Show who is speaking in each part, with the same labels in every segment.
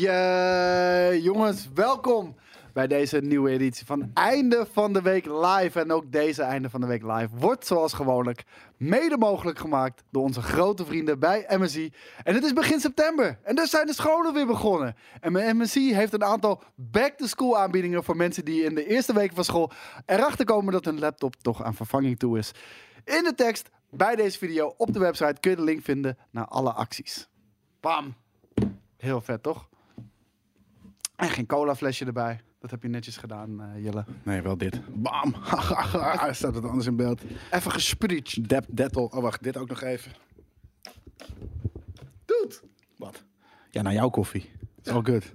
Speaker 1: Yeah, jongens, welkom bij deze nieuwe editie van Einde van de Week Live. En ook deze Einde van de Week Live wordt zoals gewoonlijk mede mogelijk gemaakt door onze grote vrienden bij MSI. En het is begin september en dus zijn de scholen weer begonnen. En mijn MSI heeft een aantal back-to-school aanbiedingen voor mensen die in de eerste week van school erachter komen dat hun laptop toch aan vervanging toe is. In de tekst bij deze video op de website kun je de link vinden naar alle acties. Bam! Heel vet, toch? En geen cola flesje erbij. Dat heb je netjes gedaan, eh, Jelle.
Speaker 2: Nee, wel dit. Bam! Staat het anders in beeld.
Speaker 1: Even gespreekt.
Speaker 2: Dep, dettel. Oh, wacht. Dit ook nog even.
Speaker 1: Dude!
Speaker 2: Wat? Ja, naar jouw koffie. It's all good.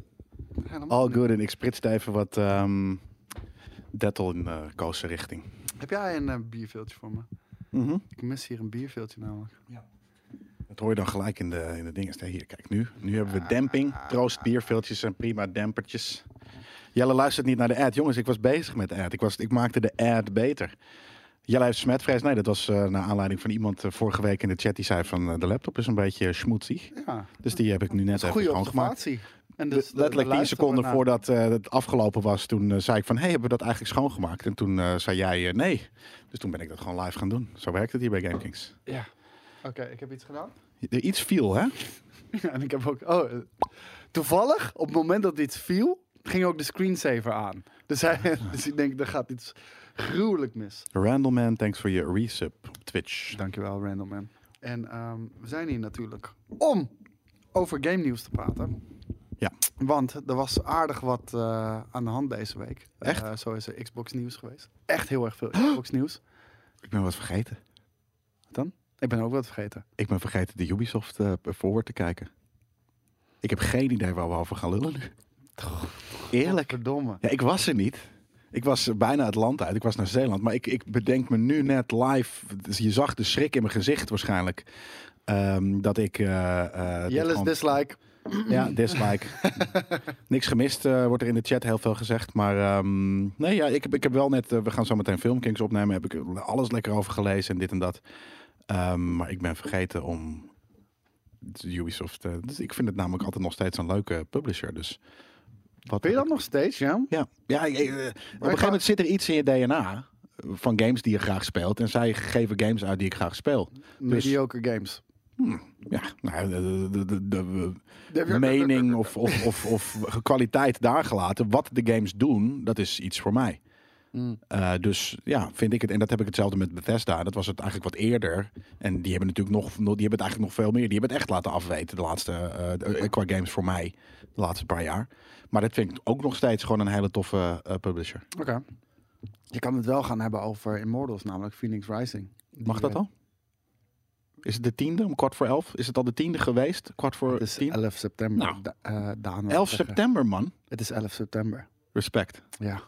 Speaker 2: All
Speaker 1: Oh.
Speaker 2: good. En ik spritste even wat ehm dettel in de koosse richting.
Speaker 1: Heb jij een eh, bierveeltje voor me? Ik mis hier een bierveeltje namelijk.
Speaker 2: Dat hoor je dan gelijk in de, in de dingen. Nee, Hier, kijk nu. Nu hebben we demping. Troost, bierveeltjes en prima dempertjes. Jelle luistert niet naar de ad. Jongens, ik was bezig met de ad. Ik, was, ik maakte de ad beter. Jelle heeft smetvrees. Nee, dat was eh, naar aanleiding van iemand eh, vorige week in de chat die zei van eh, de laptop is een beetje schmutzig.
Speaker 1: Ja,
Speaker 2: Dus die heb ik nu net even
Speaker 1: goede
Speaker 2: schoongemaakt.
Speaker 1: observatie. En
Speaker 2: Dus letterlijk 10 seconden voordat eh, het afgelopen was, toen eh, zei ik van, hey, hebben we dat eigenlijk schoongemaakt? En toen eh, zei jij eh, nee. Dus toen ben ik dat gewoon live gaan doen. Zo werkt het hier bij GameKings.
Speaker 1: Ja. Oké, ik heb iets gedaan.
Speaker 2: Er iets viel, hè?
Speaker 1: Ja, en ik heb ook... Oh, eh, toevallig, op het moment dat dit viel, ging ook de screensaver aan. Dus, hij, dus ik denk, er gaat iets gruwelijk mis.
Speaker 2: Randall Man, thanks voor je resub op Twitch. Nou,
Speaker 1: Dankjewel, Randall Man. En ehm, we zijn hier natuurlijk om over game nieuws te praten.
Speaker 2: Ja.
Speaker 1: Want er was aardig wat eh, aan de hand deze week.
Speaker 2: Echt?
Speaker 1: Eh, zo is er Xbox nieuws geweest. Echt heel erg veel Xbox nieuws.
Speaker 2: Ik ben wat vergeten.
Speaker 1: Dan? Ik ben ook wat vergeten.
Speaker 2: Ik ben vergeten de Ubisoft eh forward te kijken. Ik heb geen idee waar we over gaan lullen nu. Eerlijk.
Speaker 1: Verdomme.
Speaker 2: Ja, ik was er niet. Ik was eh, bijna het land uit. Ik was naar Zeeland. Maar ik, ik bedenk me nu net live. dus je zag de schrik in mijn gezicht waarschijnlijk. ehm, dat ik. eh, eh, dit
Speaker 1: Jelle's
Speaker 2: gewoon-
Speaker 1: dislike.
Speaker 2: Ja, dislike. Niks gemist, eh, wordt er in de chat heel veel gezegd. Maar ehm, nee, ja, ik, heb- ik heb wel net. eh, we gaan zo meteen Filmkings opnemen. Heb ik er alles lekker over gelezen en dit en dat. Ehm, maar ik ben vergeten om. Ubisoft. eh, dus ik vind het namelijk altijd nog steeds een leuke publisher. Dus. Wat
Speaker 1: Ben je dat nog steeds, ja?
Speaker 2: ja, ja ik- ik- eh, op een gegeven
Speaker 1: ga-
Speaker 2: moment zit er iets in je DNA van games die je graag speelt. En zij geven games uit die ik graag speel.
Speaker 1: Mediocre games.
Speaker 2: Ja, nou, de, de, de, de- de mening of, of, of, of kwaliteit daar gelaten. Wat de games doen, dat is iets voor mij.
Speaker 1: Mm.
Speaker 2: Eh, dus ja, vind ik het. En dat heb ik hetzelfde met Bethesda. Dat was het eigenlijk wat eerder. En die hebben natuurlijk nog, nog- die hebben het eigenlijk nog veel meer. Die hebben het echt laten afweten de laatste eh, eh, qua games voor mij de laatste paar jaar. Maar dat vind ik ook nog steeds gewoon een hele toffe eh, publisher.
Speaker 1: Oké. Je kan het wel gaan hebben over Immortals, namelijk Phoenix Rising. Die,
Speaker 2: Mag dat
Speaker 1: eh,
Speaker 2: al? Is het de tiende om kwart voor elf? Is het al de tiende geweest? Kwart voor
Speaker 1: Het is
Speaker 2: tien?
Speaker 1: 11 september.
Speaker 2: Nou.
Speaker 1: Da- eh, Daan wil
Speaker 2: 11
Speaker 1: zeggen.
Speaker 2: september, man.
Speaker 1: Het is 11 september.
Speaker 2: Respect.
Speaker 1: Ja,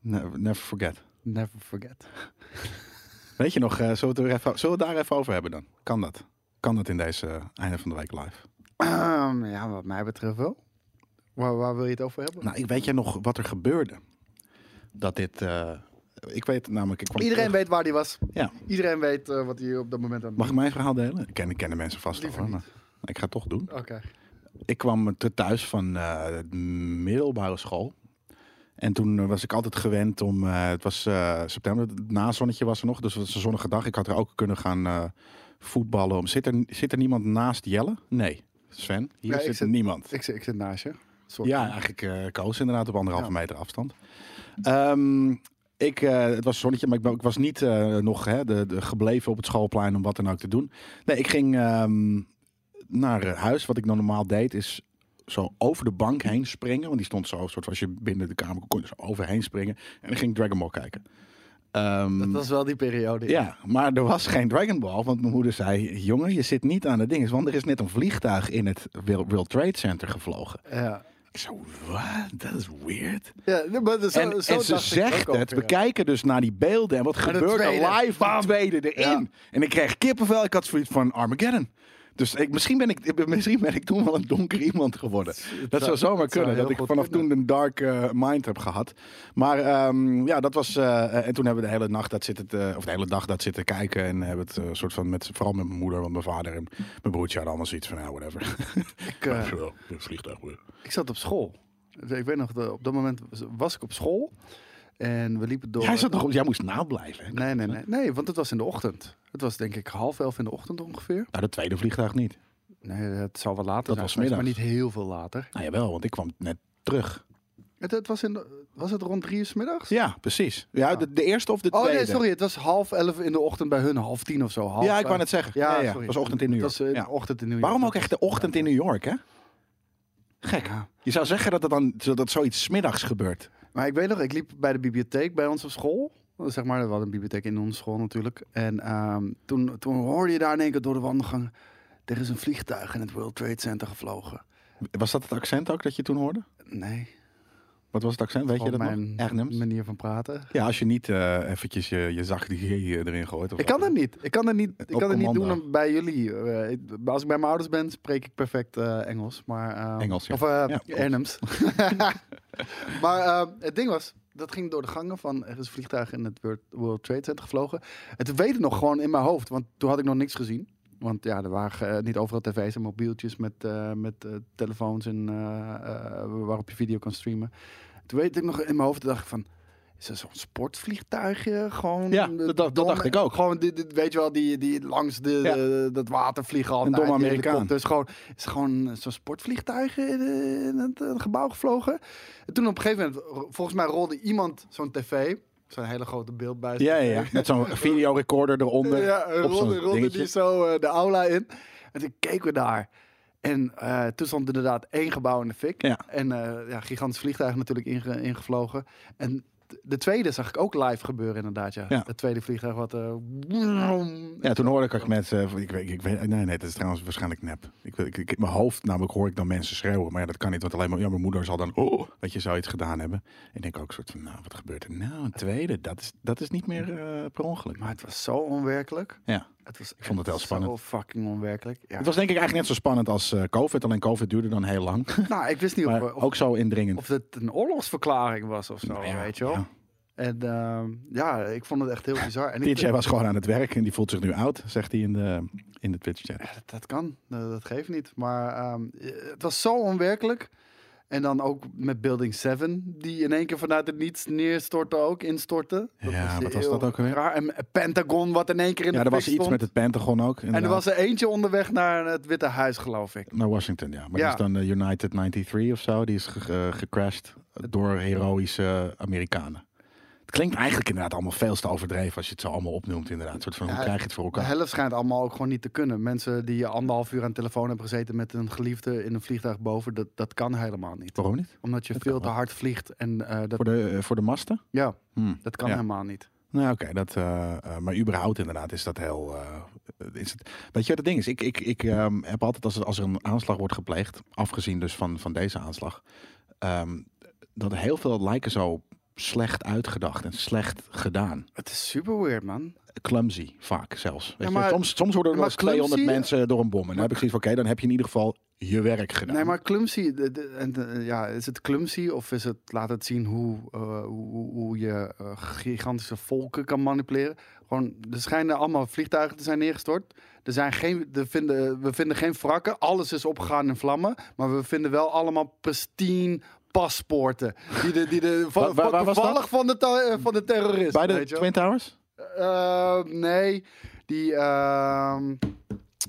Speaker 2: Never, never forget.
Speaker 1: never forget.
Speaker 2: Weet je nog, eh, zullen, we het er even, zullen we het daar even over hebben dan? Kan dat? Kan dat in deze eh, einde van de week live?
Speaker 1: Ehm, ja, wat mij betreft wel. Waar, waar wil je het over hebben?
Speaker 2: Nou, ik weet jij nog wat er gebeurde? Dat dit... eh, ik weet namelijk... Ik kwam
Speaker 1: Iedereen
Speaker 2: terug-
Speaker 1: weet waar die was.
Speaker 2: Ja.
Speaker 1: Iedereen weet eh, wat hij op dat moment aan het
Speaker 2: Mag ik mijn verhaal delen? Ik ken, ik ken de mensen vast al,
Speaker 1: Liever
Speaker 2: hoor, maar ik ga het toch doen.
Speaker 1: Oké.
Speaker 2: ik kwam te thuis van eh, de middelbare school. En toen eh, was ik altijd gewend om. eh, het was eh, september, het nazonnetje was er nog. Dus het was een zonnige dag. Ik had er ook kunnen gaan eh, voetballen. Om. Zit, er, zit er niemand naast Jelle? Nee. Sven, hier
Speaker 1: Nee, ik
Speaker 2: zit
Speaker 1: zit-
Speaker 2: niemand.
Speaker 1: Ik, zit- ik zit naast je. Sorry.
Speaker 2: Ja, eigenlijk eh koos inderdaad op anderhalve
Speaker 1: Ja.
Speaker 2: meter afstand. Ehm, ik, eh, het was zonnetje, maar ik, ben- ik was niet eh, nog hè, de, de gebleven op het schoolplein om wat dan ook te doen. Nee, ik ging ehm, naar huis. Wat ik dan normaal deed is zo over de bank heen springen. Want die stond zo, soort van, als je binnen de kamer kon, kon je zo overheen springen. En dan ging ik Dragon Ball kijken. Ehm,
Speaker 1: Dat was wel die periode.
Speaker 2: ja, maar er was geen Dragon Ball. Want mijn moeder zei, jongen, je zit niet aan de dingen. Want er is net een vliegtuig in het World World Trade Center gevlogen.
Speaker 1: Ja,
Speaker 2: Ik zo, wat? Dat is weird.
Speaker 1: ja nee, maar zo,
Speaker 2: en,
Speaker 1: zo
Speaker 2: en
Speaker 1: dacht
Speaker 2: ze
Speaker 1: ik ook
Speaker 2: zegt het.
Speaker 1: over,
Speaker 2: We
Speaker 1: ja.
Speaker 2: kijken dus naar die beelden. En wat
Speaker 1: de
Speaker 2: gebeurt er
Speaker 1: tweede.
Speaker 2: live? Bam, tweede erin.
Speaker 1: Ja.
Speaker 2: En ik kreeg kippenvel. Ik had zoiets van Armageddon. Dus ik, misschien, ben ik, ik ben- misschien ben ik toen wel een donker iemand geworden. Dat zou zomaar kunnen.
Speaker 1: heel
Speaker 2: Dat ik
Speaker 1: goed
Speaker 2: vanaf
Speaker 1: kunnen.
Speaker 2: toen een dark eh, mind heb gehad. Maar ehm, ja, dat was. eh, eh, en toen hebben we de hele nacht dat zitten. te- of de hele dag dat zitten kijken. En hebben het eh, soort van. Met, vooral met mijn moeder, want mijn vader en mijn broertje hadden allemaal zoiets van. Nou, whatever.
Speaker 1: Ik, eh,
Speaker 2: Wel, vliegtuig weer.
Speaker 1: ik zat op school. Dus ik weet nog, de- op dat moment was- was ik op school. En we liepen door.
Speaker 2: Jij, zat nog, op- jij moest nablijven. Hè?
Speaker 1: Nee, nee, nee. Nee, want het was in de ochtend. Het was denk ik half elf in de ochtend ongeveer.
Speaker 2: Nou, dat tweede vliegtuig niet.
Speaker 1: Nee, het zal wel later
Speaker 2: Dat
Speaker 1: zijn
Speaker 2: was
Speaker 1: geweest, maar niet
Speaker 2: middags.
Speaker 1: heel veel later.
Speaker 2: Nou jawel, want ik kwam net terug.
Speaker 1: Het, het was, in de- was het rond drie uur 's middags?
Speaker 2: Ja, precies. Ja, de, de eerste of de
Speaker 1: Oh
Speaker 2: tweede.
Speaker 1: nee, sorry. Het was half elf in de ochtend bij hun, half tien of zo. Half,
Speaker 2: Ja, ik wou
Speaker 1: eh,
Speaker 2: net zeggen.
Speaker 1: ja,
Speaker 2: Ja, ja,
Speaker 1: sorry.
Speaker 2: Het was ochtend in New
Speaker 1: Het
Speaker 2: York.
Speaker 1: was eh,
Speaker 2: Ja.
Speaker 1: ochtend in New York.
Speaker 2: Waarom ook echt de ochtend in New York, hè? Gek.
Speaker 1: Ja.
Speaker 2: Je zou zeggen dat dat dan dat dat zoiets smiddags gebeurt.
Speaker 1: Maar ik weet nog, ik liep bij de bibliotheek bij ons op school. Zeg maar, we hadden een bibliotheek in onze school natuurlijk. En ehm, toen, toen hoorde je daar in één keer door de wandelgang... Er is een vliegtuig in het World Trade Center gevlogen.
Speaker 2: Was dat het accent ook dat je toen hoorde?
Speaker 1: Nee,
Speaker 2: Wat was het accent? Weet je
Speaker 1: gewoon
Speaker 2: dat
Speaker 1: mijn
Speaker 2: nog? Arnhems?
Speaker 1: manier van praten.
Speaker 2: Ja, als je niet eh, eventjes je, je zacht G erin gooit. Of
Speaker 1: Ik
Speaker 2: zo.
Speaker 1: kan dat niet. Ik kan dat niet, ik
Speaker 2: Op
Speaker 1: kan dat niet
Speaker 2: commando.
Speaker 1: doen bij jullie. Eh, ik- als ik bij mijn ouders ben, spreek ik perfect eh, Engels. Maar, eh,
Speaker 2: Engels, ja.
Speaker 1: Of eh
Speaker 2: Ja, klopt.
Speaker 1: Arnhems. maar eh, het ding was, dat ging door de gangen van... er is een vliegtuig in het World, World Trade Center gevlogen. Het weet ik nog gewoon in mijn hoofd, want toen had ik nog niks gezien. Want ja, er waren eh, niet overal tv's en mobieltjes met, eh, met eh, telefoons en, eh, eh, waarop je video kan streamen. Toen weet ik nog in mijn hoofd, toen dacht ik van... Is er zo'n sportvliegtuigje? Gewoon
Speaker 2: Ja, dat- dat- dat
Speaker 1: dom-
Speaker 2: dacht ik ook.
Speaker 1: Gewoon, dit, dit- weet je wel, die, die langs de,
Speaker 2: Ja.
Speaker 1: de- dat water vliegen. al
Speaker 2: Een domme
Speaker 1: naar die
Speaker 2: Amerikaan.
Speaker 1: helikopters. Dus gewoon, is gewoon zo'n sportvliegtuig in, eh, in het eh, gebouw gevlogen. En toen op een gegeven moment, ro- volgens mij rolde iemand zo'n tv. Zo'n hele grote beeldbuis.
Speaker 2: Ja, ja, ja. Met zo'n videorecorder eronder.
Speaker 1: Ja,
Speaker 2: op zo'n
Speaker 1: rolde, rolde
Speaker 2: dingetje.
Speaker 1: die zo eh, de aula in. En toen keken we daar. En eh, toen stond inderdaad één gebouw in de fik.
Speaker 2: Ja.
Speaker 1: En eh, ja, gigantisch vliegtuig natuurlijk inge- ingevlogen. En t- de tweede zag ik ook live gebeuren inderdaad, ja.
Speaker 2: Ja.
Speaker 1: Het tweede vliegtuig wat... eh,
Speaker 2: Ja, toen hoorde ik ook mensen. van, Ik weet, ik weet, nee, nee, dat is trouwens waarschijnlijk nep. Ik, weet- ik, ik, in mijn hoofd namelijk hoor ik dan mensen schreeuwen. Maar ja, dat kan niet, want alleen maar. Ja, mijn moeder zal dan. Oh, dat je zoiets gedaan hebben. En ik denk ook, soort van. Nou, wat gebeurt er? Nou, een tweede. Dat is, dat is niet meer eh, per ongeluk.
Speaker 1: Maar het was zo onwerkelijk.
Speaker 2: Ja.
Speaker 1: Het was
Speaker 2: vond het wel
Speaker 1: echt
Speaker 2: spannend.
Speaker 1: Zo fucking onwerkelijk. Ja.
Speaker 2: Het was denk ik eigenlijk net zo spannend als eh, COVID. Alleen COVID duurde dan heel lang.
Speaker 1: Nou, ik wist niet of,
Speaker 2: Maar
Speaker 1: of,
Speaker 2: ook zo indringend.
Speaker 1: of het een oorlogsverklaring was of zo,
Speaker 2: Nou ja,
Speaker 1: weet je wel.
Speaker 2: ja.
Speaker 1: En ehm, ja, ik vond het echt heel bizar. En ik,
Speaker 2: DJ was gewoon aan het werk en die voelt zich nu oud, zegt hij in de, in de Twitch chat.
Speaker 1: Ja, dat, dat kan, Eh, dat geeft niet. Maar ehm, eh, het was zo onwerkelijk. En dan ook met Building 7, die in één keer vanuit het niets neerstortte ook, instortte.
Speaker 2: Ja,
Speaker 1: is
Speaker 2: wat was
Speaker 1: heel
Speaker 2: dat ook alweer?
Speaker 1: Raar. En Pentagon, wat in één keer in
Speaker 2: Ja,
Speaker 1: de
Speaker 2: er was
Speaker 1: fik
Speaker 2: iets
Speaker 1: stond.
Speaker 2: met het Pentagon ook.
Speaker 1: En er
Speaker 2: inderdaad.
Speaker 1: was er eentje onderweg naar het Witte Huis, geloof ik.
Speaker 2: Naar Washington, ja. Maar
Speaker 1: Ja.
Speaker 2: dat is dan de United 93 of zo. Die is ge- ge- gecrashed door heroïsche Amerikanen. Het klinkt eigenlijk inderdaad allemaal veel te overdreven als je het zo allemaal opnoemt inderdaad. Een soort van, hoe
Speaker 1: Ja,
Speaker 2: krijg je het voor
Speaker 1: De
Speaker 2: elkaar?
Speaker 1: helft schijnt allemaal ook gewoon niet te kunnen. Mensen die anderhalf uur aan de telefoon hebben gezeten met een geliefde in een vliegtuig boven, dat, dat kan helemaal niet.
Speaker 2: Waarom niet?
Speaker 1: Omdat je
Speaker 2: Dat
Speaker 1: veel
Speaker 2: kan
Speaker 1: te
Speaker 2: wel.
Speaker 1: hard vliegt en eh, dat,
Speaker 2: Voor de, eh, voor de masten?
Speaker 1: ja,
Speaker 2: Hmm.
Speaker 1: dat kan
Speaker 2: Ja.
Speaker 1: helemaal niet.
Speaker 2: Nou, oké. dat, eh, eh, maar überhaupt inderdaad is dat heel... eh, is het, weet je wat het ding is? Ik, ik, ik ehm, heb altijd, als er, als er een aanslag wordt gepleegd, afgezien dus van, van deze aanslag, ehm, dat heel veel lijken zo slecht uitgedacht en slecht gedaan.
Speaker 1: Het is super weird, man.
Speaker 2: clumsy vaak zelfs. Weet
Speaker 1: maar-
Speaker 2: je? Soms, soms worden
Speaker 1: maar
Speaker 2: er wel eens 200
Speaker 1: clumsy-
Speaker 2: mensen door een bom. En dan heb ik zoiets van, oké, dan heb je in ieder geval je werk gedaan.
Speaker 1: Nee, maar clumsy, de- de- en, eh, ja, is het clumsy of is het, laat het zien hoe, eh, hoe, hoe je eh, gigantische volken kan manipuleren? Gewoon, er schijnen allemaal vliegtuigen te zijn neergestort. Er zijn geen, er vinden, we vinden geen wrakken, alles is opgegaan in vlammen. Maar we vinden wel allemaal pristine paspoorten. Die de, die de, van,
Speaker 2: Waar- waar- waar was dat?
Speaker 1: toevallig van de, ta- eh, van de terrorist.
Speaker 2: Bij de
Speaker 1: weet je wel.
Speaker 2: Twin Towers?
Speaker 1: Eh, nee, die. ehm,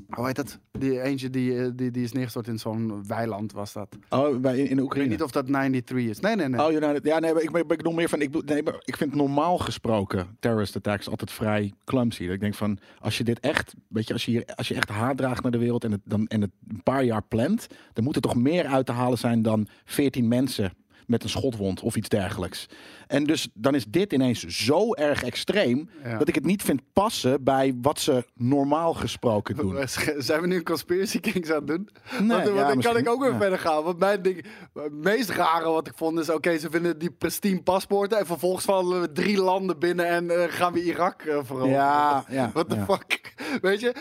Speaker 1: hoe heet dat? Die eentje die, eh, die, die is neergestort in zo'n weiland, was dat?
Speaker 2: Oh, bij, in, in
Speaker 1: Ik weet
Speaker 2: Oekraïne.
Speaker 1: niet of dat 93 is. Nee, nee, nee.
Speaker 2: Oh, United. Ja, nee, maar ik, maar ik bedoel meer van. Ik, bedoel- nee, maar ik vind normaal gesproken terrorist attacks altijd vrij clumsy. Dat ik denk van, als je dit echt, weet je, als je, hier, als je echt haat draagt naar de wereld en het, dan, en het een paar jaar plant, dan moet er toch meer uit te halen zijn dan 14 mensen met een schotwond of iets dergelijks. En dus dan is dit ineens zo erg extreem
Speaker 1: Ja.
Speaker 2: dat ik het niet vind passen bij wat ze normaal gesproken doen.
Speaker 1: Eh, Zijn we nu een Conspiracy Kings aan het doen?
Speaker 2: Nee,
Speaker 1: want want
Speaker 2: ja,
Speaker 1: dan kan
Speaker 2: misschien.
Speaker 1: ik ook weer
Speaker 2: Ja.
Speaker 1: verder gaan. Want mijn ding, het meest rare wat ik vond is... Oké, ze vinden die pristine paspoorten... en vervolgens vallen we drie landen binnen en eh, gaan we Irak eh, veroveren.
Speaker 2: Ja, ja,
Speaker 1: What the
Speaker 2: ja.
Speaker 1: fuck? Weet je?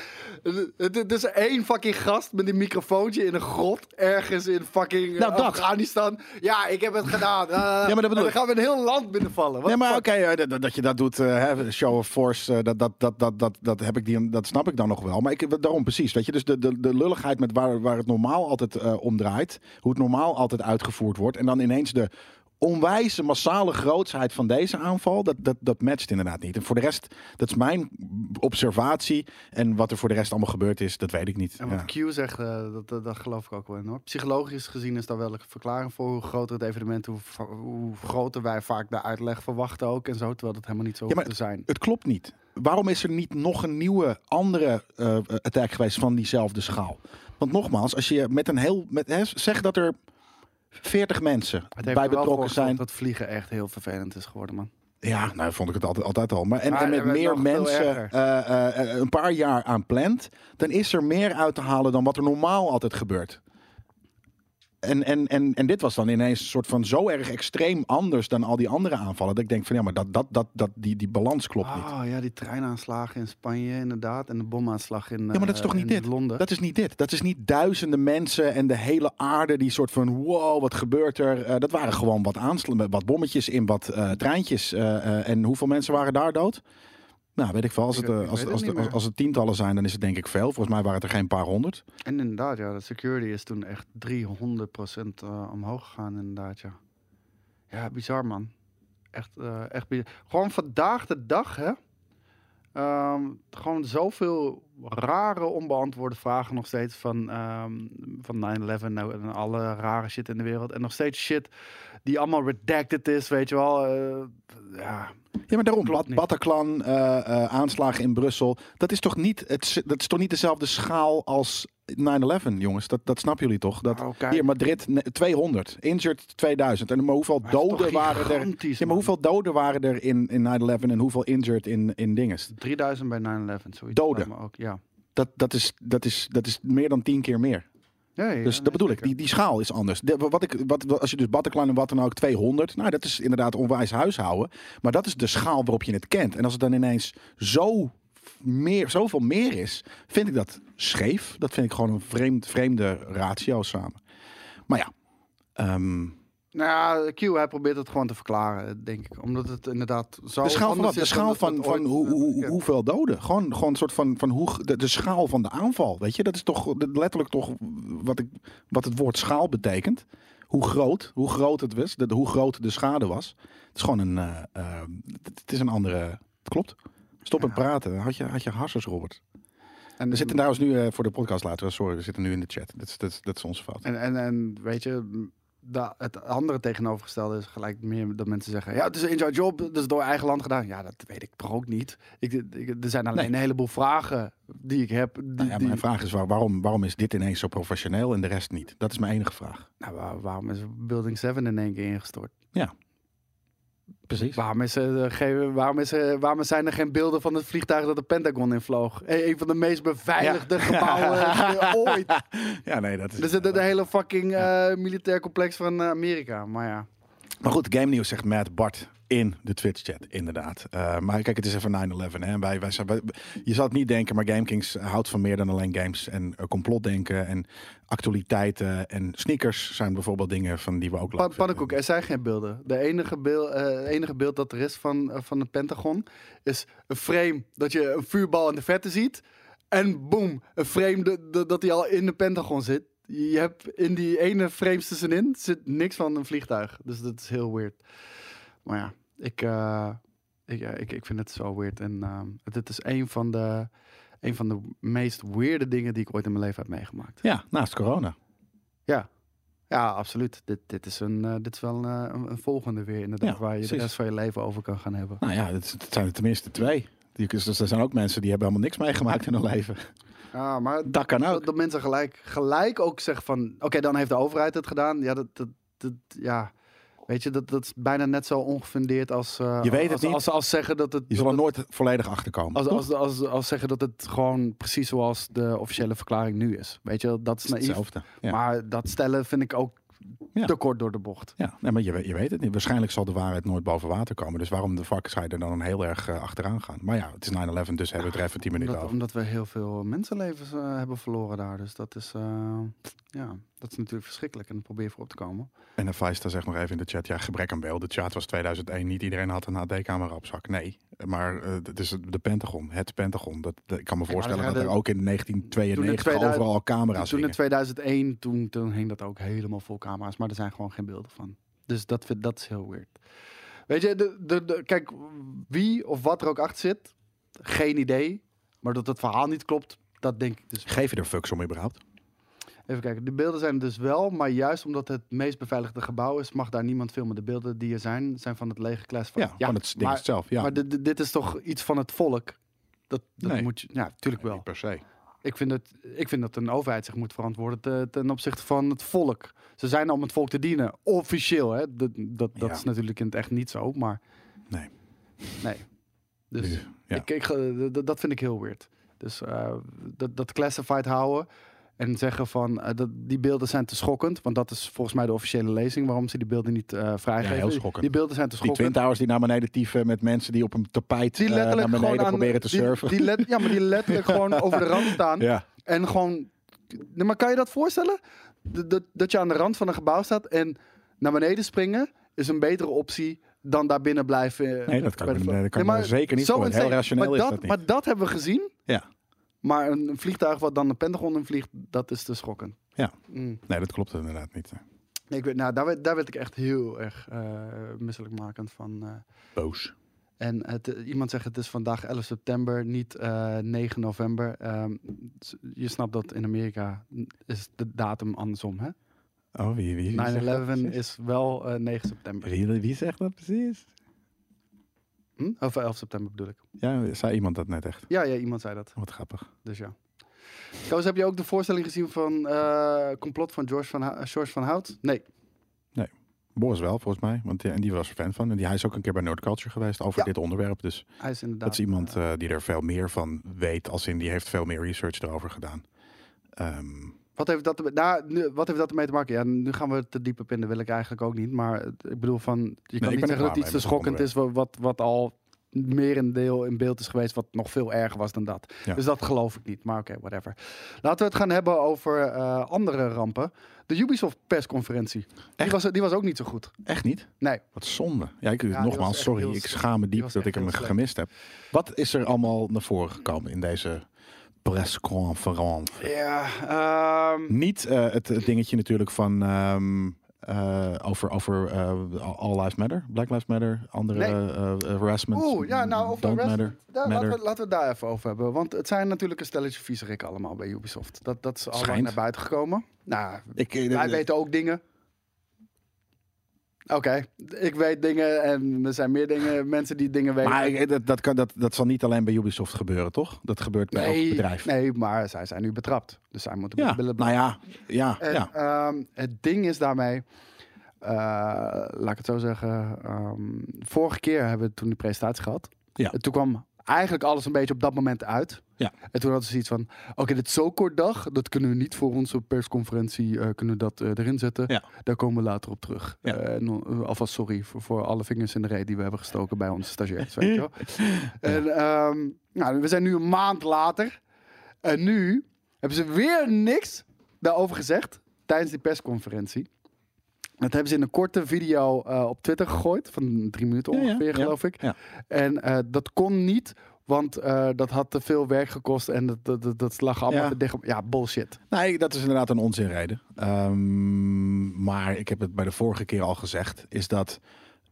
Speaker 1: Het, het is één fucking gast met een microfoontje in een grot... ergens in fucking eh,
Speaker 2: Nou, dat.
Speaker 1: Afghanistan. Ja, ik heb het gedaan. Eh,
Speaker 2: dat
Speaker 1: en
Speaker 2: bedoel
Speaker 1: dan
Speaker 2: ik.
Speaker 1: gaan we een heel land binnenvallen. What
Speaker 2: Nee,
Speaker 1: the
Speaker 2: maar
Speaker 1: fuck?
Speaker 2: oké, eh, dat- dat- dat je dat doet, eh, hè, show of force, eh, dat, dat, dat, dat, dat, dat, heb ik die, dat snap ik dan nog wel. Maar ik, daarom precies, weet je, dus de, de, de lulligheid met waar, waar het normaal altijd eh, om draait, hoe het normaal altijd uitgevoerd wordt, en dan ineens de onwijze massale grootsheid van deze aanval, dat, dat, dat matcht inderdaad niet. En voor de rest, dat is mijn observatie, en wat er voor de rest allemaal gebeurd is, dat weet ik niet.
Speaker 1: En
Speaker 2: Ja.
Speaker 1: wat Q zegt, eh, dat, dat, dat geloof ik ook wel in hoor. Psychologisch gezien is daar wel een verklaring voor. Hoe groter het evenement, hoe, va- hoe groter wij vaak de uitleg verwachten ook en zo. Terwijl dat helemaal niet zo
Speaker 2: Ja,
Speaker 1: hoeft
Speaker 2: maar-
Speaker 1: te zijn.
Speaker 2: Het klopt niet. Waarom is er niet nog een nieuwe, andere eh, attack geweest van diezelfde schaal? Want nogmaals, als je met een heel. Met, hè, zeg dat er 40 mensen
Speaker 1: Het heeft
Speaker 2: bij
Speaker 1: er wel voor
Speaker 2: betrokken
Speaker 1: gezorgd
Speaker 2: zijn.
Speaker 1: dat vliegen echt heel vervelend is geworden, man.
Speaker 2: Ja, nou vond ik het altijd, altijd al. Maar en,
Speaker 1: Maar
Speaker 2: en met
Speaker 1: er werd nog
Speaker 2: meer
Speaker 1: veel
Speaker 2: mensen
Speaker 1: erger.
Speaker 2: eh, eh, eh, een paar jaar aan plant, dan is er meer uit te halen dan wat er normaal altijd gebeurt. En, en, en, en dit was dan ineens een soort van zo erg extreem anders dan al die andere aanvallen. Dat ik denk van ja, maar dat, dat, dat, dat, die, die balans klopt niet.
Speaker 1: Oh ja, die treinaanslagen in Spanje inderdaad. En de bomaanslag in,
Speaker 2: Ja, maar dat is
Speaker 1: eh,
Speaker 2: toch niet
Speaker 1: in
Speaker 2: dit?
Speaker 1: Londen.
Speaker 2: Dat is niet dit. Dat is niet duizenden mensen en de hele aarde die soort van wow, wat gebeurt er? Eh, dat waren gewoon wat aanslaan, wat bommetjes in wat eh, treintjes. Eh, eh, en hoeveel mensen waren daar dood? Nou, weet ik veel. Als
Speaker 1: Ik
Speaker 2: het,
Speaker 1: weet-
Speaker 2: eh,
Speaker 1: ik
Speaker 2: als,
Speaker 1: weet
Speaker 2: als,
Speaker 1: het
Speaker 2: de-
Speaker 1: niet
Speaker 2: als,
Speaker 1: meer.
Speaker 2: als het tientallen zijn, dan is het denk ik veel. Volgens mij waren het er geen paar honderd.
Speaker 1: En inderdaad, ja, de security is toen echt 300% eh, omhoog gegaan, inderdaad, ja. Ja, bizar, man. Echt, eh, echt bizar. Gewoon vandaag de dag, hè. Ehm, gewoon zoveel rare, onbeantwoorde vragen nog steeds van, ehm, van 9-11 nou, en alle rare shit in de wereld. En nog steeds shit die allemaal redacted is, weet je wel. Eh, ja,
Speaker 2: Ja, maar daarom,
Speaker 1: Klopt
Speaker 2: Bat-
Speaker 1: niet.
Speaker 2: Bataclan, eh, eh, aanslagen in Brussel. Dat is toch niet, het, s- dat is toch niet dezelfde schaal als 9-11, jongens? Dat, dat snappen jullie toch? Dat,
Speaker 1: Oh, kijk.
Speaker 2: hier, Madrid, ne- 200. Injured, 2000. En maar hoeveel
Speaker 1: Maar het is toch
Speaker 2: doden waren er?
Speaker 1: gigantisch,
Speaker 2: Ja, maar
Speaker 1: man.
Speaker 2: hoeveel doden waren er in, in 9-11 en hoeveel injured in, in dinges?
Speaker 1: 3000 bij 9-11, zoiets.
Speaker 2: Doden.
Speaker 1: Maar ook, ja.
Speaker 2: Dat, dat, is, dat, is, dat is meer dan tien keer meer.
Speaker 1: Ja, ja,
Speaker 2: Dus
Speaker 1: nee,
Speaker 2: dat bedoel ik,
Speaker 1: zeker.
Speaker 2: die, die schaal is anders. De- wat ik, wat, wat- als je dus Bataclan en wat dan ook 200, nou dat is inderdaad onwijs huishouden. Maar dat is de schaal waarop je het kent. En als het dan ineens zo meer, zoveel meer is, vind ik dat scheef. Dat vind ik gewoon een vreemd, vreemde ratio samen. Maar ja, ehm,
Speaker 1: Nou, ja, Q, hij probeert het gewoon te verklaren, denk ik. Omdat het inderdaad zo.
Speaker 2: de schaal van
Speaker 1: anders
Speaker 2: wat? De
Speaker 1: is dan
Speaker 2: schaal
Speaker 1: dat we
Speaker 2: van,
Speaker 1: het
Speaker 2: van
Speaker 1: ooit-
Speaker 2: hoe, hoe- hoe-
Speaker 1: Ja.
Speaker 2: hoeveel doden? Gewoon, gewoon een soort van, van hoe, de, de schaal van de aanval. Weet je, dat is toch letterlijk toch wat, ik, wat het woord schaal betekent. Hoe groot, hoe groot het was, de, hoe groot de schade was. Het is gewoon een, eh, eh, het, het is een andere, het klopt. Stop met praten. Had je, had je harsers, Robert.
Speaker 1: En,
Speaker 2: We zitten trouwens nu eh, voor de podcast later. Sorry, we zitten nu in de chat. Dat is, dat is, dat is onze fout.
Speaker 1: en, en, en weet je, m, da- het andere tegenovergestelde is gelijk meer dat mensen zeggen: ja, het is een inside job, dat is door eigen land gedaan. Ja, dat weet ik toch ook niet. Ik, ik- er zijn alleen
Speaker 2: Nee.
Speaker 1: een heleboel vragen die ik heb. Die,
Speaker 2: Nou ja,
Speaker 1: die-
Speaker 2: mijn vraag is waar- waarom, waarom is dit ineens zo professioneel en de rest niet? Dat is mijn enige vraag.
Speaker 1: Nou, waar- waarom is Building 7 in één keer ingestort?
Speaker 2: Precies.
Speaker 1: Waarom, is er, eh, geen, waarom, is er, waarom zijn er geen beelden van het vliegtuig dat de Pentagon invloog? E- een van de meest beveiligde gebouwen eh, ooit.
Speaker 2: Ja, nee, dat is.
Speaker 1: Dus het, het hele fucking eh, militair complex van eh, Amerika. Maar ja.
Speaker 2: Maar goed, Game News zegt Matt Bart in de Twitch-chat, inderdaad. Eh, maar kijk, het is even 9-11. Hè? Wij, wij zijn, wij- je zal het niet denken, maar GameKings houdt van meer dan alleen games. En eh, complotdenken en actualiteiten en sneakers zijn bijvoorbeeld dingen van die we ook
Speaker 1: Pan
Speaker 2: leuk vinden.
Speaker 1: pannenkoek, er zijn geen beelden. De enige, beel, eh, enige beeld dat er is van, eh, van de Pentagon is een frame dat je een vuurbal in de verte ziet. En boom, een frame de- de- dat hij al in de Pentagon zit. Je hebt in die ene frame tussenin zit niks van een vliegtuig. Dus dat is heel weird. Maar ja, ik, eh, ik, ja, ik, ik vind het zo weird. En ehm, dit is een van, de, een van de meest weirde dingen die ik ooit in mijn leven heb meegemaakt.
Speaker 2: Ja, naast corona.
Speaker 1: Ja. Ja, absoluut. Dit, dit, is, een, eh, dit is wel eh, een, een volgende weer inderdaad,
Speaker 2: Ja,
Speaker 1: waar je de
Speaker 2: precies.
Speaker 1: rest van je leven over kan gaan hebben.
Speaker 2: Nou ja, het, het zijn er tenminste twee. Die, dus er zijn ook mensen die hebben helemaal niks meegemaakt in hun leven.
Speaker 1: Ja, maar
Speaker 2: Dat kan
Speaker 1: dat,
Speaker 2: ook.
Speaker 1: dat mensen gelijk, gelijk ook zeggen van, oké, dan heeft de overheid het gedaan. Ja, dat, dat, dat- ja. Weet je, dat, dat is bijna net zo ongefundeerd als, eh,
Speaker 2: Je weet het
Speaker 1: als,
Speaker 2: niet.
Speaker 1: als, als zeggen dat het...
Speaker 2: Je zal er nooit volledig achter komen.
Speaker 1: Als, als, als, als zeggen dat het gewoon precies zoals de officiële verklaring nu is. Weet je, dat is
Speaker 2: het is
Speaker 1: naïef.
Speaker 2: hetzelfde. Ja.
Speaker 1: Maar dat stellen vind ik ook
Speaker 2: Ja.
Speaker 1: te kort door de bocht.
Speaker 2: Ja, nee, maar je, weet- je weet het niet. Waarschijnlijk zal de waarheid nooit boven water komen. Dus waarom de fuck zou je er dan heel erg eh, achteraan gaan? Maar ja, het is 9-11, dus hebben we het er even 10 minuten
Speaker 1: Omdat,
Speaker 2: over.
Speaker 1: omdat we heel veel mensenlevens eh, hebben verloren daar. Dus dat is, eh, ja, dat is natuurlijk verschrikkelijk. En daar probeer je voor op te komen.
Speaker 2: En dan Feista zegt nog even in de chat, ja, gebrek aan beelden. De chat was 2001, niet iedereen had een HD-camera op zak. Nee, maar eh, het is de Pentagon, het Pentagon. Dat, dat- ik kan me
Speaker 1: maar
Speaker 2: voorstellen
Speaker 1: dat
Speaker 2: dat,
Speaker 1: gaat
Speaker 2: er
Speaker 1: de-
Speaker 2: ook in 1992
Speaker 1: toen in 2000
Speaker 2: overal camera's
Speaker 1: Toen in
Speaker 2: hingen.
Speaker 1: 2001, toen, toen hing dat ook helemaal vol camera's. Maar er zijn gewoon geen beelden van. Dus dat, vind- dat is heel weird. Weet je, de, de, de- kijk, wie of wat er ook achter zit, geen idee. Maar dat het verhaal niet klopt, dat denk ik dus.
Speaker 2: Geef je er fucks om überhaupt?
Speaker 1: Even kijken, de beelden zijn er dus wel. Maar juist omdat het meest beveiligde gebouw is, mag daar niemand filmen. De beelden die er zijn, zijn van het lege klasvak.
Speaker 2: Ja, van het ding
Speaker 1: maar-
Speaker 2: zelf. Ja.
Speaker 1: Maar dit, dit- dit is toch iets van het volk? Dat, dat
Speaker 2: Nee.
Speaker 1: moet je. Ja, tuurlijk
Speaker 2: Nee,
Speaker 1: wel.
Speaker 2: niet per se.
Speaker 1: Ik vind, dat, ik vind dat een overheid zich moet verantwoorden te- ten opzichte van het volk. Ze zijn om het volk te dienen, officieel. Hè? Dat, dat, dat
Speaker 2: Ja.
Speaker 1: is natuurlijk in het echt niet zo, maar...
Speaker 2: Nee.
Speaker 1: Nee. Dus
Speaker 2: Ja.
Speaker 1: ik, ik, eh, d- d- dat vind ik heel weird. Dus eh, dat, dat classified houden en zeggen van... eh, dat, die beelden zijn te schokkend, want dat is volgens mij de officiële lezing... waarom ze die beelden niet eh vrijgeven.
Speaker 2: heel schokkend.
Speaker 1: Die beelden zijn te
Speaker 2: Die
Speaker 1: schokkend.
Speaker 2: Twin Towers die naar beneden tieven met mensen die op een tapijt
Speaker 1: die
Speaker 2: eh, naar
Speaker 1: letterlijk
Speaker 2: beneden
Speaker 1: gewoon aan-
Speaker 2: proberen te
Speaker 1: die-
Speaker 2: surfen.
Speaker 1: Die, let- ja, maar die letterlijk gewoon over de rand staan.
Speaker 2: ja.
Speaker 1: En gewoon. Nee, maar kan je dat voorstellen? D- dat- dat je aan de rand van een gebouw staat en naar beneden springen is een betere optie dan daar binnen blijven. eh,
Speaker 2: Nee, dat kan
Speaker 1: bij
Speaker 2: ik
Speaker 1: de
Speaker 2: me-
Speaker 1: vla-
Speaker 2: dat kan ik me
Speaker 1: maar
Speaker 2: zeker niet
Speaker 1: zo
Speaker 2: voor- heel
Speaker 1: insane.
Speaker 2: rationeel
Speaker 1: maar
Speaker 2: is dat niet.
Speaker 1: Maar dat hebben we gezien.
Speaker 2: Ja.
Speaker 1: Maar een, een vliegtuig wat dan de Pentagon in vliegt, dat is te schokkend.
Speaker 2: Ja.
Speaker 1: Mm.
Speaker 2: Nee, dat klopt inderdaad niet.
Speaker 1: Nee, ik weet, nou, daar, werd, daar werd ik echt heel erg eh misselijkmakend van. eh.
Speaker 2: Boos.
Speaker 1: En het, eh, iemand zegt het is vandaag 11 september, niet eh, 9 november. Ehm, s- je snapt dat in Amerika mm, is de datum andersom, hè?
Speaker 2: Oh, wie, wie, wie, zegt, dat
Speaker 1: 9-11
Speaker 2: precies?
Speaker 1: is wel eh, 9 september.
Speaker 2: Wie, wie zegt dat precies?
Speaker 1: Hm? Of eh, 11 september bedoel ik.
Speaker 2: Ja, zei iemand dat net echt. Oh,
Speaker 1: Ja, ja, iemand zei dat.
Speaker 2: Wat grappig.
Speaker 1: Dus ja. Koos, heb je ook de voorstelling gezien van eh, complot van George van, Ha- George van Hout? Nee.
Speaker 2: Boris wel, volgens mij. Want, ja, en die was er fan van. En die, hij is ook een keer bij Noordculture geweest over
Speaker 1: Ja.
Speaker 2: dit onderwerp. Dus
Speaker 1: Hij is inderdaad...
Speaker 2: dat is iemand
Speaker 1: eh,
Speaker 2: eh, die er veel meer van weet. Als in, die heeft veel meer research erover gedaan. Ehm,
Speaker 1: wat, heeft dat, ermee- nou, nu- wat heeft dat ermee te maken? Ja, nu gaan we te diep op in, dat wil ik eigenlijk ook niet. Maar het- ik bedoel van, je kan
Speaker 2: ik ben er
Speaker 1: niet zeggen
Speaker 2: klaar
Speaker 1: dat iets
Speaker 2: mee
Speaker 1: te
Speaker 2: met het
Speaker 1: schokkend is... wa- Wat, wat al meer een deel in beeld is geweest wat nog veel erger was dan dat.
Speaker 2: Ja.
Speaker 1: Dus dat geloof ik niet. Maar oké, whatever. Laten we het gaan hebben over eh, andere rampen. De Ubisoft persconferentie. Die
Speaker 2: Echt?
Speaker 1: was, die was ook niet zo goed.
Speaker 2: echt niet?
Speaker 1: Nee.
Speaker 2: Wat zonde. Ja, ik,
Speaker 1: die was
Speaker 2: nogmaals,
Speaker 1: echt
Speaker 2: sorry.
Speaker 1: heel
Speaker 2: Ik
Speaker 1: slecht.
Speaker 2: schaam me diep
Speaker 1: was
Speaker 2: dat
Speaker 1: echt
Speaker 2: ik hem
Speaker 1: heel slecht.
Speaker 2: gemist heb. Wat is er allemaal naar voren gekomen in deze persconferentie?
Speaker 1: Ja, ehm,
Speaker 2: Niet eh, het, het dingetje natuurlijk van ehm, eh, over, over eh, All Lives Matter, Black Lives Matter, andere
Speaker 1: Nee.
Speaker 2: eh, eh, harassment.
Speaker 1: Oeh, ja, nou, over
Speaker 2: don't
Speaker 1: harassment,
Speaker 2: matter.
Speaker 1: daar, laten,
Speaker 2: matter.
Speaker 1: we, laten we het daar even over hebben. Want het zijn natuurlijk een stelletje viezerik allemaal bij Ubisoft. Dat, dat is al lang
Speaker 2: Schijnt.
Speaker 1: naar buiten gekomen. Nou,
Speaker 2: Ik, eh,
Speaker 1: wij
Speaker 2: eh,
Speaker 1: weten ook dingen. Oké, ik weet dingen en er zijn meer dingen, mensen die dingen weten.
Speaker 2: maar ik- dat, dat, kan, dat, dat zal niet alleen bij Ubisoft gebeuren, toch? Dat gebeurt bij elk bedrijf.
Speaker 1: Nee, maar zij zijn nu betrapt. Dus zij moeten
Speaker 2: Ja,
Speaker 1: met de billen
Speaker 2: nou ja, ja,
Speaker 1: En,
Speaker 2: ja.
Speaker 1: ehm, het ding is daarmee, eh, laat ik het zo zeggen. ehm, vorige keer hebben we toen die presentatie gehad.
Speaker 2: Ja.
Speaker 1: En toen kwam eigenlijk alles een beetje op dat moment uit.
Speaker 2: Ja.
Speaker 1: En toen hadden ze iets van: oké, dit is zo kort dag, dat kunnen we niet voor onze persconferentie eh, kunnen we dat eh, erin zetten.
Speaker 2: Ja.
Speaker 1: Daar komen we later op terug.
Speaker 2: Ja.
Speaker 1: Eh, en, eh, alvast sorry voor, voor alle vingers in de reet die we hebben gestoken bij onze stagiairs. weet je wel. En, ehm, nou, we zijn nu een maand later. En nu hebben ze weer niks daarover gezegd tijdens die persconferentie. Dat hebben ze in een korte video eh, op Twitter gegooid, van drie minuten
Speaker 2: Ja, ja,
Speaker 1: ongeveer,
Speaker 2: ja,
Speaker 1: geloof ik.
Speaker 2: ja.
Speaker 1: En eh, dat kon niet, want eh, dat had te veel werk gekost en dat, dat, dat, dat lag allemaal
Speaker 2: Ja.
Speaker 1: te dicht. op- Ja, bullshit.
Speaker 2: Nee, dat is inderdaad een onzinreden. Ehm, maar ik heb het bij de vorige keer al gezegd, is dat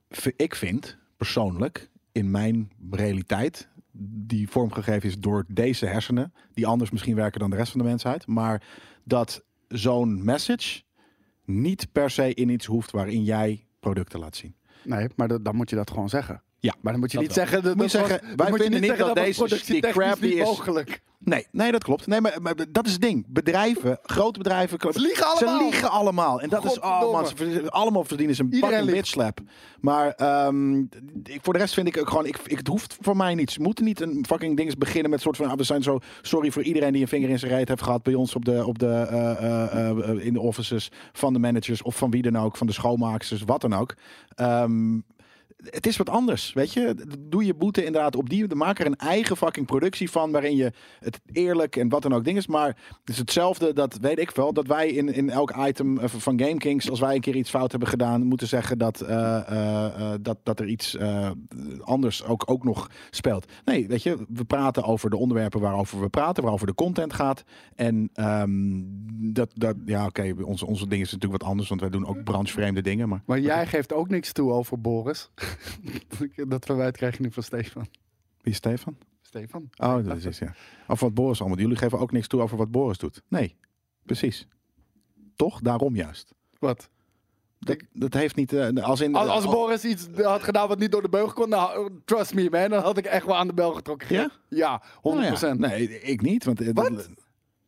Speaker 2: v- ik vind persoonlijk in mijn realiteit die vormgegeven is door deze hersenen, die anders misschien werken dan de rest van de mensheid, maar dat zo'n message niet per se in iets hoeft waarin jij producten laat zien.
Speaker 1: Nee, maar dat- dan moet je dat gewoon zeggen.
Speaker 2: Ja,
Speaker 1: Maar dan moet je
Speaker 2: dat
Speaker 1: niet
Speaker 2: wel.
Speaker 1: zeggen dat,
Speaker 2: Moet je
Speaker 1: dat was-
Speaker 2: zeggen, wij
Speaker 1: dan moet je
Speaker 2: vinden niet dat
Speaker 1: was
Speaker 2: deze
Speaker 1: productietechnisch
Speaker 2: stick crap
Speaker 1: niet
Speaker 2: die is-
Speaker 1: mogelijk.
Speaker 2: Nee, nee, dat klopt. Nee, maar, maar dat is het ding. Bedrijven, grote bedrijven... Ze
Speaker 1: liegen allemaal.
Speaker 2: Ze liegen allemaal. En dat is... Oh
Speaker 1: Godverdomme.
Speaker 2: man, ze verdienen- allemaal verdienen ze een
Speaker 1: Iedereen
Speaker 2: fucking
Speaker 1: liegt.
Speaker 2: bitslap. Maar ehm, ik, voor de rest vind ik ook gewoon... Ik, ik, het hoeft voor mij niet. Ze moeten niet een fucking ding beginnen met soort van... ah, we zijn zo sorry voor iedereen die een vinger in zijn reet heeft gehad... bij ons op de, op de, eh, eh, eh, eh, in de offices van de managers... of van wie dan ook, van de schoonmaaksters, wat dan ook. Ehm, het is wat anders, weet je. Doe je boete inderdaad op die. Maak er een eigen fucking productie van waarin je het eerlijk en wat dan ook ding is. Maar het is hetzelfde, dat weet ik wel, dat wij in, in elk item eh, van Game Kings, als wij een keer iets fout hebben gedaan, moeten zeggen dat, eh, eh, eh, dat, dat er iets eh, anders ook, ook nog speelt. Nee, weet je, we praten over de onderwerpen waarover we praten, waarover de content gaat. En ehm, dat, dat, ja oké, onze, onze ding is natuurlijk wat anders, want wij doen ook branchevreemde dingen, maar...
Speaker 1: Maar jij geeft ook niks toe over Boris. dat verwijt krijg je nu van Stefan.
Speaker 2: Wie is Stefan?
Speaker 1: Stefan.
Speaker 2: Oh, dat is het, ja. Of wat Boris allemaal doet. Jullie geven ook niks toe over wat Boris doet. Nee, precies. Toch? Daarom juist.
Speaker 1: Wat?
Speaker 2: Dat, dat heeft niet... eh, als in,
Speaker 1: Als, als
Speaker 2: al-
Speaker 1: Boris iets had gedaan wat niet door de beugel kon, nou, trust me man, dan had ik echt wel aan de bel getrokken.
Speaker 2: Ja?
Speaker 1: Ja, 100%.
Speaker 2: Nou ja, nee, ik niet. Want, eh,
Speaker 1: Wat?
Speaker 2: dat-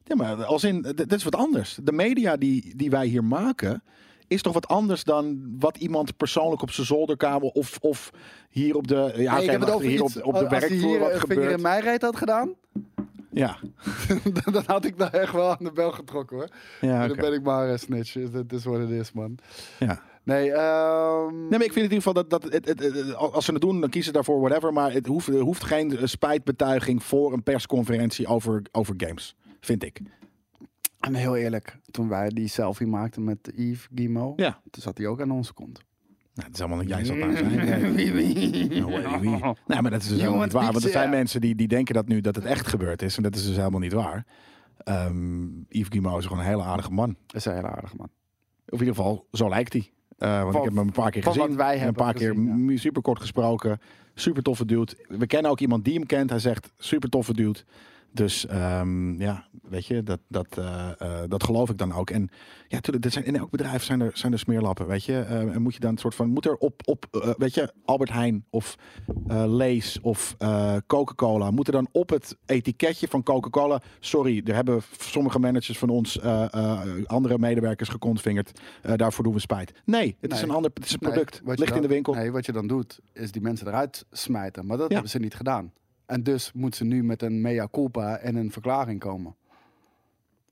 Speaker 2: Ja, maar als in... d- Dat is wat anders. De media die, die wij hier maken... Is toch wat anders dan wat iemand persoonlijk op zijn zolderkamer of, of hier op de. Ja, oké,
Speaker 1: Nee, ik heb het
Speaker 2: wacht,
Speaker 1: over
Speaker 2: hier
Speaker 1: iets,
Speaker 2: op, op de
Speaker 1: als hij
Speaker 2: werkvloer
Speaker 1: hier eh,
Speaker 2: wat
Speaker 1: een vinger
Speaker 2: gebeurt.
Speaker 1: in mijn reet had gedaan,
Speaker 2: Ja,
Speaker 1: dan had ik daar echt wel aan de bel getrokken hoor.
Speaker 2: ja,
Speaker 1: Dan
Speaker 2: oké.
Speaker 1: ben ik maar een snitch, dat is wat het is man.
Speaker 2: ja.
Speaker 1: Nee, ehm
Speaker 2: Nee, maar ik vind in ieder geval dat, dat het, het- het- als ze het doen, dan kiezen ze daarvoor whatever. Maar het hoeft, er hoeft geen eh, spijtbetuiging voor een persconferentie over, over games. Vind ik. Nou,
Speaker 1: en heel eerlijk, toen wij die selfie maakten met Yves Guillemot,
Speaker 2: Ja.
Speaker 1: toen zat hij ook aan onze kont.
Speaker 2: Nou, dat is allemaal niet jij zat daar zijn. Nou, eh, wie? Nee, maar dat is dus helemaal niet
Speaker 1: want
Speaker 2: waar.
Speaker 1: ik
Speaker 2: Want er
Speaker 1: zeg-
Speaker 2: zijn mensen die, die denken dat nu dat het echt gebeurd is. En dat is dus helemaal niet waar. Ehm Yves Guillemot is gewoon een hele aardige man.
Speaker 1: Dat is een heel aardig man.
Speaker 2: Of in ieder geval, zo lijkt hij. Eh, want
Speaker 1: Van-
Speaker 2: ik heb hem een paar keer
Speaker 1: van
Speaker 2: gezien.
Speaker 1: wat wij
Speaker 2: en een
Speaker 1: hebben
Speaker 2: paar keer
Speaker 1: gezien, ja.
Speaker 2: mu- super kort gesproken. Super toffe dude. We kennen ook iemand die hem kent. Hij zegt super toffe dude. Dus ehm, ja, weet je, dat, dat, eh, eh, dat geloof ik dan ook. En ja, tuurlijk, er zijn, in elk bedrijf zijn er, zijn er smeerlappen, weet je. Eh, en moet je dan een soort van, moet er op, op eh, weet je, Albert Heijn of eh, Lees of eh, Coca-Cola, moet er dan op het etiketje van Coca-Cola, sorry, er hebben sommige managers van ons eh, eh, andere medewerkers gekontvingerd, Eh, daarvoor doen we spijt. Nee, het is
Speaker 1: Nee.
Speaker 2: een ander, het is een
Speaker 1: Nee,
Speaker 2: product,
Speaker 1: wat je
Speaker 2: ligt in de
Speaker 1: dan-
Speaker 2: winkel.
Speaker 1: Nee, wat je dan doet, is die mensen eruit smijten. Maar dat
Speaker 2: Ja.
Speaker 1: hebben ze niet gedaan. En dus moet ze nu met een mea culpa en een verklaring komen.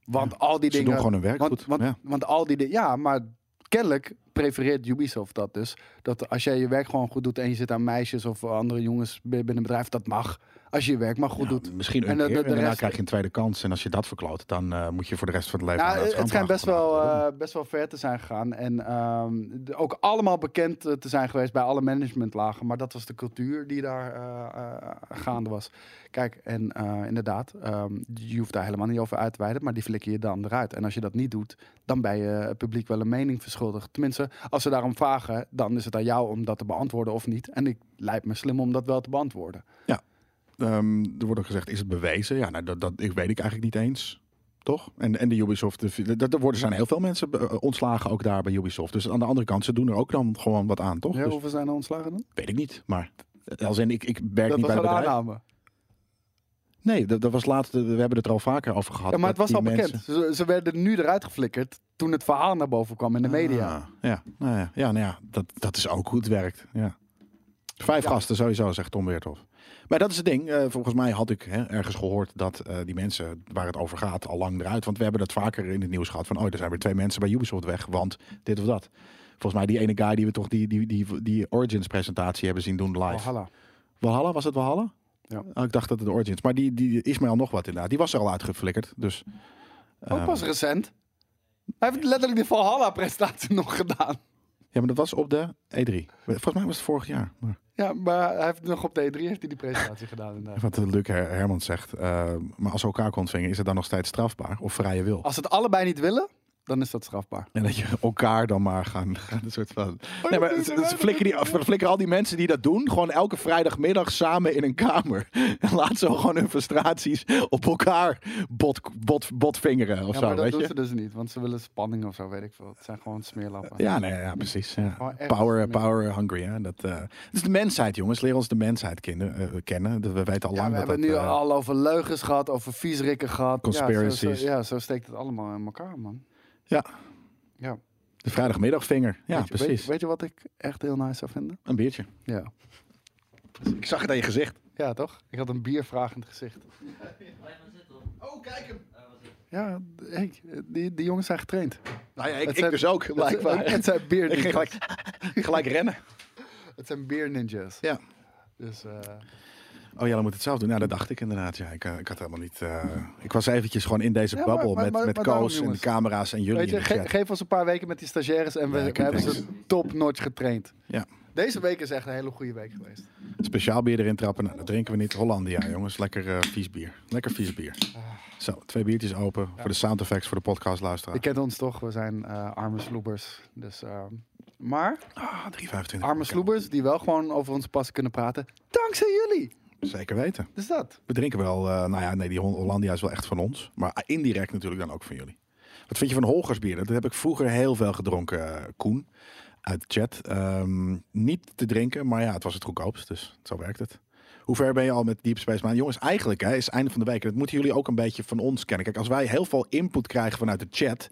Speaker 1: Want al die
Speaker 2: Ze
Speaker 1: dingen...
Speaker 2: doen gewoon hun werk
Speaker 1: want,
Speaker 2: goed.
Speaker 1: Want,
Speaker 2: ja.
Speaker 1: want al die dingen... Ja, maar kennelijk prefereert Ubisoft dat dus. Dat als jij je werk gewoon goed doet en je zit aan meisjes of andere jongens bi- binnen een bedrijf, dat mag. Als je je werk maar goed
Speaker 2: Ja,
Speaker 1: doet.
Speaker 2: Misschien een
Speaker 1: En de-
Speaker 2: keer,
Speaker 1: de- de
Speaker 2: en daarna
Speaker 1: rest-
Speaker 2: krijg je een tweede kans. En als je dat verkloot, dan eh, moet je voor de rest van het leven...
Speaker 1: Nou,
Speaker 2: aan dat
Speaker 1: het, schijnt best
Speaker 2: schoonmaken
Speaker 1: wel,
Speaker 2: van de-
Speaker 1: eh, best wel ver te zijn gegaan. En ehm, de- ook allemaal bekend eh, te zijn geweest bij alle managementlagen. Maar dat was de cultuur die daar eh, eh, gaande was. Kijk, en eh, inderdaad, ehm, je hoeft daar helemaal niet over uit te wijden. Maar die flikker je dan eruit. En als je dat niet doet, dan ben je het publiek wel een mening verschuldigd. Tenminste, als ze daarom vragen, dan is het aan jou om dat te beantwoorden of niet. En ik lijkt me slim om dat wel te beantwoorden.
Speaker 2: Ehm, er wordt ook gezegd, is het bewezen? Ja, nou, dat, dat ik weet ik eigenlijk niet eens. Toch? En, en de Ubisoft, de- dat, er worden, zijn heel veel mensen eh, ontslagen ook daar bij Ubisoft. Dus aan de andere kant, ze doen er ook dan gewoon wat aan, toch?
Speaker 1: Ja,
Speaker 2: Dus
Speaker 1: hoeveel zijn er ontslagen dan?
Speaker 2: weet ik niet, maar... eh, Als in, ik, ik werk
Speaker 1: Dat
Speaker 2: niet
Speaker 1: was
Speaker 2: bij
Speaker 1: een
Speaker 2: het bedrijf.
Speaker 1: aanname.
Speaker 2: Nee, dat, dat was laatst. We hebben het er al vaker over gehad.
Speaker 1: Ja, maar het
Speaker 2: dat
Speaker 1: was al
Speaker 2: die
Speaker 1: bekend.
Speaker 2: mensen-
Speaker 1: Ze, ze werden nu eruit geflikkerd toen het verhaal naar boven kwam in de media.
Speaker 2: Ah, ja, nou ja, ja, nou ja dat, dat is ook hoe het werkt. Ja. Vijf
Speaker 1: Ja.
Speaker 2: gasten sowieso, zegt Tom Weerthof. Maar dat is het ding. Eh, volgens mij had ik hè, ergens gehoord dat eh, die mensen waar het over gaat al lang eruit. Want we hebben dat vaker in het nieuws gehad. Van, oh, er zijn weer twee mensen bij Ubisoft weg, want dit of dat. Volgens mij die ene guy die we toch die, die, die, die Origins presentatie hebben zien doen live.
Speaker 1: Valhalla.
Speaker 2: Walhalla, was het Walhalla?
Speaker 1: Ja.
Speaker 2: Oh, ik dacht dat het de Origins. Maar die, die Ismail nog wat inderdaad. Die was er al uitgeflikkerd. Dus,
Speaker 1: Ook
Speaker 2: ehm,
Speaker 1: pas recent. Hij heeft letterlijk de Valhalla-prestatie nog gedaan.
Speaker 2: Ja, maar dat was op de E3. Volgens mij was het vorig jaar. Maar...
Speaker 1: Ja, maar hij heeft nog op de E3 heeft hij die presentatie gedaan. inderdaad.
Speaker 2: Wat Luc Her- Hermans zegt, eh, maar als ze elkaar kontvingen, is het dan nog steeds strafbaar of vrije wil?
Speaker 1: Als ze het allebei niet willen, dan is dat strafbaar.
Speaker 2: En dat je elkaar dan maar gaan, gaan een soort van...
Speaker 1: Oh, dat
Speaker 2: Nee, maar
Speaker 1: doe je
Speaker 2: ze
Speaker 1: erbij,
Speaker 2: ze flikken, die,
Speaker 1: dat doe je
Speaker 2: ze flikken al die mensen die dat doen... gewoon elke vrijdagmiddag samen in een kamer. En laat ze gewoon hun frustraties op elkaar bot, bot, botvingeren of
Speaker 1: Ja,
Speaker 2: zo,
Speaker 1: maar dat
Speaker 2: weet
Speaker 1: doen
Speaker 2: je?
Speaker 1: ze dus niet, want ze willen spanning of zo, weet ik veel. Het zijn gewoon smeerlappen.
Speaker 2: Ja, nee, ja, precies. ja.
Speaker 1: Gewoon Oh, echt
Speaker 2: Power,
Speaker 1: smeer-
Speaker 2: power hungry, hè. Dat, eh, het is de mensheid, jongens. Leer ons de mensheid kennen. eh, kennen. Dat- We weten al
Speaker 1: Ja,
Speaker 2: lang
Speaker 1: we
Speaker 2: dat
Speaker 1: hebben
Speaker 2: dat...
Speaker 1: het nu
Speaker 2: eh,
Speaker 1: al over leugens gehad, over viesrikken gehad. Ja, zo- zo,
Speaker 2: Conspiracies.
Speaker 1: ja, zo steekt het allemaal in elkaar, man.
Speaker 2: Ja.
Speaker 1: Ja.
Speaker 2: de vrijdagmiddagvinger. Ja,
Speaker 1: Weet je- weet-
Speaker 2: precies.
Speaker 1: Weet je wat ik echt heel nice zou vinden?
Speaker 2: Een biertje.
Speaker 1: Ja.
Speaker 2: Ik zag het aan je gezicht.
Speaker 1: Ja, toch? Ik had een biervraag in het gezicht. Ja, Henk, die, die jongens zijn getraind.
Speaker 2: Nou ja, ik,
Speaker 1: Het
Speaker 2: ik
Speaker 1: zijn-
Speaker 2: dus ook, blijkbaar.
Speaker 1: Het, het zijn
Speaker 2: ik ging
Speaker 1: beer
Speaker 2: gelijk, gelijk rennen.
Speaker 1: Het zijn beer ninjas.
Speaker 2: Ja.
Speaker 1: Dus eh,
Speaker 2: Oh ja, dan moet het zelf doen. Nou, dat dacht ik inderdaad. Ja, ik, eh, ik had helemaal niet. eh, ik was eventjes gewoon in deze
Speaker 1: Ja, maar-
Speaker 2: babbel
Speaker 1: maar-
Speaker 2: met,
Speaker 1: maar-
Speaker 2: met
Speaker 1: maar daarom,
Speaker 2: Koos en de
Speaker 1: jongens.
Speaker 2: camera's en jullie.
Speaker 1: weet je,
Speaker 2: in de
Speaker 1: ge-
Speaker 2: chat.
Speaker 1: geef ons een paar weken met die stagiaires en we,
Speaker 2: Ja, ik
Speaker 1: we hebben
Speaker 2: denk
Speaker 1: ze top notch getraind.
Speaker 2: Ja.
Speaker 1: Deze week is echt een hele goede week geweest.
Speaker 2: Speciaal bier erin trappen. Nou, dat drinken we niet. Hollandia, jongens. Lekker eh, vies bier. Lekker vies bier. Zo, twee biertjes open voor de sound effects voor de podcast luisteraar.
Speaker 1: Je kent ons toch, we zijn eh, arme sloebers. Dus, eh, maar
Speaker 2: ah, 3,25.
Speaker 1: arme sloebers die wel gewoon over ons pas kunnen praten. Dankzij jullie!
Speaker 2: Zeker weten.
Speaker 1: Dus dat.
Speaker 2: We drinken wel. eh, nou ja, nee, die Hol- Hollandia is wel echt van ons. Maar eh, indirect natuurlijk dan ook van jullie. Wat vind je van Holgersbier? Dat heb ik vroeger heel veel gedronken, eh, Koen. Uit de chat. Ehm, niet te drinken, maar ja, het was het goedkoopst. Dus zo werkt het. Hoe ver ben je al met Deep Space Nine? Jongens, eigenlijk hè, is het einde van de week. En dat moeten jullie ook een beetje van ons kennen. Kijk, als wij heel veel input krijgen vanuit de chat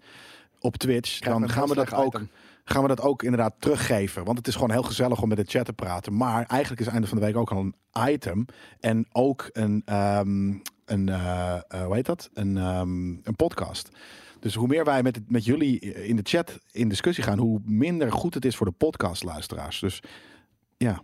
Speaker 2: op Twitch,
Speaker 1: we
Speaker 2: dan
Speaker 1: een
Speaker 2: gaan we
Speaker 1: heel
Speaker 2: dat
Speaker 1: slecht
Speaker 2: ook.
Speaker 1: item.
Speaker 2: Gaan we dat ook inderdaad teruggeven? Want het is gewoon heel gezellig om met de chat te praten. Maar eigenlijk is het einde van de week ook al een item. En ook een, ehm, een eh, eh, hoe heet dat? Een, ehm, een podcast. Dus hoe meer wij met, het- met jullie in de chat in discussie gaan, hoe minder goed het is voor de podcastluisteraars. Dus ja.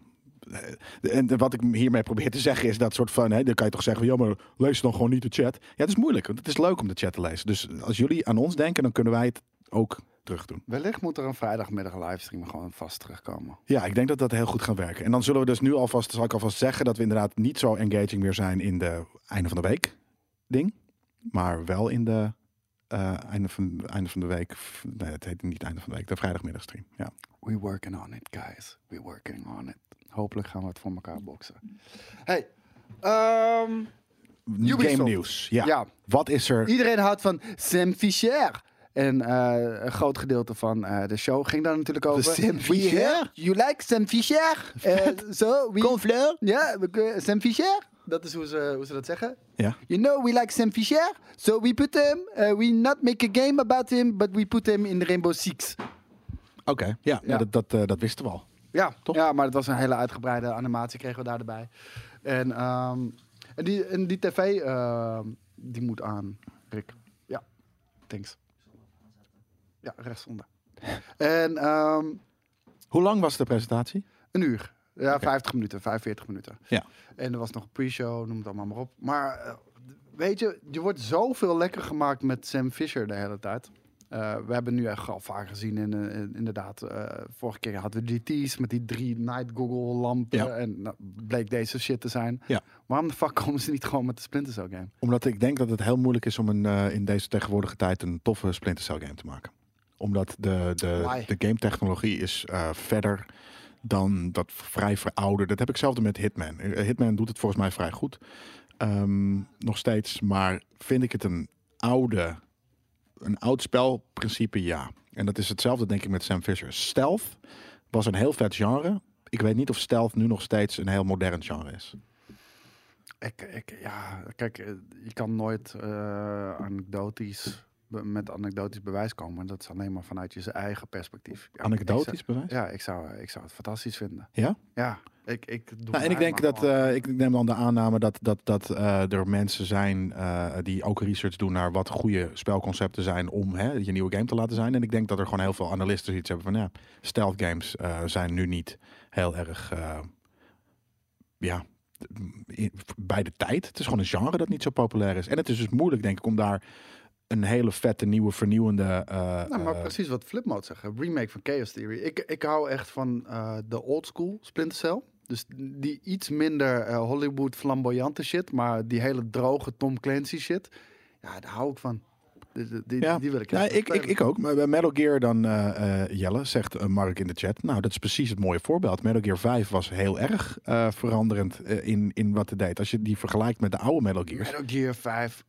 Speaker 2: Eh, En wat ik hiermee probeer te zeggen is dat soort van, hè, dan kan je toch zeggen, van, ja, maar lees dan gewoon niet de chat. Ja, het is moeilijk, want het is leuk om de chat te lezen. Dus als jullie aan ons denken, dan kunnen wij het ook terug doen.
Speaker 1: Wellicht moet er een vrijdagmiddag livestream gewoon vast terugkomen.
Speaker 2: Ja, ik denk dat dat heel goed gaat werken. En dan zullen we dus nu alvast, zal ik alvast zeggen, dat we inderdaad niet zo engaging meer zijn in de einde van de week ding. Maar wel in de eh, einde, van, einde van de week, nee, het heet niet einde van de week, de vrijdagmiddagstream. Ja.
Speaker 1: We working on it, guys. We working on it. Hopelijk gaan we het voor elkaar boksen. Hey, ehm, Ubisoft.
Speaker 2: Game nieuws. Ja.
Speaker 1: Ja.
Speaker 2: Wat is er?
Speaker 1: iedereen houdt van Sam Fischer. En eh, een groot gedeelte van eh, de show ging daar natuurlijk over.
Speaker 2: Sam
Speaker 1: We
Speaker 2: Fischer?
Speaker 1: heard You like Sam Fischer? Zo, so we... Ja, we kunnen- Sam Fischer. Dat is hoe ze, hoe ze dat zeggen.
Speaker 2: Ja.
Speaker 1: You know, we like Sam Fischer. So we put him... eh, we not make a game about him, but we put him in Rainbow Six.
Speaker 2: Oké, ja,
Speaker 1: Ja.
Speaker 2: Dat, dat, eh, dat wisten we al.
Speaker 1: Ja,
Speaker 2: Toch?
Speaker 1: ja, maar het was een hele uitgebreide animatie kregen we daar erbij. En, ehm, en, die, en die tv, ehm, die moet aan, Rick. Ja, thanks. Ja, rechtsonder. en ehm,
Speaker 2: Hoe lang was de presentatie?
Speaker 1: een uur. Ja, 50 minuten, 45 minuten.
Speaker 2: Ja.
Speaker 1: En er was nog een pre-show, noem het allemaal maar op. Maar eh, weet je, je wordt zoveel lekker gemaakt met Sam Fisher de hele tijd. Eh, we hebben nu echt al vaak gezien, in, eh, in- inderdaad, eh, vorige keer hadden we GT's met die drie night google lampen.
Speaker 2: Ja.
Speaker 1: En nou, bleek deze shit te zijn.
Speaker 2: Ja.
Speaker 1: Waarom de fuck komen ze niet gewoon met de Splinter Cell game?
Speaker 2: Omdat ik denk dat het heel moeilijk is om een, eh, in deze tegenwoordige tijd een toffe Splinter Cell game te maken. Omdat de, de,
Speaker 1: Why?
Speaker 2: de game technologie is eh, verder dan dat vrij verouderd. Dat heb ik zelfde met Hitman. Eh, Hitman doet het volgens mij vrij goed. Ehm, nog steeds. Maar vind ik het een oude, een oud spelprincipe? Ja. En dat is hetzelfde denk ik met Sam Fisher. Stealth was een heel vet genre. Ik weet niet of stealth nu nog steeds een heel modern genre is.
Speaker 1: Ik, ik, ja, kijk, eh, je kan nooit eh, anekdotisch, be- met anekdotisch bewijs komen. Dat is alleen maar vanuit je eigen perspectief. Ja, ik zou-
Speaker 2: Anekdotisch bewijs?
Speaker 1: Ja, ik zou, eh, ik zou het fantastisch vinden.
Speaker 2: Ja?
Speaker 1: Ja, ik, ik doe
Speaker 2: Nou, en ik
Speaker 1: mij
Speaker 2: denk
Speaker 1: maar
Speaker 2: dat,
Speaker 1: gewoon.
Speaker 2: eh, ik neem dan de aanname dat, dat, dat eh, er mensen zijn eh, die ook research doen naar wat goede spelconcepten zijn om hè, je nieuwe game te laten zijn. En ik denk dat er gewoon heel veel analisten iets hebben van ja, stealth games eh, zijn nu niet heel erg eh, ja, in- bij de tijd. Het is gewoon een genre dat niet zo populair is. En het is dus moeilijk denk ik om daar een hele vette nieuwe vernieuwende... eh,
Speaker 1: Nou, maar
Speaker 2: eh,
Speaker 1: precies wat Flipmode zegt. een Remake van Chaos Theory. Ik, ik hou echt van eh, de old school Splinter Cell. Dus die iets minder eh, Hollywood flamboyante shit. Maar die hele droge Tom Clancy shit. Ja, daar hou ik van. Dus eh, die,
Speaker 2: Ja.
Speaker 1: die wil ik
Speaker 2: Ja,
Speaker 1: echt
Speaker 2: ik, ik,
Speaker 1: spelen.
Speaker 2: ik ook. Maar bij Metal Gear dan eh, eh, Jelle, zegt eh, Mark in de chat. Nou, dat is precies het mooie voorbeeld. Metal Gear 5 was heel erg eh, veranderend eh, in, in wat het deed. Als je die vergelijkt met de oude Metal Gears.
Speaker 1: Metal Gear 5.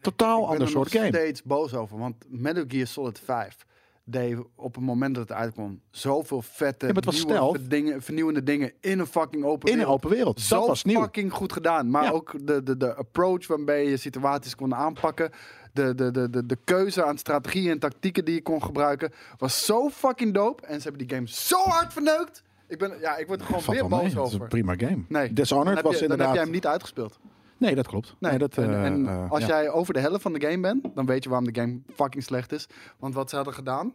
Speaker 2: Totaal
Speaker 1: ik ben
Speaker 2: ander
Speaker 1: er nog
Speaker 2: soort game.
Speaker 1: steeds boos over. Want Metal Gear Solid 5 deed op het moment dat het uitkwam zoveel vette,
Speaker 2: Ja, maar het was
Speaker 1: nieuwe,
Speaker 2: stealth.
Speaker 1: verdingen- vernieuwende dingen in een fucking open
Speaker 2: In een
Speaker 1: wereld.
Speaker 2: open wereld.
Speaker 1: Zo
Speaker 2: dat was nieuw.
Speaker 1: fucking goed gedaan. Maar
Speaker 2: Ja.
Speaker 1: ook de, de, de approach waarmee je situaties kon aanpakken. De, de, de, de, de keuze aan strategieën en tactieken die je kon gebruiken. Was zo fucking dope. En ze hebben die game zo hard verneukt. Ik, ben, ja, ik word er gewoon
Speaker 2: Valt
Speaker 1: weer
Speaker 2: wel mee.
Speaker 1: boos
Speaker 2: Dat is een
Speaker 1: over.
Speaker 2: prima game.
Speaker 1: Nee, dan
Speaker 2: Dishonored
Speaker 1: heb, je,
Speaker 2: was
Speaker 1: dan heb
Speaker 2: inderdaad...
Speaker 1: jij hem niet uitgespeeld.
Speaker 2: Nee, dat klopt. Nee, dat,
Speaker 1: en
Speaker 2: eh,
Speaker 1: en
Speaker 2: eh,
Speaker 1: als
Speaker 2: ja.
Speaker 1: jij over de helft van de game bent, dan weet je waarom de game fucking slecht is. Want wat ze hadden gedaan,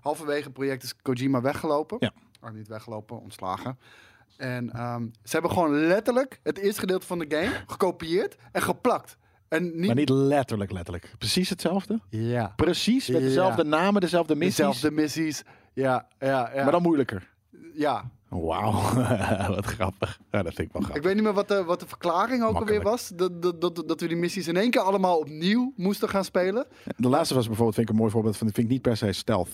Speaker 1: halverwege het project is Kojima weggelopen.
Speaker 2: Ja.
Speaker 1: Oh, niet weggelopen, ontslagen. En ehm, ze hebben gewoon letterlijk het eerste gedeelte van de game gekopieerd en geplakt. En niet,
Speaker 2: Maar niet letterlijk, letterlijk. Precies hetzelfde.
Speaker 1: ja.
Speaker 2: Precies, met
Speaker 1: Ja.
Speaker 2: dezelfde namen, dezelfde missies.
Speaker 1: dezelfde missies. Ja, ja, ja.
Speaker 2: Maar dan moeilijker.
Speaker 1: ja.
Speaker 2: Wauw, wat grappig. Ja, dat vind ik wel grappig.
Speaker 1: Ik weet niet meer wat de, wat de verklaring ook alweer
Speaker 2: Makkelijk.
Speaker 1: was. Dat, dat, dat, dat we die missies in één keer allemaal opnieuw moesten gaan spelen.
Speaker 2: De laatste was bijvoorbeeld, vind ik een mooi voorbeeld van, dat vind ik niet per se stealth.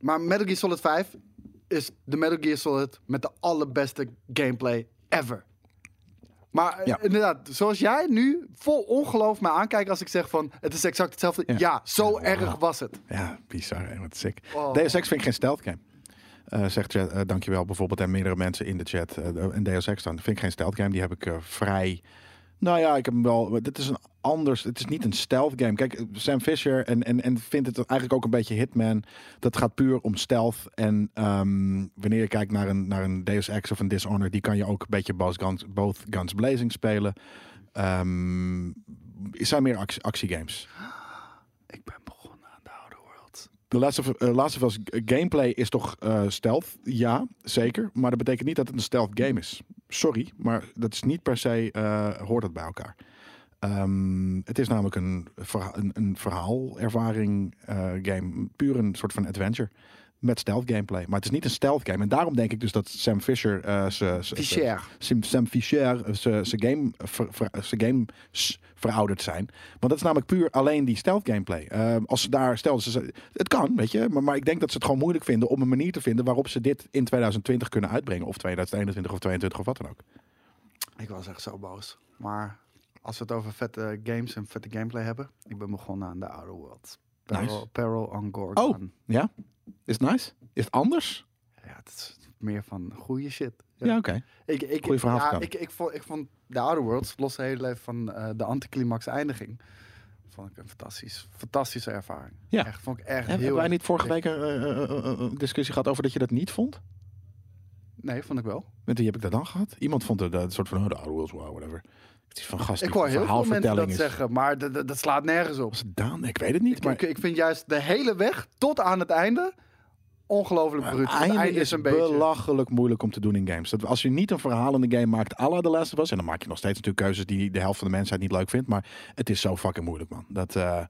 Speaker 1: Maar Metal Gear Solid 5 is de Metal Gear Solid met de allerbeste gameplay ever. Maar eh,
Speaker 2: Ja.
Speaker 1: inderdaad, zoals jij nu vol ongeloof mij aankijkt als ik zeg van het is exact hetzelfde. Ja,
Speaker 2: Ja.
Speaker 1: zo erg was het.
Speaker 2: Ja, bizar en wat sick.
Speaker 1: Oh.
Speaker 2: Deus Ex vind ik geen stealth game. Eh, zegt chat, eh, dankjewel bijvoorbeeld en meerdere mensen in de chat. eh, en Deus Ex dan, vind ik geen stealth game. Die heb ik eh, vrij... Nou ja, ik heb hem wel... Dit is een anders... Het is niet een stealth game. Kijk, eh, Sam Fisher en, en, en vindt het eigenlijk ook een beetje Hitman. Dat gaat puur om stealth. En ehm, wanneer je kijkt naar een, naar een Deus Ex of een Dishonored... die kan je ook een beetje both guns, both guns blazing spelen. Ehm, het zijn meer actie- actiegames.
Speaker 1: Ik ben begonnen aan de oude world.
Speaker 2: De Last of, eh, Last of Us g- gameplay is toch eh, stealth? Ja, zeker. Maar dat betekent niet dat het een stealth game is. Sorry, maar dat is niet per se, eh, hoort het bij elkaar. Ehm, het is namelijk een, verha- een, een verhaalervaring eh, game. Puur een soort van adventure. Met stealth gameplay. Maar het is niet een stealth game. En daarom denk ik dus dat Sam Fisher... eh, ze- ze- ze-
Speaker 1: Fisher.
Speaker 2: Sim- Sam Fischer, eh, ze- ze game, eh, ver, ver- ze games verouderd zijn. Want dat is namelijk puur alleen die stealth gameplay. Eh, als ze daar, stel, ze, ze- het kan, weet je, maar, maar ik denk dat ze het gewoon moeilijk vinden om een manier te vinden waarop ze dit in 2020 kunnen uitbrengen. Of 2021 of 22 of wat dan ook.
Speaker 1: Ik was echt zo boos. Maar als we het over vette games en vette gameplay hebben, ik ben begonnen aan de oude world. Peril,
Speaker 2: Nice.
Speaker 1: Peril on Gorgon.
Speaker 2: Oh. Ja? Is het nice? Is het anders?
Speaker 1: Ja, het is meer van goede shit.
Speaker 2: Ja, oké.
Speaker 1: Ik, ik,
Speaker 2: Goeie verhaal
Speaker 1: ja,
Speaker 2: vertellen.
Speaker 1: ik, ik, vond, ik vond The Outer Worlds, los de hele even van eh, de anticlimax eindiging, vond ik een fantastisch, fantastische ervaring.
Speaker 2: Ja.
Speaker 1: Echt, vond ik echt
Speaker 2: Heb-
Speaker 1: heel...
Speaker 2: Hebben wij niet vorige week een eh, eh, eh, eh, discussie gehad over dat je dat niet vond?
Speaker 1: Nee, vond ik wel.
Speaker 2: Met wie heb ik dat dan gehad? Iemand vond het eh, een soort van, oh, de oude worlds, wow, whatever. Het is van gast,
Speaker 1: Ik hoor heel veel mensen dat
Speaker 2: verhaalvertelling is.
Speaker 1: zeggen, maar dat- dat dat slaat nergens op.
Speaker 2: Was het Daan? Ik weet het niet,
Speaker 1: Ik,
Speaker 2: maar
Speaker 1: ik, ik vind juist de hele weg tot aan het einde ongelooflijk bruut. Het
Speaker 2: Einde, is,
Speaker 1: een beetje...
Speaker 2: belachelijk moeilijk om te doen in games. Dat, als je niet een verhalende game maakt à la The Last of Us... en dan maak je nog steeds natuurlijk keuzes die de helft van de mensheid niet leuk vindt... maar het is zo fucking moeilijk, man. Dat, eh,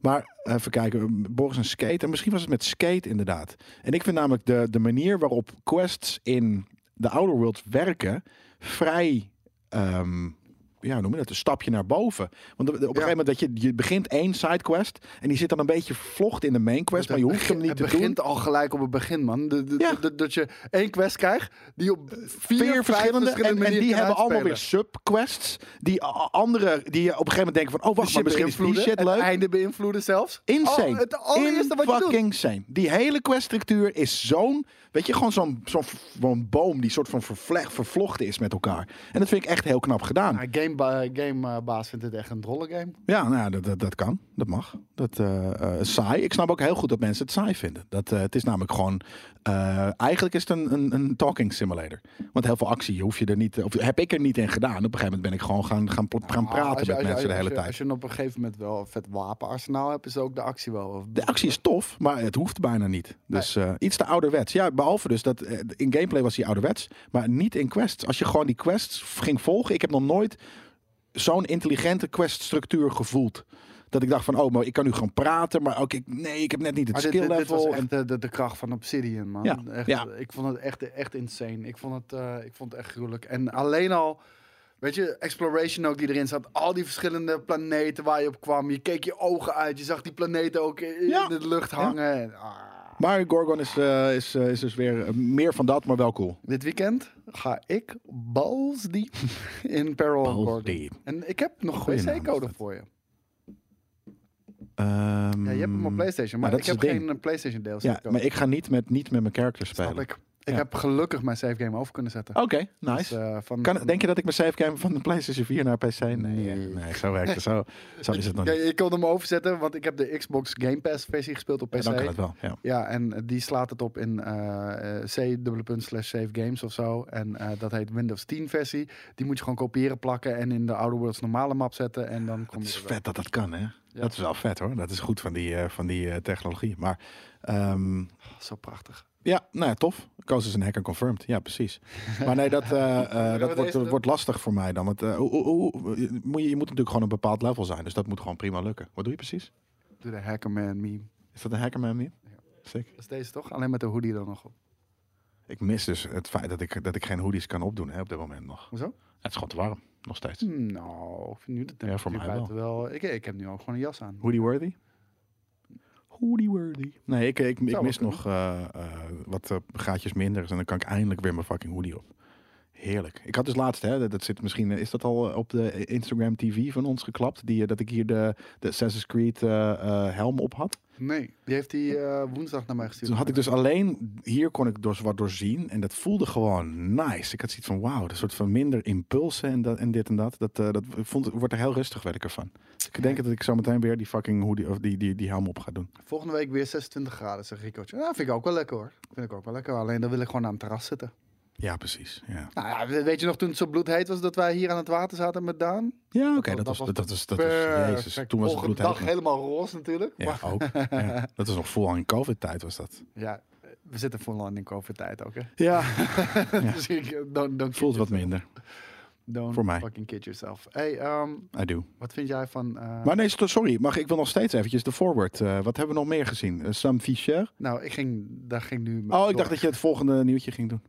Speaker 2: maar even kijken, Boris en Skate... en misschien was het met Skate inderdaad. En ik vind namelijk de, de manier waarop quests in de Outer Worlds werken... vrij... ehm, ja, hoe noem je dat? Een stapje naar boven. Want op een gegeven moment dat je, je begint één sidequest en die zit dan een beetje vervlocht in de main quest, maar je hoeft hem niet
Speaker 1: het
Speaker 2: te
Speaker 1: begint
Speaker 2: doen.
Speaker 1: al gelijk op het begin, man. De- de-
Speaker 2: Ja.
Speaker 1: de- dat je één quest krijgt die op vier,
Speaker 2: vier
Speaker 1: vijf
Speaker 2: verschillende. En, en
Speaker 1: manieren
Speaker 2: die
Speaker 1: kan
Speaker 2: hebben allemaal weer
Speaker 1: uitspelen.
Speaker 2: subquests. Die a- a- andere, die je op een gegeven moment denken van, oh wacht, maar
Speaker 1: shit
Speaker 2: misschien is die
Speaker 1: beïnvloeden,
Speaker 2: shit
Speaker 1: Het
Speaker 2: leuk.
Speaker 1: einde beïnvloeden zelfs.
Speaker 2: Insane.
Speaker 1: Al- Oh, het allereerste wat je
Speaker 2: fucking
Speaker 1: doet.
Speaker 2: insane. Die hele queststructuur is zo'n, weet je, gewoon zo'n zo'n zo'n boom die soort van vervle- vervlochten is met elkaar. En dat vind ik echt heel knap gedaan.
Speaker 1: Nou, gamebaas game, eh, baas vindt het echt een drolle game.
Speaker 2: Ja, nou, ja, dat, dat, dat kan. Dat mag. Dat, eh, eh, saai. Ik snap ook heel goed dat mensen het saai vinden. Dat, eh, het is namelijk gewoon... eh, eigenlijk is het een, een, een talking simulator. Want heel veel actie hoef je er niet... Of heb ik er niet in gedaan. Op een gegeven moment ben ik gewoon gaan, gaan, pl- gaan
Speaker 1: Ah,
Speaker 2: praten
Speaker 1: als je-
Speaker 2: met
Speaker 1: als je-
Speaker 2: mensen de
Speaker 1: als
Speaker 2: hele
Speaker 1: je-
Speaker 2: tijd.
Speaker 1: Als je op een gegeven moment wel een vet wapenarsenaal hebt, is ook de actie wel.
Speaker 2: De actie is tof, maar het hoeft bijna niet. Dus eh, iets te ouderwets. Ja, behalve dus dat eh, in gameplay was die ouderwets, maar niet in quests. Als je gewoon die quests ging volgen, ik heb nog nooit zo'n intelligente queststructuur gevoeld. Dat ik dacht van, oh, maar ik kan nu gewoon praten, maar ook ik, nee, ik heb net niet het
Speaker 1: Maar dit,
Speaker 2: skill
Speaker 1: dit, dit was
Speaker 2: level.
Speaker 1: echt de, de, de kracht van Obsidian, man.
Speaker 2: Ja,
Speaker 1: Echt,
Speaker 2: ja.
Speaker 1: eh, Ik vond het echt, echt insane. Ik vond het, eh, ik vond het echt gruwelijk. En alleen al, weet Weet je, Exploration ook die erin zat. Al die verschillende planeten waar je op kwam. Je keek je ogen uit. Je zag die planeten ook in
Speaker 2: Ja.
Speaker 1: de lucht hangen. En, ah.
Speaker 2: Maar Gorgon is, eh, is, eh, is dus weer eh, meer van dat, maar wel cool.
Speaker 1: Dit weekend ga ik balls deep in Peril of
Speaker 2: Balls
Speaker 1: Gorgon.
Speaker 2: deep.
Speaker 1: En ik heb nog
Speaker 2: Goeie
Speaker 1: een
Speaker 2: naam is
Speaker 1: wc-code
Speaker 2: dat.
Speaker 1: voor je.
Speaker 2: Ehm,
Speaker 1: Ja, je hebt hem op PlayStation, maar
Speaker 2: Mm. dat
Speaker 1: ik
Speaker 2: is
Speaker 1: heb
Speaker 2: het ding.
Speaker 1: geen eh, PlayStation DLC.
Speaker 2: Ehm, Ja,
Speaker 1: code.
Speaker 2: maar ik ga niet met, niet met mijn character
Speaker 1: Snap
Speaker 2: spelen.
Speaker 1: ik. Ik
Speaker 2: Ja.
Speaker 1: heb gelukkig mijn save game over kunnen zetten.
Speaker 2: Oké, nice.
Speaker 1: Dus, eh, van,
Speaker 2: Kan, denk je dat ik mijn savegame van de PlayStation 4 naar PC? Nee, eh, nee. zo werkt het. Zo, zo is het nog
Speaker 1: Ja,
Speaker 2: niet.
Speaker 1: ik kon hem overzetten, want ik heb de Xbox Game Pass versie gespeeld op PC.
Speaker 2: Ja, dan kan het wel. Ja.
Speaker 1: Ja, en eh, die slaat het op in eh, eh, c dubbele punt slash save games of zo. En eh, dat heet Windows 10 versie. Die moet je gewoon kopiëren, plakken en in de Outer Worlds normale map zetten. En dan kom
Speaker 2: Het is
Speaker 1: je erbij.
Speaker 2: vet dat dat kan, hè? Dat is wel vet, hoor. Dat is goed van die, eh, van die eh, technologie. Maar ehm,
Speaker 1: Zo prachtig.
Speaker 2: ja, nou ja, tof. Koos is een hacker confirmed. Ja, precies. Maar nee, dat, eh, eh, dat
Speaker 1: we
Speaker 2: wordt,
Speaker 1: deze doen?
Speaker 2: wordt lastig voor mij dan. Want, eh, hoe- hoe- hoe- je, moet, je moet natuurlijk gewoon een bepaald level zijn. Dus dat moet gewoon prima lukken. Wat doe je precies?
Speaker 1: Doe de Hackerman meme.
Speaker 2: Is dat een hacker man hier?
Speaker 1: Ja.
Speaker 2: Sick.
Speaker 1: Dat is deze toch? Alleen met de hoodie dan nog op.
Speaker 2: Ik mis dus het feit dat ik, dat ik geen hoodies kan opdoen hè, op dit moment nog.
Speaker 1: Hoezo?
Speaker 2: Het is gewoon te warm, nog steeds.
Speaker 1: Nou, ik vind nu de temperatuur
Speaker 2: voor mij wel.
Speaker 1: buiten wel. Ik, ik heb nu ook gewoon een jas aan.
Speaker 2: Hoodie worthy? Hoodie worthy. Nee, ik, ik, ik
Speaker 1: wel
Speaker 2: mis
Speaker 1: kunnen.
Speaker 2: nog eh, eh, wat eh, gaatjes minder. En dan kan ik eindelijk weer mijn fucking hoodie op. Heerlijk. Ik had dus laatst, hè, dat, dat zit misschien, eh, is dat al eh, op de Instagram TV van ons geklapt? Die, eh, dat ik hier de, de Assassin's Creed eh, eh, helm op had.
Speaker 1: Nee, die heeft hij eh, woensdag naar mij gestuurd.
Speaker 2: Toen had ik dus alleen, hier kon ik dus wat doorzien. En dat voelde gewoon nice. Ik had zoiets van, wauw, een soort van minder impulsen en, dat, en dit en dat. Dat, eh, dat ik vond, ik word er heel rustig werker van. Dus ik denk dat ik zo meteen weer die fucking hoodie, of die, die, die helm op ga doen.
Speaker 1: Volgende week weer 26 graden, zegt Ricootje. Nou, vind ik ook wel lekker hoor. Vind ik ook wel lekker. Alleen dan wil ik gewoon aan het terras zitten.
Speaker 2: Ja, precies. Ja,
Speaker 1: Nou ja, we- weet je nog toen het zo bloedheet was dat wij hier aan het water zaten met Daan?
Speaker 2: ja oké,
Speaker 1: wa-
Speaker 2: dat,
Speaker 1: dat
Speaker 2: was,
Speaker 1: was
Speaker 2: dat, dat was, dat was, jezus,
Speaker 1: Perfect.
Speaker 2: toen was het
Speaker 1: Volgende
Speaker 2: bloed
Speaker 1: dag helemaal roze natuurlijk.
Speaker 2: Ja,
Speaker 1: Maar-
Speaker 2: ook. Ja. Dat was nog vol in COVID-tijd was dat.
Speaker 1: ja, we zitten vol in COVID-tijd ook hè.
Speaker 2: Ja.
Speaker 1: dus ik, eh, don't, don't,
Speaker 2: Voelt wat minder.
Speaker 1: don't
Speaker 2: voor mij.
Speaker 1: fucking kid yourself. Hey, ehm,
Speaker 2: I do.
Speaker 1: wat vind jij van... eh,
Speaker 2: Maar nee, sto- sorry, mag, ik wil nog steeds eventjes de forward. eh, wat hebben we nog meer gezien? Eh, Sam Fischer?
Speaker 1: Nou, ik ging, daar ging nu... mee
Speaker 2: Oh, ik
Speaker 1: door.
Speaker 2: dacht dat je het volgende nieuwtje ging doen.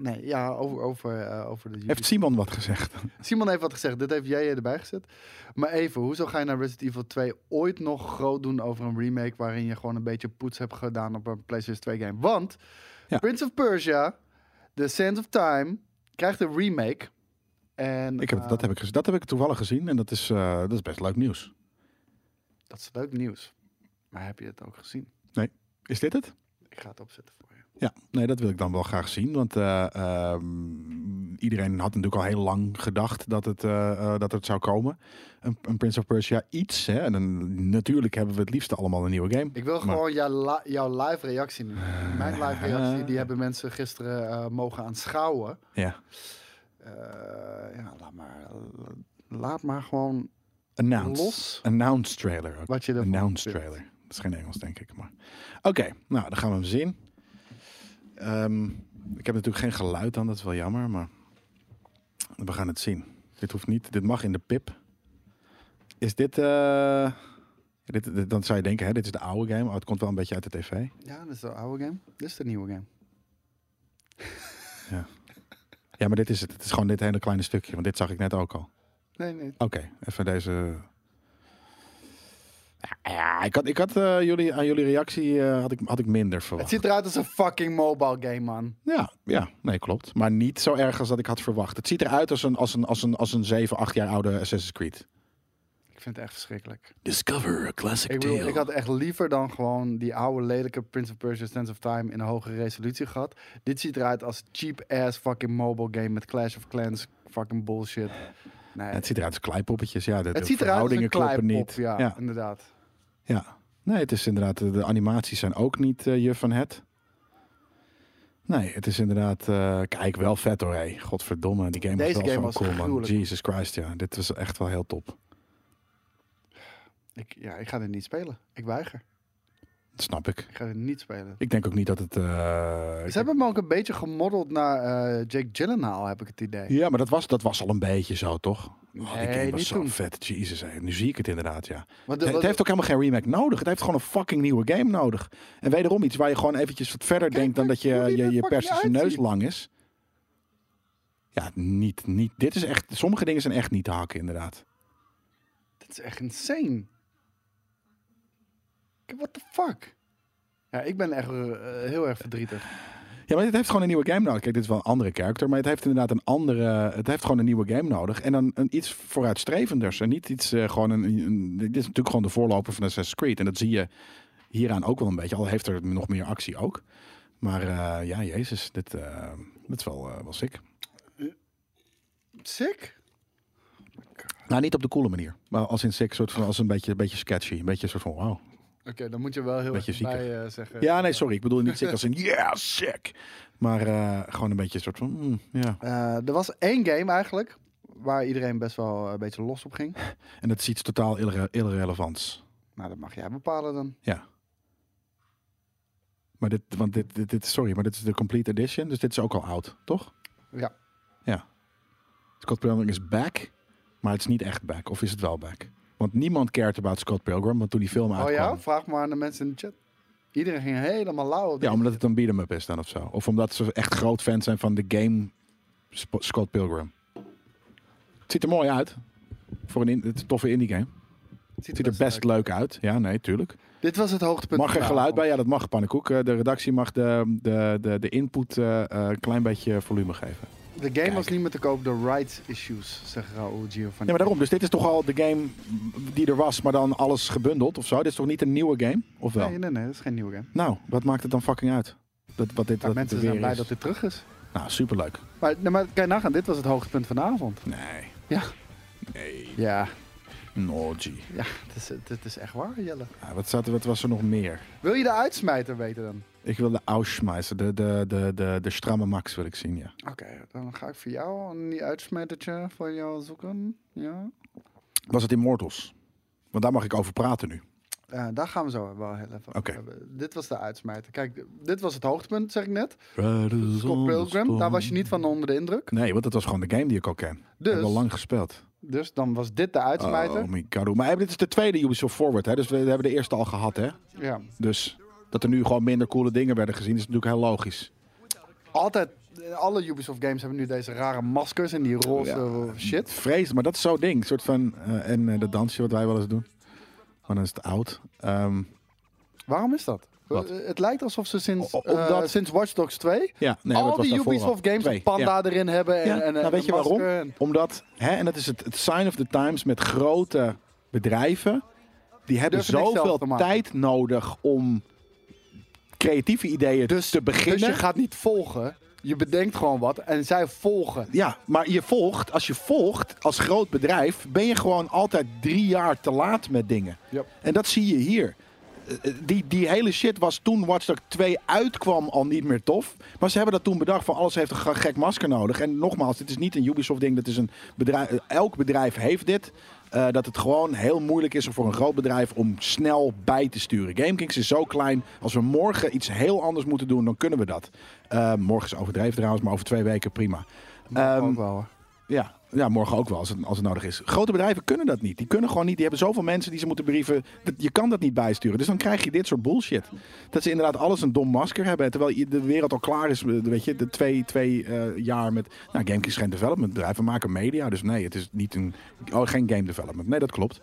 Speaker 1: Nee, ja, over, over, eh, over de...
Speaker 2: Heeft Simon wat gezegd?
Speaker 1: Simon heeft wat gezegd, dit heeft jij erbij gezet. Maar even, hoezo ga je naar Resident Evil 2 ooit nog groot doen over een remake waarin je gewoon een beetje poets hebt gedaan op een PlayStation 2 game? Want
Speaker 2: Ja.
Speaker 1: Prince of Persia, The Sands of Time, krijgt een remake. En,
Speaker 2: Ik heb,
Speaker 1: eh,
Speaker 2: dat, heb ik, gez- dat heb ik toevallig gezien en dat is, eh, dat is best leuk nieuws.
Speaker 1: dat is leuk nieuws. Maar heb je het ook gezien?
Speaker 2: Is dit het?
Speaker 1: Ik ga het opzetten voor je.
Speaker 2: Ja, nee, dat wil ik dan wel graag zien. Want eh, ehm, iedereen had natuurlijk al heel lang gedacht dat het, eh, eh, dat het zou komen. Een, een Prince of Persia iets. Hè? En dan, natuurlijk hebben we het liefst allemaal een nieuwe game.
Speaker 1: Ik wil
Speaker 2: Maar- Eh,
Speaker 1: gewoon jouw, la- jouw live reactie nu. Mijn live reactie, die hebben mensen gisteren eh, mogen aanschouwen.
Speaker 2: Ja.
Speaker 1: Eh, ja, laat maar, laat maar gewoon
Speaker 2: Announce.
Speaker 1: Los.
Speaker 2: Announce trailer. ook.
Speaker 1: wat je ervan
Speaker 2: Announce
Speaker 1: vindt.
Speaker 2: trailer. Dat is geen Engels, denk ik. Maar... Oké, nou, dan gaan we hem zien. Ehm, ik heb natuurlijk geen geluid aan, dat is wel jammer, maar we gaan het zien. Dit hoeft niet, dit mag in de pip. Is dit, eh, dit, dit- dan zou je denken, hè, dit is de oude game, oh, het komt wel een beetje uit de tv.
Speaker 1: Ja, dat is de oude game. Dit is de nieuwe game.
Speaker 2: Ja, maar dit is het, het is gewoon dit hele kleine stukje, want dit zag ik net ook al.
Speaker 1: Nee, nee.
Speaker 2: Oké, even deze. Ja, ik had, ik had eh, jullie, aan jullie reactie eh, had, ik, had ik minder
Speaker 1: Het
Speaker 2: verwacht.
Speaker 1: ziet eruit als een fucking mobile game, man.
Speaker 2: Ja, ja, nee, klopt. Maar niet zo erg als dat ik had verwacht. Het ziet eruit als een, als een, als een, als een 7, 8 jaar oude Assassin's Creed.
Speaker 1: Ik vind het echt verschrikkelijk.
Speaker 3: Discover a classic
Speaker 1: Ik, bedoel,
Speaker 3: tale.
Speaker 1: ik had echt liever dan gewoon die oude lelijke Prince of Persia Sands of Time in een hogere resolutie gehad. Dit ziet eruit als cheap ass fucking mobile game met Clash of Clans fucking bullshit. Nee,
Speaker 2: Het
Speaker 1: het,
Speaker 2: ziet eruit als kleipoppetjes. Ja, de, de
Speaker 1: ziet eruit als een
Speaker 2: verhoudingen kloppen
Speaker 1: kleipop,
Speaker 2: niet.
Speaker 1: ja,
Speaker 2: Ja,
Speaker 1: inderdaad.
Speaker 2: ja. Nee, het is inderdaad, de animaties zijn ook niet eh, je van het. Nee, het is inderdaad, eh, kijk, wel vet hoor. hé. Godverdomme, die game
Speaker 1: Deze
Speaker 2: was wel
Speaker 1: game
Speaker 2: zo
Speaker 1: was
Speaker 2: cool man.
Speaker 1: gruwelijk.
Speaker 2: Jesus Christ, ja. Dit was echt wel heel top.
Speaker 1: Ik, ja, ik ga dit niet spelen. Ik weiger.
Speaker 2: Dat snap ik.
Speaker 1: Ik ga dit niet spelen.
Speaker 2: Ik denk ook niet dat het... eh,
Speaker 1: Ze hebben hem ook een beetje gemodeld naar eh, Jake Gyllenhaal, heb ik het idee.
Speaker 2: Ja, maar dat was, dat was al een beetje zo, toch? Oh, die
Speaker 1: Nee,
Speaker 2: game was
Speaker 1: niet
Speaker 2: zo
Speaker 1: toen.
Speaker 2: vet. Jezus, hé. nu zie ik het inderdaad, ja.
Speaker 1: Want de-
Speaker 2: Het, het
Speaker 1: want-
Speaker 2: heeft ook helemaal geen remake nodig. Het heeft gewoon een fucking nieuwe game nodig. En wederom iets waar je gewoon eventjes wat verder denkt dan
Speaker 1: maar
Speaker 2: dat je
Speaker 1: hoe die
Speaker 2: je,
Speaker 1: er
Speaker 2: je
Speaker 1: fucking
Speaker 2: persische neus
Speaker 1: uitziet.
Speaker 2: lang is. Ja, niet, niet. Dit is echt. Sommige dingen zijn echt niet te hakken, inderdaad.
Speaker 1: Dit is echt insane. Kijk, What the fuck? Ja, ik ben echt eh, heel erg verdrietig.
Speaker 2: Ja, maar dit heeft gewoon een nieuwe game nodig. Kijk, dit is wel een andere character, maar het heeft inderdaad een andere. Het heeft gewoon een nieuwe game nodig. En dan een iets vooruitstrevenders. En niet iets eh, gewoon een, een- Dit is natuurlijk gewoon de voorloper van Assassin's Creed. En dat zie je hieraan ook wel een beetje. Al heeft er nog meer actie ook. Maar eh, ja, jezus, dit, eh, dit is wel, eh wel sick.
Speaker 1: Sick?
Speaker 2: Nou, niet op de coole manier. Maar als in sick, soort van als een beetje, beetje sketchy. Een beetje soort van wow.
Speaker 1: Oké, dan moet je wel heel
Speaker 2: Beetje
Speaker 1: erg bij eh, zeggen.
Speaker 2: Ja, nee, sorry. Ik bedoel niet sick als een yeah, sick. Maar eh, gewoon een beetje soort van. mm, ja.
Speaker 1: Eh, er was één game eigenlijk waar iedereen best wel eh, een beetje los op ging.
Speaker 2: En dat is iets totaal irre- irrelevants.
Speaker 1: Nou, dat mag jij bepalen dan.
Speaker 2: Ja. Maar dit, want dit, dit, dit- sorry, maar dit is de complete edition, dus dit is ook al oud, toch?
Speaker 1: Ja.
Speaker 2: Ja. Scott Pilgrim is back, maar het is niet echt back. Of is het wel back? Want niemand cared about Scott Pilgrim, want toen die film
Speaker 1: Oh
Speaker 2: uitkwam...
Speaker 1: ja? Vraag maar aan de mensen in de chat. Iedereen ging helemaal lauw op.
Speaker 2: Ja, omdat het een beat-em-up is dan of zo. Of omdat ze echt groot fan zijn van de game Sp- Scott Pilgrim. Het ziet er mooi uit. Voor een, in- het is een toffe indie game. Het ziet er best
Speaker 1: uit.
Speaker 2: leuk uit. Ja, nee, tuurlijk.
Speaker 1: Dit was het hoogtepunt.
Speaker 2: Mag
Speaker 1: van
Speaker 2: er
Speaker 1: de
Speaker 2: geluid
Speaker 1: avond.
Speaker 2: bij? Ja, dat mag, pannenkoek. Eh, De redactie mag de, de, de, de input eh, eh, een klein beetje volume geven.
Speaker 1: De game was niet meer te koop door rights issues, zegt Raoul
Speaker 2: Ja,
Speaker 1: Giovanni.
Speaker 2: maar daarom. Dus dit is toch al de game die er was, maar dan alles gebundeld of zo? Dit is toch niet een nieuwe game? Of wel?
Speaker 1: Nee, nee, nee, dat is geen nieuwe game.
Speaker 2: Nou, wat maakt het dan fucking uit? Dat, wat dit,
Speaker 1: Maar mensen
Speaker 2: wat dit weer
Speaker 1: zijn blij
Speaker 2: is.
Speaker 1: dat dit terug is.
Speaker 2: Nou, superleuk.
Speaker 1: Maar, nee, maar kijk nagaan, dit was het hoogtepunt van de avond.
Speaker 2: Nee.
Speaker 1: Ja.
Speaker 2: Nee.
Speaker 1: Ja,
Speaker 2: No, G.
Speaker 1: ja het, is, het is echt waar, Jelle.
Speaker 2: Ja, wat, zat, er- wat was er nog meer?
Speaker 1: Wil je de uitsmijter weten dan?
Speaker 2: Ik wil de Ausschmeister, de, de, de, de, de stramme Max wil ik zien, ja.
Speaker 1: Oké, dan ga ik voor jou een uitsmijtertje voor jou zoeken. Ja.
Speaker 2: Was het Immortals? Want daar mag ik over praten nu.
Speaker 1: Eh, daar gaan we zo wel heel even over
Speaker 2: Oké.
Speaker 1: hebben. Dit was de uitsmijter. Kijk, dit was het hoogtepunt, zeg ik net. Scott Pilgrim, daar was je niet van onder de indruk.
Speaker 2: Nee, want dat was gewoon de game die ik al ken. Dus...
Speaker 1: Dus,
Speaker 2: Hebben we lang gespeeld.
Speaker 1: dus dan was dit de uitsmijter.
Speaker 2: Oh my god. Maar dit is de tweede Ubisoft Forward, hè? Dus we hebben de eerste al gehad, hè?
Speaker 1: Ja.
Speaker 2: Dus dat er nu gewoon minder coole dingen werden gezien, is natuurlijk heel logisch.
Speaker 1: Altijd, alle Ubisoft games hebben nu deze rare maskers en die roze shit.
Speaker 2: Vrees, maar dat is zo'n ding. Soort van, eh, en eh, dat dansje wat wij wel eens doen. Maar dan is het oud. Ehm,
Speaker 1: Waarom is dat?
Speaker 2: Wat?
Speaker 1: Eh, Het lijkt alsof ze sinds,
Speaker 2: O- omdat-
Speaker 1: eh, sinds Watch Dogs 2
Speaker 2: ja, nee, dat
Speaker 1: al
Speaker 2: was
Speaker 1: die
Speaker 2: daarvoor al.
Speaker 1: Ubisoft games
Speaker 2: Twee,
Speaker 1: een panda
Speaker 2: ja.
Speaker 1: erin hebben. En,
Speaker 2: Ja,
Speaker 1: en,
Speaker 2: nou,
Speaker 1: en
Speaker 2: weet
Speaker 1: een
Speaker 2: je waarom?
Speaker 1: masker en-
Speaker 2: Omdat, hè, en dat is het, het sign of the times met grote bedrijven. Die hebben
Speaker 1: Durven niks zelf
Speaker 2: zoveel
Speaker 1: te maken.
Speaker 2: tijd nodig om creatieve ideeën te beginnen.
Speaker 1: Dus je gaat niet volgen. Je bedenkt gewoon wat en zij volgen.
Speaker 2: Ja, maar je volgt, als je volgt als groot bedrijf, ben je gewoon altijd drie jaar te laat met dingen.
Speaker 1: Yep.
Speaker 2: En dat zie je hier. Eh, eh, Die, die hele shit was toen Watch Dogs 2 uitkwam al niet meer tof. Maar ze hebben dat toen bedacht van alles heeft een ge- gek masker nodig. En nogmaals, dit is niet een Ubisoft ding. Dat is een bedrijf, eh, elk bedrijf heeft dit. Eh, dat het gewoon heel moeilijk is voor een groot bedrijf om snel bij te sturen. GameKings is zo klein. Als we morgen iets heel anders moeten doen, dan kunnen we dat. Eh, morgen is overdreven trouwens, maar over twee weken prima. Ehm,
Speaker 1: Ook wel, hoor.
Speaker 2: ja, ja, morgen ook wel als het, als het nodig is. Grote bedrijven kunnen dat niet. Die kunnen gewoon niet. Die hebben zoveel mensen die ze moeten brieven. Dat, je kan dat niet bijsturen. Dus dan krijg je dit soort bullshit. Dat ze inderdaad alles een dom masker hebben. Terwijl je- de wereld al klaar is. eh, Weet je, de twee, twee eh, jaar met. Nou, GameKings is geen development bedrijf. We maken media. Dus nee, het is niet een. Oh, geen game development. Nee, dat klopt.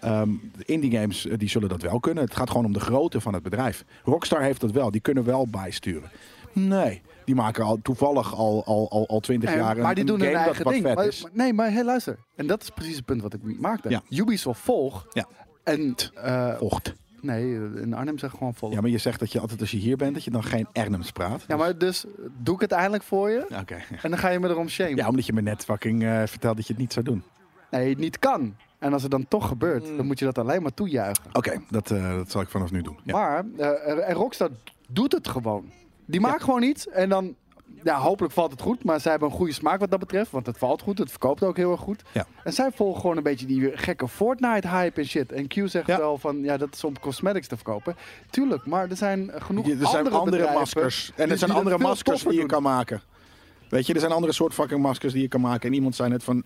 Speaker 2: Ehm, de indie games eh, die zullen dat wel kunnen. Het gaat gewoon om de grootte van het bedrijf. Rockstar heeft dat wel. Die kunnen wel bijsturen. Nee. Die maken al toevallig al, al, al, al 20
Speaker 1: Nee,
Speaker 2: jaar een,
Speaker 1: maar die
Speaker 2: een
Speaker 1: doen hun
Speaker 2: game dat
Speaker 1: eigen
Speaker 2: wat
Speaker 1: ding.
Speaker 2: vet
Speaker 1: Maar-
Speaker 2: is.
Speaker 1: maar- nee, maar heel luister. En dat is precies het punt wat ik maakte.
Speaker 2: Ja.
Speaker 1: Ubisoft volg.
Speaker 2: Ja.
Speaker 1: En eh,
Speaker 2: Ocht.
Speaker 1: nee, in Arnhem zeg ik gewoon volg.
Speaker 2: Ja, maar je zegt dat je altijd als je hier bent, dat je dan geen Ernums praat.
Speaker 1: Ja, maar dus doe ik het eindelijk voor je
Speaker 2: Oké.
Speaker 1: en dan ga je me erom shamen.
Speaker 2: Ja, omdat je me net fucking eh vertelt dat je het niet zou doen.
Speaker 1: Nee, het niet kan. En als het dan toch gebeurt,
Speaker 2: Mm.
Speaker 1: dan moet je dat alleen maar toejuichen.
Speaker 2: Oké, dat, eh, dat zal ik vanaf nu doen. Ja.
Speaker 1: Maar eh, en Rockstar doet het gewoon. Die maakt gewoon iets en dan... Ja, hopelijk valt het goed, maar zij hebben een goede smaak wat dat betreft. Want het valt goed, het verkoopt ook heel erg goed.
Speaker 2: Ja.
Speaker 1: En zij volgen gewoon een beetje die gekke Fortnite-hype en shit. En Q zegt
Speaker 2: Ja.
Speaker 1: wel van, ja, dat is om cosmetics te verkopen. Tuurlijk, maar er zijn genoeg
Speaker 2: Je- er zijn andere,
Speaker 1: bedrijven
Speaker 2: maskers. En
Speaker 1: die-
Speaker 2: er
Speaker 1: die
Speaker 2: zijn
Speaker 1: dat
Speaker 2: andere
Speaker 1: veel
Speaker 2: maskers
Speaker 1: toffer
Speaker 2: die je
Speaker 1: doen.
Speaker 2: kan maken. Weet je, er zijn andere soort fucking maskers die je kan maken. En iemand zei net van...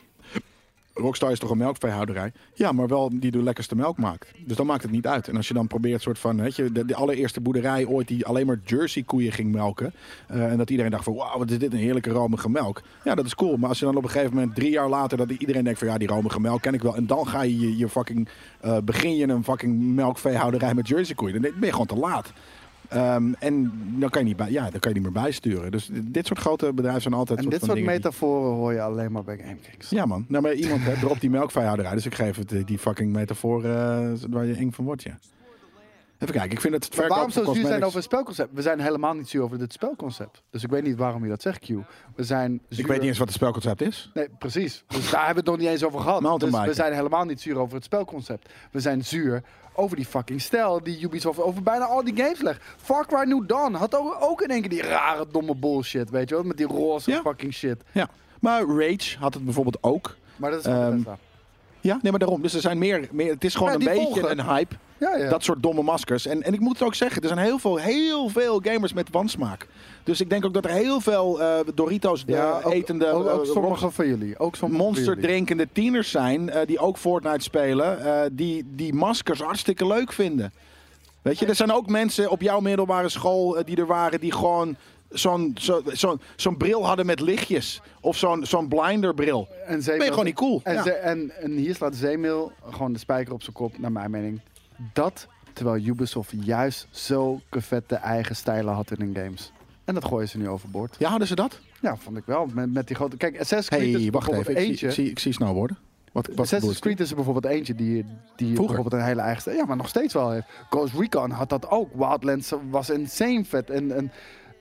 Speaker 2: Rockstar is toch een melkveehouderij? Ja, maar wel die de lekkerste melk maakt. Dus dan maakt het niet uit. En als je dan probeert, soort van, weet je, de, de allereerste boerderij ooit die alleen maar Jersey koeien ging melken. eh, en dat iedereen dacht van, wauw, wat is dit een heerlijke romige melk. Ja, dat is cool. Maar als je dan op een gegeven moment drie jaar later, dat iedereen denkt van, ja, die romige melk ken ik wel. En dan ga je je, je fucking, eh, begin je een fucking melkveehouderij met Jersey koeien. Dan ben je gewoon te laat. Ehm, en dan kan, je niet bij, ja, dan kan je niet meer bijsturen. Dus dit soort grote bedrijven zijn altijd...
Speaker 1: En dit
Speaker 2: van
Speaker 1: soort
Speaker 2: dingen die-
Speaker 1: metaforen hoor je alleen maar bij GameKings.
Speaker 2: ja, man. Nou, maar iemand hè, dropt die melkveehouderij. Dus ik geef het eh, die fucking metafoor eh, waar je eng van wordt, ja. Even kijken, ik vind het verkoop
Speaker 1: Waarom
Speaker 2: van
Speaker 1: zo zuur zijn
Speaker 2: cosmetics-
Speaker 1: over het spelconcept? We zijn helemaal niet zuur over dit spelconcept. Dus ik weet niet waarom je dat zegt, Q. We zijn zuur...
Speaker 2: Ik weet niet eens wat het spelconcept is.
Speaker 1: Nee, precies. Dus daar hebben we het nog niet eens over gehad. Dus
Speaker 2: Mountainbiken.
Speaker 1: we zijn helemaal niet zuur over het spelconcept. We zijn zuur over die fucking stijl die Ubisoft over bijna al die games legt. Far Cry New Dawn had ook, ook in één keer die rare domme bullshit, weet je wel? Met die roze
Speaker 2: Ja.
Speaker 1: fucking shit.
Speaker 2: Ja. Maar Rage had het bijvoorbeeld ook.
Speaker 1: Maar dat is
Speaker 2: Ehm,
Speaker 1: Bethesda.
Speaker 2: Ja, nee, maar daarom. Dus er zijn meer... meer het is gewoon
Speaker 1: Ja,
Speaker 2: een
Speaker 1: die
Speaker 2: beetje
Speaker 1: volgen.
Speaker 2: een hype.
Speaker 1: Ja, ja.
Speaker 2: Dat soort domme maskers. En, en ik moet het ook zeggen, er zijn heel veel, heel veel gamers met wansmaak. Dus ik denk ook dat er heel veel eh, Doritos eh,
Speaker 1: ja, ook-
Speaker 2: etende...
Speaker 1: ook, ook
Speaker 2: eh,
Speaker 1: sommige van jullie. Ook sommige van
Speaker 2: monster
Speaker 1: jullie.
Speaker 2: drinkende tieners zijn eh, die ook Fortnite spelen, eh, die, die maskers hartstikke leuk vinden. Weet je, er zijn ook mensen op jouw middelbare school eh, die er waren die gewoon zo'n zo, zo'n zo'n bril hadden met lichtjes. Of zo'n zo'n blinderbril.
Speaker 1: En
Speaker 2: Ben je gewoon niet cool.
Speaker 1: En,
Speaker 2: Ja.
Speaker 1: ze- en, en hier slaat Zeemeel gewoon de spijker op zijn kop, naar mijn mening. Dat terwijl Ubisoft juist zulke vette eigen stijlen had in hun games. En dat gooien ze nu overboord.
Speaker 2: Ja, hadden ze dat?
Speaker 1: Ja, Nou, vond ik wel. Met, met die grote... Kijk, Assassin's Creed
Speaker 2: Hé,
Speaker 1: is
Speaker 2: wacht
Speaker 1: bijvoorbeeld
Speaker 2: even. Ik,
Speaker 1: eentje.
Speaker 2: zie- ik zie, ik zie snowboarden. Wat, wat
Speaker 1: Assassin's
Speaker 2: bedoelt-
Speaker 1: Creed is er bijvoorbeeld eentje die, die
Speaker 2: Vroeger.
Speaker 1: bijvoorbeeld een hele eigen stijl... Ja, maar nog steeds wel heeft. Ghost Recon had dat ook. Wildlands was insane vet. En, en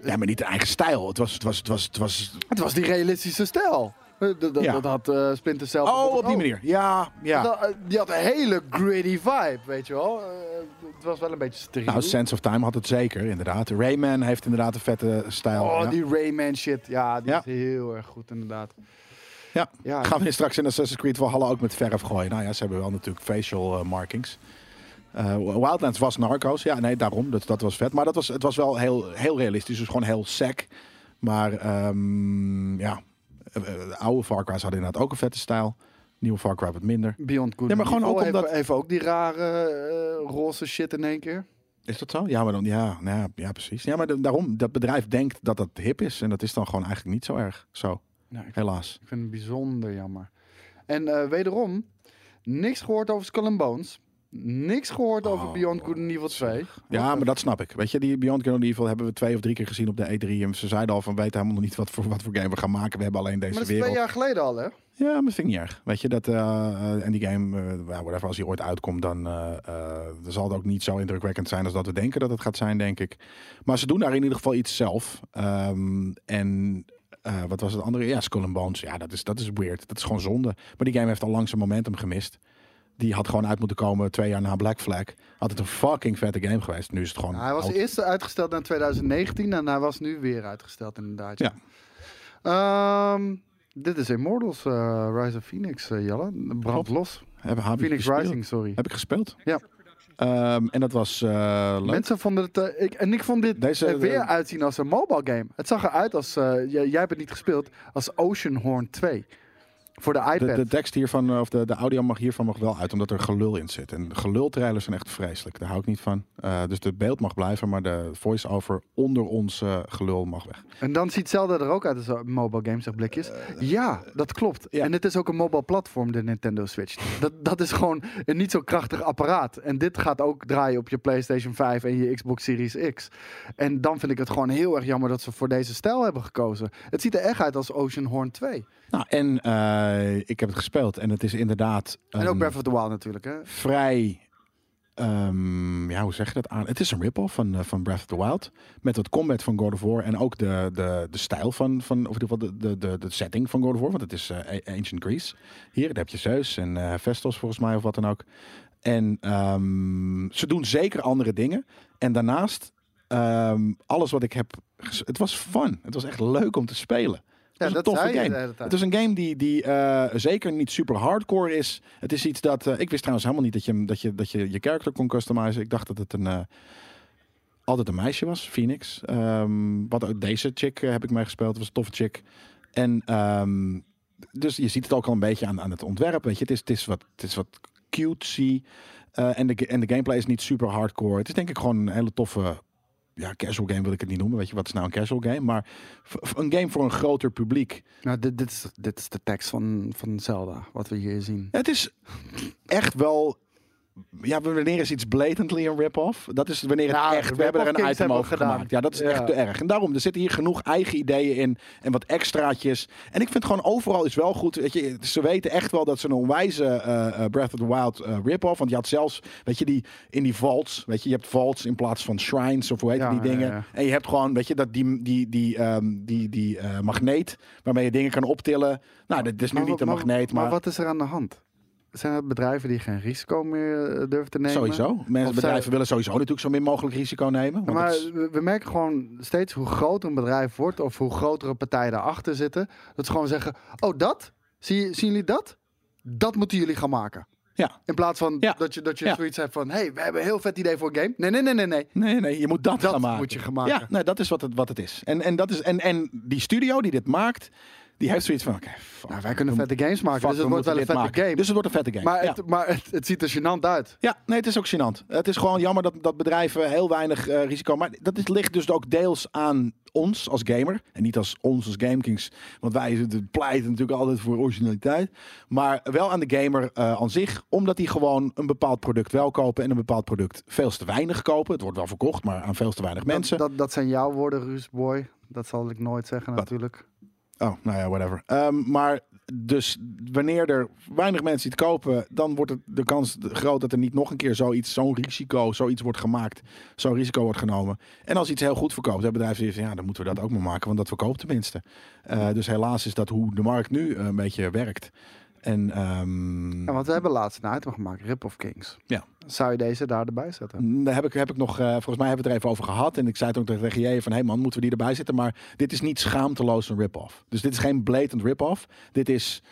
Speaker 2: Ja, maar niet de eigen stijl. Het was, het was, het was, het was...
Speaker 1: het was die realistische stijl. Eh, Dat, dat,
Speaker 2: Ja.
Speaker 1: dat had eh, Splinter Cell
Speaker 2: Oh,
Speaker 1: bijvoorbeeld
Speaker 2: op die
Speaker 1: ook.
Speaker 2: manier. Ja, ja.
Speaker 1: Dat, eh, die had een hele gritty vibe, weet je wel. Eh, het was wel een beetje steriel.
Speaker 2: Nou, Sense of Time had het zeker, inderdaad. Rayman heeft inderdaad een vette stijl.
Speaker 1: oh,
Speaker 2: ja.
Speaker 1: die Rayman shit. Ja, die
Speaker 2: Ja.
Speaker 1: is heel erg goed, inderdaad.
Speaker 2: Ja.
Speaker 1: Ja.
Speaker 2: Gaan we straks in Assassin's Creed Valhalla ook met verf gooien? Nou ja, ze hebben wel natuurlijk facial eh, markings. Eh, Wildlands was narco's. Ja, nee, daarom. Dat, dat was vet. Maar dat was, het was wel heel, heel realistisch. Dus gewoon heel sec. Maar ehm, ja, Eh, eh, de oude Far Cry's hadden inderdaad ook een vette stijl. Nieuwe Far Cry wat minder.
Speaker 1: Beyond Good
Speaker 2: Nee, maar gewoon
Speaker 1: Evil
Speaker 2: ook
Speaker 1: heeft-
Speaker 2: omdat-
Speaker 1: heeft ook die rare eh, roze shit in één keer.
Speaker 2: Is dat zo? Ja, maar dan, ja, nou ja, ja precies. Ja, maar da- daarom, dat bedrijf denkt dat dat hip is. En dat is dan gewoon eigenlijk niet zo erg. Zo,
Speaker 1: Nou, ik,
Speaker 2: helaas.
Speaker 1: ik vind het bijzonder jammer. En eh, wederom, niks gehoord over Skull and Bones. Niks gehoord over
Speaker 2: Oh,
Speaker 1: Beyond Good and Evil 2.
Speaker 2: Ja, maar dat snap ik. Weet je, die Beyond Good and Evil hebben we twee of drie keer gezien op de E3. En ze zeiden al van, we weten helemaal nog niet wat voor, wat voor game we gaan maken. We hebben alleen deze
Speaker 1: Maar dat is
Speaker 2: wereld.
Speaker 1: twee jaar geleden al, hè?
Speaker 2: Ja, maar dat vind ik niet erg. Weet je, dat, eh, eh, en die game, eh, ja, whatever, als die ooit uitkomt, dan eh, eh, dan zal het ook niet zo indrukwekkend zijn als dat we denken dat het gaat zijn, denk ik. Maar ze doen daar in ieder geval iets zelf. Ehm, en eh, wat was het andere? Ja, Skull and Bones. Ja, dat is, dat is weird. Dat is gewoon zonde. Maar die game heeft al lang zijn momentum gemist. Die had gewoon uit moeten komen twee jaar na Black Flag. Had het een fucking vette game geweest. Nu is het gewoon
Speaker 1: Nou, hij was
Speaker 2: oud.
Speaker 1: eerst uitgesteld naar 2019 en hij was nu weer uitgesteld inderdaad.
Speaker 2: Ja.
Speaker 1: Ehm, dit is Immortals eh, Rise of Phoenix, eh, Jelle. Brand
Speaker 2: Klopt.
Speaker 1: los.
Speaker 2: Heb, heb ik
Speaker 1: Phoenix
Speaker 2: gespeeld.
Speaker 1: Rising, sorry.
Speaker 2: Heb ik gespeeld.
Speaker 1: Ja.
Speaker 2: Ehm, en dat was eh, leuk.
Speaker 1: Mensen vonden het... eh, ik, en ik vond dit
Speaker 2: Deze,
Speaker 1: er weer
Speaker 2: eh,
Speaker 1: uitzien als een mobile game. Het zag eruit als... eh, j- jij hebt het niet gespeeld. Als Oceanhorn 2. Voor de iPad.
Speaker 2: De, de tekst hiervan, eh, of de, de audio mag hiervan mag wel uit, omdat er gelul in zit. En gelultrailers zijn echt vreselijk, daar hou ik niet van. Eh, dus het beeld mag blijven, maar de voice-over onder ons eh, gelul mag weg.
Speaker 1: En dan ziet Zelda er ook uit als een mobile game, zegt Blikjes. ja, dat klopt.
Speaker 2: Eh, ja.
Speaker 1: En het is ook een mobile platform, de Nintendo Switch. Dat, dat is gewoon een niet zo krachtig apparaat. En dit gaat ook draaien op je PlayStation 5 en je Xbox Series X. En dan vind ik het gewoon heel erg jammer dat ze voor deze stijl hebben gekozen. Het ziet er echt uit als Oceanhorn 2.
Speaker 2: Nou, en eh, ik heb het gespeeld en het is inderdaad
Speaker 1: en ook
Speaker 2: een
Speaker 1: Breath of the Wild natuurlijk, hè?
Speaker 2: vrij... ehm, ja, hoe zeg je dat aan? Het is een rip-off van, eh, van Breath of the Wild. Met het combat van God of War en ook de, de, de stijl van, van, of in ieder geval de, de, de, de setting van God of War. Want het is eh, A- Ancient Greece. Hier, daar heb je Zeus en eh Vestos volgens mij of wat dan ook. En ehm, ze doen zeker andere dingen. En daarnaast, ehm, alles wat ik heb... ges- Het was fun. Het was echt leuk om te spelen. Het
Speaker 1: dat
Speaker 2: was een
Speaker 1: zei je
Speaker 2: toffe
Speaker 1: de
Speaker 2: game.
Speaker 1: hele tijd.
Speaker 2: Het is een game die, die eh, zeker niet super hardcore is. Het is iets dat... eh, ik wist trouwens helemaal niet dat je, hem- dat je, dat je je character kon customizen. Ik dacht dat het een... eh, altijd een meisje was, Phoenix. Ehm, wat ook deze chick eh, heb ik mij gespeeld. was een toffe chick. En ehm, dus je ziet het ook al een beetje aan, aan het ontwerp. Weet je, het is, het is wat, het is wat cutesy. eh, en, de, ga- en de gameplay is niet super hardcore. Het is denk ik gewoon een hele toffe. Ja, casual game wil ik het niet noemen. Weet je, wat is nou een casual game? Maar v- v- een game voor een groter publiek.
Speaker 1: Nou, dit, dit, is, dit is de tekst van, van Zelda, wat we hier zien.
Speaker 2: Het is echt wel. Ja, wanneer is iets blatantly een rip-off? Dat is wanneer het
Speaker 1: Ja,
Speaker 2: echt. We hebben er een
Speaker 1: Nou, rip-off
Speaker 2: item
Speaker 1: games
Speaker 2: over
Speaker 1: hebben we
Speaker 2: gemaakt. Ja, dat is
Speaker 1: gedaan.
Speaker 2: echt te erg. En daarom, er zitten hier genoeg eigen ideeën in. En wat extraatjes. En ik vind gewoon overal is wel goed. Weet je, ze weten echt wel dat ze een onwijze eh, eh, Breath of the Wild eh, rip-off. Want je had zelfs, weet je, die in die vaults. Weet je, je hebt vaults in plaats van shrines of hoe heet
Speaker 1: Ja,
Speaker 2: die dingen.
Speaker 1: ja, ja.
Speaker 2: En je hebt gewoon, weet je, dat die, die, die, ehm, die, die eh, magneet waarmee je dingen kan optillen. Nou, dat is nu
Speaker 1: Maar
Speaker 2: niet een
Speaker 1: wat-
Speaker 2: magneet, maar.
Speaker 1: wat is er aan de hand? Zijn er bedrijven die geen risico meer eh, durven te nemen?
Speaker 2: Sowieso. Mensen,
Speaker 1: Of
Speaker 2: bedrijven
Speaker 1: zij-
Speaker 2: willen sowieso natuurlijk zo min mogelijk risico nemen.
Speaker 1: Ja,
Speaker 2: Want
Speaker 1: maar
Speaker 2: dat is-
Speaker 1: we we merken gewoon steeds hoe groter een bedrijf wordt of hoe grotere partijen daarachter zitten. Dat ze gewoon zeggen: Oh, dat? Zie, je- zien jullie dat? Dat moeten jullie gaan maken.
Speaker 2: ja.
Speaker 1: In plaats van
Speaker 2: Ja.
Speaker 1: dat je, dat je
Speaker 2: Ja.
Speaker 1: zoiets hebt van: hey, we hebben een heel vet idee voor een game. Nee, nee, nee, nee, nee.
Speaker 2: Nee, nee, je moet dat,
Speaker 1: Dat
Speaker 2: gaan maken.
Speaker 1: moet je gaan maken.
Speaker 2: Ja, nee, dat is wat het, wat het is. En, en, dat is en, en die studio die dit maakt, die heeft zoiets van... oké, fuck,
Speaker 1: Nou, wij kunnen vette games maken,
Speaker 2: fuck,
Speaker 1: dus het
Speaker 2: we
Speaker 1: wordt
Speaker 2: moeten
Speaker 1: wel een
Speaker 2: dit
Speaker 1: vette
Speaker 2: maken.
Speaker 1: game.
Speaker 2: Dus het wordt een vette game.
Speaker 1: maar
Speaker 2: ja.
Speaker 1: het, maar het, het ziet er gênant uit.
Speaker 2: Ja, nee, het is ook gênant. Het is gewoon jammer dat, dat bedrijven heel weinig eh, risico... Maar dat is, ligt dus ook deels aan ons als gamer. En niet als ons als GameKings. Want wij zitten- pleiten natuurlijk altijd voor originaliteit. Maar wel aan de gamer eh, aan zich. Omdat die gewoon een bepaald product wel kopen... en een bepaald product veel te weinig kopen. Het wordt wel verkocht, maar aan veel te weinig mensen.
Speaker 1: Dat, dat, dat zijn jouw woorden, Ruusboy. Dat zal ik nooit zeggen, natuurlijk.
Speaker 2: Oh, nou ja, whatever. Ehm, maar dus wanneer er weinig mensen het kopen, dan wordt het de kans groot dat er niet nog een keer zoiets, zo'n risico, zoiets wordt gemaakt, zo'n risico wordt genomen. En als iets heel goed verkoopt, hebben bedrijven zoiets van, ja, dan moeten we dat ook maar maken, want dat verkoopt tenminste. Eh, dus helaas is dat hoe de markt nu eh, een beetje werkt. En ehm,
Speaker 1: Ja, want we hebben laatst een item gemaakt: Rip of Kings.
Speaker 2: Ja.
Speaker 1: Zou je deze daar erbij zetten?
Speaker 2: Daar heb ik, heb ik nog, eh, volgens mij hebben we het er even over gehad. En ik zei het ook tegen jij van, hé hey man, moeten we die erbij zetten? Maar dit is niet schaamteloos een rip-off. Dus dit is geen blatant rip-off. Dit is,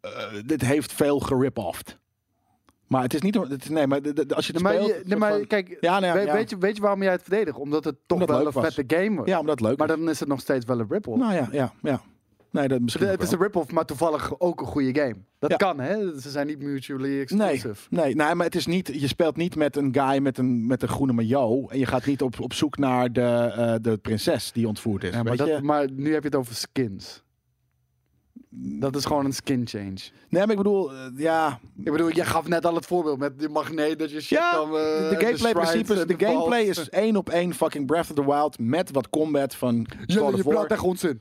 Speaker 2: eh, dit heeft veel gerip-offed. Maar het is niet, het is- nee, maar de- de- als je het
Speaker 1: Nee, maar,
Speaker 2: speelt...
Speaker 1: je- nee,
Speaker 2: soort
Speaker 1: maar
Speaker 2: van-
Speaker 1: kijk,
Speaker 2: ja, nou ja,
Speaker 1: We-
Speaker 2: ja.
Speaker 1: Weet, je, weet je waarom jij het verdedigt? Omdat het toch
Speaker 2: Omdat het
Speaker 1: wel een
Speaker 2: leuk was.
Speaker 1: vette game was.
Speaker 2: ja, omdat het leuk
Speaker 1: Maar
Speaker 2: is.
Speaker 1: dan is het nog steeds wel een rip-off.
Speaker 2: Nou ja, ja, ja. Nee, dat misschien
Speaker 1: De-
Speaker 2: ook
Speaker 1: het is
Speaker 2: wel.
Speaker 1: een rip-off, maar toevallig ook een goede game. Dat
Speaker 2: Ja.
Speaker 1: kan, hè? Ze zijn niet mutually
Speaker 2: Nee,
Speaker 1: exclusive.
Speaker 2: nee, nee, maar het is niet. Je speelt niet met een guy met een, met een groene maillot. En je gaat niet op, op zoek naar de, eh, de prinses die ontvoerd is.
Speaker 1: Ja, maar,
Speaker 2: weet
Speaker 1: dat-
Speaker 2: je?
Speaker 1: maar nu heb je het over skins. Dat is gewoon een skin change.
Speaker 2: Nee, maar ik bedoel, eh, ja,
Speaker 1: Ik bedoel, je gaf net al het voorbeeld met die magneet dat je shit
Speaker 2: Ja,
Speaker 1: kan... eh,
Speaker 2: de gameplay
Speaker 1: strides
Speaker 2: principes,
Speaker 1: en
Speaker 2: de gameplay
Speaker 1: vaults.
Speaker 2: is één op één fucking Breath of the Wild met wat combat van God
Speaker 1: Jullie, je
Speaker 2: of War.
Speaker 1: praat echt onzin.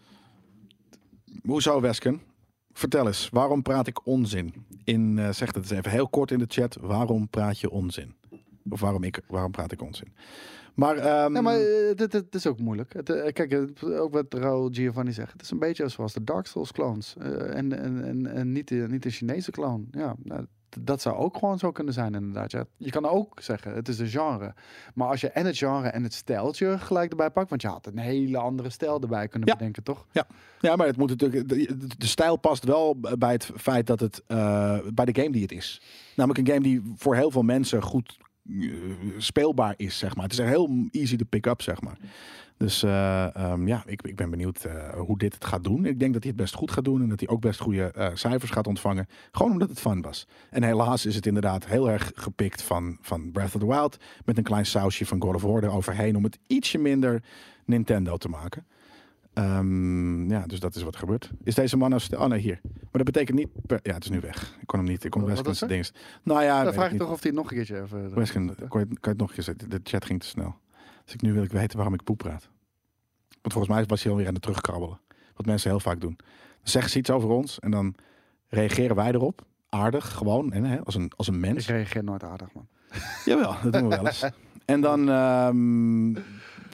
Speaker 2: Hoezo Wesken? Vertel eens, waarom praat ik onzin? In, eh, zeg het eens even heel kort in de chat, waarom praat je onzin? Of waarom, ik, waarom praat ik onzin? Maar, ehm,
Speaker 1: Nee, maar eh, dit, dit is ook moeilijk. Het, eh, kijk, het- ook wat Raul Giovanni zegt. Het is een beetje zoals de Dark Souls clones. eh, en en, en, en niet, de, niet de Chinese clone. Ja, nou, d- dat zou ook gewoon zo kunnen zijn inderdaad. Ja, je kan ook zeggen, het is een genre. Maar als je en het genre en het stijltje gelijk erbij pakt... want je had een hele andere stijl erbij kunnen
Speaker 2: Ja.
Speaker 1: bedenken, toch?
Speaker 2: ja, maar het moet natuurlijk, de, de- de stijl past wel bij het feit dat het, eh, bij de game die het is. Namelijk een game die voor heel veel mensen goed eh, speelbaar is, zeg maar. Het is echt heel easy to pick up, zeg maar. Dus eh, ehm, ja, ik, ik ben benieuwd eh, hoe dit het gaat doen. Ik denk dat hij het best goed gaat doen en dat hij ook best goede eh, cijfers gaat ontvangen. Gewoon omdat het fun was. En helaas is het inderdaad heel erg gepikt van, van Breath of the Wild. Met een klein sausje van God of War eroverheen om het ietsje minder Nintendo te maken. Ehm, ja, dus dat is wat er gebeurt. Is deze man nou... stil? Oh nee, hier. Maar dat betekent niet... per- Ja, het is nu weg. Ik kon hem niet... Ik kon
Speaker 1: Wat
Speaker 2: best
Speaker 1: was
Speaker 2: zijn ding... Nou ja,
Speaker 1: Dan
Speaker 2: weet
Speaker 1: vraag
Speaker 2: ik
Speaker 1: ik
Speaker 2: niet.
Speaker 1: toch of die het nog een keertje even... eh,
Speaker 2: Wesken, kan je, kan je het nog een keer zetten? De chat ging te snel. Dus ik, nu wil ik weten waarom ik poep praat. Want volgens mij was hij alweer aan het terugkrabbelen. Wat mensen heel vaak doen. Dan zeggen ze iets over ons en dan reageren wij erop. Aardig, gewoon, en, hè, als, een, als een
Speaker 1: Ik
Speaker 2: mens.
Speaker 1: reageer nooit aardig, man.
Speaker 2: Jawel, dat doen we wel eens. En dan ehm,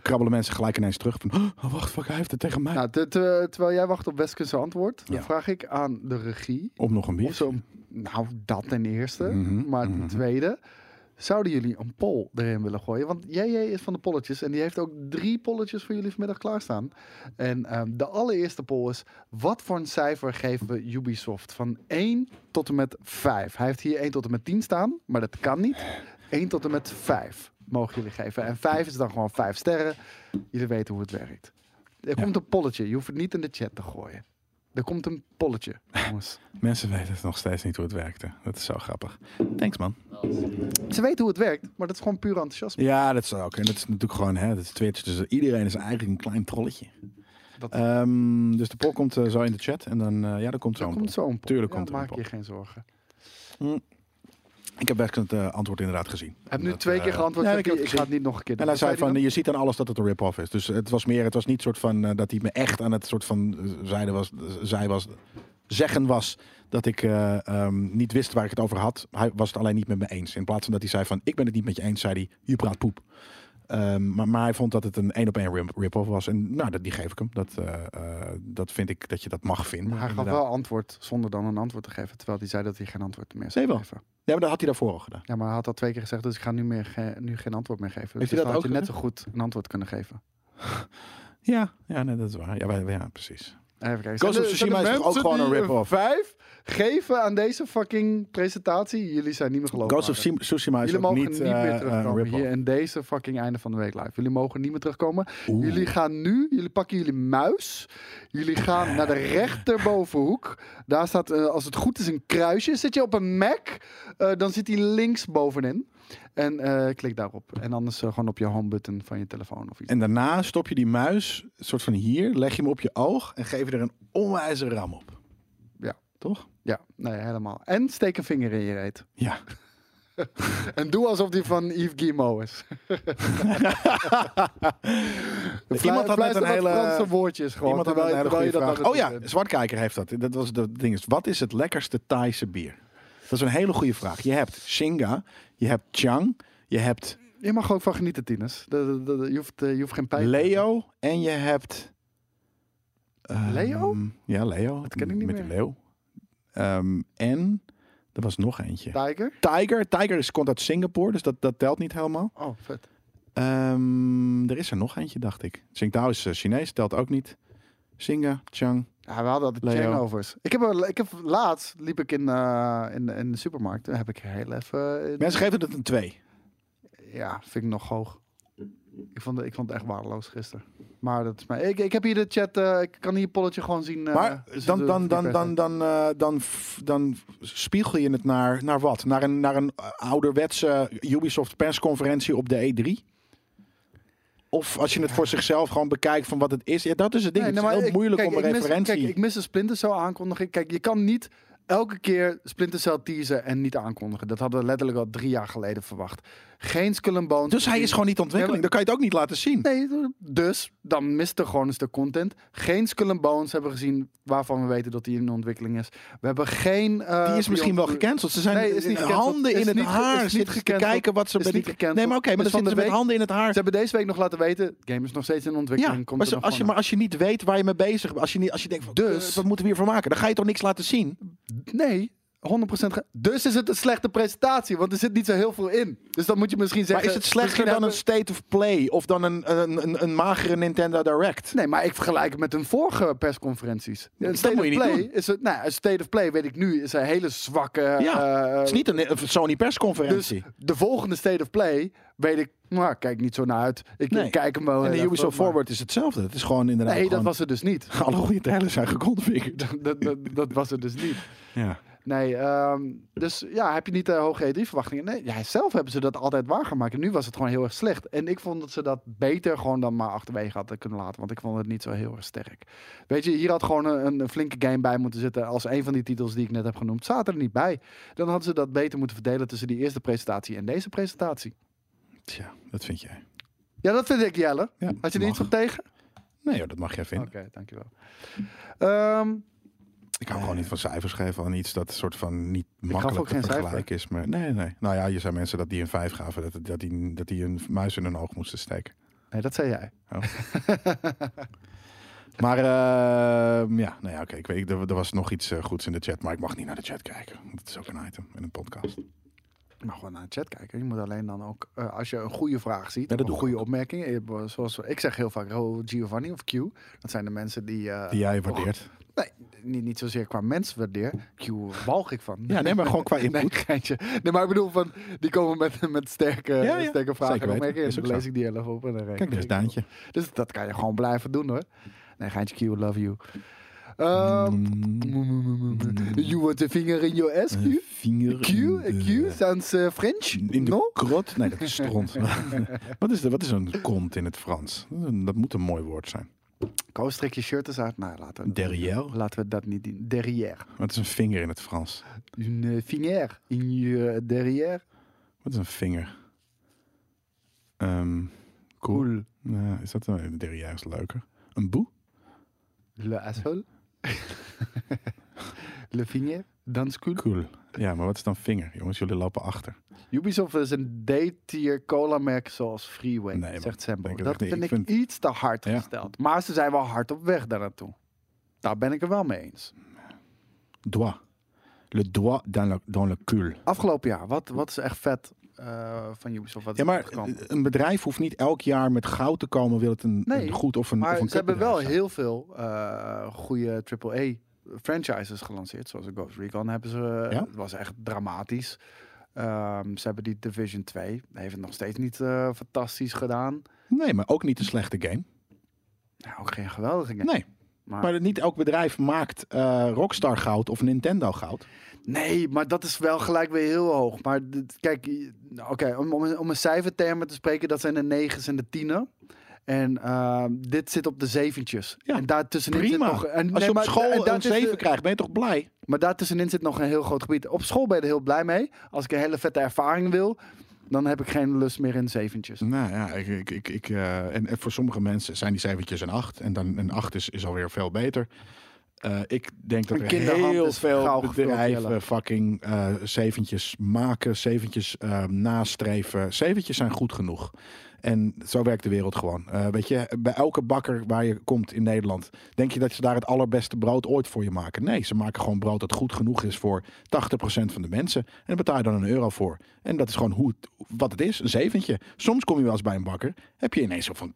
Speaker 2: krabbelen mensen gelijk ineens terug. Van, oh, wacht, fuck, hij heeft het tegen mij.
Speaker 1: Nou, te- te- terwijl jij wacht op Weske's antwoord... dan
Speaker 2: Ah. Ja.
Speaker 1: vraag ik aan de regie...
Speaker 2: Om nog een
Speaker 1: Of
Speaker 2: biertje.
Speaker 1: zo'n, nou, dat ten eerste.
Speaker 2: Mhm,
Speaker 1: Maar ten
Speaker 2: mhm.
Speaker 1: tweede, zouden jullie een poll erin willen gooien? Want JJ is van de polletjes en die heeft ook drie polletjes voor jullie vanmiddag klaarstaan. En ehm, de allereerste poll is, wat voor een cijfer geven we Ubisoft? Van 1 tot en met 5. Hij heeft hier 1 tot en met 10 staan, maar dat kan niet. 1 tot en met 5 mogen jullie geven. En 5 is dan gewoon 5 sterren. Jullie weten hoe het werkt. Er komt een polletje, je hoeft het niet in de chat te gooien. Er komt een polletje, jongens.
Speaker 2: Mensen weten het nog steeds niet hoe het werkte. Dat is zo grappig. Thanks, man.
Speaker 1: Ze weten hoe het werkt, maar dat is gewoon puur enthousiasme.
Speaker 2: Ja, dat is ook. En dat is natuurlijk gewoon, hè, dat is Twitch. Dus iedereen is eigenlijk een klein trolletje.
Speaker 1: Dat-
Speaker 2: Ehm, dus de poll komt eh, zo in de chat. En dan, eh, ja, er komt zo
Speaker 1: Er
Speaker 2: een
Speaker 1: komt
Speaker 2: poll.
Speaker 1: zo een poll.
Speaker 2: Tuurlijk
Speaker 1: Ja,
Speaker 2: komt er een
Speaker 1: maak
Speaker 2: poll.
Speaker 1: je geen zorgen.
Speaker 2: Ik heb best het eh, antwoord inderdaad gezien.
Speaker 1: Ik heb nu
Speaker 2: Dat,
Speaker 1: twee
Speaker 2: eh,
Speaker 1: keer geantwoord.
Speaker 2: ja,
Speaker 1: Sophie,
Speaker 2: ik heb het
Speaker 1: ik ga
Speaker 2: gezien.
Speaker 1: het niet nog een keer
Speaker 2: En
Speaker 1: doen.
Speaker 2: hij zei
Speaker 1: Wat
Speaker 2: van,
Speaker 1: die
Speaker 2: je ziet aan alles dat het een rip-off is. Dus het was meer, het was niet soort van eh, dat hij me echt aan het soort van eh, zeiden was, zij was, zeggen was dat ik eh, ehm, niet wist waar ik het over had. Hij was het alleen niet met me eens. In plaats van dat hij zei van, ik ben het niet met je eens, zei hij, je praat poep. Ehm, maar, maar hij vond dat het een één op één rip- rip-off was. En nou, dat, die geef ik hem. Dat, eh, eh, dat vind ik dat je dat mag vinden.
Speaker 1: dan? Maar hij gaf
Speaker 2: Inderdaad.
Speaker 1: wel antwoord zonder dan een antwoord te geven. Terwijl hij zei dat hij geen antwoord meer
Speaker 2: Nee,
Speaker 1: zou
Speaker 2: wel.
Speaker 1: geven.
Speaker 2: Ja, maar dat had hij daarvoor al gedaan.
Speaker 1: Ja, maar hij had dat twee keer gezegd, dus ik ga nu, meer ge- nu geen antwoord meer geven.
Speaker 2: Heeft
Speaker 1: dus
Speaker 2: hij dat
Speaker 1: dan had
Speaker 2: ook
Speaker 1: je net zo goed een antwoord kunnen geven.
Speaker 2: Ja, ja nee, dat is waar. Ja, wij- ja precies.
Speaker 1: Eh, Even kijken.
Speaker 2: Ghost
Speaker 1: Zijn
Speaker 2: of
Speaker 1: er- zijn
Speaker 2: Tsushima
Speaker 1: er
Speaker 2: is toch ook
Speaker 1: mensen
Speaker 2: gewoon een
Speaker 1: die
Speaker 2: rip-off?
Speaker 1: Vijf geven aan deze fucking presentatie. Jullie zijn niet meer geloofwaardig.
Speaker 2: Ghost of Tsushima- Tsushima is
Speaker 1: Jullie
Speaker 2: ook
Speaker 1: mogen
Speaker 2: niet,
Speaker 1: niet,
Speaker 2: eh,
Speaker 1: meer
Speaker 2: een
Speaker 1: terugkomen
Speaker 2: rip-off.
Speaker 1: hier in deze fucking einde van de week live. Jullie mogen niet meer terugkomen.
Speaker 2: Oeh.
Speaker 1: Jullie gaan nu, jullie pakken jullie muis. Jullie gaan naar de rechterbovenhoek. Daar staat, eh, als het goed is, een kruisje. Zit je op een Mac, eh, dan zit die links bovenin. En eh, klik daarop. En anders eh, gewoon op je home button van je telefoon of iets.
Speaker 2: En daarna stop je die muis, soort van hier, leg je hem op je oog en geef je er een onwijze ram op.
Speaker 1: Ja.
Speaker 2: Toch?
Speaker 1: Ja, nee, helemaal. En steek een vinger in je reet.
Speaker 2: Ja.
Speaker 1: En doe alsof die van Yves Guillemot is.
Speaker 2: Iemand had net een hele-
Speaker 1: Franse woordjes gewoon.
Speaker 2: Iemand had wel een hele
Speaker 1: terwijl
Speaker 2: goede
Speaker 1: je
Speaker 2: vraag.
Speaker 1: dat
Speaker 2: Oh ja,
Speaker 1: aan het-
Speaker 2: Zwartkijker heeft dat. Dat was het ding. is, Wat is het lekkerste Thaise bier? Dat is een hele goede vraag. Je hebt Shinga, je hebt Chang, je hebt
Speaker 1: Je mag ook van genieten, Tinus. Dat- dat- dat- Je hoeft, eh, je hoeft geen pijn.
Speaker 2: Leo en je hebt... ehm,
Speaker 1: Leo?
Speaker 2: Ja, Leo. Dat
Speaker 1: ken ik niet
Speaker 2: Met
Speaker 1: meer.
Speaker 2: die leeuw. Ehm, en er was nog eentje.
Speaker 1: Tiger.
Speaker 2: Tiger. Tiger is, komt uit Singapore, dus dat, dat telt niet helemaal.
Speaker 1: Oh, vet.
Speaker 2: Ehm, er is er nog eentje, dacht ik. Tsingtao is eh, Chinees, telt ook niet. Singa, Chang.
Speaker 1: Ja, we hadden altijd
Speaker 2: Leo.
Speaker 1: changovers. Ik heb, wel- ik heb laatst liep ik in, eh, in, in de supermarkt. Toen heb ik heel even. eh,
Speaker 2: Mensen geven het een 2.
Speaker 1: Ja, vind ik nog hoog. Ik vond, het- ik vond het echt waardeloos gisteren. Maar dat is mij. Ik, ik heb hier de chat. eh, ik kan hier het polletje gewoon zien. eh,
Speaker 2: Maar
Speaker 1: dus
Speaker 2: dan,
Speaker 1: dat
Speaker 2: dan,
Speaker 1: hoeft niet
Speaker 2: dan,
Speaker 1: per se.
Speaker 2: dan, dan, eh, dan, f- dan spiegel je het naar, naar wat? Naar een, naar een eh, ouderwetse Ubisoft persconferentie op de E3? Of als je het voor zichzelf gewoon bekijkt van wat het is. Ja, dat is het ding.
Speaker 1: Nee,
Speaker 2: het
Speaker 1: nee,
Speaker 2: is
Speaker 1: maar
Speaker 2: heel
Speaker 1: ik-
Speaker 2: moeilijk
Speaker 1: kijk,
Speaker 2: om een
Speaker 1: ik mis-
Speaker 2: referentie...
Speaker 1: Kijk, ik mis de Splinter Cell aankondiging. Kijk, je kan niet elke keer Splinter Cell teasen en niet aankondigen. Dat hadden we letterlijk al drie jaar geleden verwacht. Geen Skull and Bones.
Speaker 2: Dus hij is gewoon niet ontwikkeling. Dan kan je het ook niet laten zien.
Speaker 1: Nee, dus dan mist er gewoon een stuk content. Geen Skull and Bones hebben we gezien waarvan we weten dat die in ontwikkeling is. We hebben geen... eh,
Speaker 2: Die is misschien wel
Speaker 1: Beyond-
Speaker 2: gecanceld. Ze zijn
Speaker 1: Nee, is niet
Speaker 2: in
Speaker 1: gecanceld.
Speaker 2: handen
Speaker 1: Is
Speaker 2: in het
Speaker 1: niet ge- is
Speaker 2: haar
Speaker 1: niet
Speaker 2: zitten te
Speaker 1: gecanceld.
Speaker 2: kijken wat ze
Speaker 1: Is
Speaker 2: bij
Speaker 1: niet
Speaker 2: die-
Speaker 1: gecanceld.
Speaker 2: Nee, maar oké, maar
Speaker 1: Is
Speaker 2: dan
Speaker 1: van
Speaker 2: zitten ze
Speaker 1: de
Speaker 2: met
Speaker 1: week.
Speaker 2: handen in het haar.
Speaker 1: Ze hebben deze week nog laten weten, het game is nog steeds in ontwikkeling.
Speaker 2: Ja,
Speaker 1: komt
Speaker 2: maar,
Speaker 1: er
Speaker 2: zo-
Speaker 1: nog
Speaker 2: als je,
Speaker 1: gewoon
Speaker 2: maar als je niet weet waar je mee bezig bent, als je, niet, als je denkt van,
Speaker 1: Dus-
Speaker 2: dus, wat moeten we hiervoor maken? Dan ga je toch niks laten zien?
Speaker 1: Nee, 100% ge- Dus is het een slechte presentatie, want er zit niet zo heel veel in. Dus dan moet je misschien
Speaker 2: Maar
Speaker 1: zeggen...
Speaker 2: is het slechter
Speaker 1: misschien
Speaker 2: dan
Speaker 1: hebben-
Speaker 2: een State of Play of dan een, een, een, een magere Nintendo Direct?
Speaker 1: Nee, maar ik vergelijk het met hun vorige persconferenties.
Speaker 2: Dat
Speaker 1: Een State
Speaker 2: moet je
Speaker 1: of
Speaker 2: niet
Speaker 1: Play
Speaker 2: doen.
Speaker 1: is het, nou, ja, een State of Play weet ik nu is een hele zwakke.
Speaker 2: Ja,
Speaker 1: eh,
Speaker 2: Het is niet een, een Sony
Speaker 1: dus
Speaker 2: persconferentie.
Speaker 1: de volgende State of Play weet ik, nou, ik kijk niet zo naar uit. Ik
Speaker 2: Nee.
Speaker 1: kijk hem Oh, wel.
Speaker 2: en
Speaker 1: heel
Speaker 2: de
Speaker 1: even,
Speaker 2: Ubisoft
Speaker 1: maar-
Speaker 2: Forward is hetzelfde. Het is gewoon inderdaad
Speaker 1: Nee, dat
Speaker 2: gewoon-
Speaker 1: was het dus niet.
Speaker 2: Alle goede trailers zijn geconfigureerd.
Speaker 1: dat, dat, dat, dat was het dus niet.
Speaker 2: Ja.
Speaker 1: Nee, ehm, dus ja, heb je niet de hoge E3-verwachtingen? Nee, ja, zelf hebben ze dat altijd waargemaakt. En nu was het gewoon heel erg slecht. En ik vond dat ze dat beter gewoon dan maar achterwege hadden kunnen laten. Want ik vond het niet zo heel erg sterk. Weet je, hier had gewoon een, een flinke game bij moeten zitten. Als een van die titels die ik net heb genoemd, zaten er niet bij. Dan hadden ze dat beter moeten verdelen tussen die eerste presentatie en deze presentatie.
Speaker 2: Tja, dat vind jij.
Speaker 1: Ja, dat vind ik, Jelle.
Speaker 2: Ja,
Speaker 1: Had je er
Speaker 2: mag.
Speaker 1: iets op tegen?
Speaker 2: Nee hoor, dat mag jij
Speaker 1: Oké,
Speaker 2: vinden.
Speaker 1: dankjewel. Ehm,
Speaker 2: Ik hou gewoon niet van cijfers geven aan iets dat soort van niet makkelijk
Speaker 1: ook
Speaker 2: te
Speaker 1: geen cijfer.
Speaker 2: vergelijken is. Maar nee, nee. Nou ja, je zei mensen dat die een 5 gaven, dat, dat, die, dat die een muis in hun oog moesten steken.
Speaker 1: nee, dat zei jij.
Speaker 2: Maar ehm, ja, nou ja, oké. ik weet, er, er was nog iets eh, goeds in de chat, maar ik mag niet naar de chat kijken. Want het is ook een item in een podcast.
Speaker 1: Je mag gewoon naar de chat kijken. Je moet alleen dan ook, eh, als je een goede vraag ziet,
Speaker 2: Ja,
Speaker 1: of
Speaker 2: dat
Speaker 1: een
Speaker 2: doe ik
Speaker 1: goede opmerking. eh, bo- Zoals ik zeg heel vaak, oh, Giovanni of Q. Dat zijn de mensen die, eh,
Speaker 2: Die jij waardeert.
Speaker 1: nee, niet, niet zozeer qua mens waardeer. Q balg ik van.
Speaker 2: Ja, nee, maar gewoon qua
Speaker 1: Nee,
Speaker 2: input.
Speaker 1: geintje. Nee, maar ik bedoel, van, die komen met, met sterke,
Speaker 2: Ja, ja.
Speaker 1: sterke vragen en
Speaker 2: Zeker weten.
Speaker 1: opmerkingen. En
Speaker 2: Is ook
Speaker 1: dan lees
Speaker 2: zo.
Speaker 1: ik die heel even op. En dan
Speaker 2: Kijk, daar is Daantje.
Speaker 1: Dus dat kan je gewoon blijven doen hoor. Nee, geintje Q, love you. Ehm,
Speaker 2: Mm, eh,
Speaker 1: you want a finger in your ass, Q?
Speaker 2: Vinger.
Speaker 1: Q?
Speaker 2: in de-
Speaker 1: Q? Sounds eh, French?
Speaker 2: In de
Speaker 1: No?
Speaker 2: krot? Nee, dat is stront. wat, is de, wat is een kont in het Frans? Dat moet een mooi woord zijn.
Speaker 1: Koos, trek je shirt eens uit. Nou, laten we,
Speaker 2: Derrière?
Speaker 1: laten we dat niet doen. Derrière.
Speaker 2: Wat is een vinger in het Frans?
Speaker 1: Een eh, vinger in je eh, derrière.
Speaker 2: Wat is een vinger? Ehm, cool.
Speaker 1: Cool.
Speaker 2: Ja, is dat een derrière is leuker? Een boe?
Speaker 1: Le asshole. Le vinger. Dans cool.
Speaker 2: Cool. Ja, maar wat is dan vinger? Jongens, jullie lopen achter.
Speaker 1: Ubisoft is een D-tier cola-merk zoals Freeway,
Speaker 2: Nee, man.
Speaker 1: zegt Sambo.
Speaker 2: Denk het
Speaker 1: dat
Speaker 2: echt niet.
Speaker 1: vind ik
Speaker 2: Ik vind-
Speaker 1: iets te hard
Speaker 2: Ja.
Speaker 1: gesteld. Maar ze zijn wel hard op weg daar naartoe. Daar ben ik er wel mee eens.
Speaker 2: Doigt. Le doigt dans le, dans le cul.
Speaker 1: Afgelopen jaar, wat, wat is echt vet eh, van Ubisoft? Wat is
Speaker 2: Ja, maar
Speaker 1: uitgekomen?
Speaker 2: een bedrijf hoeft niet elk jaar met goud te komen. Wil het een,
Speaker 1: Nee,
Speaker 2: een goed of een,
Speaker 1: Maar
Speaker 2: of een
Speaker 1: ze hebben wel
Speaker 2: kutbedrijf zijn.
Speaker 1: heel veel eh goede AAA franchises gelanceerd. Zoals Ghost Recon hebben ze. eh,
Speaker 2: Ja?
Speaker 1: Het was echt dramatisch. Ehm, ze hebben die Division 2. Heeft het nog steeds niet eh, fantastisch gedaan.
Speaker 2: Nee, maar ook niet een slechte game.
Speaker 1: Nou, ook geen geweldige game.
Speaker 2: Nee.
Speaker 1: Maar-
Speaker 2: Maar niet elk bedrijf maakt eh, Rockstar goud of Nintendo goud.
Speaker 1: Nee, maar dat is wel gelijk weer heel hoog. Maar dit- kijk, i- oké, om, om, om een cijfertermen te spreken, dat zijn de negens en de tienen. En ehm, dit zit op de zeventjes.
Speaker 2: Ja,
Speaker 1: en daartussenin
Speaker 2: Prima.
Speaker 1: zit nog... En,
Speaker 2: Als
Speaker 1: nee,
Speaker 2: je op
Speaker 1: maar- en
Speaker 2: school
Speaker 1: dat
Speaker 2: een
Speaker 1: is de-
Speaker 2: 7 krijgt, ben je toch blij?
Speaker 1: Maar daartussenin zit nog een heel groot gebied. Op school ben je er heel blij mee. Als ik een hele vette ervaring wil, dan heb ik geen lust meer in zeventjes.
Speaker 2: Nou ja, ik, ik, ik, ik, eh, en, en voor sommige mensen zijn die zeventjes een acht. En dan een acht is, is alweer veel beter. Eh, ik denk dat
Speaker 1: Een
Speaker 2: er
Speaker 1: kinderhand
Speaker 2: heel
Speaker 1: is gauw
Speaker 2: veel
Speaker 1: gevuld, Jelle.
Speaker 2: bedrijven fucking eh zeventjes maken, zeventjes eh, nastreven. Zeventjes zijn goed genoeg. En zo werkt de wereld gewoon. Eh, weet je, bij elke bakker waar je komt in Nederland, denk je dat ze daar het allerbeste brood ooit voor je maken? Nee, ze maken gewoon brood dat goed genoeg is voor 80% van de mensen. En daar betaal je dan een euro voor. En dat is gewoon hoe het- wat het is, een zeventje. Soms kom je wel eens bij een bakker, heb je ineens zo van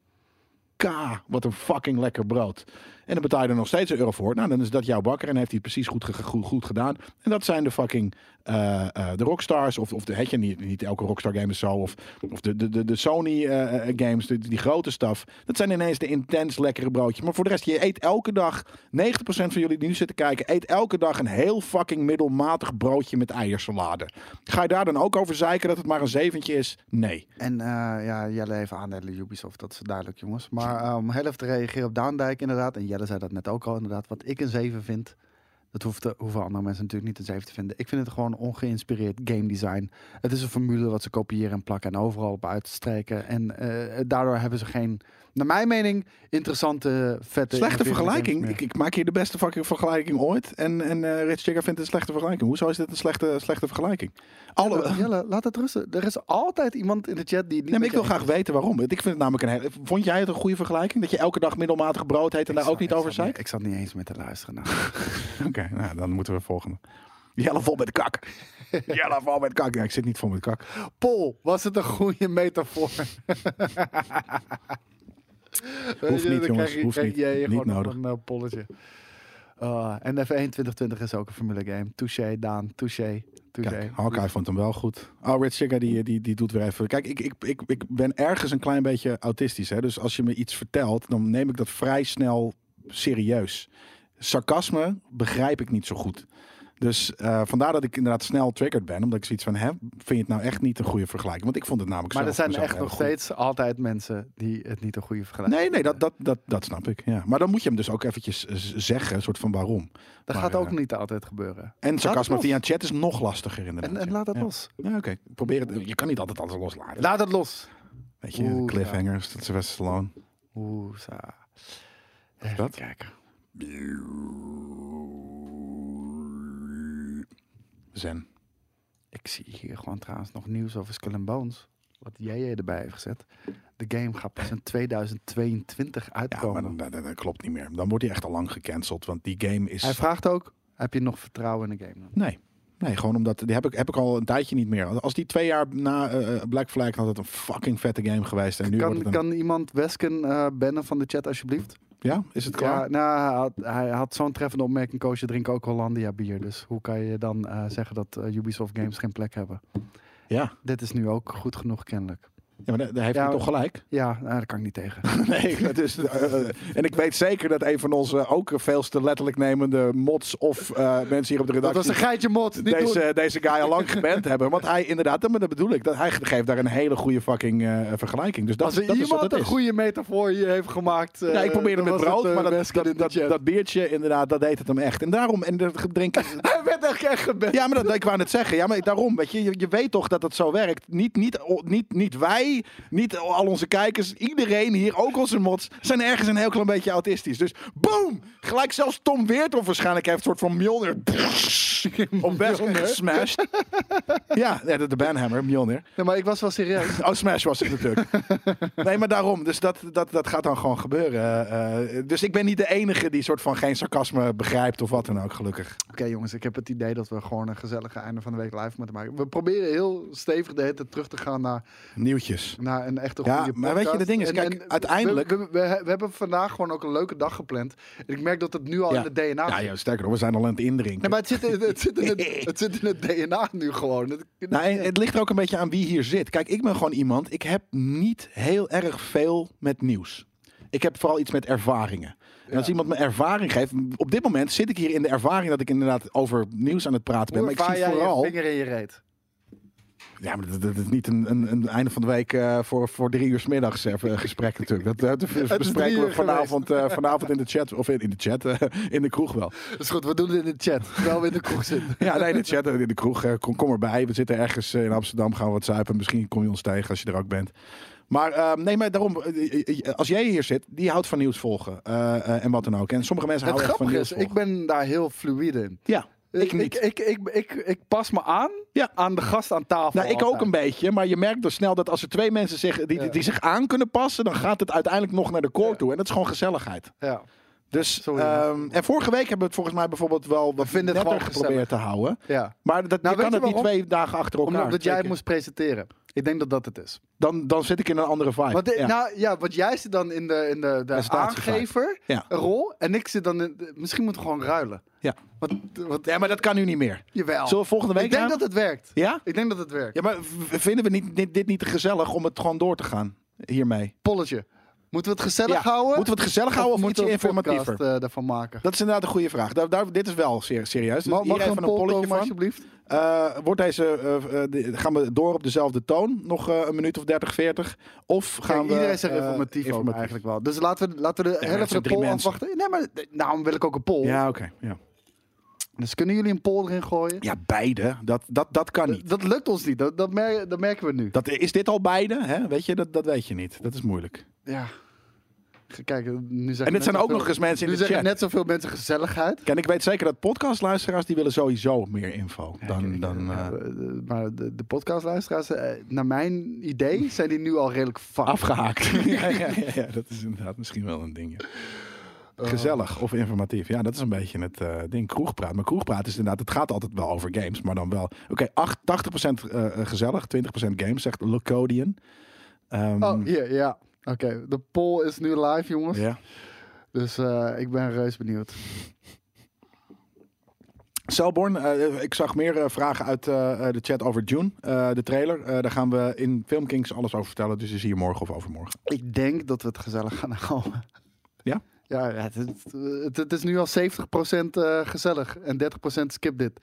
Speaker 2: K, wat een fucking lekker brood. En dan betaal je er nog steeds een euro voor. Nou, dan is dat jouw bakker en heeft hij het precies goed, ge- goed, goed gedaan. En dat zijn de fucking eh, eh, de Rockstars. Of, of de, hetje, niet, niet elke Rockstar game is zo. Of, of de, de, de, de Sony eh, eh, games, de- die grote staf. Dat zijn ineens de intens lekkere broodjes. Maar voor de rest, je eet elke dag, 90% van jullie die nu zitten kijken, eet elke dag een heel fucking middelmatig broodje met eiersalade. Ga je daar dan ook over zeiken dat het maar een zeventje is? Nee.
Speaker 1: En eh, ja, Jelle even aandelen Ubisoft, dat is duidelijk jongens. Maar eh, om heel even te reageren op Daandijk inderdaad. En Jelle zei dat net ook al inderdaad. Wat ik een 7 vind, dat hoeft de, hoeven andere mensen natuurlijk niet een 7 te vinden. Ik vind het gewoon ongeïnspireerd game design. Het is een formule wat ze kopiëren en plakken en overal op uitstreken. En eh, daardoor hebben ze geen, naar mijn mening, interessante, vette...
Speaker 2: Slechte
Speaker 1: innoverende games
Speaker 2: vergelijking.
Speaker 1: meer.
Speaker 2: Ik, ik maak hier de beste fucking vergelijking ooit. En, en eh Rich Jigger vindt het een slechte vergelijking. Hoezo is dit een slechte, slechte vergelijking? Alle,
Speaker 1: Eh, Jelle, laat het rusten. Er is altijd iemand in de chat die het niet.
Speaker 2: nee, maar
Speaker 1: met
Speaker 2: ik wil
Speaker 1: je
Speaker 2: graag weten waarom. Want Ik vind het namelijk een hele... Vond jij het een goede vergelijking? Dat je elke dag middelmatig brood heet en
Speaker 1: eens-
Speaker 2: daar ook niet
Speaker 1: Ik zat
Speaker 2: over zei?
Speaker 1: Ik zat niet eens met te luisteren. Nou.
Speaker 2: Oké, nou, dan moeten we volgende. Jelle vol met kak. Jelle vol met kak. Nee, ik zit niet vol met kak.
Speaker 1: Pol, was het een goede metafoor?
Speaker 2: niet, jongens, hoeft
Speaker 1: krijg
Speaker 2: niet.
Speaker 1: jij
Speaker 2: Niet
Speaker 1: gewoon nog
Speaker 2: nodig.
Speaker 1: een eh, polletje. Ah, en F1 2020 is ook een Formule Game. Touché, Daan. Touché. Touché.
Speaker 2: Kijk, Hawkeye vond hem wel goed. Oh, Red Sugar, die, die, die doet weer even... Kijk, ik, ik, ik, ik ben ergens een klein beetje autistisch. Hè? Dus als je me iets vertelt, dan neem ik dat vrij snel serieus. Sarcasme begrijp ik niet zo goed. Dus eh, vandaar dat ik inderdaad snel triggered ben. Omdat ik zoiets van, hè, vind je het nou echt niet een goede vergelijking? Want ik vond het namelijk
Speaker 1: maar er
Speaker 2: zelf
Speaker 1: zijn
Speaker 2: mezelf
Speaker 1: echt
Speaker 2: heel
Speaker 1: nog
Speaker 2: goed.
Speaker 1: steeds altijd mensen die het niet een goede vergelijking
Speaker 2: Nee, nee, dat, dat, dat, dat snap ik. Ja. Maar dan moet je hem dus ook eventjes eh, z- zeggen, een soort van waarom.
Speaker 1: Dat
Speaker 2: maar,
Speaker 1: gaat ook
Speaker 2: eh,
Speaker 1: niet altijd gebeuren.
Speaker 2: En sarcasme
Speaker 1: los.
Speaker 2: via chat is nog lastiger inderdaad.
Speaker 1: En, en
Speaker 2: ja.
Speaker 1: laat dat
Speaker 2: Ja.
Speaker 1: los.
Speaker 2: Ja, Oké, probeer het. Je kan niet altijd alles loslaten.
Speaker 1: Laat het los.
Speaker 2: Weet je,
Speaker 1: Oeh,
Speaker 2: cliffhangers, dat is Sylvester Stallone.
Speaker 1: Oeh, sa. Even
Speaker 2: dat?
Speaker 1: kijken.
Speaker 2: Zen.
Speaker 1: Ik zie hier gewoon trouwens nog nieuws over Skull and Bones. Wat jij erbij heeft gezet. De game gaat pas in 2022
Speaker 2: Ja, maar
Speaker 1: uitkomen.
Speaker 2: dan, dan- dan klopt niet meer. Dan wordt hij echt al lang gecanceld, want die game is...
Speaker 1: Hij vraagt ook, heb je nog vertrouwen in de game?
Speaker 2: Nee. Nee, gewoon omdat... Die heb ik, heb ik al een tijdje niet meer. Als die twee jaar na eh, Black Flag had het een fucking vette game geweest. En nu wordt
Speaker 1: Kan,
Speaker 2: het een...
Speaker 1: kan iemand Wesken eh, bannen van de chat alsjeblieft?
Speaker 2: Ja, is het klaar?
Speaker 1: Ja, nou, hij had, hij had zo'n treffende opmerking, Koos, je drinkt ook Hollandia bier. Dus hoe kan je dan eh, zeggen dat eh, Ubisoft games geen plek hebben?
Speaker 2: Ja.
Speaker 1: Dit is nu ook goed genoeg kennelijk.
Speaker 2: Ja, maar daar daar heeft
Speaker 1: Ja,
Speaker 2: hij
Speaker 1: maar-
Speaker 2: toch gelijk?
Speaker 1: Ja, nou, daar kan ik niet tegen.
Speaker 2: Nee, dat is, eh, eh, en ik weet zeker dat een van onze ook veel te letterlijk nemende mods of eh, mensen hier op de
Speaker 1: Dat
Speaker 2: redactie...
Speaker 1: was een geitje mot. Niet doen.
Speaker 2: deze, deze guy al lang geband hebben. Want hij inderdaad, dat, maar dat bedoel ik. Dat, hij geeft daar een hele goede fucking eh, vergelijking. Dus dat,
Speaker 1: Als er
Speaker 2: dat is wat
Speaker 1: iemand
Speaker 2: het
Speaker 1: een
Speaker 2: is.
Speaker 1: goede metafoor hier heeft gemaakt. eh,
Speaker 2: ja, ik probeerde
Speaker 1: dan
Speaker 2: met
Speaker 1: was
Speaker 2: brood,
Speaker 1: het, eh,
Speaker 2: maar dat,
Speaker 1: Weskin in
Speaker 2: dat,
Speaker 1: de
Speaker 2: dat,
Speaker 1: chat.
Speaker 2: dat biertje inderdaad, dat deed het hem echt. En daarom, en dat drink
Speaker 1: Hij werd echt, echt gebeld.
Speaker 2: Ja, maar dat ik wou net zeggen. Ja, maar daarom, weet je, je, je weet toch dat het zo werkt. Niet, niet, o- niet, niet wij, niet al onze kijkers, iedereen hier, ook onze mods, zijn ergens een heel klein beetje autistisch. Dus boom! Gelijk zelfs Tom Weertof waarschijnlijk heeft een soort van Mjolnir op Wesker gesmashed. ja, ja, de, de banhammer, Mjolnir.
Speaker 1: Nee, maar ik was wel serieus.
Speaker 2: Oh, Smash was het natuurlijk. nee, maar daarom. Dus dat, dat, dat gaat dan gewoon gebeuren. Eh, eh, dus ik ben niet de enige die soort van geen sarcasme begrijpt of wat dan ook, gelukkig.
Speaker 1: Oké jongens, ik heb het idee dat we gewoon een gezellige einde van de week live moeten maken. We proberen heel stevig de hele tijd terug te gaan naar,
Speaker 2: Nieuwtjes.
Speaker 1: naar een echte
Speaker 2: Ja,
Speaker 1: goede podcast.
Speaker 2: maar weet je, de ding is, kijk,
Speaker 1: we-
Speaker 2: uiteindelijk-
Speaker 1: We, we, we hebben vandaag gewoon ook een leuke dag gepland. En ik merk dat het nu al in het DNA
Speaker 2: Ja,
Speaker 1: zit.
Speaker 2: ja, sterker nog, we zijn al aan het indrinken.
Speaker 1: Nee, maar het zit, in, het, zit in het, het zit in het DNA nu gewoon. Het,
Speaker 2: Nou, en het ligt er ook een beetje aan wie hier zit. Kijk, ik ben gewoon iemand, ik heb niet heel erg veel met nieuws. Ik heb vooral iets met ervaringen. En als iemand me ervaring geeft, op dit moment zit ik hier in de ervaring dat ik inderdaad over nieuws aan het praten
Speaker 1: hoe
Speaker 2: ben. Maar ik
Speaker 1: ervaar
Speaker 2: zie
Speaker 1: jij
Speaker 2: vooral.
Speaker 1: je vinger in je reet?
Speaker 2: Ja, maar dat- dat dat is niet een, een, een einde van de week eh, voor, voor drie uur 's middags eh, gesprek natuurlijk. Dat, dat
Speaker 1: is drie
Speaker 2: bespreken we
Speaker 1: uur
Speaker 2: vanavond, eh, vanavond in de chat, of in, in de chat, eh, in de kroeg wel.
Speaker 1: Dat is goed, we doen het in de chat. Terwijl we in de kroeg zitten.
Speaker 2: Ja, nee, de chat in de kroeg. eh, Kom, kom erbij. We zitten ergens eh, in Amsterdam, gaan we wat zuipen. Misschien kom je ons tegen als je er ook bent. Maar eh, nee, maar daarom, eh, eh, eh, als jij hier zit, die houdt van nieuws volgen. eh, eh, en wat dan ook. En sommige mensen
Speaker 1: Het
Speaker 2: houden echt van
Speaker 1: grappige
Speaker 2: nieuws
Speaker 1: is,
Speaker 2: volgen.
Speaker 1: ik ben daar heel fluïde in.
Speaker 2: Ja, ik niet.
Speaker 1: Ik, ik, ik, ik, ik pas me aan
Speaker 2: Ja.
Speaker 1: aan de gast aan tafel.
Speaker 2: nou, ik ook
Speaker 1: altijd.
Speaker 2: een beetje, maar je merkt dan snel dat als er twee mensen zich, die,
Speaker 1: Ja.
Speaker 2: die zich aan kunnen passen, dan gaat het uiteindelijk nog naar de core
Speaker 1: Ja.
Speaker 2: toe. En dat is gewoon gezelligheid.
Speaker 1: Ja.
Speaker 2: Dus,
Speaker 1: Zo is het.
Speaker 2: ehm, en vorige week hebben we het volgens mij bijvoorbeeld wel wat
Speaker 1: vinden het
Speaker 2: netter
Speaker 1: gewoon
Speaker 2: geprobeerd te houden.
Speaker 1: ja.
Speaker 2: Maar dat,
Speaker 1: weet
Speaker 2: je kan
Speaker 1: je
Speaker 2: het niet
Speaker 1: waarom?
Speaker 2: twee dagen achter elkaar.
Speaker 1: Omdat jij
Speaker 2: twee
Speaker 1: het
Speaker 2: keer.
Speaker 1: moest presenteren. Ik denk dat dat het is.
Speaker 2: dan, dan zit ik in een andere vibe.
Speaker 1: Want, eh,
Speaker 2: Ja.
Speaker 1: Nou, ja, want jij zit dan in de, in de, de
Speaker 2: Presentatievibe.
Speaker 1: aangeverrol.
Speaker 2: Ja.
Speaker 1: En ik zit dan in... de- misschien moeten we gewoon ruilen.
Speaker 2: Ja.
Speaker 1: Want, want,
Speaker 2: ja, maar dat kan nu niet meer.
Speaker 1: jawel.
Speaker 2: Zullen we volgende week
Speaker 1: ik denk
Speaker 2: gaan?
Speaker 1: dat het werkt.
Speaker 2: Ja?
Speaker 1: Ik denk dat het werkt.
Speaker 2: Ja, maar v- vinden we niet, dit, dit niet te gezellig om het gewoon door te gaan hiermee?
Speaker 1: Polletje. Moeten we het gezellig
Speaker 2: Ja.
Speaker 1: houden?
Speaker 2: Moeten we het gezellig houden of,
Speaker 1: moeten
Speaker 2: moeten
Speaker 1: we
Speaker 2: iets
Speaker 1: een podcast
Speaker 2: informatiever?
Speaker 1: eh, daarvan maken?
Speaker 2: Dat is inderdaad een goede vraag. Daar, daar, dit is wel ser- serieus. Dus
Speaker 1: Mag, mag
Speaker 2: hier
Speaker 1: er
Speaker 2: even
Speaker 1: een
Speaker 2: een
Speaker 1: poll
Speaker 2: polletje
Speaker 1: komen,
Speaker 2: van.
Speaker 1: alsjeblieft?
Speaker 2: Eh, wordt deze, eh, eh, de- gaan we door op dezelfde toon? Nog eh, een minuut of 30, 40? Of gaan
Speaker 1: Kijk,
Speaker 2: we...
Speaker 1: iedereen zegt
Speaker 2: eh,
Speaker 1: informatief, ook
Speaker 2: informatief?
Speaker 1: eigenlijk wel. Dus laten we, laten we de
Speaker 2: maar
Speaker 1: helft
Speaker 2: het
Speaker 1: van
Speaker 2: zijn
Speaker 1: de
Speaker 2: drie
Speaker 1: poll
Speaker 2: mensen.
Speaker 1: afwachten. Nee, maar eh, daarom wil ik ook een poll.
Speaker 2: Ja, oké. Ja.
Speaker 1: Dus kunnen jullie een poll erin gooien?
Speaker 2: ja, beide. Dat, dat, dat kan niet.
Speaker 1: Dat, dat lukt ons niet. Dat, dat, mer- dat merken we nu.
Speaker 2: Dat, is dit al beide? Hè? Weet je, dat, dat weet je niet. Dat is moeilijk.
Speaker 1: Ja. Kijk, nu zeggen
Speaker 2: En dit
Speaker 1: net
Speaker 2: zijn ook
Speaker 1: zoveel-
Speaker 2: nog eens mensen in
Speaker 1: Nu
Speaker 2: de
Speaker 1: zeggen
Speaker 2: chat.
Speaker 1: net zoveel mensen gezelligheid.
Speaker 2: Kijk, ik weet zeker dat podcastluisteraars die willen sowieso meer info
Speaker 1: Kijk,
Speaker 2: dan.
Speaker 1: ik-
Speaker 2: dan
Speaker 1: ja,
Speaker 2: eh,
Speaker 1: eh, maar de, de podcastluisteraars, eh, naar mijn idee, zijn die nu al redelijk fucked.
Speaker 2: afgehaakt. ja, ja, ja, ja, dat is inderdaad misschien wel een ding. ja.
Speaker 1: Ehm.
Speaker 2: Gezellig of informatief. Ja, dat is een beetje het eh, ding. Kroegpraat. Maar kroegpraat is inderdaad, het gaat altijd wel over games, maar dan wel. Oké, acht- 80% eh, eh, gezellig, 20% games, zegt Locodian. Ehm,
Speaker 1: Oh, hier, ja. Oké, de poll is nu live, jongens.
Speaker 2: ja.
Speaker 1: Dus eh, ik ben reus benieuwd.
Speaker 2: Selborn, eh, ik zag meer eh, vragen uit eh, eh, de chat over June, eh, de trailer. Eh, daar gaan we in Filmkings alles over vertellen, dus is hier morgen of overmorgen.
Speaker 1: Ik denk dat we het gezellig gaan houden.
Speaker 2: Ja?
Speaker 1: Ja, ja, het, het, het- het is nu al 70% eh, gezellig en 30% skip dit.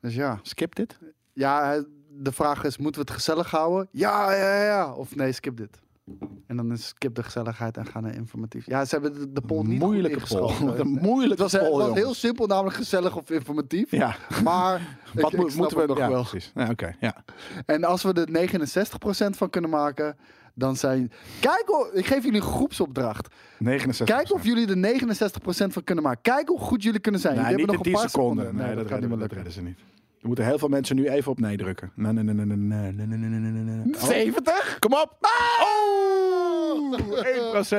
Speaker 1: Dus ja.
Speaker 2: Skip dit.
Speaker 1: Ja, eh, de vraag is, moeten we het gezellig houden? Ja, ja, ja. Of nee, skip dit. En dan is skip de gezelligheid en gaan naar informatief. Ja, ze hebben de, de poll niet
Speaker 2: moeilijke
Speaker 1: goed
Speaker 2: poll.
Speaker 1: ingeschaald.
Speaker 2: Wat een
Speaker 1: Het
Speaker 2: moeilijke
Speaker 1: was, het
Speaker 2: poll,
Speaker 1: was
Speaker 2: jongens.
Speaker 1: heel simpel, namelijk gezellig of informatief.
Speaker 2: Ja,
Speaker 1: Maar ik-
Speaker 2: wat
Speaker 1: ik
Speaker 2: mo-
Speaker 1: snap
Speaker 2: moeten we
Speaker 1: het nog
Speaker 2: ja,
Speaker 1: wel.
Speaker 2: Precies. Ja, oké, ja.
Speaker 1: En als we er 69% van kunnen maken, dan zijn... Kijk, hoe- ik geef jullie een groepsopdracht.
Speaker 2: 69.
Speaker 1: Kijk of jullie er 69% van kunnen maken. Kijk hoe goed jullie kunnen zijn.
Speaker 2: Nee,
Speaker 1: jullie
Speaker 2: niet in
Speaker 1: hebben nog
Speaker 2: 10
Speaker 1: een
Speaker 2: seconden.
Speaker 1: paar seconden.
Speaker 2: Nee, dat,
Speaker 1: gaat niet meer
Speaker 2: redden, dat
Speaker 1: lukken.
Speaker 2: redden ze niet. Er moeten heel veel mensen nu even op nee drukken. Nee, nee, nee, nee, nee, nee, nee, nee, nee, nee, nee, nee. Oh,
Speaker 1: 70?
Speaker 2: Kom op! Oh!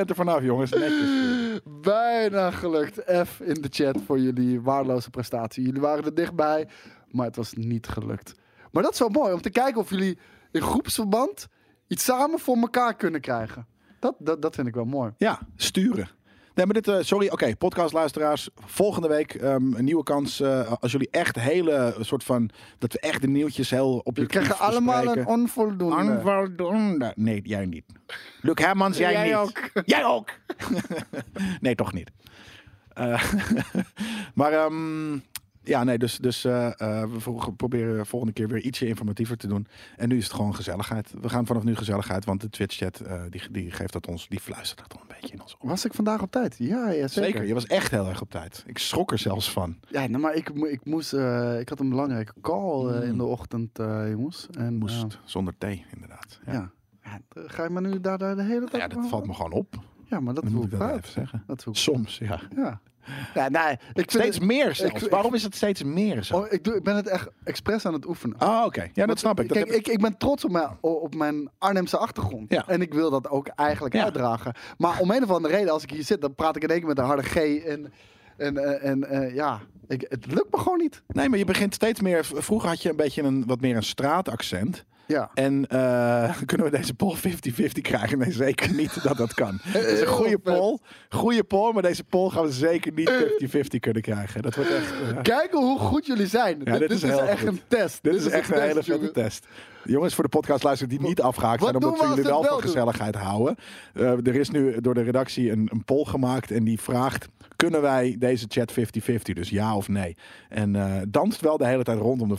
Speaker 2: 1% ervan af, jongens. Netjes.
Speaker 1: Bijna gelukt. F in de chat voor jullie waardeloze prestatie. Jullie waren er dichtbij, maar het was niet gelukt. Maar dat is wel mooi om te kijken of jullie in groepsverband iets samen voor elkaar kunnen krijgen. Dat, dat, dat vind ik wel mooi.
Speaker 2: Ja, sturen. Nee, maar dit, eh, sorry, oké, podcastluisteraars. Volgende week ehm, een nieuwe kans. eh, als jullie echt hele soort van. dat we echt de nieuwtjes heel op
Speaker 1: We krijgen allemaal een onvoldoende.
Speaker 2: Onvoldoende. Nee, jij niet. Luc Hermans, jij,
Speaker 1: Jij
Speaker 2: niet.
Speaker 1: ook.
Speaker 2: Jij ook. nee, toch niet. Eh, maar ehm, ja, nee, dus, dus eh, eh, we vro- proberen volgende keer weer ietsje informatiever te doen. En nu is het gewoon gezelligheid. We gaan vanaf nu gezelligheid, want de Twitch-chat eh, die, die geeft dat ons, die fluistert dat al een beetje in ons oor.
Speaker 1: Was ik vandaag op tijd? Ja, ja
Speaker 2: Zeker.
Speaker 1: zeker.
Speaker 2: je was echt heel erg op tijd. Ik schrok er zelfs van.
Speaker 1: Ja, nou, maar ik, mo- ik, moest, eh, ik had een belangrijke call eh, in de ochtend, eh, jongens. En,
Speaker 2: Hmm. Moest,
Speaker 1: eh,
Speaker 2: zonder thee inderdaad. Ja,
Speaker 1: ja. Ja, eh, Ga je maar nu daar, daar de hele
Speaker 2: Nou
Speaker 1: tijd
Speaker 2: ja
Speaker 1: over-
Speaker 2: dat valt me gewoon op.
Speaker 1: Ja, maar dat
Speaker 2: Dan moet
Speaker 1: voelt
Speaker 2: ik dat
Speaker 1: fout.
Speaker 2: even zeggen.
Speaker 1: Dat voelt
Speaker 2: Soms, ja.
Speaker 1: Ja. ja nee, ik, vind
Speaker 2: nou, Steeds
Speaker 1: het-
Speaker 2: meer zelfs.
Speaker 1: ik-
Speaker 2: Waarom is het steeds meer zo?
Speaker 1: oh, ik, doe, ik ben het echt expres aan het oefenen.
Speaker 2: Oh, oké. Ja, dat
Speaker 1: Want,
Speaker 2: snap ik. Dat
Speaker 1: kijk,
Speaker 2: heb ik.
Speaker 1: ik, ik ben trots op mijn, op mijn Arnhemse achtergrond.
Speaker 2: Ja.
Speaker 1: En ik wil dat ook eigenlijk
Speaker 2: Ja.
Speaker 1: uitdragen. Maar om een of andere reden, als ik hier zit, dan praat ik in één keer met een harde G. En, en, eh, en eh, ja, ik, het lukt me gewoon niet.
Speaker 2: Nee, maar je begint steeds meer. v- Vroeger had je een beetje een wat meer een straataccent.
Speaker 1: Ja.
Speaker 2: En eh, kunnen we deze poll 50-50 krijgen? Nee, zeker niet dat dat kan. Het is een goede
Speaker 1: Heel vet.
Speaker 2: poll. Goede poll, maar deze poll gaan we zeker
Speaker 1: Eh.
Speaker 2: niet 50-50 kunnen krijgen. Dat wordt echt. eh,
Speaker 1: Kijken hoe goed jullie zijn.
Speaker 2: dit
Speaker 1: dit,
Speaker 2: is
Speaker 1: is,
Speaker 2: heel
Speaker 1: echt
Speaker 2: goed.
Speaker 1: Dus een test.
Speaker 2: dit is echt een
Speaker 1: test,
Speaker 2: hele vette
Speaker 1: jongen.
Speaker 2: test. Jongens, voor de podcastluisteraars die niet afgehaakt
Speaker 1: wat
Speaker 2: zijn,
Speaker 1: doen
Speaker 2: omdat
Speaker 1: we
Speaker 2: we jullie
Speaker 1: als we
Speaker 2: wel
Speaker 1: het wel
Speaker 2: van
Speaker 1: doen?
Speaker 2: gezelligheid houden. Eh, er is nu door de redactie een, een poll gemaakt en die vraagt: kunnen wij deze chat 50-50? Dus ja of nee? En eh, danst wel de hele tijd rondom de 50%,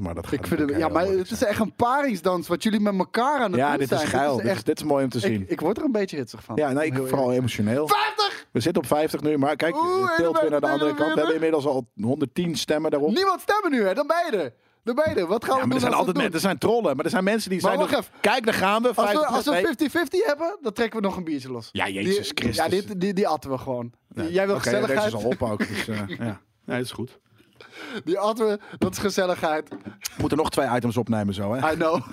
Speaker 2: maar dat gaat
Speaker 1: Ik vind het,
Speaker 2: natuurlijk
Speaker 1: ja,
Speaker 2: heel
Speaker 1: maar
Speaker 2: moeilijk
Speaker 1: het is echt een paringsdans wat jullie met elkaar aan het
Speaker 2: Ja,
Speaker 1: doen
Speaker 2: dit
Speaker 1: zijn.
Speaker 2: is geil. Dit is,
Speaker 1: echt,
Speaker 2: dit is mooi om te zien.
Speaker 1: ik, ik word er een beetje hitsig van.
Speaker 2: ja, nee, ik,
Speaker 1: Om heel
Speaker 2: vooral emotioneel.
Speaker 1: 50!
Speaker 2: We zitten op 50 nu, maar kijk,
Speaker 1: Oeh,
Speaker 2: het
Speaker 1: en
Speaker 2: tilt
Speaker 1: dan
Speaker 2: weer naar de
Speaker 1: ben je
Speaker 2: andere kant. We
Speaker 1: weer
Speaker 2: hebben inmiddels al 110 stemmen daarop.
Speaker 1: Niemand stemmen nu, hè? Dan ben je er. Dan ben je er. Wat gaan we
Speaker 2: Ja, maar
Speaker 1: doen
Speaker 2: er zijn
Speaker 1: als we
Speaker 2: altijd
Speaker 1: het doen?
Speaker 2: mensen, er zijn trollen, maar er zijn mensen die
Speaker 1: Maar
Speaker 2: zijn.
Speaker 1: wacht
Speaker 2: nog-
Speaker 1: even.
Speaker 2: Kijk, daar gaan we.
Speaker 1: Als we,
Speaker 2: 50,
Speaker 1: als
Speaker 2: nee.
Speaker 1: we 50-50 hebben, dan trekken we nog een biertje los.
Speaker 2: Ja, Jezus
Speaker 1: die,
Speaker 2: Christus.
Speaker 1: Ja, dit, die, die atten we gewoon. Jij wil
Speaker 2: Oké, ja,
Speaker 1: gezelligheid.
Speaker 2: Deze is al op ook. Dus, eh, ja. Nee, dat is goed.
Speaker 1: Die atten we, dat is gezelligheid.
Speaker 2: We moeten nog twee items opnemen zo, hè?
Speaker 1: I know.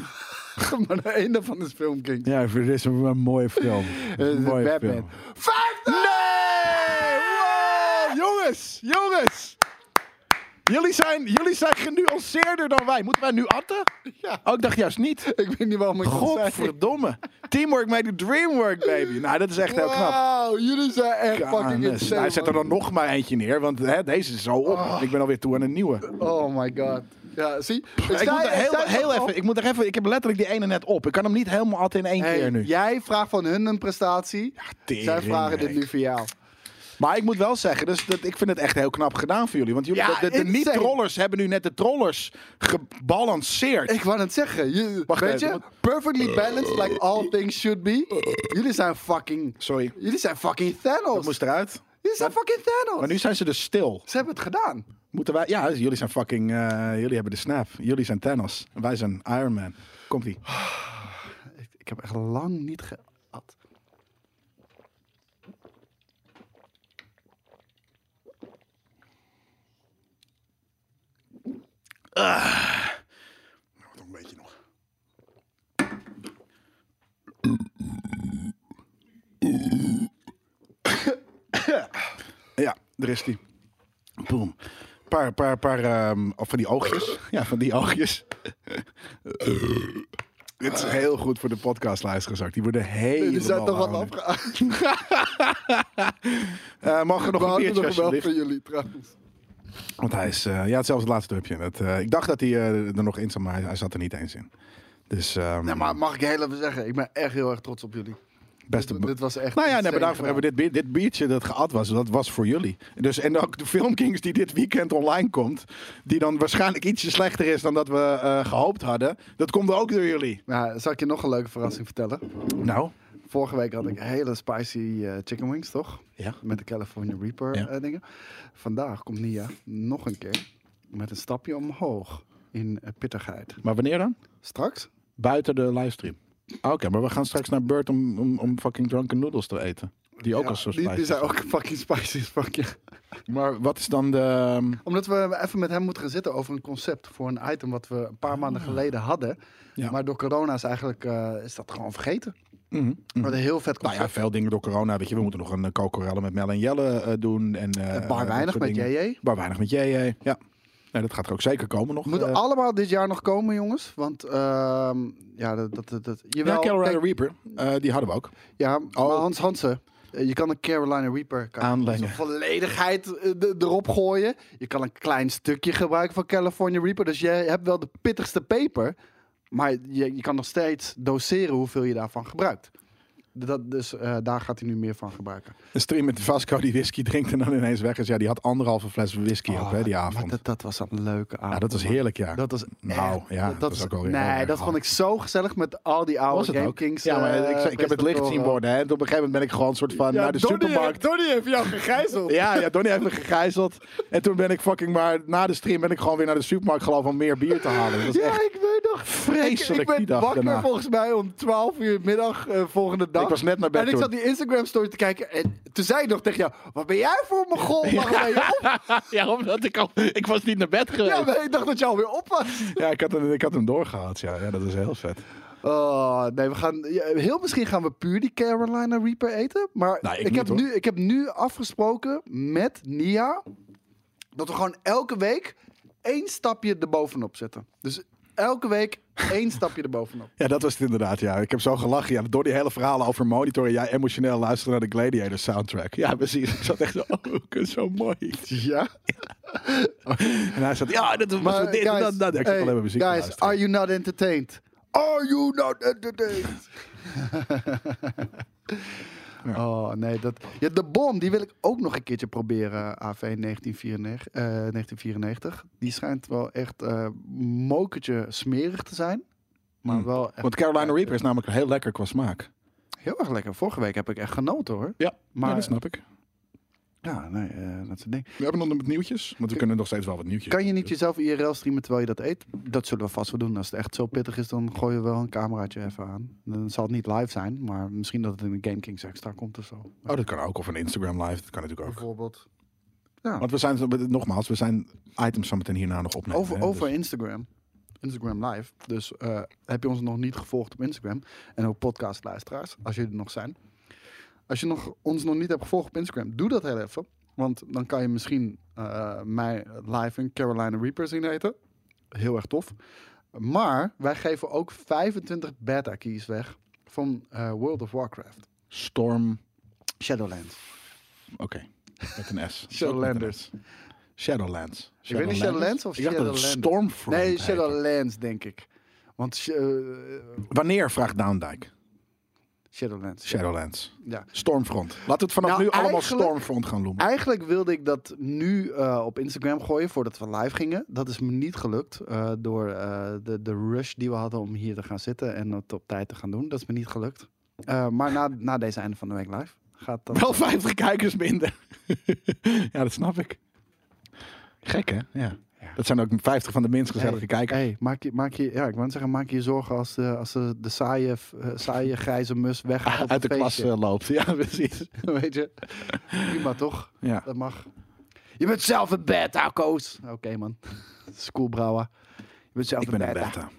Speaker 1: maar de ene van is Film King.
Speaker 2: Ja, dit is een, een mooie film.
Speaker 1: Eh,
Speaker 2: Een mooie
Speaker 1: Batman.
Speaker 2: film.
Speaker 1: 50!
Speaker 2: Nee! Wow! Jongens, jongens! Jullie zijn, jullie zijn genuanceerder dan wij. Moeten wij nu atten?
Speaker 1: Ja.
Speaker 2: Oh, ik dacht juist niet.
Speaker 1: Ik weet niet waarom ik dat zei.
Speaker 2: Godverdomme. Teamwork made the dream work, baby. Nou, dat is echt heel knap.
Speaker 1: Wauw, jullie zijn echt fucking
Speaker 2: Kanes.
Speaker 1: insane.
Speaker 2: Hij zet er
Speaker 1: man.
Speaker 2: dan nog maar eentje neer, want hè, deze is zo op. Ik ben alweer toe aan een nieuwe.
Speaker 1: Oh my god. Ja, zie.
Speaker 2: Ja, ik, moet er heel, heel even, ik moet er even, ik heb letterlijk die ene net op. Ik kan hem niet helemaal atten in één keer nu.
Speaker 1: Jij vraagt van hun een prestatie.
Speaker 2: tering,
Speaker 1: Zij vragen dit
Speaker 2: Henk.
Speaker 1: nu voor jou.
Speaker 2: Maar ik moet wel zeggen, dus dat, ik vind het echt heel knap gedaan voor jullie. Want jullie,
Speaker 1: Ja,
Speaker 2: de, de- de
Speaker 1: insane.
Speaker 2: niet-trollers hebben nu net de trollers gebalanceerd.
Speaker 1: Ik wou het zeggen. Je,
Speaker 2: Wacht
Speaker 1: weet
Speaker 2: even,
Speaker 1: je?
Speaker 2: want-
Speaker 1: Perfectly balanced like all things should be. Jullie zijn fucking...
Speaker 2: Sorry,
Speaker 1: Jullie zijn fucking
Speaker 2: dat
Speaker 1: Thanos.
Speaker 2: moest eruit.
Speaker 1: Jullie zijn fucking Thanos.
Speaker 2: Maar nu zijn ze dus stil.
Speaker 1: Ze hebben het gedaan.
Speaker 2: Moeten wij, ja, jullie zijn fucking, eh, jullie hebben de snap. Jullie zijn Thanos. En wij zijn Iron Man. Komt-ie.
Speaker 1: Ik, ik heb echt lang niet geat.
Speaker 2: Nog een beetje nog. Ja, er is die. Boom. Paar, paar, paar ehm, of van die oogjes. Ja, van die oogjes. Dit is heel goed voor de podcastluisteraars ook. Die worden helemaal...
Speaker 1: Jullie zijn toch wat
Speaker 2: warm.
Speaker 1: afgeaakt.
Speaker 2: Eh, mogen we nog
Speaker 1: We
Speaker 2: een
Speaker 1: hadden
Speaker 2: biertje
Speaker 1: nog wel
Speaker 2: alsjeblieft?
Speaker 1: van jullie trouwens.
Speaker 2: Want hij is, eh, ja, het zelfs het laatste hupje. Dat, eh, ik dacht dat hij eh, er nog in zat, maar hij, hij zat er niet eens in. Dus, ehm,
Speaker 1: Nee, maar mag ik heel even zeggen. Ik ben echt heel erg trots op jullie.
Speaker 2: beste...
Speaker 1: Dit was echt
Speaker 2: Nou ja, nee,
Speaker 1: insane
Speaker 2: maar daarvoor
Speaker 1: gedaan.
Speaker 2: hebben we dit, bier- dit biertje dat geat was, dat was voor jullie. Dus, en ook de Filmkings die dit weekend online komt, die dan waarschijnlijk ietsje slechter is dan dat we eh, gehoopt hadden, dat komt ook door jullie.
Speaker 1: Nou, zal ik je nog een leuke verrassing vertellen?
Speaker 2: Nou,
Speaker 1: Vorige week had ik hele spicy eh, chicken wings, toch?
Speaker 2: ja.
Speaker 1: Met de California Reaper
Speaker 2: Ja.
Speaker 1: eh, dingen. Vandaag komt Nia nog een keer met een stapje omhoog in eh, pittigheid.
Speaker 2: Maar wanneer dan?
Speaker 1: Straks?
Speaker 2: Buiten de livestream. Ah, Oké, maar we gaan straks naar Bird om, om, om fucking drunken noodles te eten. Die ook
Speaker 1: Ja,
Speaker 2: als zo
Speaker 1: die,
Speaker 2: spicy
Speaker 1: die zijn ook fucking spicy as fuck, ja.
Speaker 2: Maar wat is dan de... ehm,
Speaker 1: Omdat we even met hem moeten gaan zitten over een concept voor een item wat we een paar maanden geleden hadden.
Speaker 2: Ah. Ja.
Speaker 1: Maar door corona is eigenlijk eh, is dat gewoon vergeten.
Speaker 2: mhm, mhm.
Speaker 1: Maar een heel vet
Speaker 2: Nou
Speaker 1: concept.
Speaker 2: ja, veel dingen door corona. Weet je, we moeten nog een eh, kokorellen met Mel en Jelle eh, doen. En, eh,
Speaker 1: Een
Speaker 2: dat
Speaker 1: paar
Speaker 2: soort
Speaker 1: weinig met
Speaker 2: dingen.
Speaker 1: JJ.
Speaker 2: Maar weinig met jij, ja. Nee, dat gaat er ook zeker komen nog.
Speaker 1: Moet
Speaker 2: eh.
Speaker 1: allemaal dit jaar nog komen, jongens. Want ehm, ja, dat, dat, dat, dat,
Speaker 2: ja,
Speaker 1: jawel,
Speaker 2: Colorado
Speaker 1: kijk,
Speaker 2: Reaper, eh, die hadden we ook.
Speaker 1: ja maar Hans Hansen. Eh, je kan een Carolina Reaper kan je
Speaker 2: Aanlengen.
Speaker 1: in zijn volledigheid eh, de- erop gooien. Je kan een klein stukje gebruiken van California Reaper. Dus je hebt wel de pittigste peper. Maar je, je kan nog steeds doseren hoeveel je daarvan gebruikt. Dat, dus eh, daar gaat hij nu meer van gebruiken.
Speaker 2: Een stream met Vasco die whisky drinkt en dan ineens weg is. Ja, die had anderhalve fles whisky op hè, die
Speaker 1: Oh,
Speaker 2: avond.
Speaker 1: maar dat, dat was een leuke avond.
Speaker 2: ja, dat was
Speaker 1: man.
Speaker 2: heerlijk, ja.
Speaker 1: Dat was
Speaker 2: Nou,
Speaker 1: echt-
Speaker 2: ja, dat is ook wel weer heel
Speaker 1: Nee,
Speaker 2: erg
Speaker 1: dat vond ik zo gezellig met al die
Speaker 2: was
Speaker 1: oude
Speaker 2: het
Speaker 1: Game
Speaker 2: ook.
Speaker 1: Kings.
Speaker 2: ja, maar
Speaker 1: eh,
Speaker 2: ik, ik heb het licht zien
Speaker 1: presentatoren.
Speaker 2: worden. Hè. En op een gegeven moment ben ik gewoon soort van naar de supermarkt.
Speaker 1: Donnie heeft jou gegijzeld.
Speaker 2: Ja, ja, Donnie heeft me gegijzeld. En toen ben ik fucking maar na de stream ben ik gewoon weer naar de supermarkt gelopen om meer bier te halen. Dat is
Speaker 1: Ja,
Speaker 2: echt,
Speaker 1: ik weet nog.
Speaker 2: vreselijk
Speaker 1: Ik, ik ben
Speaker 2: die dag
Speaker 1: wakker
Speaker 2: daarna.
Speaker 1: volgens mij om 12 uur middag eh, volgende dag.
Speaker 2: Ik was net naar bed
Speaker 1: En ik
Speaker 2: toen.
Speaker 1: zat die Instagram story te kijken. En toen zei ik nog tegen jou, wat ben jij voor een goal? Waarom ben je op?
Speaker 2: ja, omdat ik al... Ik was niet naar bed geweest.
Speaker 1: Ja,
Speaker 2: Ja,
Speaker 1: maar ik dacht dat je alweer op was.
Speaker 2: ik, had hem, ik had hem doorgehaald. Ja. ja, dat is heel vet.
Speaker 1: Oh, nee, we gaan, ja, heel misschien gaan we puur die Carolina Reaper eten. Maar
Speaker 2: Nou, ik
Speaker 1: ik,
Speaker 2: niet,
Speaker 1: heb
Speaker 2: hoor.
Speaker 1: nu, ik heb nu afgesproken met Nia dat we gewoon elke week één stapje erbovenop zetten. Dus elke week één stapje erbovenop.
Speaker 2: Ja, dat was het inderdaad. Ja, ik heb zo gelachen. Ja, door die hele verhalen over monitoren. Jij emotioneel luisteren naar de Gladiator soundtrack. Ja, precies. Ik zat echt zo, oh, kut, zo mooi.
Speaker 1: Ja?
Speaker 2: En hij zat, ja, dat was
Speaker 1: Maar
Speaker 2: dit en
Speaker 1: guys,
Speaker 2: dat. dat. Ik zat
Speaker 1: hey,
Speaker 2: alleen maar muziek te
Speaker 1: guys
Speaker 2: luisteren.
Speaker 1: are you not entertained? Are you not entertained? Oh nee, dat, ja, de bom die wil ik ook nog een keertje proberen. AV 1994, eh, 1994. Die schijnt wel echt eh mokertje smerig te zijn, maar
Speaker 2: Mm.
Speaker 1: wel echt
Speaker 2: Want Carolina Reaper is namelijk heel lekker qua smaak.
Speaker 1: heel erg lekker. Vorige week heb ik echt genoten hoor.
Speaker 2: Ja, maar,
Speaker 1: Maar-
Speaker 2: dat snap ik.
Speaker 1: Ja, nee, eh, dat soort dingen.
Speaker 2: We hebben nog wat nieuwtjes. Want we kunnen nog steeds wel wat nieuwtjes.
Speaker 1: Kan je niet jezelf IRL streamen terwijl je dat eet? Dat zullen we vast wel doen. Als het echt zo pittig is, dan gooi je wel een cameraatje even aan. Dan zal het niet live zijn, maar misschien dat het in de Game Kings extra komt of zo.
Speaker 2: Oh, dat kan ook. Of een Instagram live. Dat kan natuurlijk ook.
Speaker 1: Bijvoorbeeld.
Speaker 2: Want we zijn, nogmaals, we zijn items zometeen hierna nog opnemen.
Speaker 1: Over,
Speaker 2: hè,
Speaker 1: over
Speaker 2: dus-
Speaker 1: Instagram. Instagram live. Dus eh, heb je ons nog niet gevolgd op Instagram? En ook podcastluisteraars, als jullie er nog zijn. Als je nog, ons nog niet hebt gevolgd op Instagram, doe dat heel even. Want dan kan je misschien eh, mij live in Carolina Reaper zien eten. Heel erg tof. Maar wij geven ook 25 beta keys weg van eh, World of Warcraft.
Speaker 2: Dus Storm.
Speaker 1: Shadowlands.
Speaker 2: Oké. Met een S.
Speaker 1: Shadowlanders.
Speaker 2: Shadowlands.
Speaker 1: Ik weet niet Shadowlands of
Speaker 2: Ik dacht dat het
Speaker 1: Shadowlanders.
Speaker 2: Stormfront
Speaker 1: Nee,
Speaker 2: heette.
Speaker 1: Shadowlands denk ik. Want sh- eh,
Speaker 2: Wanneer, vraagt Doundijk.
Speaker 1: Shadowlands.
Speaker 2: Shadowlands.
Speaker 1: Ja.
Speaker 2: Stormfront. Laten we het vanaf
Speaker 1: Nou,
Speaker 2: nu allemaal
Speaker 1: eigenlijk-
Speaker 2: Stormfront gaan noemen.
Speaker 1: Eigenlijk wilde ik dat nu eh, op Instagram gooien voordat we live gingen. Dat is me niet gelukt eh, door eh, de, de rush die we hadden om hier te gaan zitten en het op tijd te gaan doen. Dat is me niet gelukt. Eh, maar na, na deze einde van de week live gaat dat.
Speaker 2: Wel 50 kijkers minder. ja, dat snap ik. Gek, hè? Ja. Dat zijn ook 50 van de minst gezellige
Speaker 1: Hey,
Speaker 2: kijkers.
Speaker 1: hey, maak je, maak je, ja, ik wou net zeggen, maak je je zorgen als de, als de, de saaie, eh, saaie grijze mus weggaat op
Speaker 2: Uit de
Speaker 1: een
Speaker 2: klas
Speaker 1: feestje.
Speaker 2: eh, loopt. Ja, precies.
Speaker 1: Weet je? Prima toch?
Speaker 2: Ja.
Speaker 1: Dat mag. Je bent zelf een beta, Koos. Oké, man. Schoolbrouwer. Je bent zelf
Speaker 2: Ik ben een
Speaker 1: beta.
Speaker 2: beta.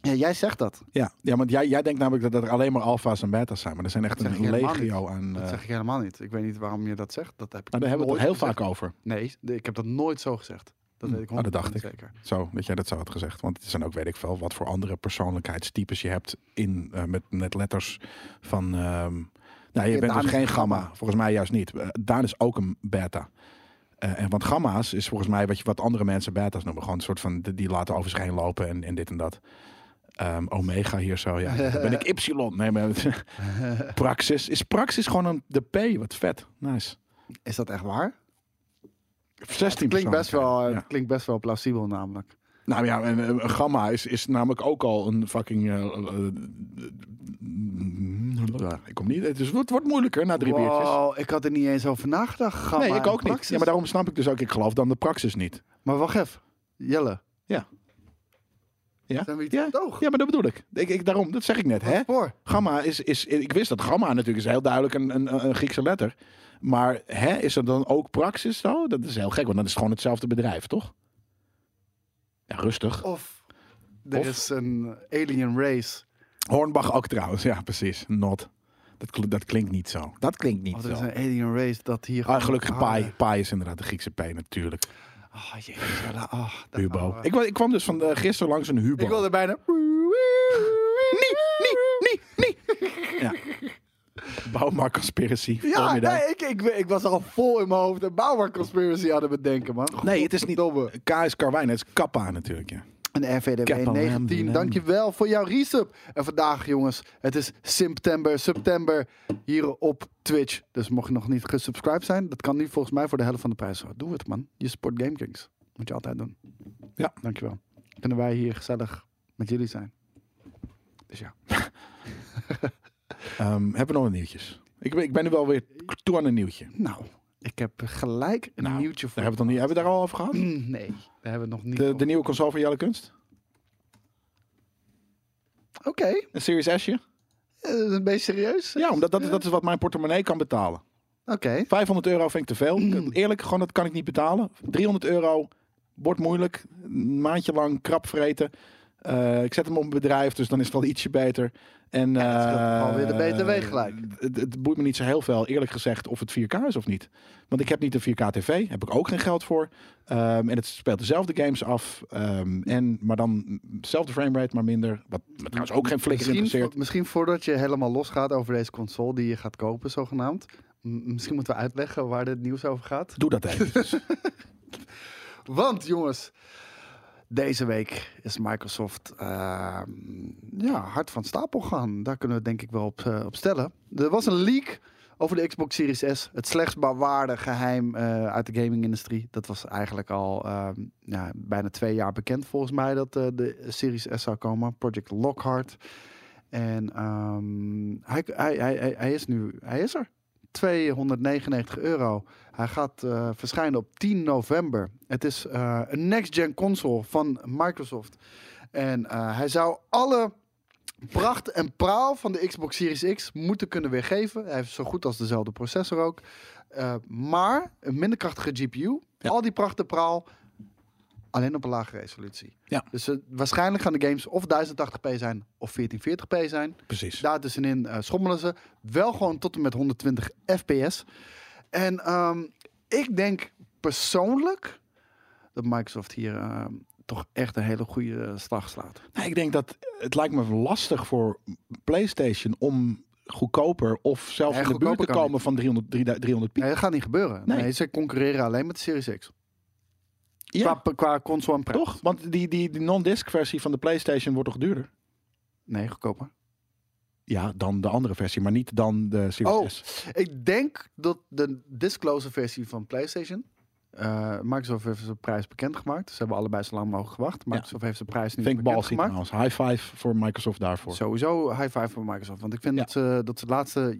Speaker 1: Ja, jij zegt dat.
Speaker 2: Ja, ja want jij, jij denkt namelijk dat er alleen maar alfa's en beta's zijn. Maar er zijn echt
Speaker 1: Dat zeg
Speaker 2: een
Speaker 1: ik helemaal
Speaker 2: legio aan... eh
Speaker 1: Dat zeg ik helemaal niet. Ik weet niet waarom je dat zegt. Dat heb ik
Speaker 2: nou, daar hebben we het
Speaker 1: nooit
Speaker 2: heel
Speaker 1: gezegd.
Speaker 2: vaak over.
Speaker 1: Nee, de- ik heb dat nooit zo gezegd. Dat weet ik
Speaker 2: oh, dat
Speaker 1: 100%
Speaker 2: dacht
Speaker 1: zeker.
Speaker 2: Zo, dat jij dat zo had gezegd. Want het zijn ook, weet ik veel, wat voor andere persoonlijkheidstypes je hebt in, eh, met, met letters van... ehm nou, je
Speaker 1: Ja,
Speaker 2: bent
Speaker 1: Daan
Speaker 2: dus
Speaker 1: is
Speaker 2: geen
Speaker 1: een gamma.
Speaker 2: gamma. Volgens mij juist niet. Eh, Daan is ook een beta. Eh, en want gamma's is volgens mij wat, je, wat andere mensen beta's noemen. Gewoon een soort van, die, die laten over zich heen lopen en, en dit en dat. Ehm, omega hier zo, ja. Dan ben ik ypsilon. Nee, maar praxis. Is praxis gewoon een, de P? Wat vet. Nice.
Speaker 1: Is dat echt waar?
Speaker 2: 16
Speaker 1: Het klinkt best wel, eh,
Speaker 2: persoonlijkheden. Ja.
Speaker 1: het klinkt best wel plausibel namelijk.
Speaker 2: Nou ja, en, eh, een gamma is, is namelijk ook al een fucking. eh, eh, eh, ik kom niet. Het, is, het wordt moeilijker na drie biertjes.
Speaker 1: Wow, ik had er niet eens over nagedacht. Gamma
Speaker 2: Nee, ik
Speaker 1: en
Speaker 2: ook niet.
Speaker 1: praxis.
Speaker 2: Ja, maar daarom snap ik dus ook. Ik geloof dan de praxis niet.
Speaker 1: Maar wacht even. Jelle.
Speaker 2: Ja. Ja?
Speaker 1: Zijn we iets
Speaker 2: Ja.
Speaker 1: ja. toog?
Speaker 2: Ja, maar dat bedoel ik. ik, ik daarom, dat zeg ik net. Hè?
Speaker 1: Voor.
Speaker 2: Gamma is, is. Ik wist dat gamma natuurlijk is heel duidelijk een, een, een Griekse letter. Maar hè, is er dan ook praxis zo? Dat is heel gek, want dan is het gewoon hetzelfde bedrijf, toch? Ja, rustig.
Speaker 1: Of er
Speaker 2: Of?
Speaker 1: is een alien race.
Speaker 2: Hornbach ook trouwens, ja, precies. Not. Dat, kl- dat klinkt niet zo. Dat klinkt niet
Speaker 1: Of er is een alien race dat hier...
Speaker 2: Ah, gelukkig
Speaker 1: gewoon-
Speaker 2: Pai. Pai is inderdaad de Griekse P natuurlijk.
Speaker 1: Ah, jezus, Jelle. Ah, daar gaan
Speaker 2: Hubo.
Speaker 1: we.
Speaker 2: Ik, wa- ik kwam dus van eh, gisteren langs een Hubo.
Speaker 1: Ik wilde bijna...
Speaker 2: Nee, nee, nee, nee. Ja. Bouwmarkt Conspiracy.
Speaker 1: Ja,
Speaker 2: Volgende dag.
Speaker 1: nee, ik, ik, ik was al vol in mijn hoofd een Bauer Conspiracy aan het bedenken, man.
Speaker 2: nee, het is niet...
Speaker 1: Godverdomme.
Speaker 2: K is Karwijn, het is Kappa natuurlijk, ja.
Speaker 1: Een RVDW
Speaker 2: Kappa
Speaker 1: 19,
Speaker 2: Lambda.
Speaker 1: dankjewel voor jouw resub. En vandaag, jongens, het is september, september hier op Twitch. Dus mocht je nog niet gesubscribed zijn, dat kan nu volgens mij voor de helft van de prijs. Doe het, man. Je support GameKings. Moet je altijd doen.
Speaker 2: Ja.
Speaker 1: Dankjewel. Kunnen wij hier gezellig met jullie zijn. Dus ja.
Speaker 2: Ehm, hebben we nog wat nieuwtjes? Ik, ben- ik ben nu wel weer toe aan een nieuwtje.
Speaker 1: Nou, ik heb gelijk een
Speaker 2: Nou,
Speaker 1: nieuwtje voor
Speaker 2: Daar hebben, we het nog niet, hebben we daar al over gehad?
Speaker 1: Mm, Nee, daar hebben we nog niet
Speaker 2: De,
Speaker 1: over.
Speaker 2: de nieuwe console van Jelle Kunst?
Speaker 1: Oké,
Speaker 2: Een Series S'je?
Speaker 1: eh, een beetje serieus.
Speaker 2: Ja, omdat dat, dat is wat mijn portemonnee kan betalen.
Speaker 1: Oké.
Speaker 2: 500 euro vind ik te veel.
Speaker 1: Mm.
Speaker 2: Ik- Eerlijk, gewoon dat kan ik niet betalen. 300 euro wordt moeilijk. Een maandje lang krap vreten. Eh, ik zet hem op een bedrijf, dus dan is het wel ietsje beter. En,
Speaker 1: dat scheelt
Speaker 2: eh,
Speaker 1: alweer de BTW gelijk.
Speaker 2: Het, het boeit me niet zo heel veel, eerlijk gezegd, of het 4K is of niet. Want ik heb niet een 4K TV, heb ik ook geen geld voor. Ehm, en het speelt dezelfde games af. ehm, en, maar dan dezelfde framerate, maar minder. Wat me trouwens ook geen flikker
Speaker 1: Misschien,
Speaker 2: interesseert.
Speaker 1: vo- misschien voordat je helemaal losgaat over deze console die je gaat kopen, zogenaamd. m- Misschien moeten we uitleggen waar dit nieuws over gaat.
Speaker 2: Doe dat even.
Speaker 1: Want jongens, deze week is Microsoft eh, ja, hard van stapel gegaan. Daar kunnen we het denk ik wel op, eh, op stellen. Er was een leak over de Xbox Series S. Het slechts bewaarde geheim eh, uit de gaming-industrie. Dat was eigenlijk al eh, ja, bijna twee jaar bekend volgens mij dat eh, de Series S zou komen. Project Lockhart. En ehm, hij, hij, hij, hij, hij is nu, hij is er. 299 euro. Hij gaat eh, verschijnen op 10 november. Het is eh, een next-gen console van Microsoft. En eh, hij zou alle pracht en praal van de Xbox Series X moeten kunnen weergeven. Hij heeft zo goed als dezelfde processor ook. Eh, maar een minder krachtige GPU.
Speaker 2: Ja.
Speaker 1: Al die pracht en praal alleen op een lage resolutie.
Speaker 2: Ja.
Speaker 1: Dus eh, waarschijnlijk gaan de games of 1080p zijn of 1440p zijn.
Speaker 2: Precies.
Speaker 1: Daar tussenin eh, schommelen ze. Wel gewoon tot en met 120 fps. En ehm, ik denk persoonlijk dat Microsoft hier ehm, toch echt een hele goede eh, slag slaat.
Speaker 2: Nou, ik denk dat het lijkt me lastig voor PlayStation om goedkoper of zelfs
Speaker 1: Nee,
Speaker 2: in de buurt
Speaker 1: goedkoper
Speaker 2: te
Speaker 1: kan
Speaker 2: komen van 300, 300, 300 piek.
Speaker 1: Nee, dat gaat niet gebeuren. Nee,
Speaker 2: Nee.
Speaker 1: ze concurreren alleen met de Series X.
Speaker 2: Ja,
Speaker 1: Qua, qua console en prijs.
Speaker 2: toch? Want die, die, die non-disc versie van de PlayStation wordt toch duurder?
Speaker 1: Nee, goedkoper.
Speaker 2: Ja, dan de andere versie, maar niet dan de Series
Speaker 1: Oh.
Speaker 2: S.
Speaker 1: Ik denk dat de disclose versie van PlayStation... eh, Microsoft heeft zijn prijs bekendgemaakt. Ze hebben allebei zo lang mogelijk gewacht. Microsoft heeft zijn prijs nu
Speaker 2: Vind ik ballsy
Speaker 1: bekendgemaakt.
Speaker 2: trouwens. High five voor Microsoft daarvoor.
Speaker 1: Sowieso high five voor Microsoft. Want ik vind
Speaker 2: Ja.
Speaker 1: dat, ze, dat ze de laatste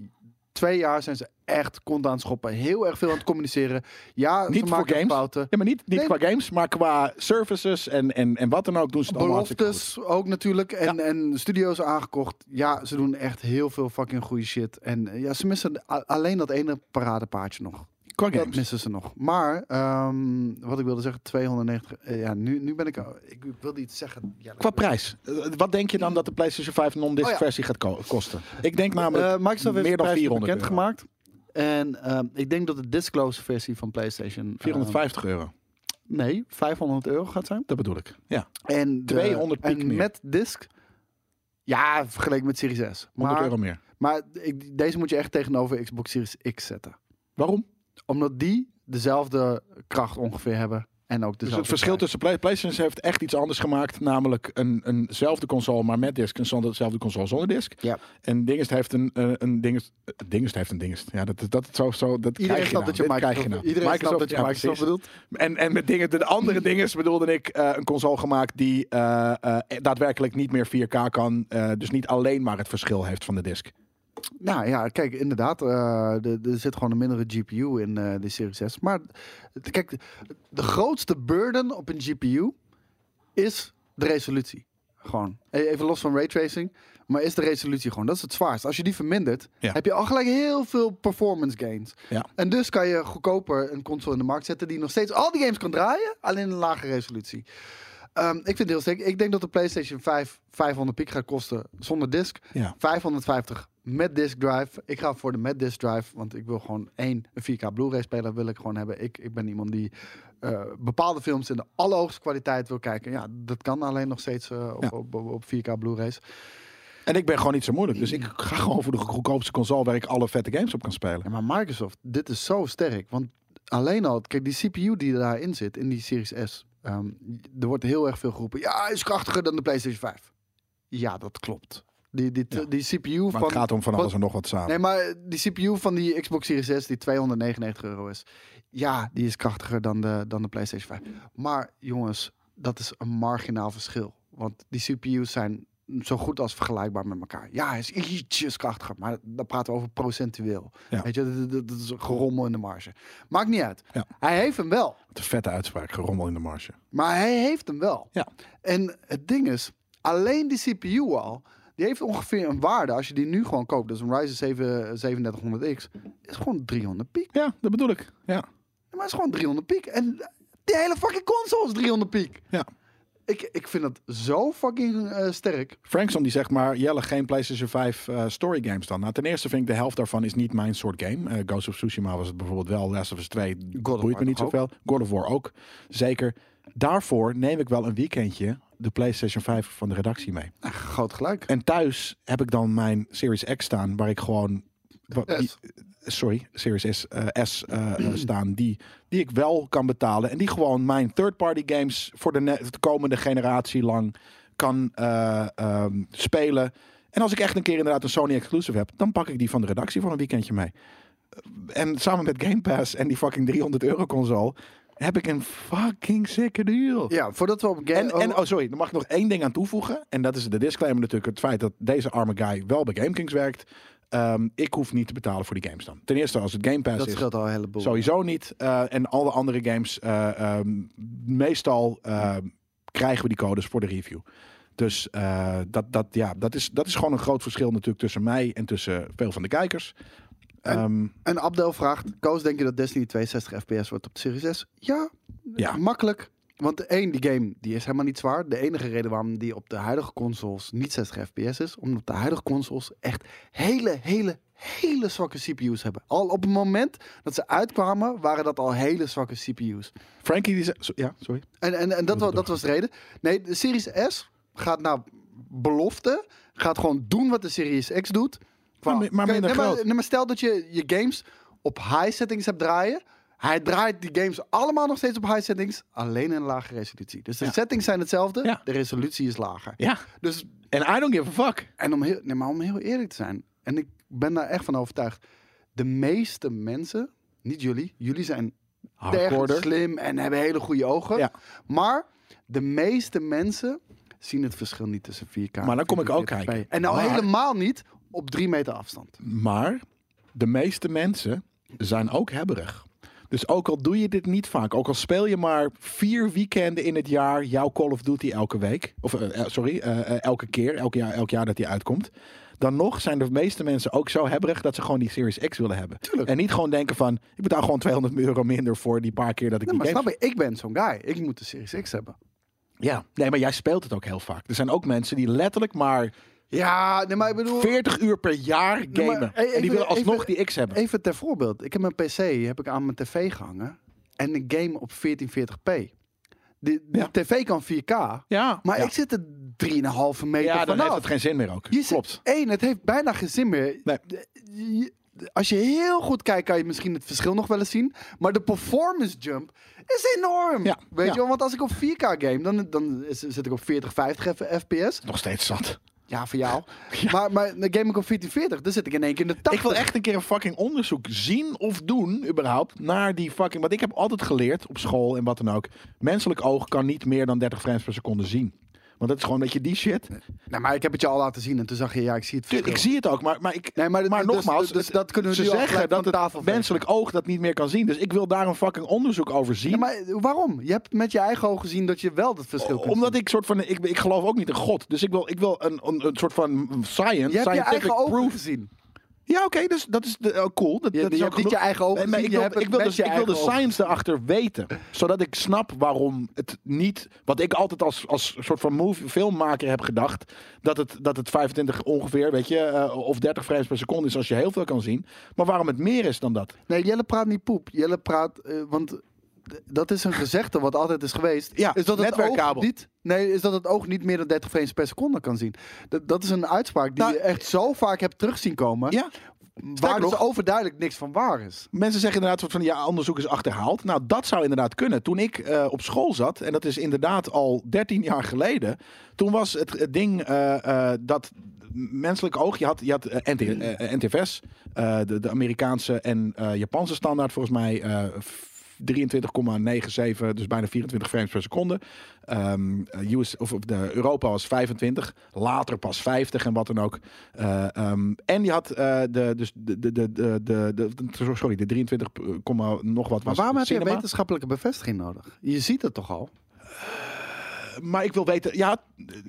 Speaker 1: twee jaar zijn ze echt kont aan het schoppen. Heel erg veel aan het communiceren. Ja,
Speaker 2: Niet
Speaker 1: ze
Speaker 2: voor
Speaker 1: maken
Speaker 2: games.
Speaker 1: fouten.
Speaker 2: Ja, maar niet, niet
Speaker 1: Nee.
Speaker 2: qua games, maar qua services en, en, en wat dan ook doen ze het allemaal hartstikke goed.
Speaker 1: Beloftes ook natuurlijk. En, en studio's aangekocht. Ja, ze doen echt heel veel fucking goede shit. En eh, ja, ze missen a- alleen dat ene paradepaardje nog.
Speaker 2: Qua
Speaker 1: Dat
Speaker 2: games.
Speaker 1: missen ze nog. Maar ehm, wat ik wilde zeggen, 290. eh, ja, nu, nu ben ik. Ik wilde iets zeggen. Ja,
Speaker 2: Qua prijs. Eh, Wat denk je dan dat de PlayStation 5 non-disc
Speaker 1: Oh ja.
Speaker 2: versie gaat ko- kosten? Ik denk namelijk
Speaker 1: Eh, Microsoft heeft
Speaker 2: meer
Speaker 1: de
Speaker 2: dan
Speaker 1: prijs
Speaker 2: 400
Speaker 1: bekend
Speaker 2: euro.
Speaker 1: gemaakt. En ehm, ik denk dat de disclose versie van PlayStation... ehm,
Speaker 2: 450 euro.
Speaker 1: nee, 500 euro gaat zijn.
Speaker 2: Dat bedoel ik. Ja.
Speaker 1: En de-
Speaker 2: 200 piek
Speaker 1: En
Speaker 2: meer.
Speaker 1: met disc... Ja, vergeleken met Series S.
Speaker 2: 100
Speaker 1: Maar,
Speaker 2: euro meer.
Speaker 1: maar ik- deze moet je echt tegenover Xbox Series X zetten.
Speaker 2: Waarom?
Speaker 1: Omdat die dezelfde kracht ongeveer hebben. En ook
Speaker 2: Dus
Speaker 1: dezelfde
Speaker 2: het verschil tussen Play- PlayStation heeft echt iets anders gemaakt. Namelijk een, eenzelfde console, maar met disc. En zonder, hetzelfde console zonder disc.
Speaker 1: Ja.
Speaker 2: En Dingest heeft een, eh, een Dingest. eh, Dingest heeft een Dingest. Ja, dat, dat, zo, zo, dat
Speaker 1: Iedereen
Speaker 2: krijg je
Speaker 1: snapt
Speaker 2: nou.
Speaker 1: dat je
Speaker 2: Dit
Speaker 1: Microsoft,
Speaker 2: krijg je nou.
Speaker 1: iedereen snapt dat je
Speaker 2: ja,
Speaker 1: Microsoft
Speaker 2: precies.
Speaker 1: bedoelt.
Speaker 2: En, en met dingen, de andere dingen bedoelde ik eh, een console gemaakt die eh, eh, daadwerkelijk niet meer 4K kan. eh, dus niet alleen maar het verschil heeft van de disc.
Speaker 1: Nou ja, kijk, inderdaad, eh, de- er zit gewoon een mindere GPU in eh, de Series S. Maar het- kijk, de grootste burden op een GPU is de resolutie. Gewoon. E- Even los van raytracing, maar is de resolutie gewoon. Dat is het zwaarst. Als je die vermindert,
Speaker 2: Ja.
Speaker 1: heb je al gelijk heel veel performance gains.
Speaker 2: Ja.
Speaker 1: En dus kan je goedkoper een console in de markt zetten die nog steeds al die games kan draaien, alleen in een lage resolutie. Ehm, ik vind het heel sterk. Ik denk dat de PlayStation 5 500 piek gaat kosten zonder disc.
Speaker 2: Ja.
Speaker 1: 550 met disc drive. Ik ga voor de met disc drive, want ik wil gewoon één een 4K Blu-ray speler wil ik gewoon hebben. Ik, ik ben iemand die eh, bepaalde films in de allerhoogste kwaliteit wil kijken. Ja, dat kan alleen nog steeds eh, op,
Speaker 2: Ja.
Speaker 1: op, op, op 4K Blu-rays.
Speaker 2: En ik ben gewoon niet zo moeilijk. Dus ik ga gewoon voor de goedkoopste console waar ik alle vette games op kan spelen.
Speaker 1: Ja, maar Microsoft, dit is zo sterk. Want alleen al, kijk, die CPU die daarin zit, in die Series S. ehm, er wordt heel erg veel geroepen. Ja, hij is krachtiger dan de PlayStation 5. Ja, dat klopt. Die, die,
Speaker 2: Ja.
Speaker 1: die CPU
Speaker 2: Maar
Speaker 1: van...
Speaker 2: het gaat om van
Speaker 1: wat-
Speaker 2: alles en nog wat samen.
Speaker 1: Nee, maar die CPU van die Xbox Series S, die 299 euro is. Ja, die is krachtiger dan de, dan de PlayStation 5. Maar jongens, dat is een marginaal verschil. Want die CPU's zijn zo goed als vergelijkbaar met elkaar. Ja, hij is ietsjes krachtiger, maar dan praten we over procentueel.
Speaker 2: Ja.
Speaker 1: Weet je, dat- dat, dat is gerommel in de marge. Maakt niet uit.
Speaker 2: Ja.
Speaker 1: Hij heeft hem wel.
Speaker 2: Wat een vette uitspraak, gerommel in de marge.
Speaker 1: Maar hij heeft hem wel.
Speaker 2: Ja.
Speaker 1: En het ding is, alleen die CPU al, die heeft ongeveer een waarde. Als je die nu gewoon koopt, dus een Ryzen 7, 3700X, is gewoon 300 piek.
Speaker 2: Ja, dat bedoel ik. Ja.
Speaker 1: Maar het is gewoon 300 piek. En die hele fucking console is 300 piek.
Speaker 2: ja.
Speaker 1: Ik, ik vind dat zo fucking eh, sterk.
Speaker 2: Frankson die zegt maar, Jelle, geen PlayStation 5 eh, story games dan. Nou, ten eerste vind ik de helft daarvan is niet mijn soort game. Eh, Ghost of Tsushima was het bijvoorbeeld wel, Last of Us 2
Speaker 1: War
Speaker 2: boeit me niet
Speaker 1: toch ook?
Speaker 2: zoveel. God of War ook, zeker. Daarvoor neem ik wel een weekendje de PlayStation 5 van de redactie mee.
Speaker 1: Ah, Groot gelijk.
Speaker 2: En thuis heb ik dan mijn Series X staan, waar ik gewoon... wa- die-
Speaker 1: S.
Speaker 2: sorry, Series S, eh, S eh, eh, staan, die, die ik wel kan betalen. En die gewoon mijn third-party games voor de, ne- de komende generatie lang kan eh, ehm, spelen. En als ik echt een keer inderdaad een Sony exclusive heb, dan pak ik die van de redactie voor een weekendje mee. Eh, En samen met Game Pass en die fucking 300 euro console heb ik een fucking sikke deal.
Speaker 1: Ja, voordat we op game...
Speaker 2: En, en, oh sorry, dan mag ik nog één ding aan toevoegen. En dat is de disclaimer natuurlijk. Het feit dat deze arme guy wel bij GameKings werkt. Ehm, ik hoef niet te betalen voor die games dan. Ten eerste als het Game Pass
Speaker 1: dat
Speaker 2: is.
Speaker 1: scheelt al een heleboel.
Speaker 2: Sowieso niet. Eh, en alle andere games. eh, ehm, meestal ehm, krijgen we die codes voor de review. Dus eh, dat, dat, ja, dat, is, dat is gewoon een groot verschil natuurlijk tussen mij en tussen veel van de kijkers.
Speaker 1: En-
Speaker 2: Ehm,
Speaker 1: En Abdel vraagt, Koos, denk je dat Destiny 62 FPS wordt op de Series S? Ja,
Speaker 2: Ja.
Speaker 1: makkelijk. Want één, die game die is helemaal niet zwaar. De enige reden waarom die op de huidige consoles niet 60 FPS is, omdat de huidige consoles echt hele, hele, hele zwakke CPU's hebben. Al op het moment dat ze uitkwamen, waren dat al hele zwakke CPU's.
Speaker 2: Frankie die zegt... Ja, sorry.
Speaker 1: En, en, en dat,
Speaker 2: Wil
Speaker 1: wa-
Speaker 2: je
Speaker 1: dat was de reden. Nee, de Series S gaat naar belofte. Gaat gewoon doen wat de Series X doet.
Speaker 2: Maar mi- maar
Speaker 1: Kijk,
Speaker 2: minder
Speaker 1: nee,
Speaker 2: groot.
Speaker 1: nee, maar stel dat je je games op high settings hebt draaien. Hij draait die games allemaal nog steeds op high settings. Alleen in lage resolutie. Dus de
Speaker 2: Ja.
Speaker 1: settings zijn hetzelfde.
Speaker 2: Ja.
Speaker 1: De resolutie is lager.
Speaker 2: Ja.
Speaker 1: Dus,
Speaker 2: En I don't give a fuck.
Speaker 1: en om heel, nee, maar om heel eerlijk te zijn. En ik ben daar echt van overtuigd. De meeste mensen, niet jullie. Jullie zijn
Speaker 2: Hardcorder.
Speaker 1: erg slim en hebben hele goede ogen.
Speaker 2: Ja.
Speaker 1: Maar de meeste mensen zien het verschil niet tussen 4K.
Speaker 2: Maar dan kom ik ook
Speaker 1: 44p.
Speaker 2: kijken.
Speaker 1: En nou
Speaker 2: Maar-
Speaker 1: helemaal niet op drie meter afstand.
Speaker 2: Maar de meeste mensen zijn ook hebberig. Dus ook al doe je dit niet vaak, ook al speel je maar vier weekenden in het jaar jouw Call of Duty elke week, of eh, eh, sorry, eh, eh, elke keer, elk jaar, elk jaar dat die uitkomt, dan nog zijn de meeste mensen ook zo hebberig dat ze gewoon die Series X willen hebben.
Speaker 1: Tuurlijk.
Speaker 2: En niet gewoon denken van, ik betaal gewoon 200 euro minder voor die paar keer dat ik
Speaker 1: Nee,
Speaker 2: die
Speaker 1: maar
Speaker 2: game
Speaker 1: snap je, ik ben zo'n guy. Ik moet de Series X hebben.
Speaker 2: Ja, nee, maar jij speelt het ook heel vaak. Er zijn ook mensen die letterlijk maar
Speaker 1: Ja, nee, maar ik bedoel...
Speaker 2: 40 uur per jaar gamen.
Speaker 1: maar e-
Speaker 2: en die
Speaker 1: even-
Speaker 2: willen alsnog
Speaker 1: even- e-
Speaker 2: die X hebben.
Speaker 1: Even ter voorbeeld. Ik heb mijn PC heb ik aan mijn tv gehangen. En ik game op 1440p. De, de
Speaker 2: Ja.
Speaker 1: tv kan 4K.
Speaker 2: ja,
Speaker 1: Maar
Speaker 2: ja.
Speaker 1: ik zit er 3,5 meter
Speaker 2: ja, dan
Speaker 1: vanaf.
Speaker 2: heeft het geen zin meer ook.
Speaker 1: Je zit-
Speaker 2: Klopt.
Speaker 1: Eén, het heeft bijna geen zin meer.
Speaker 2: Nee.
Speaker 1: De- je- Als je heel goed kijkt, kan je misschien het verschil nog wel eens zien. Maar de performance jump is enorm.
Speaker 2: Ja,
Speaker 1: Weet
Speaker 2: ja.
Speaker 1: je wel? Want als ik op 4K game, dan, dan is- zit ik op 40, 50 F- FPS.
Speaker 2: Nog steeds zat.
Speaker 1: Ja, voor jou.
Speaker 2: Ja.
Speaker 1: Maar, maar dan game ik op 1440, dan zit ik in één keer in de 80.
Speaker 2: Ik wil echt een keer een fucking onderzoek zien of doen, überhaupt, naar die fucking... Want ik heb altijd geleerd, op school en wat dan ook, menselijk oog kan niet meer dan 30 frames per seconde zien. Want dat is gewoon, weet je, die shit.
Speaker 1: Nee, maar ik heb het je al laten zien en toen zag je, ja, ik zie het
Speaker 2: Tuur-
Speaker 1: verschil.
Speaker 2: ik zie het ook, maar, maar, ik,
Speaker 1: Nee, maar,
Speaker 2: maar
Speaker 1: dus-
Speaker 2: nogmaals,
Speaker 1: dus, dus dat kunnen we
Speaker 2: ze
Speaker 1: nu al
Speaker 2: zeggen
Speaker 1: gelijk
Speaker 2: dat
Speaker 1: van tafel
Speaker 2: het
Speaker 1: vegen.
Speaker 2: menselijk oog dat niet meer kan zien. Dus ik wil daar een fucking onderzoek over zien.
Speaker 1: Ja, maar waarom? Je hebt met je eigen ogen gezien dat je wel dat verschil kunt
Speaker 2: omdat ik soort van, ik, ik geloof ook niet in God. Dus ik wil, ik wil een, een, een soort van science,
Speaker 1: zien. Je hebt je
Speaker 2: scientific
Speaker 1: eigen ogen
Speaker 2: proof
Speaker 1: gezien.
Speaker 2: Ja, oké, dus dat is de, oh, cool. Dat,
Speaker 1: Je,
Speaker 2: dat
Speaker 1: je
Speaker 2: is ook
Speaker 1: hebt niet je
Speaker 2: genoeg.
Speaker 1: eigen
Speaker 2: Nee,
Speaker 1: ogen
Speaker 2: maar
Speaker 1: gezien,
Speaker 2: ik
Speaker 1: je
Speaker 2: wil,
Speaker 1: hebt het
Speaker 2: ik wil,
Speaker 1: met
Speaker 2: dus,
Speaker 1: je
Speaker 2: ik wil de
Speaker 1: eigen ogen
Speaker 2: science erachter weten. Zodat ik snap waarom het niet. Wat ik altijd als, als soort van movie, filmmaker heb gedacht. Dat het, dat het 25 ongeveer, weet je, eh, of 30 frames per seconde is als je heel veel kan zien. Maar waarom het meer is dan dat.
Speaker 1: Nee, Jelle praat niet poep. Jelle praat, eh, want d- dat is een gezegde wat altijd is geweest.
Speaker 2: Ja,
Speaker 1: is dat het oog
Speaker 2: netwerkkabel.
Speaker 1: niet Nee, is dat het oog niet meer dan 30 frames per seconde kan zien. Dat, dat is een uitspraak die
Speaker 2: Nou,
Speaker 1: je echt zo vaak hebt terugzien komen.
Speaker 2: Ja.
Speaker 1: waar
Speaker 2: Sterker
Speaker 1: dus
Speaker 2: nog-
Speaker 1: overduidelijk niks van waar is.
Speaker 2: Mensen zeggen inderdaad soort van ja, onderzoek is achterhaald. Nou, dat zou inderdaad kunnen. Toen ik eh, op school zat, en dat is inderdaad al 13 jaar geleden, toen was het, het ding eh, eh, dat menselijk oog, je had, je had eh, NT, eh, NTFS, eh, de, de Amerikaanse en eh, Japanse standaard volgens mij eh, 23,97, dus bijna 24 frames per seconde. Ehm, eh, US, of, of de Europa was 25, later pas 50 en wat dan ook. Eh, ehm, en die had eh, de, dus de, de, de, de, de, de- sorry, de 23, komma nog wat
Speaker 1: Maar
Speaker 2: was
Speaker 1: waarom heb je
Speaker 2: cinema.
Speaker 1: wetenschappelijke bevestiging nodig? Je ziet het toch al?
Speaker 2: Maar ik wil weten, ja,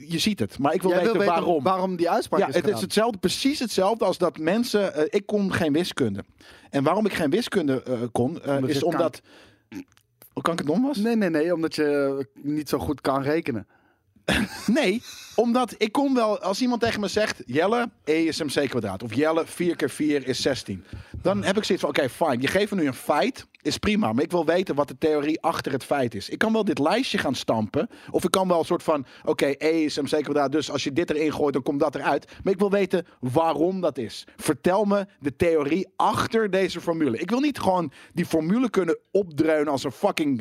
Speaker 2: je ziet het, maar ik wil,
Speaker 1: Jij
Speaker 2: weten,
Speaker 1: wil weten
Speaker 2: waarom.
Speaker 1: die uitspraak
Speaker 2: Ja,
Speaker 1: is
Speaker 2: het is
Speaker 1: gedaan.
Speaker 2: hetzelfde, precies hetzelfde als dat mensen. eh, ik kon geen wiskunde. En waarom ik geen wiskunde eh, kon, eh,
Speaker 1: Omdat je
Speaker 2: is omdat. Oh, kan ik het dom was?
Speaker 1: Nee, nee, nee, omdat je eh, niet zo goed kan rekenen.
Speaker 2: Nee, omdat ik kom wel, als iemand tegen me zegt, Jelle, E is mc kwadraat. Of Jelle, 4 keer 4 is 16. Dan heb ik zoiets van, oké, fijn, je geeft me nu een feit, is prima. Maar ik wil weten wat de theorie achter het feit is. Ik kan wel dit lijstje gaan stampen. Of ik kan wel een soort van, oké, E is mc kwadraat. Dus als je dit erin gooit, dan komt dat eruit. Maar ik wil weten waarom dat is. Vertel me de theorie achter deze formule. Ik wil niet gewoon die formule kunnen opdreunen als een fucking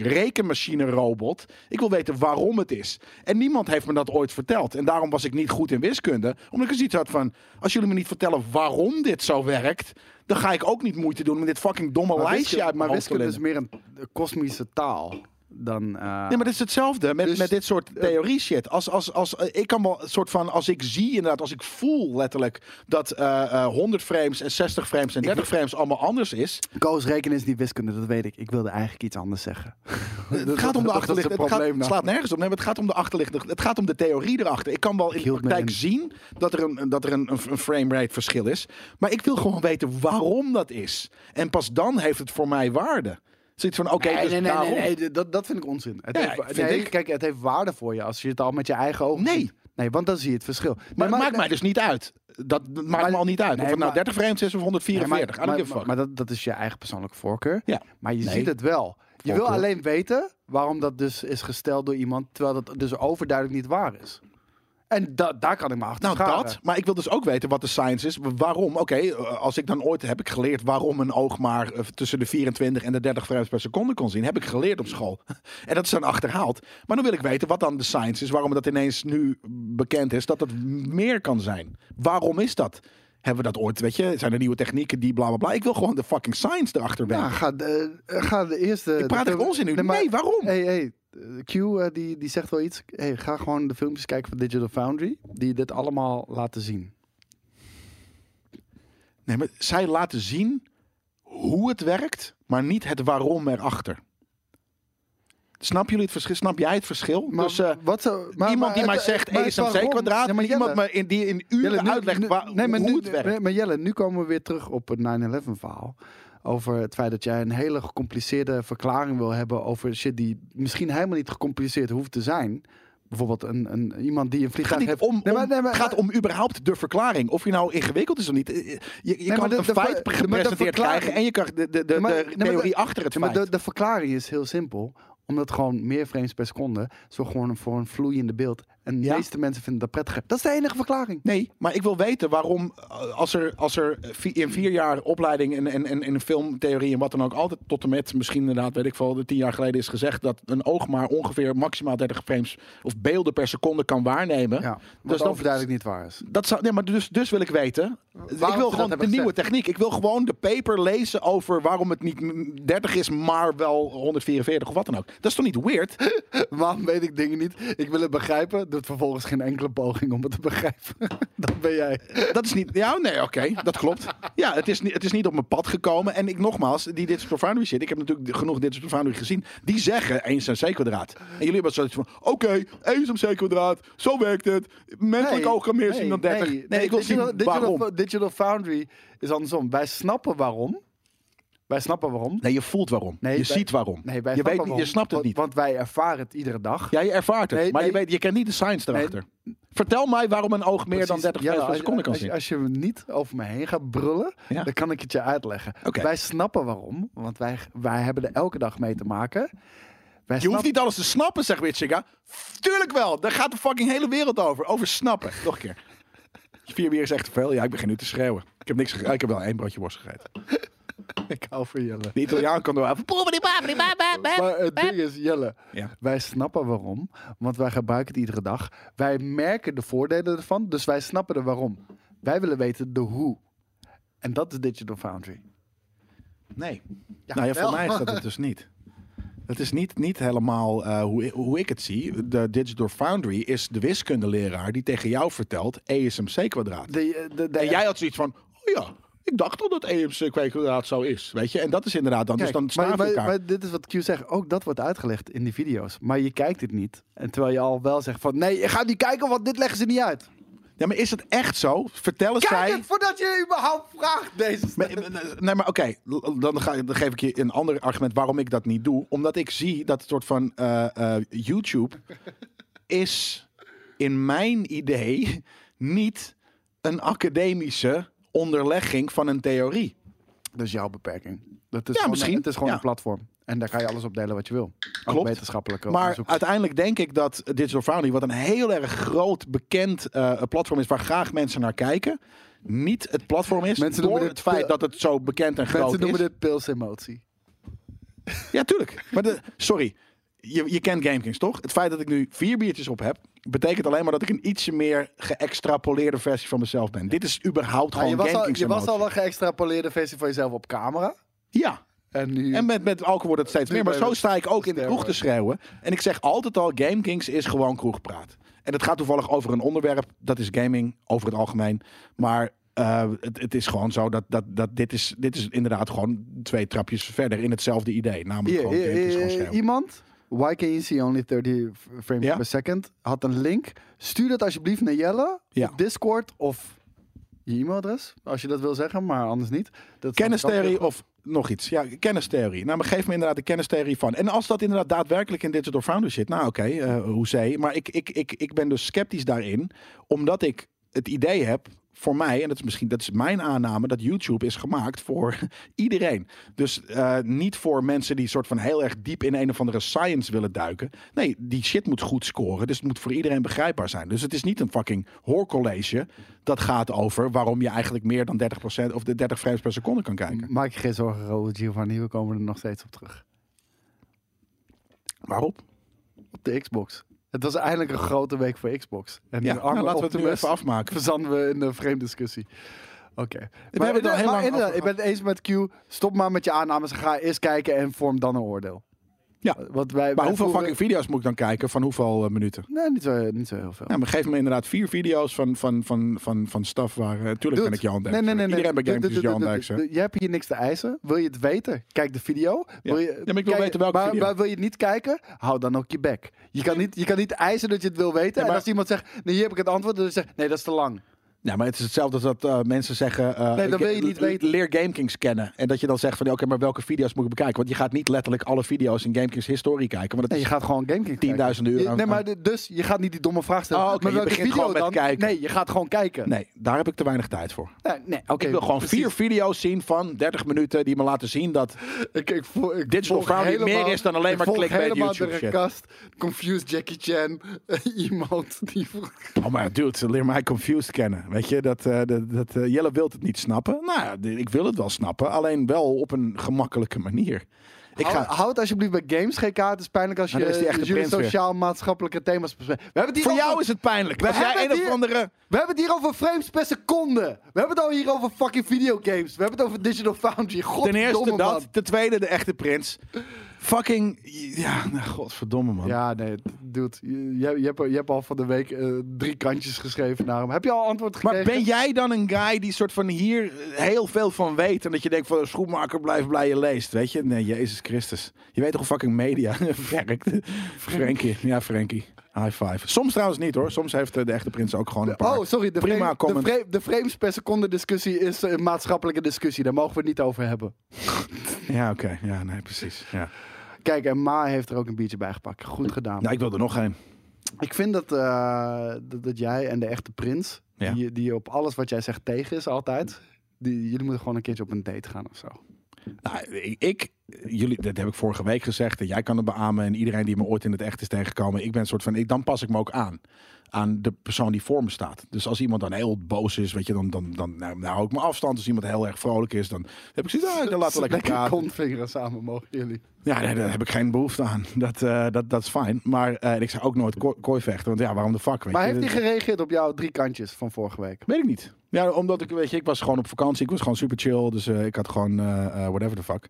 Speaker 2: rekenmachine-robot. Ik wil weten waarom het is. En niemand heeft me dat ooit verteld. En daarom was ik niet goed in wiskunde. Omdat ik dus iets had van: als jullie me niet vertellen waarom dit zo werkt, dan ga ik ook niet moeite doen met dit fucking domme
Speaker 1: Maar
Speaker 2: lijstje
Speaker 1: wiskunde-
Speaker 2: uit mijn
Speaker 1: maar
Speaker 2: hoofd te
Speaker 1: wiskunde is
Speaker 2: lullen.
Speaker 1: meer een kosmische taal dan... eh,
Speaker 2: Nee, maar dit is hetzelfde met,
Speaker 1: Dus-
Speaker 2: met dit soort eh, theorie shit. Als, als, als, eh, ik kan wel een soort van, als ik zie inderdaad, als ik voel letterlijk dat eh, eh, 100 frames en 60 frames en 30 frames allemaal anders is.
Speaker 1: Koos, rekenen is niet wiskunde, dat weet ik. Ik wilde eigenlijk iets anders zeggen.
Speaker 2: Het gaat om de achterliggende. Het, gaat- het
Speaker 1: nou.
Speaker 2: slaat nergens op. Nee, maar het gaat om de achterliggende. Het gaat om de theorie erachter. Ik kan wel in de
Speaker 1: hield me
Speaker 2: praktijk
Speaker 1: in.
Speaker 2: zien dat er een, dat er een, een, een framerate verschil is. Maar ik wil gewoon weten waarom dat is. En pas dan heeft het voor mij waarde. Zoiets van, oké,
Speaker 1: Nee,
Speaker 2: dus
Speaker 1: nee, nee,
Speaker 2: daarom.
Speaker 1: nee, nee, dat, dat vind ik onzin. Het
Speaker 2: Ja,
Speaker 1: heeft-
Speaker 2: ik vind
Speaker 1: nee,
Speaker 2: ik-
Speaker 1: Kijk, het heeft waarde voor je als je het al met je eigen ogen
Speaker 2: Nee.
Speaker 1: ziet. Nee, want dan zie je het verschil. Nee,
Speaker 2: Maar het maakt mij dus niet uit. Dat maakt
Speaker 1: Maar-
Speaker 2: me al niet uit.
Speaker 1: nee,
Speaker 2: of het nou
Speaker 1: maar-
Speaker 2: 30 frames is of
Speaker 1: nee,
Speaker 2: 144.
Speaker 1: maar-
Speaker 2: I don't
Speaker 1: maar-
Speaker 2: give a fuck.
Speaker 1: Maar, dat, dat is je eigen persoonlijke voorkeur.
Speaker 2: Ja.
Speaker 1: Maar je
Speaker 2: Nee.
Speaker 1: ziet het wel. Je wil
Speaker 2: Voorkeur.
Speaker 1: alleen weten waarom dat dus is gesteld door iemand, terwijl dat dus overduidelijk niet waar is. En da- daar kan ik me achter
Speaker 2: Nou,
Speaker 1: scharen.
Speaker 2: dat. Maar ik wil dus ook weten wat de science is. Waarom? Oké, eh, als ik dan ooit heb ik geleerd waarom een oog maar eh, tussen de 24 en de 30 frames per seconde kon zien. Heb ik geleerd op school. en dat is dan achterhaald. Maar dan wil ik weten wat dan de science is. Waarom dat ineens nu bekend is dat dat meer kan zijn. Waarom is dat? Hebben we dat ooit, weet je? Zijn er nieuwe technieken die bla bla bla? Ik wil gewoon de fucking science erachter weten.
Speaker 1: Ja, ga, de- eh, ga de eerste...
Speaker 2: ik praat
Speaker 1: de
Speaker 2: echt
Speaker 1: film-
Speaker 2: onzin nu.
Speaker 1: Nee,
Speaker 2: Nee,
Speaker 1: maar-
Speaker 2: waarom?
Speaker 1: Hey, hey. eh, Q eh, die, die zegt wel iets. Hey, ga gewoon de filmpjes kijken van Digital Foundry. Die dit allemaal laten zien.
Speaker 2: Nee, maar zij laten zien hoe het werkt, maar niet het waarom erachter. Snap jullie het verschil? Snap jij het verschil?
Speaker 1: Maar
Speaker 2: dus eh,
Speaker 1: wat zo, maar,
Speaker 2: iemand die
Speaker 1: maar
Speaker 2: mij
Speaker 1: het-
Speaker 2: zegt
Speaker 1: maar
Speaker 2: E
Speaker 1: het
Speaker 2: is mc
Speaker 1: waarom- Ja,
Speaker 2: kwadraat, maar
Speaker 1: maar
Speaker 2: iemand
Speaker 1: Jelle,
Speaker 2: me in, die in uren
Speaker 1: Jelle, nu-
Speaker 2: uitlegt
Speaker 1: nu-
Speaker 2: waar-
Speaker 1: nee, maar
Speaker 2: hoe
Speaker 1: nu,
Speaker 2: het werkt.
Speaker 1: nee, maar Jelle, nu komen we weer terug op het 9-11 verhaal. Over het feit dat jij een hele gecompliceerde verklaring wil hebben over shit die misschien helemaal niet gecompliceerd hoeft te zijn. Bijvoorbeeld een, een, iemand die een
Speaker 2: Het gaat
Speaker 1: vliegtuig
Speaker 2: niet
Speaker 1: heeft...
Speaker 2: om, om-
Speaker 1: Nee, maar- nee, maar-
Speaker 2: het gaat om überhaupt de verklaring. Of je nou ingewikkeld is of niet. Je, je
Speaker 1: maar
Speaker 2: kan
Speaker 1: de-
Speaker 2: een
Speaker 1: de ver-
Speaker 2: feit
Speaker 1: de- maar de
Speaker 2: gepresenteerd
Speaker 1: verklaring-
Speaker 2: krijgen en je krijgt de, de, de,
Speaker 1: Nee, maar-
Speaker 2: de
Speaker 1: nee, maar de-
Speaker 2: theorie achter het
Speaker 1: Ja,
Speaker 2: feit.
Speaker 1: maar de, de verklaring is heel simpel. Omdat gewoon meer frames per seconde zorgt gewoon voor een vloeiende beeld. En de
Speaker 2: Ja.
Speaker 1: meeste mensen vinden dat prettiger. Dat is de enige verklaring.
Speaker 2: Nee, maar ik wil weten waarom eh, als er, als er vi- in vier jaar opleiding en, en, en, en filmtheorie en wat dan ook altijd tot en met misschien inderdaad, weet ik veel, tien jaar geleden is gezegd dat een oog maar ongeveer maximaal 30 frames of beelden per seconde kan waarnemen.
Speaker 1: Ja, wat
Speaker 2: Dus
Speaker 1: dus
Speaker 2: dan-
Speaker 1: overduidelijk niet waar is.
Speaker 2: Dat zou, nee, maar dus, dus wil ik weten. ik
Speaker 1: ze dat
Speaker 2: wil gewoon de
Speaker 1: hebben
Speaker 2: nieuwe
Speaker 1: gezegd.
Speaker 2: techniek. Ik wil gewoon de paper lezen over waarom het niet mm, 30 is, maar wel 144 of wat dan ook. Dat is toch niet weird?
Speaker 1: Waarom weet ik dingen niet? Ik wil het begrijpen. Doet vervolgens geen enkele poging om het te begrijpen. dat ben jij.
Speaker 2: Dat is niet. Ja, nee, oké, dat klopt. Ja, het is, niet- het is niet op mijn pad gekomen. En ik nogmaals, die Digital Foundry shit. Ik heb natuurlijk genoeg Digital Foundry gezien. Die zeggen 1 is een C kwadraat. En jullie hebben zoiets van: oké, 1 is een C kwadraat. Zo werkt het. Menselijk oog kan meer zien dan 30. Nee, ik wil zien
Speaker 1: digital, digital-
Speaker 2: waarom.
Speaker 1: Digital Foundry is andersom. Wij snappen waarom. Wij snappen waarom.
Speaker 2: Nee, je voelt waarom.
Speaker 1: Nee,
Speaker 2: je
Speaker 1: wij-
Speaker 2: ziet waarom.
Speaker 1: Nee, wij
Speaker 2: je, weet,
Speaker 1: snappen
Speaker 2: niet, je
Speaker 1: waarom.
Speaker 2: snapt het
Speaker 1: Want-
Speaker 2: niet.
Speaker 1: Want wij ervaren het iedere dag.
Speaker 2: Ja, je ervaart het.
Speaker 1: Nee,
Speaker 2: maar Je,
Speaker 1: nee.
Speaker 2: weet, je kent niet de science erachter. Vertel mij waarom een oog meer dan
Speaker 1: Precies.
Speaker 2: 30
Speaker 1: Ja,
Speaker 2: frames per
Speaker 1: als-
Speaker 2: seconde kan
Speaker 1: als,
Speaker 2: zien.
Speaker 1: Als je niet over me heen gaat brullen,
Speaker 2: Ja.
Speaker 1: dan kan ik het je uitleggen.
Speaker 2: Oké.
Speaker 1: Wij snappen waarom, want wij, wij hebben er elke dag mee te maken. Wij
Speaker 2: Je hoeft
Speaker 1: snappen-
Speaker 2: niet alles te snappen, zegt Witsinga. Tuurlijk wel, daar gaat de fucking hele wereld over. Over snappen. Nog een keer. Vier bier is echt te veel. Ja, ik begin nu te schreeuwen. Ik heb niks gegeten. Ik heb wel één broodje worst gegeten.
Speaker 1: Ik hou van Jelle.
Speaker 2: De Italiaan kan door even...
Speaker 1: Maar het ding is, Jelle,
Speaker 2: Ja.
Speaker 1: wij snappen waarom. Want wij gebruiken het iedere dag. Wij merken de voordelen ervan, dus wij snappen de waarom. Wij willen weten de hoe. En dat is Digital Foundry.
Speaker 2: Nee. nou ja,
Speaker 1: wel.
Speaker 2: voor mij is dat het dus niet. Het is niet, niet helemaal eh, hoe, hoe ik het zie. De Digital Foundry is de wiskundeleraar die tegen jou vertelt E is MC kwadraat.
Speaker 1: De, de, de,
Speaker 2: En jij had zoiets van, oh ja, ik dacht al dat E EMC kwadraat zo is. Weet je, en dat is inderdaad dan.
Speaker 1: Kijk,
Speaker 2: dus dan staan
Speaker 1: maar,
Speaker 2: we
Speaker 1: maar,
Speaker 2: elkaar.
Speaker 1: maar dit is wat Q zegt. Ook dat wordt uitgelegd in die video's. Maar je kijkt dit niet. En terwijl je al wel zegt van... Nee, je gaat niet kijken, want dit leggen ze niet uit.
Speaker 2: Ja, maar is het echt zo? Vertellen
Speaker 1: Kijk
Speaker 2: zij...
Speaker 1: het voordat je überhaupt vraagt deze
Speaker 2: Maar- eh, Nee, maar oké, l- dan, ga, dan geef ik je een ander argument waarom ik dat niet doe. Omdat ik zie dat het soort van eh, eh, YouTube is in mijn idee niet een academische onderlegging van een theorie.
Speaker 1: Dat is jouw beperking. Dat is
Speaker 2: Ja,
Speaker 1: gewoon,
Speaker 2: misschien.
Speaker 1: Het is gewoon
Speaker 2: Ja.
Speaker 1: een platform. En daar kan je alles op delen wat je wil. Ook
Speaker 2: Klopt.
Speaker 1: wetenschappelijke
Speaker 2: Maar
Speaker 1: onderzoek.
Speaker 2: uiteindelijk denk ik dat Digital Foundry, wat een heel erg groot bekend eh, platform is waar graag mensen naar kijken, niet het platform is
Speaker 1: Mensen
Speaker 2: door
Speaker 1: noemen
Speaker 2: het
Speaker 1: dit
Speaker 2: feit
Speaker 1: de-
Speaker 2: dat het zo bekend en groot
Speaker 1: Mensen
Speaker 2: is.
Speaker 1: noemen dit pils emotie.
Speaker 2: Ja, tuurlijk. Maar de, sorry, je, je kent GameKings toch? Het feit dat ik nu vier biertjes op heb, betekent alleen maar dat ik een ietsje meer geëxtrapoleerde versie van mezelf ben. Dit is überhaupt
Speaker 1: Ja, Ah, je
Speaker 2: gewoon
Speaker 1: was al,
Speaker 2: GameKings
Speaker 1: je was al
Speaker 2: emotie.
Speaker 1: een geëxtrapoleerde versie van jezelf op camera.
Speaker 2: Ja.
Speaker 1: En nu...
Speaker 2: En met, met alcohol wordt het steeds
Speaker 1: Nu
Speaker 2: meer. Maar
Speaker 1: ben je
Speaker 2: zo sta ik ook in de
Speaker 1: sterker.
Speaker 2: kroeg te schreeuwen. En ik zeg altijd al, GameKings is gewoon kroegpraat. En het gaat toevallig over een onderwerp. Dat is gaming, over het algemeen. Maar eh, het, het is gewoon zo dat, dat, dat dit, is, dit is inderdaad gewoon twee trapjes verder in hetzelfde idee. Namelijk
Speaker 1: Hier,
Speaker 2: gewoon
Speaker 1: hier,
Speaker 2: GameKings
Speaker 1: hier,
Speaker 2: gewoon schreeuwen.
Speaker 1: iemand... Why can you see only 30 f- frames
Speaker 2: Ja.
Speaker 1: per second? Had een link. Stuur dat alsjeblieft naar Jelle.
Speaker 2: Ja.
Speaker 1: Op Discord of je e-mailadres. Als je dat wil zeggen, maar anders niet. Dat
Speaker 2: Kennistheorie of nog iets. Ja, kennistheorie. Nou, maar geef me inderdaad de kennistheorie van. En als dat inderdaad daadwerkelijk in Digital Foundry zit, nou oké, eh hoezee. Maar ik, ik, ik, ik ben dus sceptisch daarin, omdat ik het idee heb voor mij, en dat is misschien dat is mijn aanname, dat YouTube is gemaakt voor iedereen. Dus eh, niet voor mensen die soort van heel erg diep in een of andere science willen duiken. Nee, die shit moet goed scoren, dus het moet voor iedereen begrijpbaar zijn. Dus het is niet een fucking hoorcollege dat gaat over waarom je eigenlijk meer dan 30% of de 30 frames per seconde kan kijken.
Speaker 1: Maak je geen zorgen, Robert Giovanni. We komen er nog steeds op terug.
Speaker 2: Waarop?
Speaker 1: Op de Xbox. Het was eigenlijk een grote week voor Xbox. En
Speaker 2: Ja,
Speaker 1: nu armen
Speaker 2: nou, laten we
Speaker 1: op
Speaker 2: het er nu
Speaker 1: nu
Speaker 2: even afmaken.
Speaker 1: verzanden we in een vreemde discussie. Oké. We
Speaker 2: hebben het al heel lang
Speaker 1: ik
Speaker 2: over
Speaker 1: ben het eens met Q. Stop maar met je aannames. Ga eerst kijken en vorm dan een oordeel.
Speaker 2: Ja.
Speaker 1: Want wij,
Speaker 2: Maar
Speaker 1: wij
Speaker 2: hoeveel
Speaker 1: voeren-
Speaker 2: fucking video's moet ik dan kijken van hoeveel eh, minuten?
Speaker 1: Nee, niet zo, niet zo heel veel.
Speaker 2: Ja, maar geef me inderdaad vier video's van, van, van, van, van staf waar... eh, tuurlijk ben
Speaker 1: Dude,
Speaker 2: ik Johan
Speaker 1: Nee,
Speaker 2: Derksen.
Speaker 1: nee, nee. nee.
Speaker 2: Iedereen bij
Speaker 1: Dude,
Speaker 2: Games is
Speaker 1: dude,
Speaker 2: Johan
Speaker 1: dude,
Speaker 2: Derksen.
Speaker 1: dude, Je hebt hier niks te eisen. Wil je het weten? Kijk de video. Wil je,
Speaker 2: Ja, maar ik wil
Speaker 1: kijk-
Speaker 2: weten welke
Speaker 1: maar,
Speaker 2: video.
Speaker 1: maar wil je het niet kijken? Hou dan ook je bek. Je kan niet, je kan niet eisen dat je het wil weten. En
Speaker 2: maar-
Speaker 1: als iemand zegt, nee, hier heb ik het antwoord. Dan zeg je, nee, dat is te lang.
Speaker 2: Ja, maar het is hetzelfde als dat eh, mensen zeggen... eh,
Speaker 1: Nee, dat wil je
Speaker 2: ik-
Speaker 1: niet
Speaker 2: l-
Speaker 1: weten.
Speaker 2: Leer GameKings kennen. En dat je dan zegt van... ja, Oké, maar welke video's moet ik bekijken? Want je gaat niet letterlijk alle video's in GameKings historie kijken. Want dat
Speaker 1: Nee, je
Speaker 2: is
Speaker 1: gaat gewoon GameKings kijken.
Speaker 2: tienduizenden euro.
Speaker 1: Je-
Speaker 2: aan-
Speaker 1: Nee, maar de- dus je gaat niet die domme vraag stellen.
Speaker 2: Oh, oké,
Speaker 1: maar
Speaker 2: je
Speaker 1: welke
Speaker 2: begint
Speaker 1: video
Speaker 2: gewoon
Speaker 1: dan?
Speaker 2: met kijken.
Speaker 1: Nee, je gaat gewoon kijken.
Speaker 2: Nee, daar heb ik te weinig tijd voor.
Speaker 1: nee, nee, oké,
Speaker 2: ik wil gewoon
Speaker 1: precies.
Speaker 2: vier video's zien van 30 minuten... die me laten zien dat...
Speaker 1: Ik, ik, vo- ik
Speaker 2: Digital
Speaker 1: volg
Speaker 2: Foundry
Speaker 1: helemaal-
Speaker 2: meer is dan alleen
Speaker 1: ik
Speaker 2: maar
Speaker 1: volg
Speaker 2: clickbait
Speaker 1: helemaal
Speaker 2: YouTube
Speaker 1: de
Speaker 2: shit.
Speaker 1: recast. Confused Jackie Chan. Iemand die...
Speaker 2: Oh, maar dude, leer mij confused kennen. Weet je, dat, eh, dat, dat, eh, Jelle wilt het niet snappen. Nou, ja, d- ik wil het wel snappen. Alleen wel op een gemakkelijke manier. Ik
Speaker 1: Hou-
Speaker 2: ga...
Speaker 1: Houd alsjeblieft bij games geen kaart. Het is pijnlijk als
Speaker 2: Maar daar is die
Speaker 1: je
Speaker 2: echte
Speaker 1: jullie
Speaker 2: prins weer.
Speaker 1: sociaal-maatschappelijke thema's bespreekt. We hebben het hier
Speaker 2: Voor
Speaker 1: over-
Speaker 2: jou is het pijnlijk.
Speaker 1: We
Speaker 2: Als jij
Speaker 1: hebben
Speaker 2: een
Speaker 1: het
Speaker 2: of
Speaker 1: hier-
Speaker 2: andere...
Speaker 1: We hebben het hier over frames per seconde. We hebben het al hier over fucking videogames. We hebben het over Digital Foundry.
Speaker 2: Ten
Speaker 1: Godverdomme,
Speaker 2: eerste dat.
Speaker 1: man.
Speaker 2: Ten tweede de echte prins. Fucking... Ja, nou, godverdomme man.
Speaker 1: Ja, nee, dude. Je, je, je hebt, je hebt al van de week eh, drie kantjes geschreven naar hem. Heb je al antwoord gekregen?
Speaker 2: Maar ben jij dan een guy die soort van hier heel veel van weet... en dat je denkt van schoenmaker blijf blij je leest, weet je? Nee, Jezus Christus. Je weet toch hoe fucking media werkt? Frankie, ja Frankie. High five. Soms trouwens niet hoor. Soms heeft eh, de echte prins ook gewoon een paar...
Speaker 1: Oh, sorry. De,
Speaker 2: Prima
Speaker 1: frame- de
Speaker 2: comment.
Speaker 1: frame- de frames per seconde discussie is een maatschappelijke discussie. Daar mogen we het niet over hebben.
Speaker 2: Ja, oké. Ja, nee, precies. Ja.
Speaker 1: Kijk, en Ma heeft er ook een biertje bij gepakt. Goed gedaan.
Speaker 2: Nou, ik wil er nog één.
Speaker 1: Ik vind dat, eh, dat, dat jij en de echte prins,
Speaker 2: Ja.
Speaker 1: die, die op alles wat jij zegt tegen is altijd, die, jullie moeten gewoon een keertje op een date gaan of zo.
Speaker 2: Nou, ik, ik, jullie, dat heb ik vorige week gezegd, en jij kan het beamen, en iedereen die me ooit in het echt is tegengekomen, ik ben een soort van, ik, dan pas ik me ook aan. Aan de persoon die voor me staat. Dus als iemand dan heel boos is, weet je, dan, dan, dan, nou, nou hou ik me afstand. Als iemand heel erg vrolijk is, dan heb ik zoiets, ah, dan laten we lekker praten.
Speaker 1: kontvingeren samen, mogen jullie.
Speaker 2: Ja, nee, daar heb ik geen behoefte aan. Dat, eh, dat, dat is fijn. Maar eh, en ik zou ook nooit ko- kooi vechten, want ja, waarom de fuck, weet
Speaker 1: Maar
Speaker 2: je? Dus-
Speaker 1: heeft hij
Speaker 2: Dat-
Speaker 1: gereageerd op jouw drie kantjes van vorige week?
Speaker 2: Weet ik niet. Ja, omdat ik, weet je, ik was gewoon op vakantie. Ik was gewoon super chill. Dus eh, ik had gewoon eh, eh, whatever the fuck.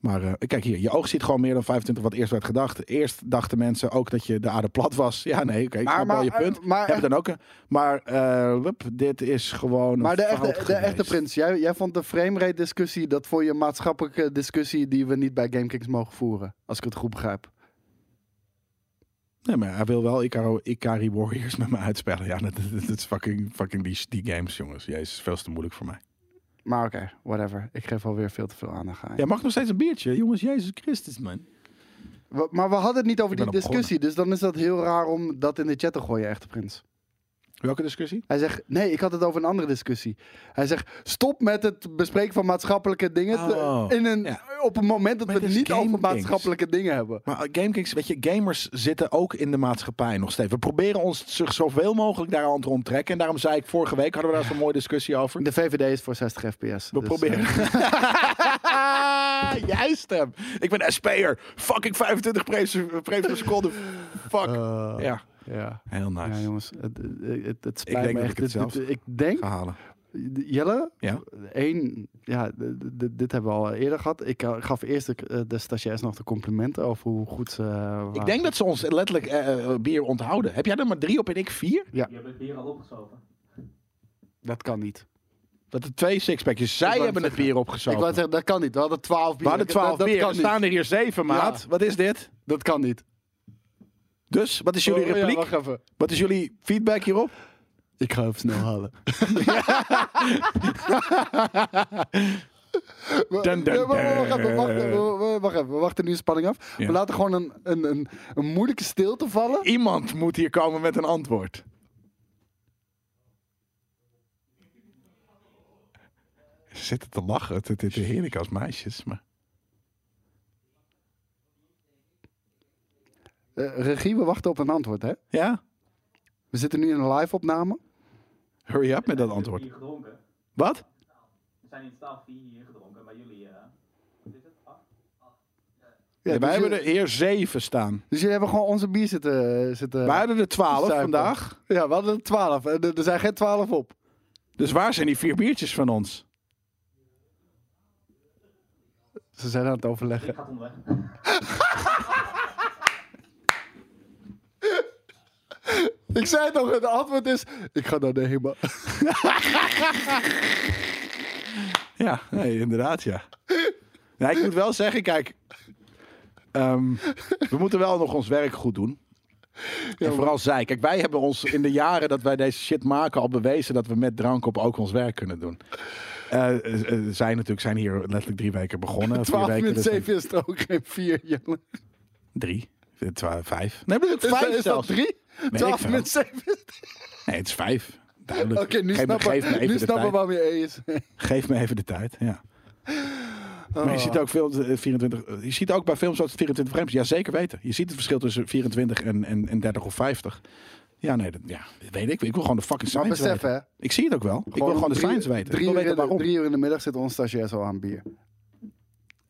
Speaker 2: Maar eh, kijk hier, je oog ziet gewoon meer dan 25 wat eerst werd gedacht. Eerst dachten mensen ook dat je de aarde plat was. Ja, nee, oké, ik snap wel je punt.
Speaker 1: eh, maar,
Speaker 2: Heb dan ook een. Maar eh, wup, dit is gewoon. een
Speaker 1: maar de,
Speaker 2: fout
Speaker 1: echte, de echte
Speaker 2: geweest.
Speaker 1: prins, jij, jij vond de framerate discussie, dat voor je maatschappelijke discussie die we niet bij GameKings mogen voeren. Als ik het goed begrijp.
Speaker 2: Nee, maar hij wil wel Icaro, Ikari Warriors met me uitspellen. Ja, dat, dat- dat is fucking, fucking die, die games, jongens. Jezus, veel te moeilijk voor mij.
Speaker 1: Maar oké, whatever. Ik geef alweer veel te veel aandacht aan. je.
Speaker 2: Jij mag nog steeds een biertje, jongens. Jezus Christus, man.
Speaker 1: We- maar we hadden het niet over
Speaker 2: Ik
Speaker 1: die
Speaker 2: ben al begonnen.
Speaker 1: discussie, dus dan is dat heel raar om dat in de chat te gooien, echte prins.
Speaker 2: Welke discussie?
Speaker 1: Hij zegt, nee, ik had het over een andere discussie. Hij zegt, stop met het bespreken van maatschappelijke dingen te-
Speaker 2: Oh,
Speaker 1: in een,
Speaker 2: ja.
Speaker 1: op een moment dat
Speaker 2: Maar
Speaker 1: we
Speaker 2: het
Speaker 1: het
Speaker 2: is
Speaker 1: niet over
Speaker 2: GameKings.
Speaker 1: maatschappelijke dingen hebben.
Speaker 2: Maar eh, GameKings, weet je, gamers zitten ook in de maatschappij nog steeds. We proberen ons zich zoveel mogelijk daar aan te onttrekken. En daarom zei ik, vorige week hadden we daar zo'n mooie discussie over.
Speaker 1: De VVD is voor 60 fps.
Speaker 2: We proberen...
Speaker 1: eh.
Speaker 2: Jij stem. Ik ben SP'er. Fucking 25 frames frames per seconde. Fuck. ja,
Speaker 1: ja.
Speaker 2: heel nice.
Speaker 1: Eh. Ja, jongens, het, het, het, het spijt
Speaker 2: denk
Speaker 1: me
Speaker 2: dat
Speaker 1: echt.
Speaker 2: ik het
Speaker 1: Dit- dit-
Speaker 2: zelf-
Speaker 1: ik denk,
Speaker 2: Ga halen.
Speaker 1: Jelle,
Speaker 2: Ja?
Speaker 1: één, ja, d- d- d- dit hebben we al eerder gehad. Ik eh, gaf eerst de, eh, de stagiairs nog de complimenten over hoe goed ze eh,
Speaker 2: Ik
Speaker 1: waren.
Speaker 2: denk dat ze ons letterlijk eh, eh, bier onthouden. Heb jij er maar drie op en ik vier?
Speaker 3: Je hebt het bier al opgeschoven.
Speaker 1: Dat kan niet.
Speaker 2: Dat er twee sixpackjes.
Speaker 1: Ik
Speaker 2: Zij
Speaker 1: wou
Speaker 2: hebben het
Speaker 1: zeggen.
Speaker 2: bier
Speaker 1: Ik
Speaker 2: opgezogen.
Speaker 1: wou zeggen, dat kan niet. We hadden 12 bier.
Speaker 2: we hadden
Speaker 1: Dat-
Speaker 2: twaalf
Speaker 1: dat,
Speaker 2: bier.
Speaker 1: Dat
Speaker 2: Er
Speaker 1: kan niet.
Speaker 2: staan er hier zeven, maat. Wat is dit?
Speaker 1: Dat kan niet.
Speaker 2: Dus, wat is jullie
Speaker 1: Oh, ja,
Speaker 2: repliek?
Speaker 1: wacht even.
Speaker 2: Wat is jullie feedback hierop?
Speaker 1: Ik ga even snel halen. We-
Speaker 2: Dun, dun,
Speaker 1: Nee, wacht, wacht, wacht even,
Speaker 2: dun.
Speaker 1: wacht even, we- we- wacht even. We wachten nu de spanning af.
Speaker 2: Ja.
Speaker 1: We laten gewoon een, een, een, een moeilijke stilte vallen.
Speaker 2: Iemand moet hier komen met een antwoord. Ze zitten te lachen. Het het is heerlijk als meisjes. Maar...
Speaker 1: Eh, regie, we wachten op een antwoord, hè?
Speaker 2: Ja,
Speaker 1: We zitten nu in een live-opname.
Speaker 2: hurry up met dat
Speaker 3: Ik heb
Speaker 2: antwoord.
Speaker 3: bier gedronken.
Speaker 2: Wat?
Speaker 3: Er zijn in staal vier hier gedronken, maar jullie... eh, wat is het? Ah, Acht?
Speaker 1: Ja,
Speaker 2: Ja,
Speaker 1: dus
Speaker 2: wij hebben
Speaker 1: je-
Speaker 2: er hier zeven staan.
Speaker 1: Dus jullie hebben gewoon onze bier zitten... eh, zitten
Speaker 2: wij hadden er twaalf
Speaker 1: zuipen.
Speaker 2: vandaag.
Speaker 1: Ja, we hadden er 12. En Er er zijn geen 12 op.
Speaker 2: Dus waar zijn die vier biertjes van ons?
Speaker 1: Ze zijn aan het overleggen.
Speaker 3: Ik ga het onderweg.
Speaker 1: Ik zei toch, het antwoord is... Ik ga naar de HEMA.
Speaker 2: Ja, nee, inderdaad, ja. Nou, ik moet wel zeggen, kijk. ehm, we moeten wel nog ons werk goed doen. en vooral zij. Kijk, wij hebben ons in de jaren dat wij deze shit maken al bewezen dat we met drank op ook ons werk kunnen doen. Eh, eh, eh, zij natuurlijk zijn hier letterlijk drie weken begonnen.
Speaker 1: 12
Speaker 2: vier weken,
Speaker 1: min
Speaker 2: dus
Speaker 1: 7 is er ook geen 4, jongen.
Speaker 2: Drie. eh, twa- Vijf. Nee, maar het is
Speaker 1: Is, dat-
Speaker 2: vijf
Speaker 1: is dat
Speaker 2: zelfs.
Speaker 1: 3?
Speaker 2: ik
Speaker 1: 12
Speaker 2: veel.
Speaker 1: min 7 is
Speaker 2: Nee, het is vijf. Duidelijk.
Speaker 1: Oké, nu
Speaker 2: geef, me-
Speaker 1: snappen
Speaker 2: geef me even
Speaker 1: nu
Speaker 2: de
Speaker 1: snappen we
Speaker 2: tijd.
Speaker 1: waarom je E is.
Speaker 2: Geef me even de tijd, ja. Maar je ziet ook films, eh, 24, eh, je ziet ook bij films als 24 frames. Ja, zeker weten. Je ziet het verschil tussen 24 en, en, en 30 of 50. Ja, nee, dat, ja, dat weet ik. Ik wil gewoon de fucking
Speaker 1: Maar
Speaker 2: science
Speaker 1: besef,
Speaker 2: weten.
Speaker 1: hè.
Speaker 2: Ik zie het ook wel. ik wil gewoon de
Speaker 1: drie-
Speaker 2: science weten.
Speaker 1: Drie
Speaker 2: ik wil
Speaker 1: uur, in
Speaker 2: weten
Speaker 1: de,
Speaker 2: waarom.
Speaker 1: drie uur in de middag zit ons stagiair zo aan bier.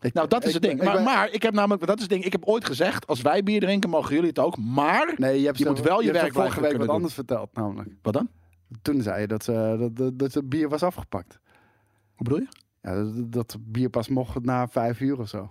Speaker 1: Ik-
Speaker 2: nou, dat is
Speaker 1: ik-
Speaker 2: het ding.
Speaker 1: ik
Speaker 2: Maar,
Speaker 1: ben-
Speaker 2: maar ik heb namelijk, dat is het ding. Ik heb ooit gezegd, als wij bier drinken, mogen jullie het ook. Maar,
Speaker 1: Nee, je hebt
Speaker 2: je
Speaker 1: ze-
Speaker 2: moet wel je
Speaker 1: hebt ze
Speaker 2: werk
Speaker 1: vorige week
Speaker 2: blijven
Speaker 1: wat
Speaker 2: kunnen doen.
Speaker 1: anders verteld, namelijk.
Speaker 2: wat dan?
Speaker 1: Toen zei je dat, ze, dat, dat, dat het bier was afgepakt.
Speaker 2: Hoe bedoel je?
Speaker 1: Ja, dat, dat bier pas mocht na vijf uur of zo.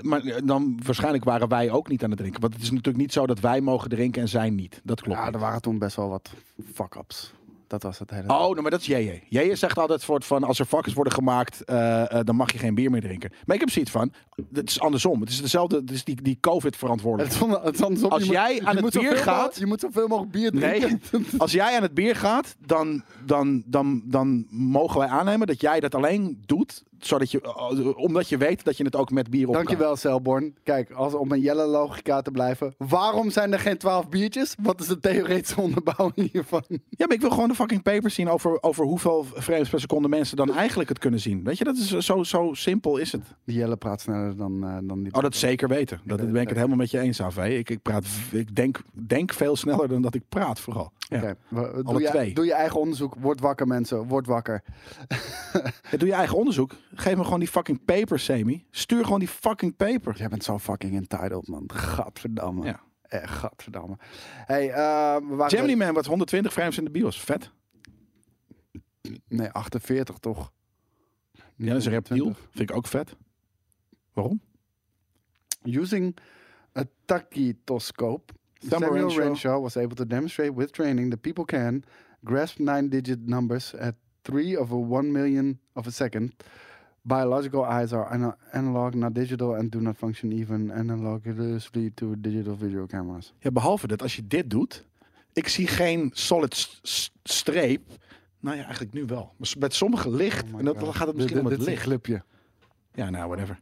Speaker 2: Maar eh, dan waarschijnlijk waren wij ook niet aan het drinken. Want het is natuurlijk niet zo dat wij mogen drinken en zij niet. Dat klopt.
Speaker 1: ja,
Speaker 2: niet.
Speaker 1: er waren toen best wel wat fuck-ups. Dat was het hele.
Speaker 2: Oh, nou, maar dat is JJ. JJ zegt altijd soort van, als er vakkers worden gemaakt, eh, eh, dan mag je geen bier meer drinken. Maar ik heb zoiets van, het is andersom. Het is dezelfde, het is die, die
Speaker 1: Het
Speaker 2: COVID-verantwoordelijkheid.
Speaker 1: is on- het is andersom.
Speaker 2: Als
Speaker 1: Je moet-
Speaker 2: jij
Speaker 1: je
Speaker 2: aan het
Speaker 1: moet
Speaker 2: bier
Speaker 1: zoveel
Speaker 2: gaat-
Speaker 1: mogelijk- Je moet zoveel mogelijk bier drinken.
Speaker 2: Als jij aan het bier gaat, dan, dan, dan, dan, dan mogen wij aannemen dat jij dat alleen doet zodat je, eh, omdat je weet dat je het ook met bier op kan.
Speaker 1: Dankjewel, Selborn. Kijk, als, om een jelle logica te blijven. Waarom zijn er geen 12 biertjes? Wat is de theoretische onderbouwing hiervan?
Speaker 2: Ja, maar ik wil gewoon de fucking papers zien over, over hoeveel frames per seconde mensen dan eigenlijk het kunnen zien. Weet je, dat is zo, zo simpel is het.
Speaker 1: Die jelle praat sneller dan, eh, dan die.
Speaker 2: Oh, dat zeker weten. Dat, daar ben ik het helemaal met je eens af. Hè. Ik, ik, praat, ik denk, denk veel sneller dan dat ik praat vooral. Ja.
Speaker 1: Oké, we- doe,
Speaker 2: Alle
Speaker 1: je,
Speaker 2: twee.
Speaker 1: doe je eigen onderzoek. Word wakker, mensen. Word wakker.
Speaker 2: Ja, doe je eigen onderzoek. Geef me gewoon die fucking papers, Semi. Stuur gewoon die fucking paper.
Speaker 1: Jij bent zo fucking entitled, man. Gadverdamme.
Speaker 2: Ja.
Speaker 1: Echt, gadverdamme. Hey, eh, we waren-
Speaker 2: Gemini Man wordt 120 frames in de bios. Vet.
Speaker 1: Nee, 48 toch?
Speaker 2: Ja, dat is een reptiel. Vind ik ook vet. Waarom?
Speaker 1: Using a tachytoscope,
Speaker 2: Samuel
Speaker 1: Samuel
Speaker 2: Renshaw.
Speaker 1: Renshaw was able to demonstrate with training that people can grasp nine-digit numbers at three of a one million of a second. Biological eyes are ana- analog, not digital, and do not function even analogously to digital video cameras.
Speaker 2: Ja, behalve dat als je dit doet, ik zie geen solid s- s- streep. Nou ja, eigenlijk nu wel. Maar s- met sommige licht, en dat, dan gaat het misschien
Speaker 1: Oh Dit- dit
Speaker 2: om het
Speaker 1: is een
Speaker 2: licht.
Speaker 1: clipje.
Speaker 2: Ja, nou, whatever.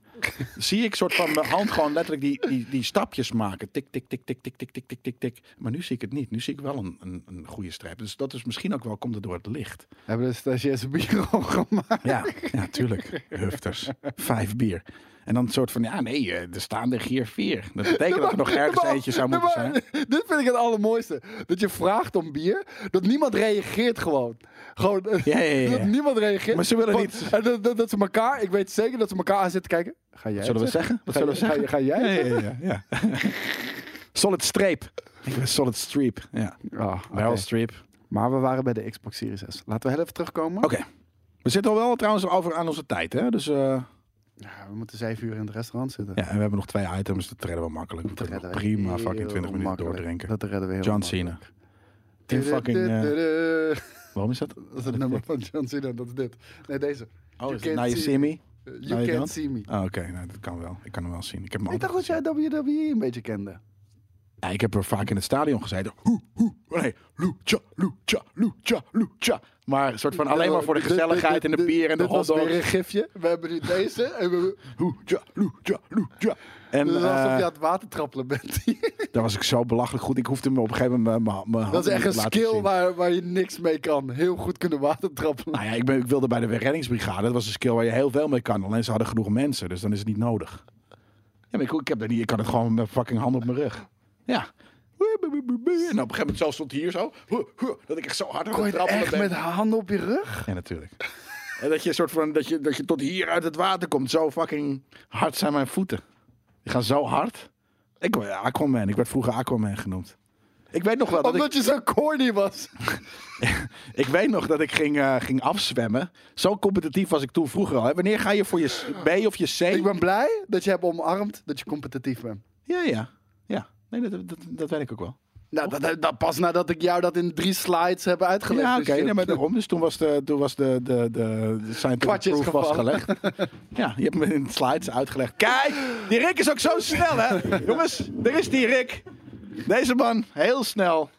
Speaker 2: zie ik soort van mijn hand gewoon letterlijk die, die, die stapjes maken. Tik, tik, tik, tik, tik, tik, tik, tik, tik, tik. Maar nu zie ik het niet. Nu zie ik wel een, een, een goede streep. Dus dat is misschien ook wel, komt het door het licht.
Speaker 1: Hebben de stagiairs een bureau gemaakt?
Speaker 2: Ja, ja tuurlijk. Hufters. Vijf bier. En dan een soort van, ja nee, eh, er staan er hier vier. Dat betekent dat er nog ergens
Speaker 1: Maar-
Speaker 2: eentje zou moeten
Speaker 1: maar-
Speaker 2: zijn.
Speaker 1: Dit vind ik het allermooiste. Dat je vraagt om bier, dat niemand reageert gewoon. Gewoon, eh,
Speaker 2: Ja, ja, ja, ja.
Speaker 1: dat niemand reageert.
Speaker 2: Maar ze willen
Speaker 1: Van-
Speaker 2: niet.
Speaker 1: en Dat, dat, dat ze elkaar, ik weet zeker dat ze elkaar aan zitten kijken. Ga jij
Speaker 2: Zullen we
Speaker 1: het
Speaker 2: zeggen? Wat
Speaker 1: Ga,
Speaker 2: zullen we
Speaker 1: jij-
Speaker 2: zeggen?
Speaker 1: Ga, ga jij? het
Speaker 2: Ja, ja, ja, ja, ja. Solid streep. Ik ben solid streep. Ja.
Speaker 1: zeggen? Ah, oké.
Speaker 2: Barrel streep.
Speaker 1: Maar we waren bij de Xbox Series S. Laten we heel even terugkomen.
Speaker 2: Oké. We zitten al wel trouwens over aan onze tijd, hè? Dus eh,
Speaker 1: Ja, we moeten zeven uur in het restaurant zitten.
Speaker 2: ja, en we hebben nog twee items. Dat redden we makkelijk. We
Speaker 1: Dat
Speaker 2: kunnen nog
Speaker 1: redden we
Speaker 2: prima
Speaker 1: heel
Speaker 2: fucking 20 minuten
Speaker 1: makkelijk.
Speaker 2: doordrinken.
Speaker 1: Dat redden we heel
Speaker 2: John
Speaker 1: makkelijk.
Speaker 2: Cena. Team fucking... eh,
Speaker 1: Tudududu.
Speaker 2: waarom is dat?
Speaker 1: Dat is het nummer van John Cena, dat is dit. Nee, deze.
Speaker 2: Oh, is
Speaker 1: can't
Speaker 2: het Now You
Speaker 1: see
Speaker 2: See Me?
Speaker 1: Uh, You
Speaker 2: Nou, je
Speaker 1: Can't
Speaker 2: dan?
Speaker 1: See Me.
Speaker 2: Oh, Oké, nou, dat kan wel. Ik kan hem wel zien. Ik heb hem
Speaker 1: Ik dacht
Speaker 2: altijd
Speaker 1: dat jij WWE een beetje kende.
Speaker 2: Ja, ik heb er vaak in het stadion gezeten. Hoe, hoe, nee, lucha, lucha, lucha, lucha. Maar een soort van alleen maar voor de
Speaker 1: Dit- dit-
Speaker 2: gezelligheid en de
Speaker 1: dit-
Speaker 2: bier en de
Speaker 1: dit was weer een
Speaker 2: hotdogs.
Speaker 1: gifje. We hebben nu deze. En we,
Speaker 2: Lucha, lucha, lucha. En
Speaker 1: het is alsof
Speaker 2: eh,
Speaker 1: je aan het watertrappelen bent.
Speaker 2: daar was ik zo belachelijk goed. Ik hoefde me op een gegeven moment mijn- mijn handen
Speaker 1: dat is echt
Speaker 2: niet
Speaker 1: een
Speaker 2: te laten
Speaker 1: skill
Speaker 2: zien.
Speaker 1: waar, waar je niks mee kan. Heel goed kunnen watertrappelen.
Speaker 2: Nou ja, ik, ben, ik wilde bij de reddingsbrigade. Dat was een skill waar je heel veel mee kan. Alleen ze hadden genoeg mensen, dus dan is het niet nodig. Ja, maar ik, ik, heb dat niet, ik kan het gewoon met fucking hand op mijn rug. Ja. En op een gegeven moment zelfs stond hij hier zo. Dat ik echt zo hard aan
Speaker 1: Kon je
Speaker 2: het
Speaker 1: het echt
Speaker 2: trappelen
Speaker 1: met
Speaker 2: ben.
Speaker 1: handen op je rug?
Speaker 2: Ja, natuurlijk. en dat je een soort van dat je, dat je tot hier uit het water komt. Zo fucking hard zijn mijn voeten. Die gaan zo hard. Ik word Aquaman. Ik werd vroeger Aquaman genoemd. Ik weet nog wel dat ik,
Speaker 1: Omdat je zo corny was.
Speaker 2: ik, weet nog dat ik ging, eh, ging afzwemmen. Zo competitief was ik toen vroeger al. Hè. Wanneer ga je voor je s- B of je C?
Speaker 1: Ik ben blij dat je hebt omarmd dat je competitief bent.
Speaker 2: Ja, ja. Ja. Nee, dat, dat, dat weet ik ook wel.
Speaker 1: Nou, dat, dat, dat pas nadat ik jou dat in drie slides heb uitgelegd.
Speaker 2: Ja,
Speaker 1: Dus
Speaker 2: oké.
Speaker 1: je-
Speaker 2: nee, maar daarom. Dus toen was de, toen was de, de, de, de scientific
Speaker 1: Kwartjes
Speaker 2: proof
Speaker 1: gevallen.
Speaker 2: vastgelegd. ja, je hebt me in de slides uitgelegd. Kijk, die Rick is ook zo snel, hè? Jongens, er is die Rick. Deze man, heel snel.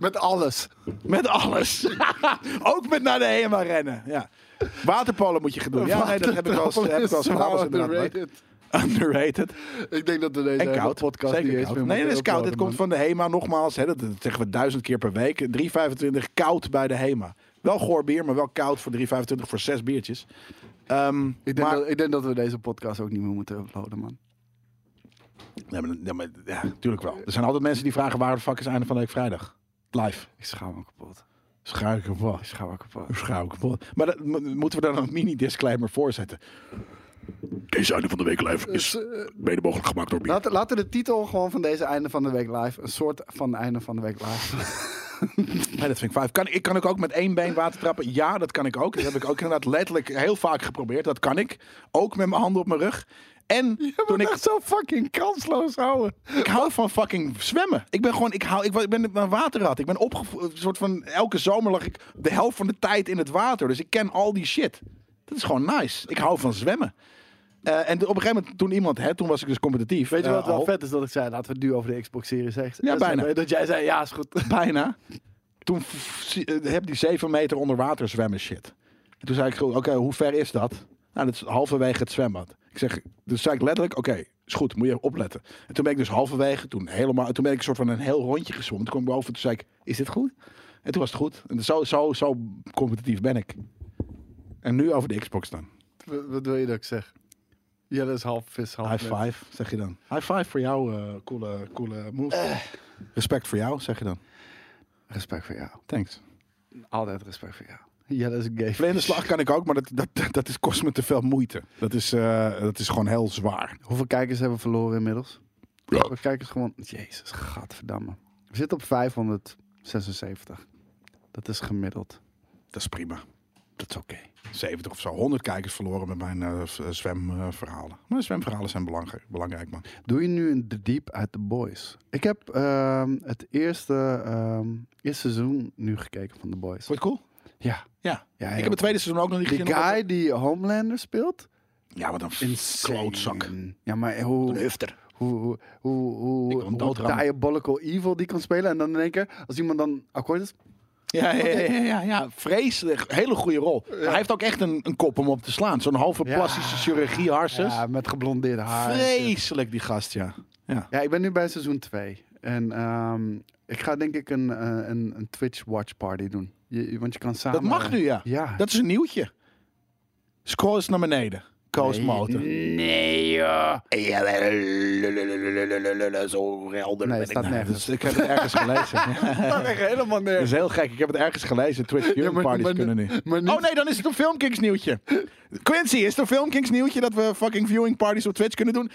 Speaker 1: Met alles.
Speaker 2: Met alles. ook met naar de HEMA rennen. Ja. Waterpolen moet je gaan doen. Ja, nee, dat heb ik al eens- heb ik al eens gedaan. was inderdaad leuk.
Speaker 1: Underrated.
Speaker 2: Underrated.
Speaker 1: Ik denk dat we deze
Speaker 2: En
Speaker 1: hele
Speaker 2: koud.
Speaker 1: podcast
Speaker 2: Zeker
Speaker 1: niet eens
Speaker 2: koud.
Speaker 1: meer
Speaker 2: Nee,
Speaker 1: moeten
Speaker 2: dit is koud. Dit
Speaker 1: uploaden,
Speaker 2: komt
Speaker 1: man.
Speaker 2: van de HEMA nogmaals. Hè, dat, dat zeggen we duizend keer per week. 3,25 koud bij de HEMA. Wel goor bier, maar wel koud voor 3,25 voor zes biertjes. Ehm,
Speaker 1: Ik denk,
Speaker 2: maar,
Speaker 1: dat, ik denk dat we deze podcast ook niet meer moeten uploaden, man.
Speaker 2: Nee, maar, ja, maar- ja, tuurlijk wel. Er zijn altijd mensen die vragen waar de fuck is einde van de week vrijdag. Live.
Speaker 1: Ik schaam me kapot.
Speaker 2: Schuik kapot.
Speaker 1: Ik schaam me kapot.
Speaker 2: Schuik kapot. Maar dat, mo- moeten we daar dan een mini-disclaimer voor zetten? Deze einde van de week live is mede mogelijk gemaakt door bier.
Speaker 1: Laten, laten we de titel gewoon van deze einde van de week live. Een soort van einde van de week live.
Speaker 2: Nee, dat vind ik vijf. Kan, ik kan ook, ook met één been water trappen. Ja, dat kan ik ook. Dat heb ik ook inderdaad letterlijk heel vaak geprobeerd. Dat kan ik. Ook met mijn handen op mijn rug. En toen ik,
Speaker 1: zo fucking kansloos houden.
Speaker 2: ik hou van fucking zwemmen. Ik ben gewoon, ik, hou, ik, wa- ik ben een waterrat. Ik ben opgevoed, soort van, elke zomer lag ik de helft van de tijd in het water. Dus ik ken al die shit. Dat is gewoon nice. Ik hou van zwemmen. Eh, en op een gegeven moment, toen iemand, hè, toen was ik dus competitief.
Speaker 1: Weet je
Speaker 2: eh,
Speaker 1: wat wel
Speaker 2: al.
Speaker 1: vet is dat ik zei? Laten we het nu over de Xbox Series X.
Speaker 2: Ja, bijna.
Speaker 1: Dat jij zei, ja, is goed.
Speaker 2: bijna. Toen f- f- zie- eh, heb die 7 meter onder water zwemmen shit. En toen zei ik, oké, hoe ver is dat? Nou, dat is halverwege het zwembad. Ik zeg, dus zei ik letterlijk, oké, is goed, moet je opletten. En toen ben ik dus halverwege, toen helemaal, toen ben ik een soort van een heel rondje gezwommen. Toen kwam ik boven, toen zei ik, is dit goed? En toen was het goed. En zo, zo, zo competitief ben ik. En nu over de Xbox dan.
Speaker 1: W- Wat wil je dat ik zeg? Ja, dat is half vis, half
Speaker 2: High
Speaker 1: mens.
Speaker 2: five, zeg je dan. High five voor jou, eh, coole, coole move.
Speaker 1: Eh.
Speaker 2: Respect voor jou, zeg je dan.
Speaker 1: Respect voor jou.
Speaker 2: Thanks.
Speaker 1: Altijd respect voor jou. Ja, dat is een game.
Speaker 2: Vlinderslag kan ik ook, maar dat, dat, dat is, kost me te veel moeite. Dat is, eh, dat is gewoon heel zwaar.
Speaker 1: Hoeveel kijkers hebben we verloren inmiddels? Hoeveel kijkers gewoon... Jezus, gadverdamme. We zitten op 576. Dat is gemiddeld.
Speaker 2: Dat is prima.
Speaker 1: Dat is oké.
Speaker 2: 70 of zo, 100 kijkers verloren met mijn eh, v- zwemverhalen. Maar zwemverhalen zijn belangrijk, belangrijk man.
Speaker 1: Doe je nu een The Deep uit The Boys? Ik heb ehm, het eerste, ehm, eerste seizoen nu gekeken van The Boys.
Speaker 2: Wordt cool?
Speaker 1: Ja.
Speaker 2: Ja.
Speaker 1: ja
Speaker 2: ik heb het tweede seizoen ook nog niet
Speaker 1: Die
Speaker 2: gezien.
Speaker 1: guy die Homelander speelt?
Speaker 2: Ja, wat een f-
Speaker 1: Insane.
Speaker 2: klootzak.
Speaker 1: Ja, maar eh,
Speaker 2: Een
Speaker 1: hoe,
Speaker 2: hufter.
Speaker 1: hoe, hoe, hoe, hoe,
Speaker 2: Ik wil hem
Speaker 1: hoe
Speaker 2: doodrammen.
Speaker 1: diabolical evil die kan spelen. En dan in één keer, als iemand dan akkoord is...
Speaker 2: Ja, ja, ja, ja, ja, ja. Vreselijk. Hele goede rol. Maar Hij heeft ook echt een, een kop om op te slaan. Zo'n halve
Speaker 1: Ja.
Speaker 2: plastische chirurgie harses.
Speaker 1: Ja, met geblondeerd haar. en shit.
Speaker 2: Vreselijk die gast, ja. Ja.
Speaker 1: Ja, ik ben nu bij seizoen 2. En ehm, ik ga denk ik een, eh, een, een Twitch watch party doen. Je- je- want je kan samen...
Speaker 2: Dat mag nu, ja.
Speaker 1: Ja.
Speaker 2: Dat is een nieuwtje. Scroll eens naar beneden. Coast Motor.
Speaker 1: Nee, joh.
Speaker 2: Zo helder
Speaker 1: Nee, ben ik staat nou. nergens.
Speaker 2: Ik heb het ergens gelezen. Ja.
Speaker 1: Dat is helemaal
Speaker 2: Dat
Speaker 1: nergens.
Speaker 2: is heel gek. Ik heb het ergens gelezen. Twitch viewing
Speaker 1: maar-
Speaker 2: parties
Speaker 1: maar-
Speaker 2: kunnen niet.
Speaker 1: maar niet-
Speaker 2: Oh nee, dan is het een Filmkings nieuwtje. Quincy, is het een Filmkings nieuwtje dat we fucking viewing parties op Twitch kunnen doen?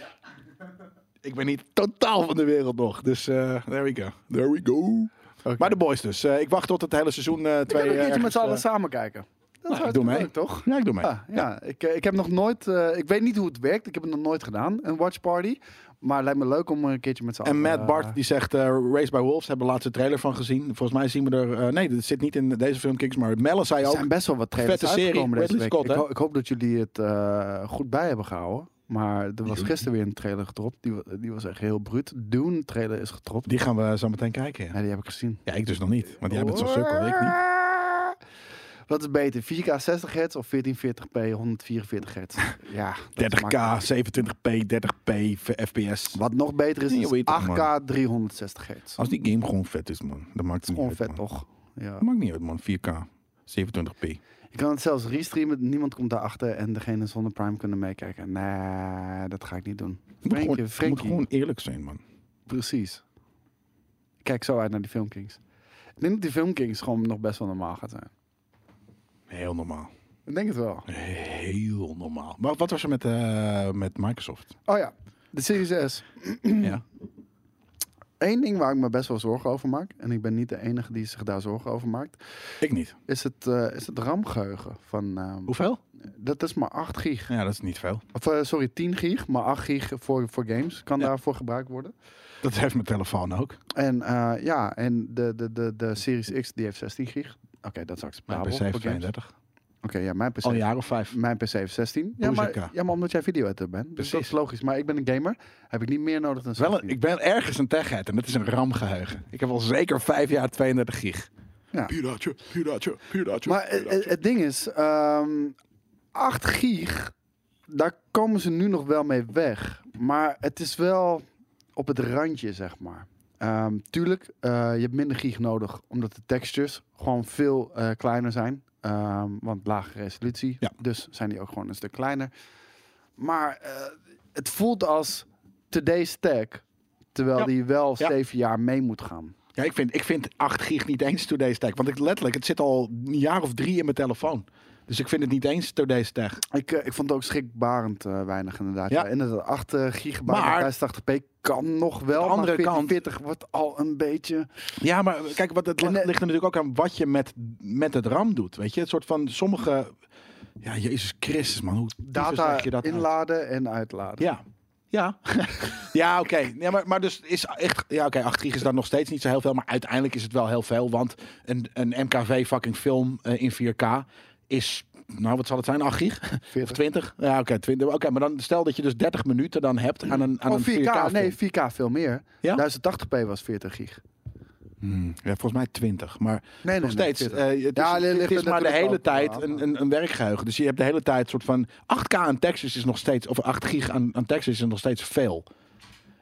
Speaker 2: Ik ben niet totaal van de wereld nog. Dus eh, there we go. There we go.
Speaker 1: Oké.
Speaker 2: Maar de boys dus. Eh, ik wacht tot het hele seizoen eh
Speaker 1: Ik
Speaker 2: twee
Speaker 1: kan een keertje
Speaker 2: ergens,
Speaker 1: met z'n allen
Speaker 2: eh,
Speaker 1: samen kijken. Dat
Speaker 2: nou,
Speaker 1: zou
Speaker 2: ik doe mee.
Speaker 1: toch?
Speaker 2: Ja, ik doe mee.
Speaker 1: Ja, ja. Ik, eh, ik heb nog nooit... eh, ik weet niet hoe het werkt. Ik heb het nog nooit gedaan, een watch party. Maar het lijkt me leuk om een keertje met z'n allen...
Speaker 2: En Matt
Speaker 1: eh,
Speaker 2: Bart die zegt eh, Race by Wolves. Hebben we laatst een trailer van gezien. Volgens mij zien we er... eh, nee, dat zit niet in deze filmkings. Maar Melle zei
Speaker 1: Er
Speaker 2: ook...
Speaker 1: zijn best wel wat trailers
Speaker 2: Vette serie,
Speaker 1: uitgekomen deze
Speaker 2: Ridley
Speaker 1: week.
Speaker 2: Scott,
Speaker 1: ik,
Speaker 2: hè?
Speaker 1: ho- ik hoop dat jullie het eh, goed bij hebben gehouden. Maar er was gisteren weer een trailer getropt. Die, wa- die was echt heel bruut. Dune trailer is getropt.
Speaker 2: Die gaan we zo meteen kijken. Ja,
Speaker 1: Ja, die heb ik gezien.
Speaker 2: ja ik dus nog niet. Want jij bent zo'n sukkel. Ik niet.
Speaker 1: Wat is beter? 4K 60 hertz of 1440p 144 hertz? ja, dat is
Speaker 2: 30k,
Speaker 1: makkelijk.
Speaker 2: 27p, 30p, v- fps.
Speaker 1: Wat nog beter is,
Speaker 2: Nee, hoe
Speaker 1: is
Speaker 2: heet dat,
Speaker 1: 8K 360 hertz.
Speaker 2: Als die game gewoon vet is, man. Dat maakt het Oh, niet
Speaker 1: Gewoon
Speaker 2: uit,
Speaker 1: vet
Speaker 2: man.
Speaker 1: toch? Ja.
Speaker 2: Dat maakt niet uit, man. 4k, 27p.
Speaker 1: Je kan het zelfs restreamen, niemand komt daarachter en degene zonder Prime kunnen meekijken. Nee, dat ga ik niet doen.
Speaker 2: Je moet,
Speaker 1: Frankie,
Speaker 2: gewoon, je moet
Speaker 1: Frankie.
Speaker 2: gewoon eerlijk zijn, man.
Speaker 1: Precies. Ik Kijk zo uit naar die Filmkings. Ik denk dat die Filmkings gewoon nog best wel normaal gaat zijn.
Speaker 2: Heel normaal.
Speaker 1: Ik denk het wel.
Speaker 2: Heel normaal. Maar wat was er met, eh, met Microsoft?
Speaker 1: Oh ja, de Series S.
Speaker 2: ja.
Speaker 1: Eén ding waar ik me best wel zorgen over maak, en ik ben niet de enige die zich daar zorgen over maakt,
Speaker 2: Ik niet.
Speaker 1: is het, eh, is het RAM-geheugen. Van, ehm,
Speaker 2: Hoeveel?
Speaker 1: dat is maar 8 gig.
Speaker 2: Ja, dat is niet veel.
Speaker 1: Of eh, sorry, 10 gig, maar 8 gig voor, voor games kan
Speaker 2: Ja.
Speaker 1: daarvoor gebruikt worden.
Speaker 2: Dat heeft mijn telefoon ook.
Speaker 1: En eh, ja, en de, de, de, de Series X die heeft 16 gig. Oké, dat is
Speaker 2: Mijn
Speaker 1: acceptabel.
Speaker 2: PC
Speaker 1: voor
Speaker 2: heeft
Speaker 1: games. Oké,
Speaker 2: 32.
Speaker 1: ja, mijn PC
Speaker 2: Al een jaar of vijf.
Speaker 1: Mijn PC heeft 16. Ja
Speaker 2: Hoe
Speaker 1: maar,
Speaker 2: zeker?
Speaker 1: ja, maar omdat jij video-editor bent. Dus dat
Speaker 2: Precies.
Speaker 1: is logisch. Maar ik ben een gamer. Heb ik niet meer nodig dan 16.
Speaker 2: Wel een- ik ben ergens een tech en dat is een RAM-geheugen. Ik heb al zeker vijf jaar 32 gig.
Speaker 1: Ja.
Speaker 2: Piraatje, piraatje, piraatje.
Speaker 1: maar eh, eh, het, ding is... ehm 8 gig... Daar komen ze nu nog wel mee weg. Maar het is wel op het randje, zeg maar. Ehm, tuurlijk, eh, je hebt minder gig nodig. Omdat de textures gewoon veel eh, kleiner zijn. Ehm, want lage resolutie.
Speaker 2: Ja.
Speaker 1: Dus zijn die ook gewoon een stuk kleiner. Maar eh, het voelt als today's tech. Terwijl
Speaker 2: Ja.
Speaker 1: die wel
Speaker 2: Ja.
Speaker 1: zeven jaar mee moet gaan.
Speaker 2: eh, Ja, ik vind, ik vind 8 gig niet eens today's tech. Want ik letterlijk, het zit al een jaar of drie in mijn telefoon. Dus ik vind het niet eens today's tech.
Speaker 1: Ik, eh, ik vond het ook schrikbarend eh, weinig inderdaad.
Speaker 2: Ja.
Speaker 1: Ja. inderdaad, 8 eh, gigabyte
Speaker 2: Maar-
Speaker 1: 1080p kan nog wel.
Speaker 2: De
Speaker 1: maar
Speaker 2: andere kant-
Speaker 1: 40 wordt al een beetje...
Speaker 2: Ja, maar kijk, wat, het
Speaker 1: En,
Speaker 2: ligt,
Speaker 1: eh,
Speaker 2: ligt er natuurlijk ook aan wat je met, met het RAM doet. Weet je, het soort van sommige... Ja, Jezus Christus, man. Hoe
Speaker 1: Data
Speaker 2: zeg je dat nou? uit?
Speaker 1: inladen en uitladen.
Speaker 2: Ja. Ja, ja oké. Ja, maar, maar dus is echt. Ja, oké, 8 gig is dan nog steeds niet zo heel veel. Maar uiteindelijk is het wel heel veel. Want een, een MKV fucking film eh, in 4K is. Nou, wat zal het zijn? 8 gig?
Speaker 1: 40.
Speaker 2: Of 20? Ja, oké, 20. Oké, maar dan stel dat je dus 30 minuten dan hebt aan een, aan
Speaker 1: Oh,
Speaker 2: een
Speaker 1: 4K,
Speaker 2: 4K. film.
Speaker 1: nee, 4K veel meer.
Speaker 2: Ja?
Speaker 1: 1080p was 40 gig.
Speaker 2: Hmm, ja, volgens mij 20. Maar
Speaker 1: Nee,
Speaker 2: nog steeds.
Speaker 1: nee,
Speaker 2: eh, het is,
Speaker 1: Ja, er ligt
Speaker 2: het is
Speaker 1: er
Speaker 2: maar de
Speaker 1: natuurlijk
Speaker 2: hele
Speaker 1: ook
Speaker 2: tijd
Speaker 1: aan, eh,
Speaker 2: een,
Speaker 1: maar-
Speaker 2: een, een werkgeheugen. Dus je hebt de hele tijd soort van 8K aan Texas is nog steeds, of 8 gig aan, aan Texas is nog steeds veel.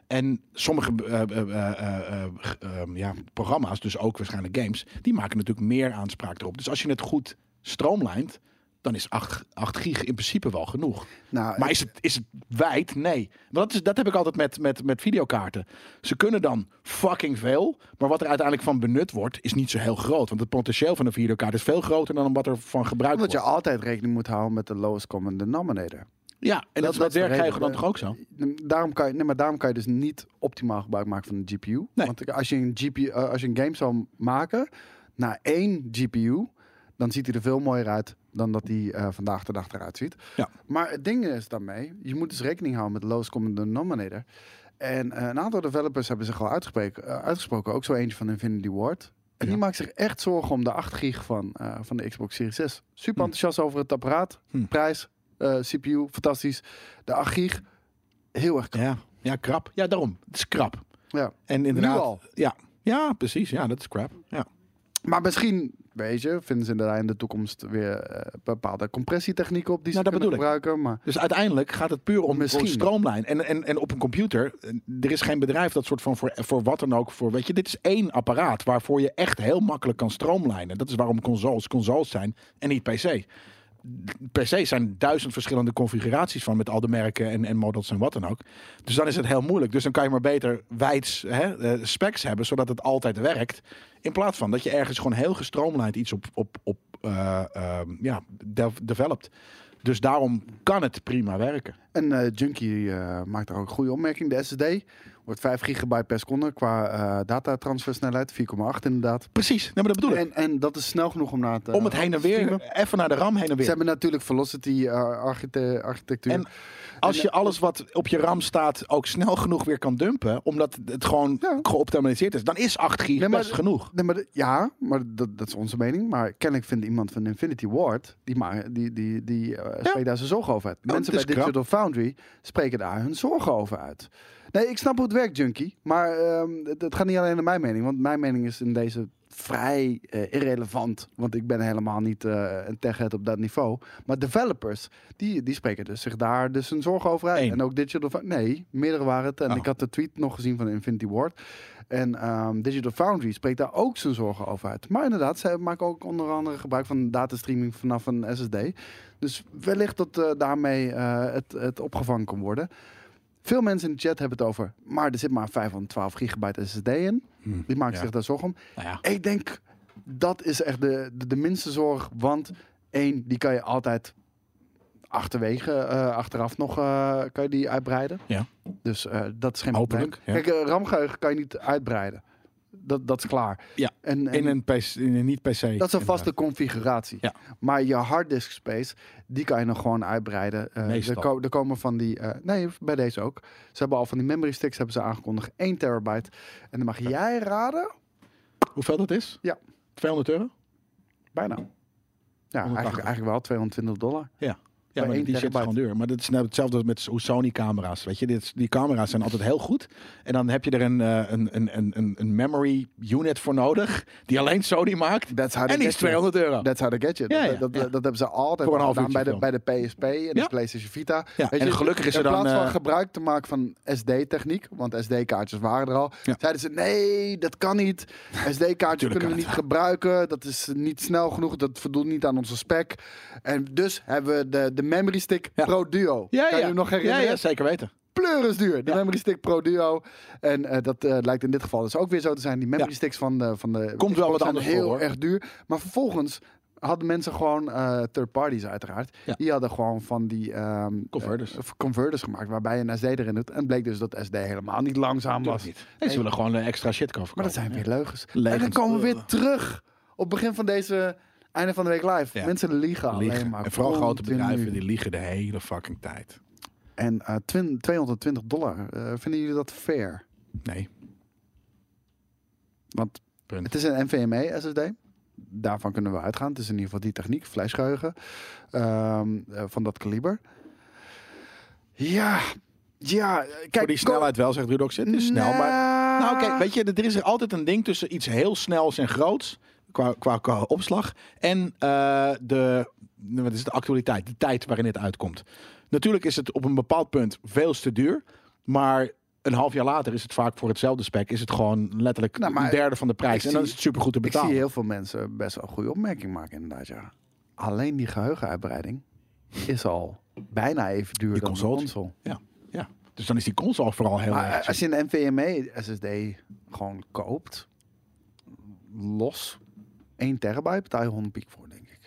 Speaker 2: En sommige eh, eh, eh, eh, eh, g- ehm, ja, programma's, dus ook waarschijnlijk games, die maken natuurlijk meer aanspraak erop. Dus als je het goed stroomlijnt, dan is 8, 8 gig in principe wel genoeg.
Speaker 1: nou,
Speaker 2: Maar is het, is het wijd? Nee. Maar dat, is, dat heb ik altijd met, met, met videokaarten. Ze kunnen dan fucking veel, maar wat er uiteindelijk van benut wordt, is niet zo heel groot. Want het potentieel van een videokaart is veel groter dan wat er van gebruikt
Speaker 1: omdat
Speaker 2: wordt.
Speaker 1: je altijd rekening moet houden met de lowest common denominator.
Speaker 2: Ja, en dat,
Speaker 1: dat
Speaker 2: is
Speaker 1: is
Speaker 2: met
Speaker 1: de
Speaker 2: werkgever
Speaker 1: reden.
Speaker 2: dan toch ook zo?
Speaker 1: Daarom kan je, nee, maar daarom kan je dus niet optimaal gebruik maken van de GPU.
Speaker 2: Nee.
Speaker 1: Want als je, een GPU, eh, als je een game zou maken naar één GPU, dan ziet hij er veel mooier uit dan dat hij eh, vandaag de dag eruit ziet.
Speaker 2: Ja.
Speaker 1: Maar het ding is daarmee, je moet dus rekening houden met de lowest common denominator. En eh, een aantal developers hebben zich al uitgesproken, eh, uitgesproken ook zo eentje van Infinity Ward. En die
Speaker 2: Ja.
Speaker 1: maakt zich echt zorgen om de 8 gig van, eh, van de Xbox Series 6. Super
Speaker 2: Hm.
Speaker 1: enthousiast over het apparaat,
Speaker 2: Hm.
Speaker 1: prijs, eh, CPU, fantastisch. De 8 gig, heel erg
Speaker 2: Ja. ja, krap. Ja, daarom. Het is krap.
Speaker 1: Ja.
Speaker 2: En
Speaker 1: Nu
Speaker 2: inderdaad.
Speaker 1: al.
Speaker 2: Ja. ja, precies. Ja, dat is crap. Ja.
Speaker 1: Maar misschien, weet je, vinden ze inderdaad in de toekomst weer eh, bepaalde compressietechnieken op die ze
Speaker 2: Nou, dat
Speaker 1: kunnen
Speaker 2: bedoel
Speaker 1: gebruiken. Maar
Speaker 2: Dus uiteindelijk gaat het puur om
Speaker 1: Misschien.
Speaker 2: Misschien. stroomlijn. En, en, en op een computer, eh, er is geen bedrijf dat soort van voor, voor wat dan ook. Voor, weet je, dit is één apparaat waarvoor je echt heel makkelijk kan stroomlijnen. Dat is waarom consoles consoles zijn en niet PC. PC's zijn duizend verschillende configuraties van met al de merken en, en models en wat dan ook. Dus dan is het heel moeilijk. Dus dan kan je maar beter wijds hè, eh, specs hebben, zodat het altijd werkt. In plaats van dat je ergens gewoon heel gestroomlijnd iets op, op, op eh, ehm, ja, dev- developt. Dus daarom kan het prima werken.
Speaker 1: een eh Junkie eh, maakt daar ook een goede opmerking. De SSD wordt 5 gigabyte per seconde qua eh datatransfersnelheid, 4,8 inderdaad.
Speaker 2: Precies, nee, maar dat bedoel ik.
Speaker 1: En, en dat is snel genoeg om na te
Speaker 2: Om het heen en weer, even naar de RAM heen en
Speaker 1: Ze
Speaker 2: weer.
Speaker 1: hebben natuurlijk velocity eh, archite- architectuur.
Speaker 2: En Als je alles wat op je RAM staat ook snel genoeg weer kan dumpen, omdat het gewoon
Speaker 1: Ja.
Speaker 2: geoptimaliseerd is, dan is 8 gig
Speaker 1: Nee, maar
Speaker 2: best
Speaker 1: de-
Speaker 2: genoeg.
Speaker 1: Nee, maar de- ja, maar dat, dat is onze mening. Maar kennelijk vindt iemand van Infinity Ward, die, ma- die, die, die eh, spreekt daar zijn zorgen over uit. Mensen bij
Speaker 2: dat Nou, is krap.
Speaker 1: Digital Foundry spreken daar hun zorgen over uit. Nee, ik snap hoe het werkt, Junkie. Maar ehm, het, het gaat niet alleen naar mijn mening. Want mijn mening is in deze vrij eh, irrelevant. Want ik ben helemaal niet eh, een techhead op dat niveau. Maar developers, die, die spreken dus zich daar dus hun zorgen over uit.
Speaker 2: Eén.
Speaker 1: En ook Digital Foundry. Nee, meerdere waren het. En
Speaker 2: Oh.
Speaker 1: ik had de tweet nog gezien van Infinity Ward. En ehm, Digital Foundry spreekt daar ook zijn zorgen over uit. Maar inderdaad, zij maken ook onder andere gebruik van datastreaming vanaf een SSD. Dus wellicht dat eh, daarmee eh, het, het opgevangen kan worden. Veel mensen in de chat hebben het over, maar er zit maar 512 gigabyte SSD in.
Speaker 2: Hm.
Speaker 1: Die maken
Speaker 2: ja.
Speaker 1: zich daar zorgen om.
Speaker 2: Nou ja.
Speaker 1: Ik denk, dat is echt de, de, de minste zorg. Want één, die kan je altijd achterwege, eh, achteraf nog, eh, kan je die uitbreiden.
Speaker 2: Ja.
Speaker 1: Dus eh, dat is geen
Speaker 2: Hopelijk,
Speaker 1: probleem. Kijk, eh, ramgeheugen kan je niet uitbreiden. Dat, dat is klaar.
Speaker 2: Ja,
Speaker 1: En, en
Speaker 2: In een, PC, in een niet-PC.
Speaker 1: dat is een vaste configuratie.
Speaker 2: Ja.
Speaker 1: Maar je harddisk space, die kan je nog gewoon uitbreiden. Eh,
Speaker 2: Meestal.
Speaker 1: er, ko- er komen van die, eh, nee, bij deze ook. Ze hebben al van die memory sticks hebben ze aangekondigd, 1 terabyte. En dan mag jij raden,
Speaker 2: Hoeveel dat is?
Speaker 1: Ja.
Speaker 2: 200 euro?
Speaker 1: bijna. Ja,
Speaker 2: 180.
Speaker 1: eigenlijk, eigenlijk wel 220 dollar.
Speaker 2: Ja, maar
Speaker 1: één
Speaker 2: die shit is
Speaker 1: terabyte.
Speaker 2: gewoon duur. Maar dat is nou hetzelfde als met hoe Sony-camera's. Weet je, Dit- die camera's zijn altijd heel goed. En dan heb je er een, eh, een, een, een, een- een memory unit voor nodig. Die alleen Sony maakt.
Speaker 1: That's how they
Speaker 2: En die is
Speaker 1: get you.
Speaker 2: 200 euro.
Speaker 1: That's how they get you.
Speaker 2: Ja,
Speaker 1: dat,
Speaker 2: ja,
Speaker 1: dat,
Speaker 2: ja.
Speaker 1: dat hebben ze altijd
Speaker 2: Voor een
Speaker 1: al
Speaker 2: half
Speaker 1: gedaan bij de,
Speaker 2: uurtje
Speaker 1: bij de PSP en de
Speaker 2: Ja.
Speaker 1: PlayStation Vita.
Speaker 2: Ja,
Speaker 1: Weet
Speaker 2: en
Speaker 1: je,
Speaker 2: gelukkig is
Speaker 1: in
Speaker 2: er dan...
Speaker 1: plaats van
Speaker 2: eh,
Speaker 1: gebruik te maken van SD-techniek, want SD-kaartjes waren er al,
Speaker 2: Ja.
Speaker 1: zeiden ze nee, dat kan niet. SD-kaartjes kunnen we
Speaker 2: kan het.
Speaker 1: niet gebruiken, dat is niet snel genoeg, dat voldoet niet aan onze spec. En dus hebben we de, de Memory Stick
Speaker 2: Ja.
Speaker 1: Pro Duo.
Speaker 2: ja,
Speaker 1: kan
Speaker 2: ja.
Speaker 1: je hem nog herinneren?
Speaker 2: Ja, ja, zeker weten.
Speaker 1: pleuris duur. De
Speaker 2: Ja.
Speaker 1: Memory Stick Pro Duo. En eh, dat eh, lijkt in dit geval dus ook weer zo te zijn. Die Memory
Speaker 2: Ja.
Speaker 1: Sticks van de, van de
Speaker 2: Komt
Speaker 1: Xbox
Speaker 2: wel wat
Speaker 1: zijn
Speaker 2: anders
Speaker 1: heel
Speaker 2: voor, hoor.
Speaker 1: erg duur. Maar vervolgens hadden mensen gewoon eh, third parties uiteraard.
Speaker 2: Ja.
Speaker 1: Die hadden gewoon van die ehm,
Speaker 2: Converters.
Speaker 1: eh, converters gemaakt waarbij je een SD erin doet. En bleek dus dat SD helemaal niet langzaam was.
Speaker 2: Tuurlijk niet. Nee, ze willen gewoon eh, extra shit kopen.
Speaker 1: Maar dat zijn weer leugens. En dan
Speaker 2: Leugens.
Speaker 1: komen we weer terug op het begin van deze einde van de week live.
Speaker 2: Ja.
Speaker 1: Mensen liegen, alleen maar.
Speaker 2: En vooral grote
Speaker 1: continu.
Speaker 2: bedrijven, die liegen de hele fucking tijd.
Speaker 1: En eh, twin- 220 dollar. Eh, vinden jullie dat fair?
Speaker 2: Nee.
Speaker 1: Want
Speaker 2: Punt.
Speaker 1: het is een NVMe SSD. Daarvan kunnen we uitgaan. Het is in ieder geval die techniek, flashgeheugen ehm, eh, van dat kaliber. Ja, ja. eh, Kijk,
Speaker 2: Voor die snelheid wel, zegt Rudox. Het is snel, maar Nou, kijk, weet je, er is er altijd een ding tussen iets heel snels en groots. Qua, qua, qua opslag. En eh, de, nou, wat is het, de actualiteit. De tijd waarin het uitkomt. Natuurlijk is het op een bepaald punt veel te duur. Maar een half jaar later is het vaak voor hetzelfde spec. Is het gewoon letterlijk
Speaker 1: Nou, maar
Speaker 2: een derde van de
Speaker 1: ik
Speaker 2: prijs. En
Speaker 1: zie-
Speaker 2: dan is het supergoed te
Speaker 1: Ik zie
Speaker 2: betalen.
Speaker 1: heel veel mensen best wel een goede opmerking maken inderdaad, ja. Alleen die geheugenuitbreiding is al bijna even duur
Speaker 2: Die
Speaker 1: dan
Speaker 2: console.
Speaker 1: de console.
Speaker 2: Ja, ja. Dus dan is die console vooral heel
Speaker 1: Maar eh,
Speaker 2: erg
Speaker 1: als je een NVMe SSD gewoon koopt, los 1 terabyte betaal je 100 piek voor, denk ik.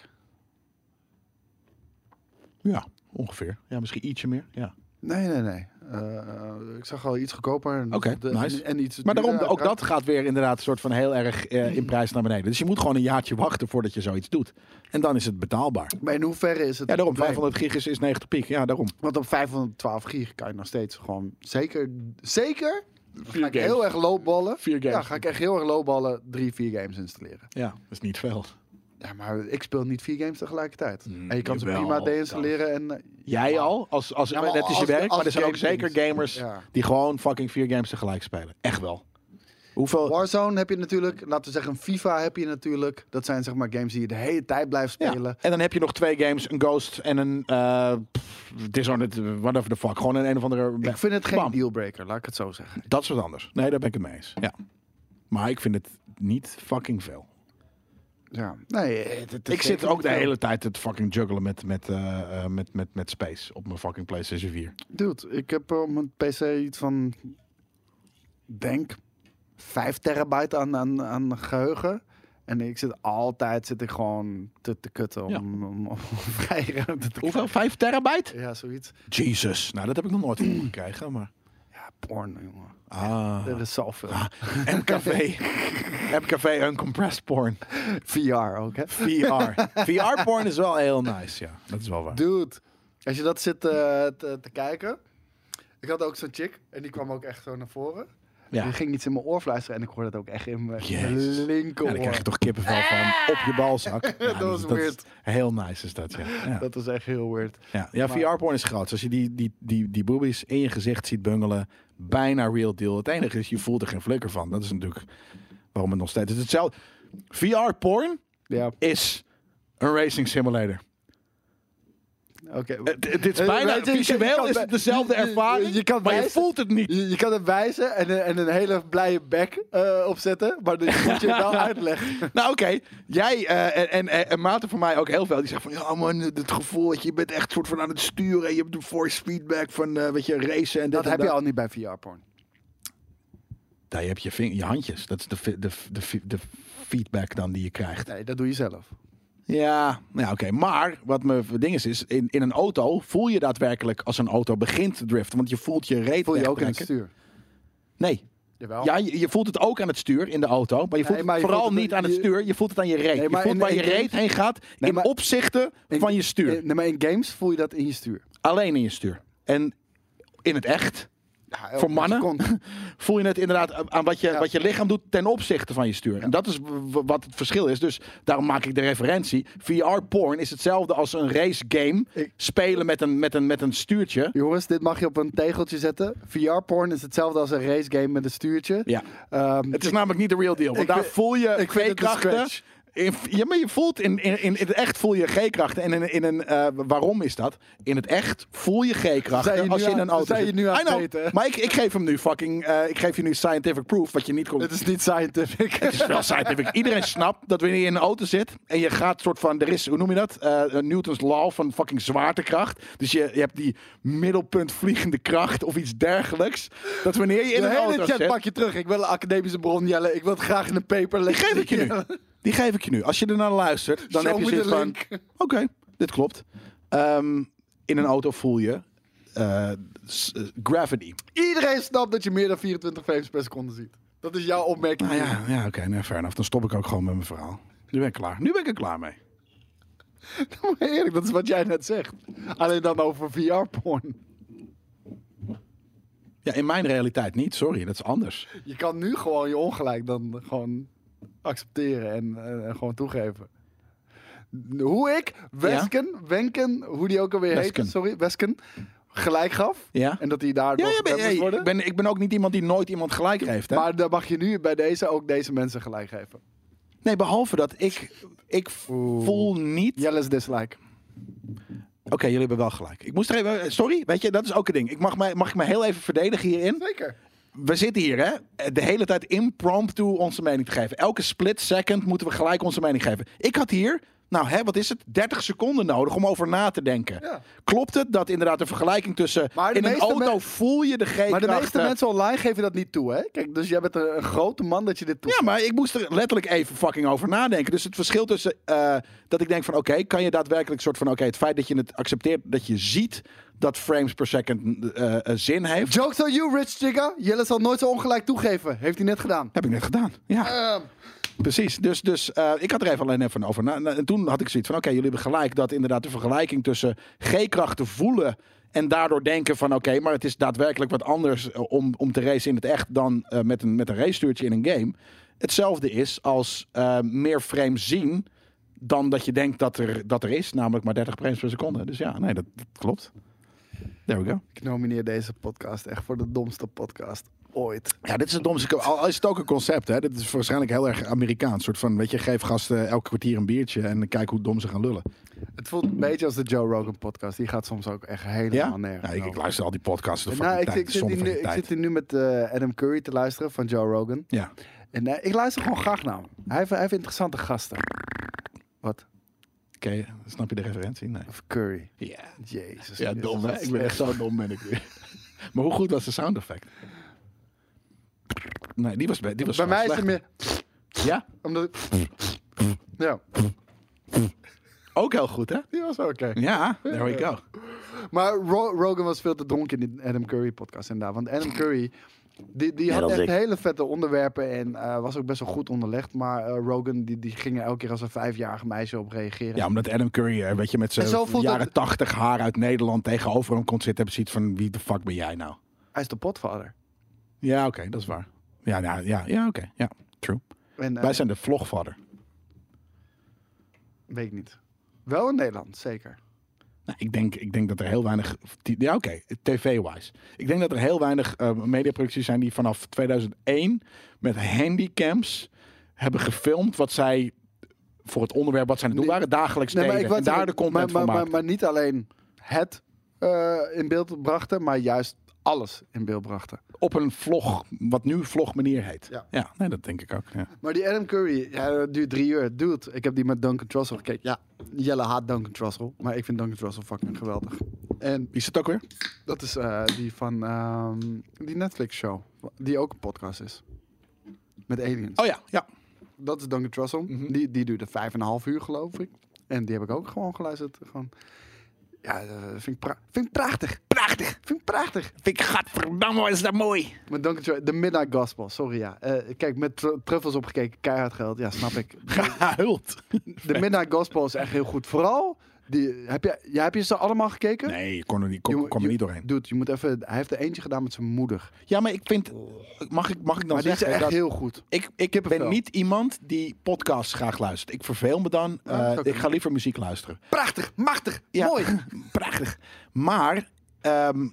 Speaker 2: Ja, ongeveer. Ja, misschien ietsje meer. Ja.
Speaker 1: Nee, nee, nee. Eh, ik zag al iets goedkoper. en-
Speaker 2: Oké,
Speaker 1: de-
Speaker 2: nice.
Speaker 1: En iets
Speaker 2: Maar daarom,
Speaker 1: duurder
Speaker 2: ook
Speaker 1: uiteraard.
Speaker 2: dat gaat weer inderdaad een soort van heel erg
Speaker 1: Mm.
Speaker 2: eh, in prijs naar beneden. Dus je moet gewoon een jaartje wachten voordat je zoiets doet. En dan is het betaalbaar.
Speaker 1: Maar in hoeverre is het...
Speaker 2: Ja, daarom.
Speaker 1: een probleem?
Speaker 2: 500 gig is, is 90 piek. Ja, daarom.
Speaker 1: Want op 512 gig kan je nog steeds gewoon zeker... Zeker ga ik
Speaker 2: games.
Speaker 1: heel erg lowballen.
Speaker 2: Vier games.
Speaker 1: Ja, ga ik echt heel erg lowballen drie, vier games installeren.
Speaker 2: Ja, dat is niet veel.
Speaker 1: Ja, maar ik speel niet vier games tegelijkertijd.
Speaker 2: Mm,
Speaker 1: en je kan ze
Speaker 2: jawel,
Speaker 1: prima deinstalleren en... eh,
Speaker 2: Jij al, als, als,
Speaker 1: Ja, maar
Speaker 2: net is je
Speaker 1: als-
Speaker 2: werk.
Speaker 1: als
Speaker 2: Maar er zijn ook
Speaker 1: gamekind.
Speaker 2: zeker gamers
Speaker 1: Ja.
Speaker 2: die gewoon fucking vier games tegelijk spelen. Echt wel. Hoeveel?
Speaker 1: Warzone heb je natuurlijk, laten we zeggen FIFA heb je natuurlijk. Dat zijn zeg maar games die je de hele tijd blijft
Speaker 2: Ja.
Speaker 1: spelen.
Speaker 2: En dan heb je nog twee games, een Ghost en een eh pff, Dishonored, eh, whatever the fuck. Gewoon een een of andere...
Speaker 1: Ik vind het geen
Speaker 2: Bam.
Speaker 1: dealbreaker, laat ik het zo zeggen.
Speaker 2: Dat is wat anders. Nee, daar ben ik het mee eens. Ja. Maar ik vind het niet fucking veel.
Speaker 1: Ja. Nee, het- het is
Speaker 2: ik zit
Speaker 1: zeker
Speaker 2: ook de
Speaker 1: niet
Speaker 2: hele tijd het fucking juggelen met, met, eh, eh, met, met, met Space op mijn fucking PlayStation 4.
Speaker 1: veel. Dude, ik heb eh, op mijn PC iets van, denk, 5 terabyte aan, aan, aan geheugen. En ik zit altijd, zit ik gewoon te, te kutten om,
Speaker 2: Ja.
Speaker 1: om, om, vrij ruimte te
Speaker 2: Hoeveel? 5 terabyte?
Speaker 1: Ja, zoiets.
Speaker 2: Jesus. Nou, dat heb ik nog nooit voor gekregen, maar...
Speaker 1: Ja, porn, jongen.
Speaker 2: Ah.
Speaker 1: Er is zoveel.
Speaker 2: MKV. MKV Uncompressed Porn.
Speaker 1: VR ook, hè?
Speaker 2: VR. VR porn is wel heel nice, ja. Dat is wel waar.
Speaker 1: Dude, als je dat zit eh, te, te kijken. Ik had ook zo'n chick en die kwam ook echt zo naar voren.
Speaker 2: Ja.
Speaker 1: Die ging iets in mijn oor fluisteren en ik hoorde het ook echt in mijn
Speaker 2: Jezus. Ja,
Speaker 1: linkeroor.
Speaker 2: daar krijg je toch kippenvel van op je balzak. Ja,
Speaker 1: Ah. Dat was
Speaker 2: is-
Speaker 1: weird.
Speaker 2: heel nice is dat, ja. ja.
Speaker 1: Dat is echt heel weird.
Speaker 2: Ja, ja
Speaker 1: Maar-
Speaker 2: VR-porn is groot. Als je die, die, die, die boobies in je gezicht ziet bungelen, bijna real deal. Het enige is, je voelt er geen flikker van. Dat is natuurlijk waarom het nog steeds... Het is hetzelfde. VR-porn
Speaker 1: Ja,
Speaker 2: is een racing simulator.
Speaker 1: oké.
Speaker 2: Het, het is
Speaker 1: Eh,
Speaker 2: bijna,
Speaker 1: weet je, je
Speaker 2: visueel
Speaker 1: kan
Speaker 2: is het
Speaker 1: bij-
Speaker 2: dezelfde
Speaker 1: je- je-
Speaker 2: ervaring,
Speaker 1: je kan
Speaker 2: maar je
Speaker 1: wijzen.
Speaker 2: voelt het niet.
Speaker 1: Je, je kan het wijzen en, een- en een hele blije bek eh, opzetten, maar dat moet je wel uitleggen.
Speaker 2: Nou oké, jij eh, en, en, en, en Maarten van mij ook heel veel, die zegt van... Ja man, het gevoel dat je je bent echt soort van aan het sturen... en je hebt de voice feedback van, eh, weet je, racen en dit
Speaker 1: Dat
Speaker 2: en
Speaker 1: heb
Speaker 2: dat.
Speaker 1: je al niet bij VR-porn.
Speaker 2: Daar heb je ving- je handjes. Dat is de, fi- de, de, fi- de feedback dan die je krijgt.
Speaker 1: Nee, dat doe je zelf.
Speaker 2: Ja, nou ja, oké. Maar wat mijn ding is, is in, in een auto voel je daadwerkelijk als een auto begint te driften. Want je voelt je reet
Speaker 1: Voel je ook in het
Speaker 2: wegtrekken.
Speaker 1: stuur.
Speaker 2: Nee.
Speaker 1: Jawel.
Speaker 2: Ja, je, je voelt het ook aan het stuur in de auto. Maar je voelt
Speaker 1: Nee, maar
Speaker 2: het
Speaker 1: je
Speaker 2: vooral
Speaker 1: voelt het-
Speaker 2: niet aan het
Speaker 1: je-
Speaker 2: stuur. Je voelt het aan je reet.
Speaker 1: Nee,
Speaker 2: je
Speaker 1: maar
Speaker 2: voelt
Speaker 1: in-
Speaker 2: waar je
Speaker 1: in-
Speaker 2: reet heen gaat
Speaker 1: Nee,
Speaker 2: in
Speaker 1: maar-
Speaker 2: opzichten
Speaker 1: In-
Speaker 2: van je stuur.
Speaker 1: In, maar in games voel je dat in je stuur.
Speaker 2: Alleen in je stuur. En in het echt
Speaker 1: Ja,
Speaker 2: Voor mannen?
Speaker 1: seconde.
Speaker 2: voel je het inderdaad aan wat je,
Speaker 1: Ja.
Speaker 2: wat je lichaam doet ten opzichte van je stuur. En dat is w- w- wat het verschil is. Dus daarom maak ik de referentie. VR-porn is hetzelfde als een race game.
Speaker 1: Ik-
Speaker 2: Spelen met een, met, een, met een stuurtje.
Speaker 1: Jongens, dit mag je op een tegeltje zetten. VR-porn is hetzelfde als een race game met een stuurtje.
Speaker 2: Ja.
Speaker 1: Ehm,
Speaker 2: Het is namelijk niet de real deal. Want
Speaker 1: ik
Speaker 2: daar
Speaker 1: vind-
Speaker 2: voel je
Speaker 1: ik vind het een
Speaker 2: G-krachten.
Speaker 1: scratch.
Speaker 2: In, ja, maar je voelt in, in, in het echt voel je G-krachten. En in, in een, eh, waarom is dat? In het echt voel je
Speaker 1: Zijn
Speaker 2: G-krachten
Speaker 1: je
Speaker 2: als
Speaker 1: nu
Speaker 2: je
Speaker 1: aan-
Speaker 2: in een auto
Speaker 1: zijn je
Speaker 2: zit.
Speaker 1: nu aan
Speaker 2: I know,
Speaker 1: het eten?
Speaker 2: Maar ik, ik geef hem nu fucking... eh, ik geef je nu scientific proof, wat je niet kon...
Speaker 1: het is niet scientific.
Speaker 2: Het is wel scientific. Iedereen snapt dat wanneer je in een auto zit en je gaat soort van, er is, hoe noem je dat? Eh, een Newton's law van fucking zwaartekracht. Dus je, je hebt die middelpunt vliegende kracht of iets dergelijks. Dat wanneer je in
Speaker 1: de
Speaker 2: een
Speaker 1: hele
Speaker 2: auto
Speaker 1: chat
Speaker 2: zit,
Speaker 1: pak je terug. Ik wil een academische bron jellen. Ik wil het graag in een paper
Speaker 2: die geef ik je nu. Die geef ik je nu. Als je ernaar luistert, dan
Speaker 1: Show
Speaker 2: heb je
Speaker 1: me
Speaker 2: zoiets
Speaker 1: the
Speaker 2: van,
Speaker 1: link.
Speaker 2: oké, dit klopt. Ehm, in een auto voel je eh, s- eh, gravity.
Speaker 1: Iedereen snapt dat je meer dan 24 frames per seconde ziet. Dat is jouw opmerking.
Speaker 2: Nou ja, ja oké, nou, fair enough. Dan stop ik ook gewoon met mijn verhaal. Nu ben ik klaar. Nu ben ik er klaar mee.
Speaker 1: Maar eerlijk, dat is wat jij net zegt. Alleen dan over VR-porn.
Speaker 2: Ja, in mijn realiteit niet. Sorry, dat is anders.
Speaker 1: Je kan nu gewoon je ongelijk dan gewoon accepteren en, eh, en gewoon toegeven. Hoe ik Wesken, Wenken, hoe die ook alweer
Speaker 2: Wesken.
Speaker 1: heet, sorry, Wesken. gelijk gaf.
Speaker 2: Ja?
Speaker 1: En dat hij daar
Speaker 2: Ja,
Speaker 1: door
Speaker 2: ja ben,
Speaker 1: gedempt
Speaker 2: hey,
Speaker 1: worden.
Speaker 2: ik, ben, ik ben ook niet iemand die nooit iemand gelijk geeft. Hè?
Speaker 1: Maar dan mag je nu bij deze ook deze mensen gelijk geven.
Speaker 2: nee, behalve dat ik, ik
Speaker 1: Oeh.
Speaker 2: voel niet...
Speaker 1: Jelle's dislike.
Speaker 2: Oké, jullie hebben wel gelijk. Ik moest er even... eh, Sorry, weet je, dat is ook een ding. Ik mag, mij, mag ik me heel even verdedigen hierin?
Speaker 1: Zeker.
Speaker 2: We zitten hier, hè? eh, De hele tijd impromptu onze mening te geven. Elke split second moeten we gelijk onze mening geven. Ik had hier, nou hè, wat is het? 30 seconden nodig om over na te denken.
Speaker 1: Ja.
Speaker 2: Klopt het dat inderdaad de vergelijking tussen...
Speaker 1: Maar de
Speaker 2: in een
Speaker 1: meeste
Speaker 2: auto
Speaker 1: men-
Speaker 2: voel je de G-krachten...
Speaker 1: Maar de meeste mensen online geven dat niet toe, hè? Kijk, dus jij bent een, een grote man dat je dit toe.
Speaker 2: Ja, maar ik moest er letterlijk even fucking over nadenken. Dus het verschil tussen eh, dat ik denk van oké, kan je daadwerkelijk soort van oké, het feit dat je het accepteert, dat je ziet dat frames per second eh, eh, zin heeft,
Speaker 1: Jokes on you, Rich Chigga. Jelle zal nooit zo ongelijk toegeven. Heeft hij net gedaan.
Speaker 2: heb ik net gedaan. Ja,
Speaker 1: Ehm,
Speaker 2: precies. Dus, dus eh, ik had er even alleen even over na. na- En toen had ik zoiets van oké, jullie hebben gelijk dat inderdaad de vergelijking tussen G-krachten voelen en daardoor denken van oké, maar het is daadwerkelijk wat anders eh, om, om te racen in het echt dan eh, met een, met een racestuurtje in een game. Hetzelfde is als eh, meer frames zien dan dat je denkt dat er, dat er is, namelijk maar 30 frames per seconde. Dus ja, nee, dat, dat klopt. There we go.
Speaker 1: ik nomineer deze podcast echt voor de domste podcast ooit.
Speaker 2: Ja, dit is het domste. Al al is het ook een concept, hè? Dit is waarschijnlijk heel erg Amerikaans. Soort van, weet je, geef gasten elk kwartier een biertje en kijk hoe dom ze gaan lullen.
Speaker 1: Het voelt een beetje als de Joe Rogan podcast. Die gaat soms ook echt helemaal
Speaker 2: Ja?
Speaker 1: nergens.
Speaker 2: Nou, ik, ik
Speaker 1: over.
Speaker 2: luister al die podcasts de fucking
Speaker 1: Nou, ik,
Speaker 2: tijd.
Speaker 1: ik,
Speaker 2: Het is
Speaker 1: zit
Speaker 2: zonde
Speaker 1: hier nu,
Speaker 2: van je
Speaker 1: ik
Speaker 2: tijd.
Speaker 1: zit hier nu met eh, Adam Curry te luisteren van Joe Rogan.
Speaker 2: Ja.
Speaker 1: En eh, ik luister gewoon graag naar hem. Hij heeft, hij heeft interessante gasten. Wat?
Speaker 2: Oké, snap je de referentie? Nee.
Speaker 1: Of Curry.
Speaker 2: Ja,
Speaker 1: Jezus.
Speaker 2: ja
Speaker 1: Christus,
Speaker 2: dom,
Speaker 1: wat
Speaker 2: hè? Ik ben echt zo dom, ben ik weer. maar hoe goed was de sound effect? Nee, die was, be- die was
Speaker 1: Bij mij is het
Speaker 2: gewoon
Speaker 1: meer...
Speaker 2: slecht. Ja,
Speaker 1: Omdat ik- ja,
Speaker 2: ook heel goed, hè?
Speaker 1: die was oké.
Speaker 2: Ja, there we go.
Speaker 1: Maar Ro- Rogan was veel te dronken in die Adam Curry podcast inderdaad. Want Adam Curry, die, die had
Speaker 4: als
Speaker 1: echt
Speaker 4: ik.
Speaker 1: hele vette onderwerpen en eh, was ook best wel goed onderlegd. Maar eh, Rogan, die, die ging er elke keer als een vijfjarig meisje op reageren.
Speaker 2: Ja, omdat Adam Curry, eh, weet je, met
Speaker 1: En zo
Speaker 2: zijn
Speaker 1: voelt dat-
Speaker 2: jaren tachtig haar uit Nederland tegenover hem komt zitten. Heb zoiets van, wie de fuck ben jij nou?
Speaker 1: Hij is de potvader.
Speaker 2: Ja, oké, dat is waar. Ja, ja, ja, ja oké, ja, true.
Speaker 1: En, eh,
Speaker 2: Wij zijn de vlogvader.
Speaker 1: Weet ik niet. Wel in Nederland, zeker.
Speaker 2: Nou, ik, denk, ik denk dat er heel weinig. Ja, oké, tv-wise. Ik denk dat er heel weinig eh, mediaproducties zijn die vanaf 2001 met handycams hebben gefilmd wat zij voor het onderwerp wat zij aan het doen
Speaker 1: Nee.
Speaker 2: waren dagelijks
Speaker 1: Nee, maar
Speaker 2: deden.
Speaker 1: ik wou
Speaker 2: en daar de
Speaker 1: zeggen,
Speaker 2: content
Speaker 1: maar,
Speaker 2: van
Speaker 1: maar, maar,
Speaker 2: maakten.
Speaker 1: maar niet alleen het eh, in beeld brachten, maar juist alles in beeld brachten.
Speaker 2: Op een vlog, wat nu vlogmanier heet.
Speaker 1: Ja.
Speaker 2: nee, dat denk ik ook. Ja.
Speaker 1: Maar die Adam Curry, ja, dat duurt drie uur. Dude, ik heb die met Duncan Trussell gekeken. Ja, Jelle haat Duncan Trussell, maar ik vind Duncan Trussell fucking geweldig. En
Speaker 2: Wie is het ook weer?
Speaker 1: dat is eh, die van ehm, die Netflix-show, die ook een podcast is. Met aliens.
Speaker 2: Oh Mhm. ja, ja.
Speaker 1: Dat is Duncan Trussell. die, die duurde vijf en een half uur, geloof ik. En die heb ik ook gewoon geluisterd. Gewoon. Ja, eh, vind, ik pra- vind ik prachtig. Prachtig. Vind ik prachtig.
Speaker 2: Vind ik, gadverdamme, is dat mooi.
Speaker 1: Met Duncan Trussell, The Midnight Gospel, sorry ja. Eh, kijk, met tru- truffels opgekeken, keihard geld. Ja, snap ik.
Speaker 2: Gehuild.
Speaker 1: The Midnight Gospel is echt heel goed. Vooral, die, heb, je, ja, heb je ze allemaal gekeken?
Speaker 2: Nee, je kon er niet, kon,
Speaker 1: Je-
Speaker 2: kwam er
Speaker 1: je-
Speaker 2: niet doorheen.
Speaker 1: Dude, je moet even, hij heeft er eentje gedaan met zijn moeder.
Speaker 2: Ja, maar ik vind... Mag ik, mag ik dan
Speaker 1: maar die is
Speaker 2: zeggen
Speaker 1: echt
Speaker 2: dat-
Speaker 1: heel goed.
Speaker 2: Ik, ik
Speaker 1: Kippenvel.
Speaker 2: ben niet iemand die podcasts graag luistert. Ik verveel me dan.
Speaker 1: dat is
Speaker 2: Eh,
Speaker 1: ook
Speaker 2: ik
Speaker 1: een-
Speaker 2: ga liever muziek luisteren.
Speaker 1: Prachtig, machtig,
Speaker 2: Ja.
Speaker 1: Ah, mooi.
Speaker 2: Prachtig. Maar ehm,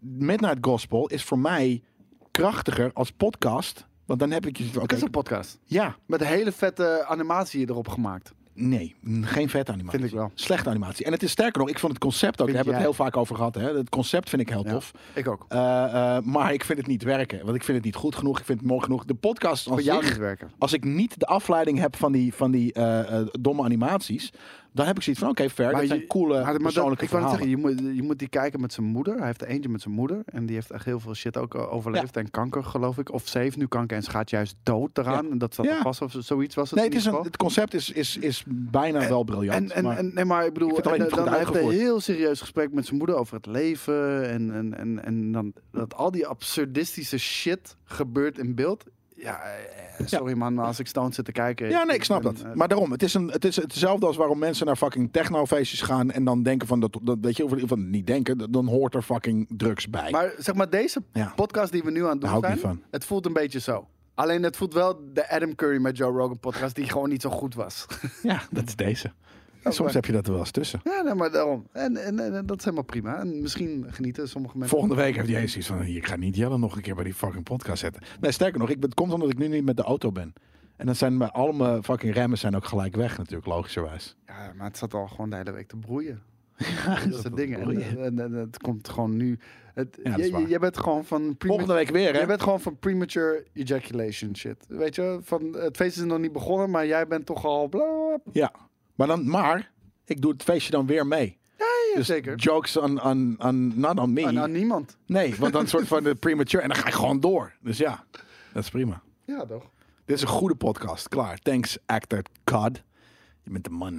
Speaker 2: Midnight Gospel is voor mij krachtiger als podcast. Want dan heb ik je...
Speaker 1: Dat
Speaker 2: oké,
Speaker 1: is een podcast.
Speaker 2: ja,
Speaker 1: Met een hele vette animatie erop gemaakt.
Speaker 2: nee. n- Geen vette animatie.
Speaker 1: Vind ik wel.
Speaker 2: Slechte animatie. En het is sterker nog, ik vond het concept ook... Daar
Speaker 1: Vind
Speaker 2: hebben we
Speaker 1: jij-
Speaker 2: het heel vaak over gehad. Hè? Het concept vind ik heel
Speaker 1: Ja.
Speaker 2: tof.
Speaker 1: Ik ook.
Speaker 2: Eh, eh, maar ik vind het niet werken. Want ik vind het niet goed genoeg. Ik vind het mooi genoeg. De podcast
Speaker 1: Voor
Speaker 2: als
Speaker 1: jou niet werken.
Speaker 2: als ik niet de afleiding heb van die, van die eh, eh, domme animaties, dan heb ik zoiets van: oké, ver. Dat zijn
Speaker 1: je-
Speaker 2: coole
Speaker 1: maar- maar dat-
Speaker 2: persoonlijke
Speaker 1: Ik wou net
Speaker 2: verhalen.
Speaker 1: zeggen, je moet, je moet die kijken met zijn moeder. Hij heeft er eentje met zijn moeder. En die heeft echt heel veel shit ook eh, overleefd. En kanker, geloof ik. Of ze heeft nu kanker en ze gaat juist dood eraan. En dat staat
Speaker 2: Ja.
Speaker 1: er vast of zo- zoiets was het
Speaker 2: Nee,
Speaker 1: in
Speaker 2: het, is
Speaker 1: ieder
Speaker 2: een,
Speaker 1: geval.
Speaker 2: het concept is, is, is bijna wel briljant.
Speaker 1: En, en,
Speaker 2: maar
Speaker 1: en, nee, maar ik bedoel,
Speaker 2: ik vind
Speaker 1: en,
Speaker 2: het alleen
Speaker 1: eh,
Speaker 2: niet goed
Speaker 1: dan hij heeft hij een
Speaker 2: uitgevoerd.
Speaker 1: heel serieus gesprek met zijn moeder over het leven. En, en, en, en dan dat al die absurdistische shit gebeurt in beeld. Ja, eh, sorry man, maar als ik stoned zit te kijken.
Speaker 2: ja, nee, ik snap
Speaker 1: ben,
Speaker 2: dat.
Speaker 1: eh,
Speaker 2: Maar daarom, het is, een, het is hetzelfde als waarom mensen naar fucking technofeestjes gaan en dan denken van, dat, dat weet je, of van niet denken, dat- dan hoort er fucking drugs bij.
Speaker 1: maar zeg maar, deze
Speaker 2: Ja.
Speaker 1: podcast die we nu aan het doen
Speaker 2: Daar hou ik
Speaker 1: zijn,
Speaker 2: niet van.
Speaker 1: het voelt een beetje zo. Alleen het voelt wel de Adam Curry met Joe Rogan podcast die gewoon niet zo goed was.
Speaker 2: ja, dat is deze.
Speaker 1: Oh,
Speaker 2: En soms heb je dat er wel eens tussen.
Speaker 1: Ja, nee, maar daarom. En, en, en, en dat is helemaal prima. En misschien genieten sommige mensen.
Speaker 2: Volgende week heeft hij eens iets van... "Hier, Ik ga niet Jelle nog een keer bij die fucking podcast zetten. Nee, sterker nog, ik, het komt omdat ik nu niet met de auto ben. En dan zijn mijn, al mijn fucking remmen zijn ook gelijk weg natuurlijk, logischerwijs.
Speaker 1: Ja, maar het zat al gewoon de hele week te broeien.
Speaker 2: Ja,
Speaker 1: Dat is het ding. En, en, en- en het komt gewoon nu. Het,
Speaker 2: Ja, dat is
Speaker 1: je, je,
Speaker 2: waar.
Speaker 1: je bent gewoon van
Speaker 2: Volgende
Speaker 1: premature,
Speaker 2: week weer, hè?
Speaker 1: je bent gewoon van premature ejaculation shit. Weet je, van het feest is nog niet begonnen, maar jij bent toch al bla. bla, bla.
Speaker 2: Ja. Maar, dan, maar ik doe het feestje dan weer mee.
Speaker 1: Ja,
Speaker 2: Dus
Speaker 1: zeker.
Speaker 2: jokes on, on, on, not on me.
Speaker 1: Aan, aan niemand.
Speaker 2: Nee, want dan soort van de premature. En dan ga ik gewoon door. Dus ja, dat is prima.
Speaker 1: Ja, toch?
Speaker 2: Dit is een goede podcast. Klaar. Thanks, actor Cod. Je bent de man.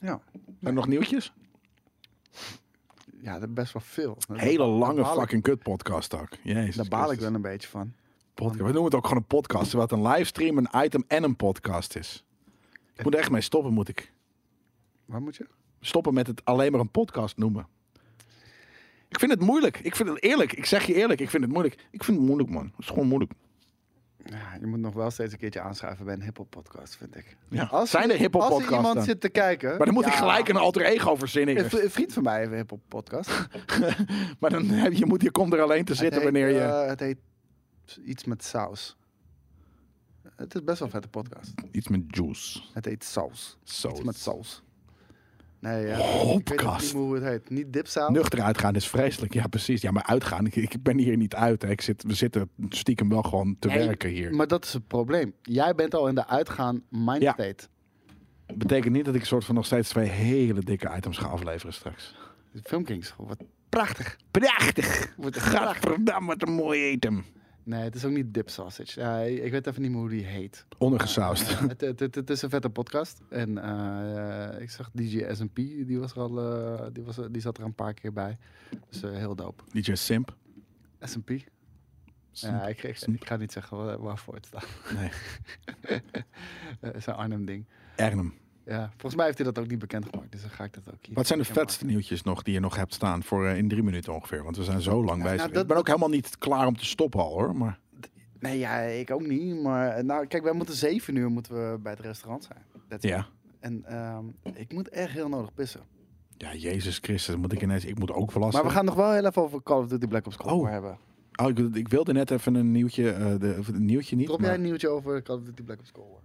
Speaker 2: Zijn
Speaker 1: Ja.
Speaker 2: er nog nieuwtjes?
Speaker 1: Ja, dat is best wel veel.
Speaker 2: Hele lange
Speaker 1: baal ik-
Speaker 2: fucking kut podcast ook. Jezus.
Speaker 1: Daar baal ik
Speaker 2: Christus.
Speaker 1: wel een beetje van.
Speaker 2: Podcast. We noemen het ook gewoon een podcast. Terwijl het een livestream, een item en een podcast is. Ik moet er echt mee stoppen, moet ik.
Speaker 1: Waar moet je?
Speaker 2: Stoppen met het alleen maar een podcast noemen. Ik vind het moeilijk. Ik vind het eerlijk. Ik zeg je eerlijk. Ik vind het moeilijk. Ik vind het moeilijk, man. Het is gewoon moeilijk.
Speaker 1: Ja, je moet nog wel steeds een keertje aanschuiven bij een hiphop podcast, vind ik.
Speaker 2: Ja. Zijn er hiphop
Speaker 1: Als
Speaker 2: podcasts
Speaker 1: er iemand
Speaker 2: dan?
Speaker 1: zit te kijken.
Speaker 2: Maar dan moet
Speaker 1: Ja.
Speaker 2: ik gelijk een alter ego verzinnen.
Speaker 1: Een,
Speaker 2: eerst.
Speaker 1: v- een vriend van mij heeft een hiphop podcast.
Speaker 2: maar dan heb je, moet, je komt er alleen te zitten
Speaker 1: Het heet,
Speaker 2: wanneer je...
Speaker 1: eh, het heet iets met saus. Het is best wel een vette podcast.
Speaker 2: iets met juice.
Speaker 1: Het heet saus.
Speaker 2: Zo.
Speaker 1: eh, Iets met saus. Nee, ja. ik weet ook
Speaker 2: Oh, Podcast.
Speaker 1: niet meer hoe het heet. Niet dipsaus.
Speaker 2: Nuchter uitgaan is vreselijk. Ja, precies. Ja, maar uitgaan. Ik, ik ben hier niet uit. Hè. Ik zit, we zitten stiekem wel gewoon te
Speaker 1: Nee,
Speaker 2: werken hier.
Speaker 1: Maar dat is het probleem. Jij bent al in de uitgaan
Speaker 2: Ja.
Speaker 1: mindstate.
Speaker 2: Dat betekent niet dat ik soort van nog steeds twee hele dikke items ga afleveren straks.
Speaker 1: Filmkings, wat prachtig.
Speaker 2: Prachtig!
Speaker 1: Wordt echt prachtig.
Speaker 2: Gadverdamme, wat een mooi item.
Speaker 1: Nee, het is ook niet dip sausage. Ja, ik weet even niet meer hoe die heet.
Speaker 2: Ondergesausd.
Speaker 1: het, het, het, het is een vette podcast. En eh, ik zag DJ S&P, die, was er al, eh, die, was, er- die zat er een paar keer bij. Dus eh, heel dope.
Speaker 2: DJ Simp.
Speaker 1: S&P? Ja,
Speaker 2: Simp.
Speaker 1: ik, ik,
Speaker 2: Simp.
Speaker 1: ik ga niet zeggen wa- waarvoor het staat.
Speaker 2: Nee.
Speaker 1: Het is een Arnhem ding.
Speaker 2: Ernem.
Speaker 1: Ja, volgens mij heeft hij dat ook niet bekendgemaakt, dus dan ga ik dat ook hier.
Speaker 2: Wat zijn de
Speaker 1: bekendmaken.
Speaker 2: vetste nieuwtjes nog die je nog hebt staan voor eh, in drie minuten ongeveer? Want we zijn zo lang bezig.
Speaker 1: nou, dat-
Speaker 2: ik ben ook helemaal niet klaar om te stoppen al hoor. Maar
Speaker 1: Nee, ja, ik ook niet. Maar eh, nou, kijk, wij moeten zeven uur moeten we bij het restaurant zijn. That's it.
Speaker 2: ja.
Speaker 1: En ehm, ik moet echt heel nodig pissen.
Speaker 2: Ja, Jezus Christus, dan moet ik ineens. Ik moet ook verlassen.
Speaker 1: Maar we gaan nog wel heel even over Call of Duty Black Ops Cold
Speaker 2: Oh.
Speaker 1: War hebben.
Speaker 2: Oh, ik, wilde- ik wilde net even een nieuwtje. eh, de, of een nieuwtje niet.
Speaker 1: Drop
Speaker 2: maar-
Speaker 1: jij een nieuwtje over Call of Duty Black Ops Cold War?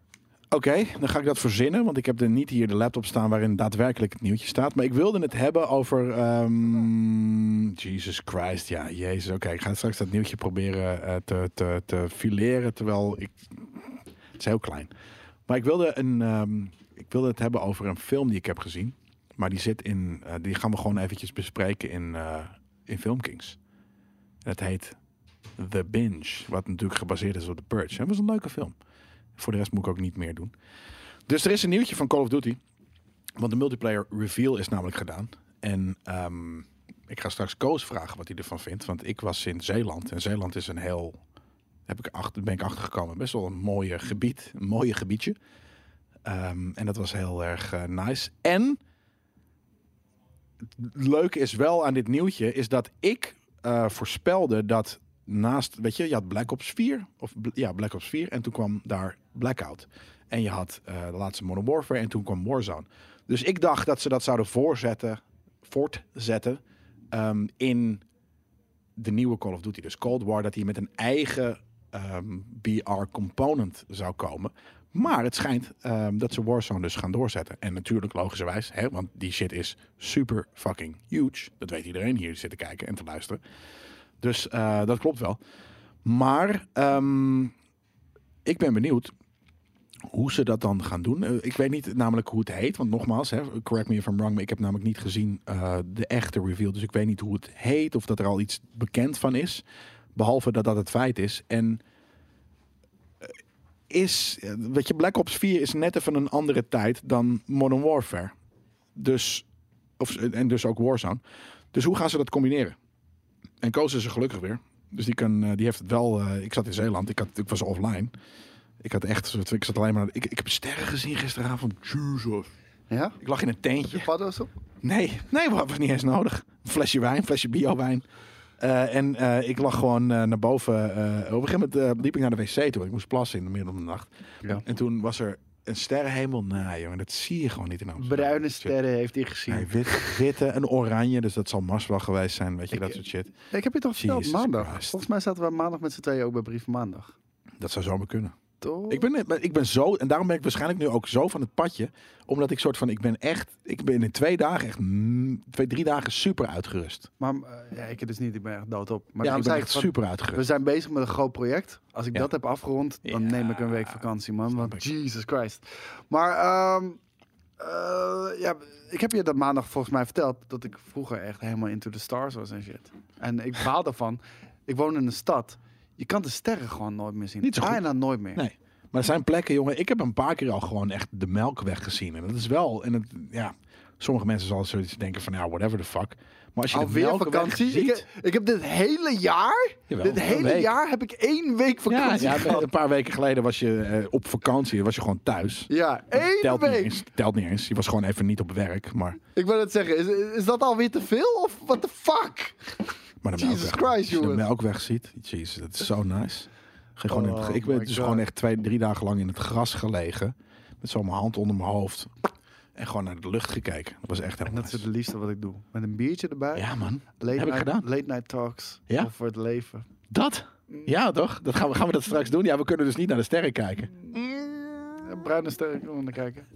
Speaker 2: Oké, dan ga ik dat verzinnen, want ik heb er niet hier de laptop staan waarin daadwerkelijk het nieuwtje staat. Maar ik wilde het hebben over. ehm, Jesus Christ, ja, Jezus. Oké, ik ga straks dat nieuwtje proberen eh, te, te, te fileren, terwijl ik. Het is heel klein. Maar ik wilde, een, ehm, ik wilde het hebben over een film die ik heb gezien. Maar die zit in. eh, die gaan we gewoon eventjes bespreken in, eh in Filmkings. En het heet The Binge, wat natuurlijk gebaseerd is op The Purge. Het was een leuke film. Voor de rest moet ik ook niet meer doen. Dus er is een nieuwtje van Call of Duty. Want de multiplayer reveal is namelijk gedaan. En ehm, ik ga straks Koos vragen wat hij ervan vindt. Want ik was in Zeeland. En Zeeland is een heel. Heb ik achter, ben ik achtergekomen. Best wel een mooie gebied. Een mooie gebiedje. Ehm, en dat was heel erg eh, nice. En. Het leuke is wel aan dit nieuwtje. Is dat ik eh, voorspelde dat naast. Weet je, je had Black Ops 4. Of bl- ja, Black Ops 4. En toen kwam daar Blackout. En je had eh, de laatste Modern Warfare. En toen kwam Warzone. Dus ik dacht dat ze dat zouden voorzetten, voortzetten ehm, in de nieuwe Call of Duty. Dus Cold War, dat hij met een eigen ehm, BR-component zou komen. Maar het schijnt ehm, dat ze Warzone dus gaan doorzetten. En natuurlijk logischerwijs, hè, want die shit is super fucking huge. Dat weet iedereen hier die zit te kijken en te luisteren. Dus eh, dat klopt wel. Maar ehm, ik ben benieuwd hoe ze dat dan gaan doen. Eh, ik weet niet namelijk hoe het heet. Want nogmaals, hè, correct me if I'm wrong. Maar ik heb namelijk niet gezien eh, de echte reveal. Dus ik weet niet hoe het heet. Of dat er al iets bekend van is. Behalve dat dat het feit is. En eh, is, eh, weet je, Black Ops 4 is net even een andere tijd dan Modern Warfare. Dus, of, en dus ook Warzone. Dus hoe gaan ze dat combineren? En Koos is er gelukkig weer. Dus die, kan, eh, die heeft het wel... eh, ik zat in Zeeland, ik, had, ik was offline. Ik had echt, soort- ik zat alleen maar. Ik, ik heb sterren gezien gisteravond. Jesus.
Speaker 1: Ja?
Speaker 2: Ik lag in een
Speaker 1: Heb je
Speaker 2: tentje.
Speaker 1: paddo's op?
Speaker 2: Nee, nee, wat was niet eens nodig. Een flesje wijn, een flesje bio-wijn. Eh, en eh, ik lag gewoon eh, naar boven. eh, op een gegeven moment eh, liep ik naar de wc toe. want Ik moest plassen in de middel van de nacht.
Speaker 1: Ja.
Speaker 2: En toen was er een sterrenhemel? Nee, jongen, dat zie je gewoon niet in Amsterdam.
Speaker 1: Bruine
Speaker 2: Dat soort
Speaker 1: sterren heeft hij gezien.
Speaker 2: shit. Nee, wit, witte en oranje, dus dat zal Mars wel geweest zijn, weet je,
Speaker 1: Ik- eh,
Speaker 2: dat soort shit.
Speaker 1: Ik heb je toch verteld,
Speaker 2: Jesus
Speaker 1: maandag.
Speaker 2: Christ.
Speaker 1: Volgens mij zaten we maandag met z'n tweeën ook bij Brief van Maandag.
Speaker 2: Dat zou zomaar kunnen.
Speaker 1: Toch?
Speaker 2: Ik ben, net- maar ik ben zo, en daarom ben ik waarschijnlijk nu ook zo van het padje, omdat ik soort van, ik ben echt, ik ben in twee dagen echt, mm, twee, drie dagen super uitgerust.
Speaker 1: Maar eh, ja, ik dus niet, ik ben echt doodop. Maar
Speaker 2: ja,
Speaker 1: daarom
Speaker 2: ik ben
Speaker 1: zei ik
Speaker 2: echt
Speaker 1: van,
Speaker 2: super
Speaker 1: we
Speaker 2: uitgerust.
Speaker 1: zijn bezig met een groot project. Als ik
Speaker 2: Ja.
Speaker 1: dat heb afgerond, dan
Speaker 2: Ja,
Speaker 1: neem ik een week vakantie, man.
Speaker 2: ik.
Speaker 1: Want Jesus Christ. Maar ehm, eh, ja, ik heb je dat maandag volgens mij verteld dat ik vroeger echt helemaal into the stars was en shit. En ik baal daarvan. Ik woon in een stad. Je kan de sterren gewoon nooit meer zien.
Speaker 2: Niet zo goed.
Speaker 1: Bijna nooit meer.
Speaker 2: Nee. Maar er zijn plekken, jongen, ik heb een paar keer al gewoon echt de melkweg gezien. En dat is wel, en het, ja, sommige mensen zullen zoiets denken van, ja, whatever the fuck. Maar als je de
Speaker 1: Alweer
Speaker 2: melkweg
Speaker 1: vakantie?
Speaker 2: ziet,
Speaker 1: Ik heb, ik heb dit hele jaar,
Speaker 2: Jawel,
Speaker 1: dit
Speaker 2: een
Speaker 1: hele
Speaker 2: week.
Speaker 1: jaar heb ik één week
Speaker 2: ja,
Speaker 1: vakantie
Speaker 2: ja,
Speaker 1: gehad.
Speaker 2: een paar weken geleden was je eh, op vakantie, was je gewoon thuis.
Speaker 1: Ja, één
Speaker 2: telt
Speaker 1: week.
Speaker 2: niet eens, telt niet eens. Je was gewoon even niet op werk, maar,
Speaker 1: Ik wil het zeggen, is, is dat alweer te veel of what the fuck?
Speaker 2: maar de
Speaker 1: Jesus
Speaker 2: melkweg.
Speaker 1: Christ,
Speaker 2: als je de
Speaker 1: jongen.
Speaker 2: melkweg ziet, jezus, dat is zo nice. Ga je Gewoon in het,
Speaker 1: Oh
Speaker 2: ik ben
Speaker 1: my
Speaker 2: dus
Speaker 1: God.
Speaker 2: gewoon echt twee, drie dagen lang in het gras gelegen, met zo mijn hand onder mijn hoofd en gewoon naar de lucht gekeken. Dat was echt
Speaker 1: En
Speaker 2: helemaal
Speaker 1: dat is
Speaker 2: nice.
Speaker 1: het liefste wat ik doe. Met een biertje erbij.
Speaker 2: Ja man,
Speaker 1: late
Speaker 2: heb ik
Speaker 1: night,
Speaker 2: gedaan.
Speaker 1: Late night talks
Speaker 2: Ja?
Speaker 1: over het leven.
Speaker 2: Dat? Ja, toch? Dat gaan, we, gaan we dat straks doen? Ja, we kunnen dus niet naar de sterren kijken.
Speaker 1: Ja, Bruine sterren kunnen we naar kijken.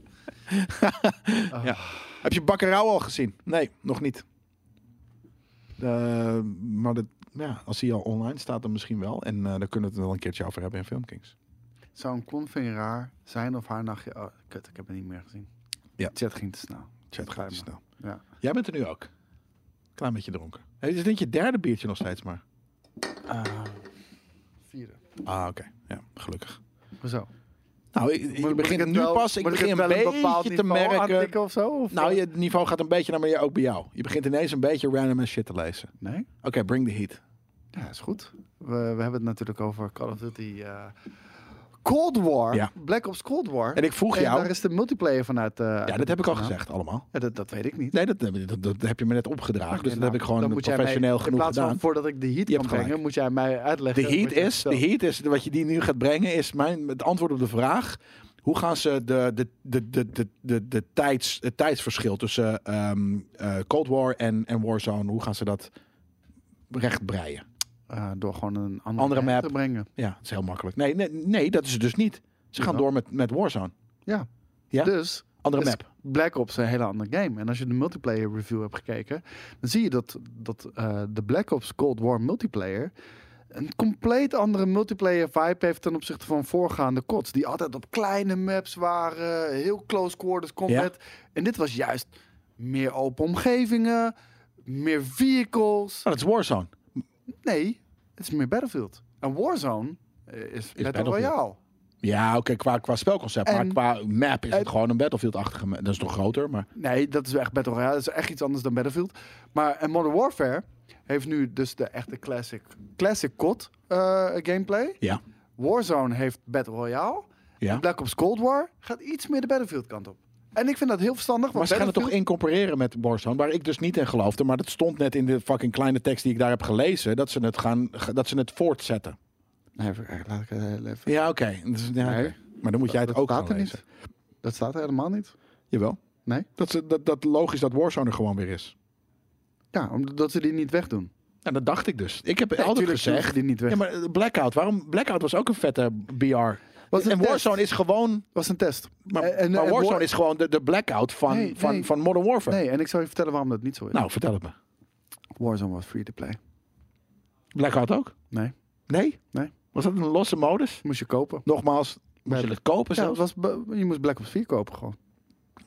Speaker 2: Heb je Bakkerau al gezien? Nee, nog niet. Eh, maar dat, ja, als hij al online staat, dan misschien wel. En eh daar kunnen we het wel een keertje over hebben in Filmkings.
Speaker 1: Zou een confineraar zijn of haar nachtje... Oh, kut, ik heb het niet meer gezien.
Speaker 2: Ja.
Speaker 1: Chat ging te snel.
Speaker 2: Chat gaat te snel.
Speaker 1: Ja.
Speaker 2: Jij bent er nu ook. Klein beetje dronken. Hey, dit is denk je derde biertje nog steeds maar.
Speaker 1: Ah, vierde.
Speaker 2: Ah, oké. Ja, gelukkig.
Speaker 1: Hoezo?
Speaker 2: Nou, ik, ik
Speaker 1: Moet- moet
Speaker 2: begin
Speaker 1: het
Speaker 2: nu
Speaker 1: wel-
Speaker 2: pas. Ik
Speaker 1: moet
Speaker 2: begin
Speaker 1: het
Speaker 2: een
Speaker 1: wel
Speaker 2: beetje
Speaker 1: bepaald
Speaker 2: te
Speaker 1: niveau
Speaker 2: merken.
Speaker 1: aantikken of zo? Of
Speaker 2: Nou, je, het niveau gaat een beetje naar beneden, ook bij jou. Je begint ineens een beetje random en shit te lezen.
Speaker 1: Nee?
Speaker 2: Oké, bring the heat.
Speaker 1: Ja, is goed. We, we hebben het natuurlijk over Call of Duty... eh, Cold War.
Speaker 2: Ja.
Speaker 1: Black Ops Cold War.
Speaker 2: En ik vroeg
Speaker 1: En
Speaker 2: jou...
Speaker 1: daar is de multiplayer vanuit. eh,
Speaker 2: Ja, dat heb ik al
Speaker 1: gedaan.
Speaker 2: gezegd, allemaal.
Speaker 1: Ja, dat, dat weet ik niet.
Speaker 2: Nee, dat, dat, dat heb je me net opgedragen.
Speaker 1: Oké,
Speaker 2: dus dat
Speaker 1: nou,
Speaker 2: heb ik gewoon
Speaker 1: dan moet jij
Speaker 2: professioneel
Speaker 1: mij,
Speaker 2: genoeg
Speaker 1: In plaats
Speaker 2: gedaan.
Speaker 1: van voordat ik de heat
Speaker 2: Je
Speaker 1: kan
Speaker 2: hebt
Speaker 1: brengen,
Speaker 2: gelijk.
Speaker 1: moet jij mij uitleggen.
Speaker 2: De heat,
Speaker 1: wat je
Speaker 2: is, de
Speaker 1: vertelt.
Speaker 2: heat is wat je die nu gaat brengen, is mijn, het antwoord op de vraag. Hoe gaan ze de, de, de, de, de, de, de tijds, het tijdsverschil tussen ehm, eh, Cold War en, en Warzone, hoe gaan ze dat rechtbreien?
Speaker 1: Eh, door gewoon een andere,
Speaker 2: Andere map.
Speaker 1: te brengen.
Speaker 2: Ja, dat is heel makkelijk. Nee, nee, nee dat is het dus niet. Ze gaan
Speaker 1: Jawel.
Speaker 2: door met, met Warzone.
Speaker 1: Ja.
Speaker 2: Ja?
Speaker 1: Dus
Speaker 2: Andere
Speaker 1: is
Speaker 2: map.
Speaker 1: Black Ops een hele andere game. En als je de multiplayer review hebt gekeken, dan zie je dat, dat eh, de Black Ops Cold War multiplayer een compleet andere multiplayer vibe heeft ten opzichte van voorgaande CODs. Die altijd op kleine maps waren, heel close quarters combat. En dit was juist meer open omgevingen, meer vehicles.
Speaker 2: Oh, dat is Warzone.
Speaker 1: Nee, het is meer Battlefield. En Warzone eh, is, Battle
Speaker 2: Battlefield.
Speaker 1: Royale.
Speaker 2: Ja, oké, qua, qua spelconcept.
Speaker 1: En-
Speaker 2: maar qua map is
Speaker 1: en-
Speaker 2: het gewoon een Battlefield-achtige map. Dat is toch groter, maar...
Speaker 1: Nee, dat is echt Battle Royale. Dat is echt iets anders dan Battlefield. Maar en Modern Warfare heeft nu dus de echte classic, classic COD eh, gameplay.
Speaker 2: Ja.
Speaker 1: Warzone heeft Battle Royale.
Speaker 2: Ja.
Speaker 1: En Black Ops Cold War gaat iets meer de Battlefield kant op. En ik vind dat heel verstandig.
Speaker 2: Maar
Speaker 1: Want
Speaker 2: ze gaan het toch
Speaker 1: Battlefield-
Speaker 2: incorporeren met Warzone, waar ik dus niet in geloofde. Maar dat stond net in de fucking kleine tekst die ik daar heb gelezen, dat ze het, gaan, dat ze het voortzetten.
Speaker 1: Nee, even kijken, laat ik het heel even...
Speaker 2: Ja, oké. Dat is- ja, oké.
Speaker 1: Nee.
Speaker 2: Maar dan moet jij het
Speaker 1: Dus, dat
Speaker 2: ook
Speaker 1: staat
Speaker 2: gaan
Speaker 1: er
Speaker 2: lezen.
Speaker 1: niet. Dat staat er helemaal niet.
Speaker 2: Jawel.
Speaker 1: Nee?
Speaker 2: Dat, ze, dat, dat logisch dat Warzone er gewoon weer is.
Speaker 1: Ja, omdat ze die niet wegdoen.
Speaker 2: En dat dacht ik dus. Ik heb
Speaker 1: Nee,
Speaker 2: altijd
Speaker 1: tuurlijk doen ze
Speaker 2: gezegd...
Speaker 1: Die niet weg.
Speaker 2: Ja, maar eh, Blackout. Waarom? Blackout was ook een vette BR.
Speaker 1: Was een
Speaker 2: en
Speaker 1: test.
Speaker 2: Warzone is gewoon...
Speaker 1: was een test.
Speaker 2: Maar,
Speaker 1: En- en-
Speaker 2: maar
Speaker 1: en
Speaker 2: Warzone
Speaker 1: War-
Speaker 2: is gewoon de, de Blackout van,
Speaker 1: Nee,
Speaker 2: van,
Speaker 1: nee.
Speaker 2: van Modern Warfare.
Speaker 1: Nee, en ik zal je vertellen waarom dat niet zo is.
Speaker 2: Nou, vertel het me.
Speaker 1: Warzone was free to play.
Speaker 2: Blackout ook?
Speaker 1: Nee,
Speaker 2: Nee?
Speaker 1: Nee.
Speaker 2: Was dat een losse modus?
Speaker 1: moest je kopen.
Speaker 2: Nogmaals, moest
Speaker 1: Bij-
Speaker 2: je het kopen
Speaker 1: Ja,
Speaker 2: zelfs?
Speaker 1: het was, be- je moest Black Ops 4 kopen gewoon.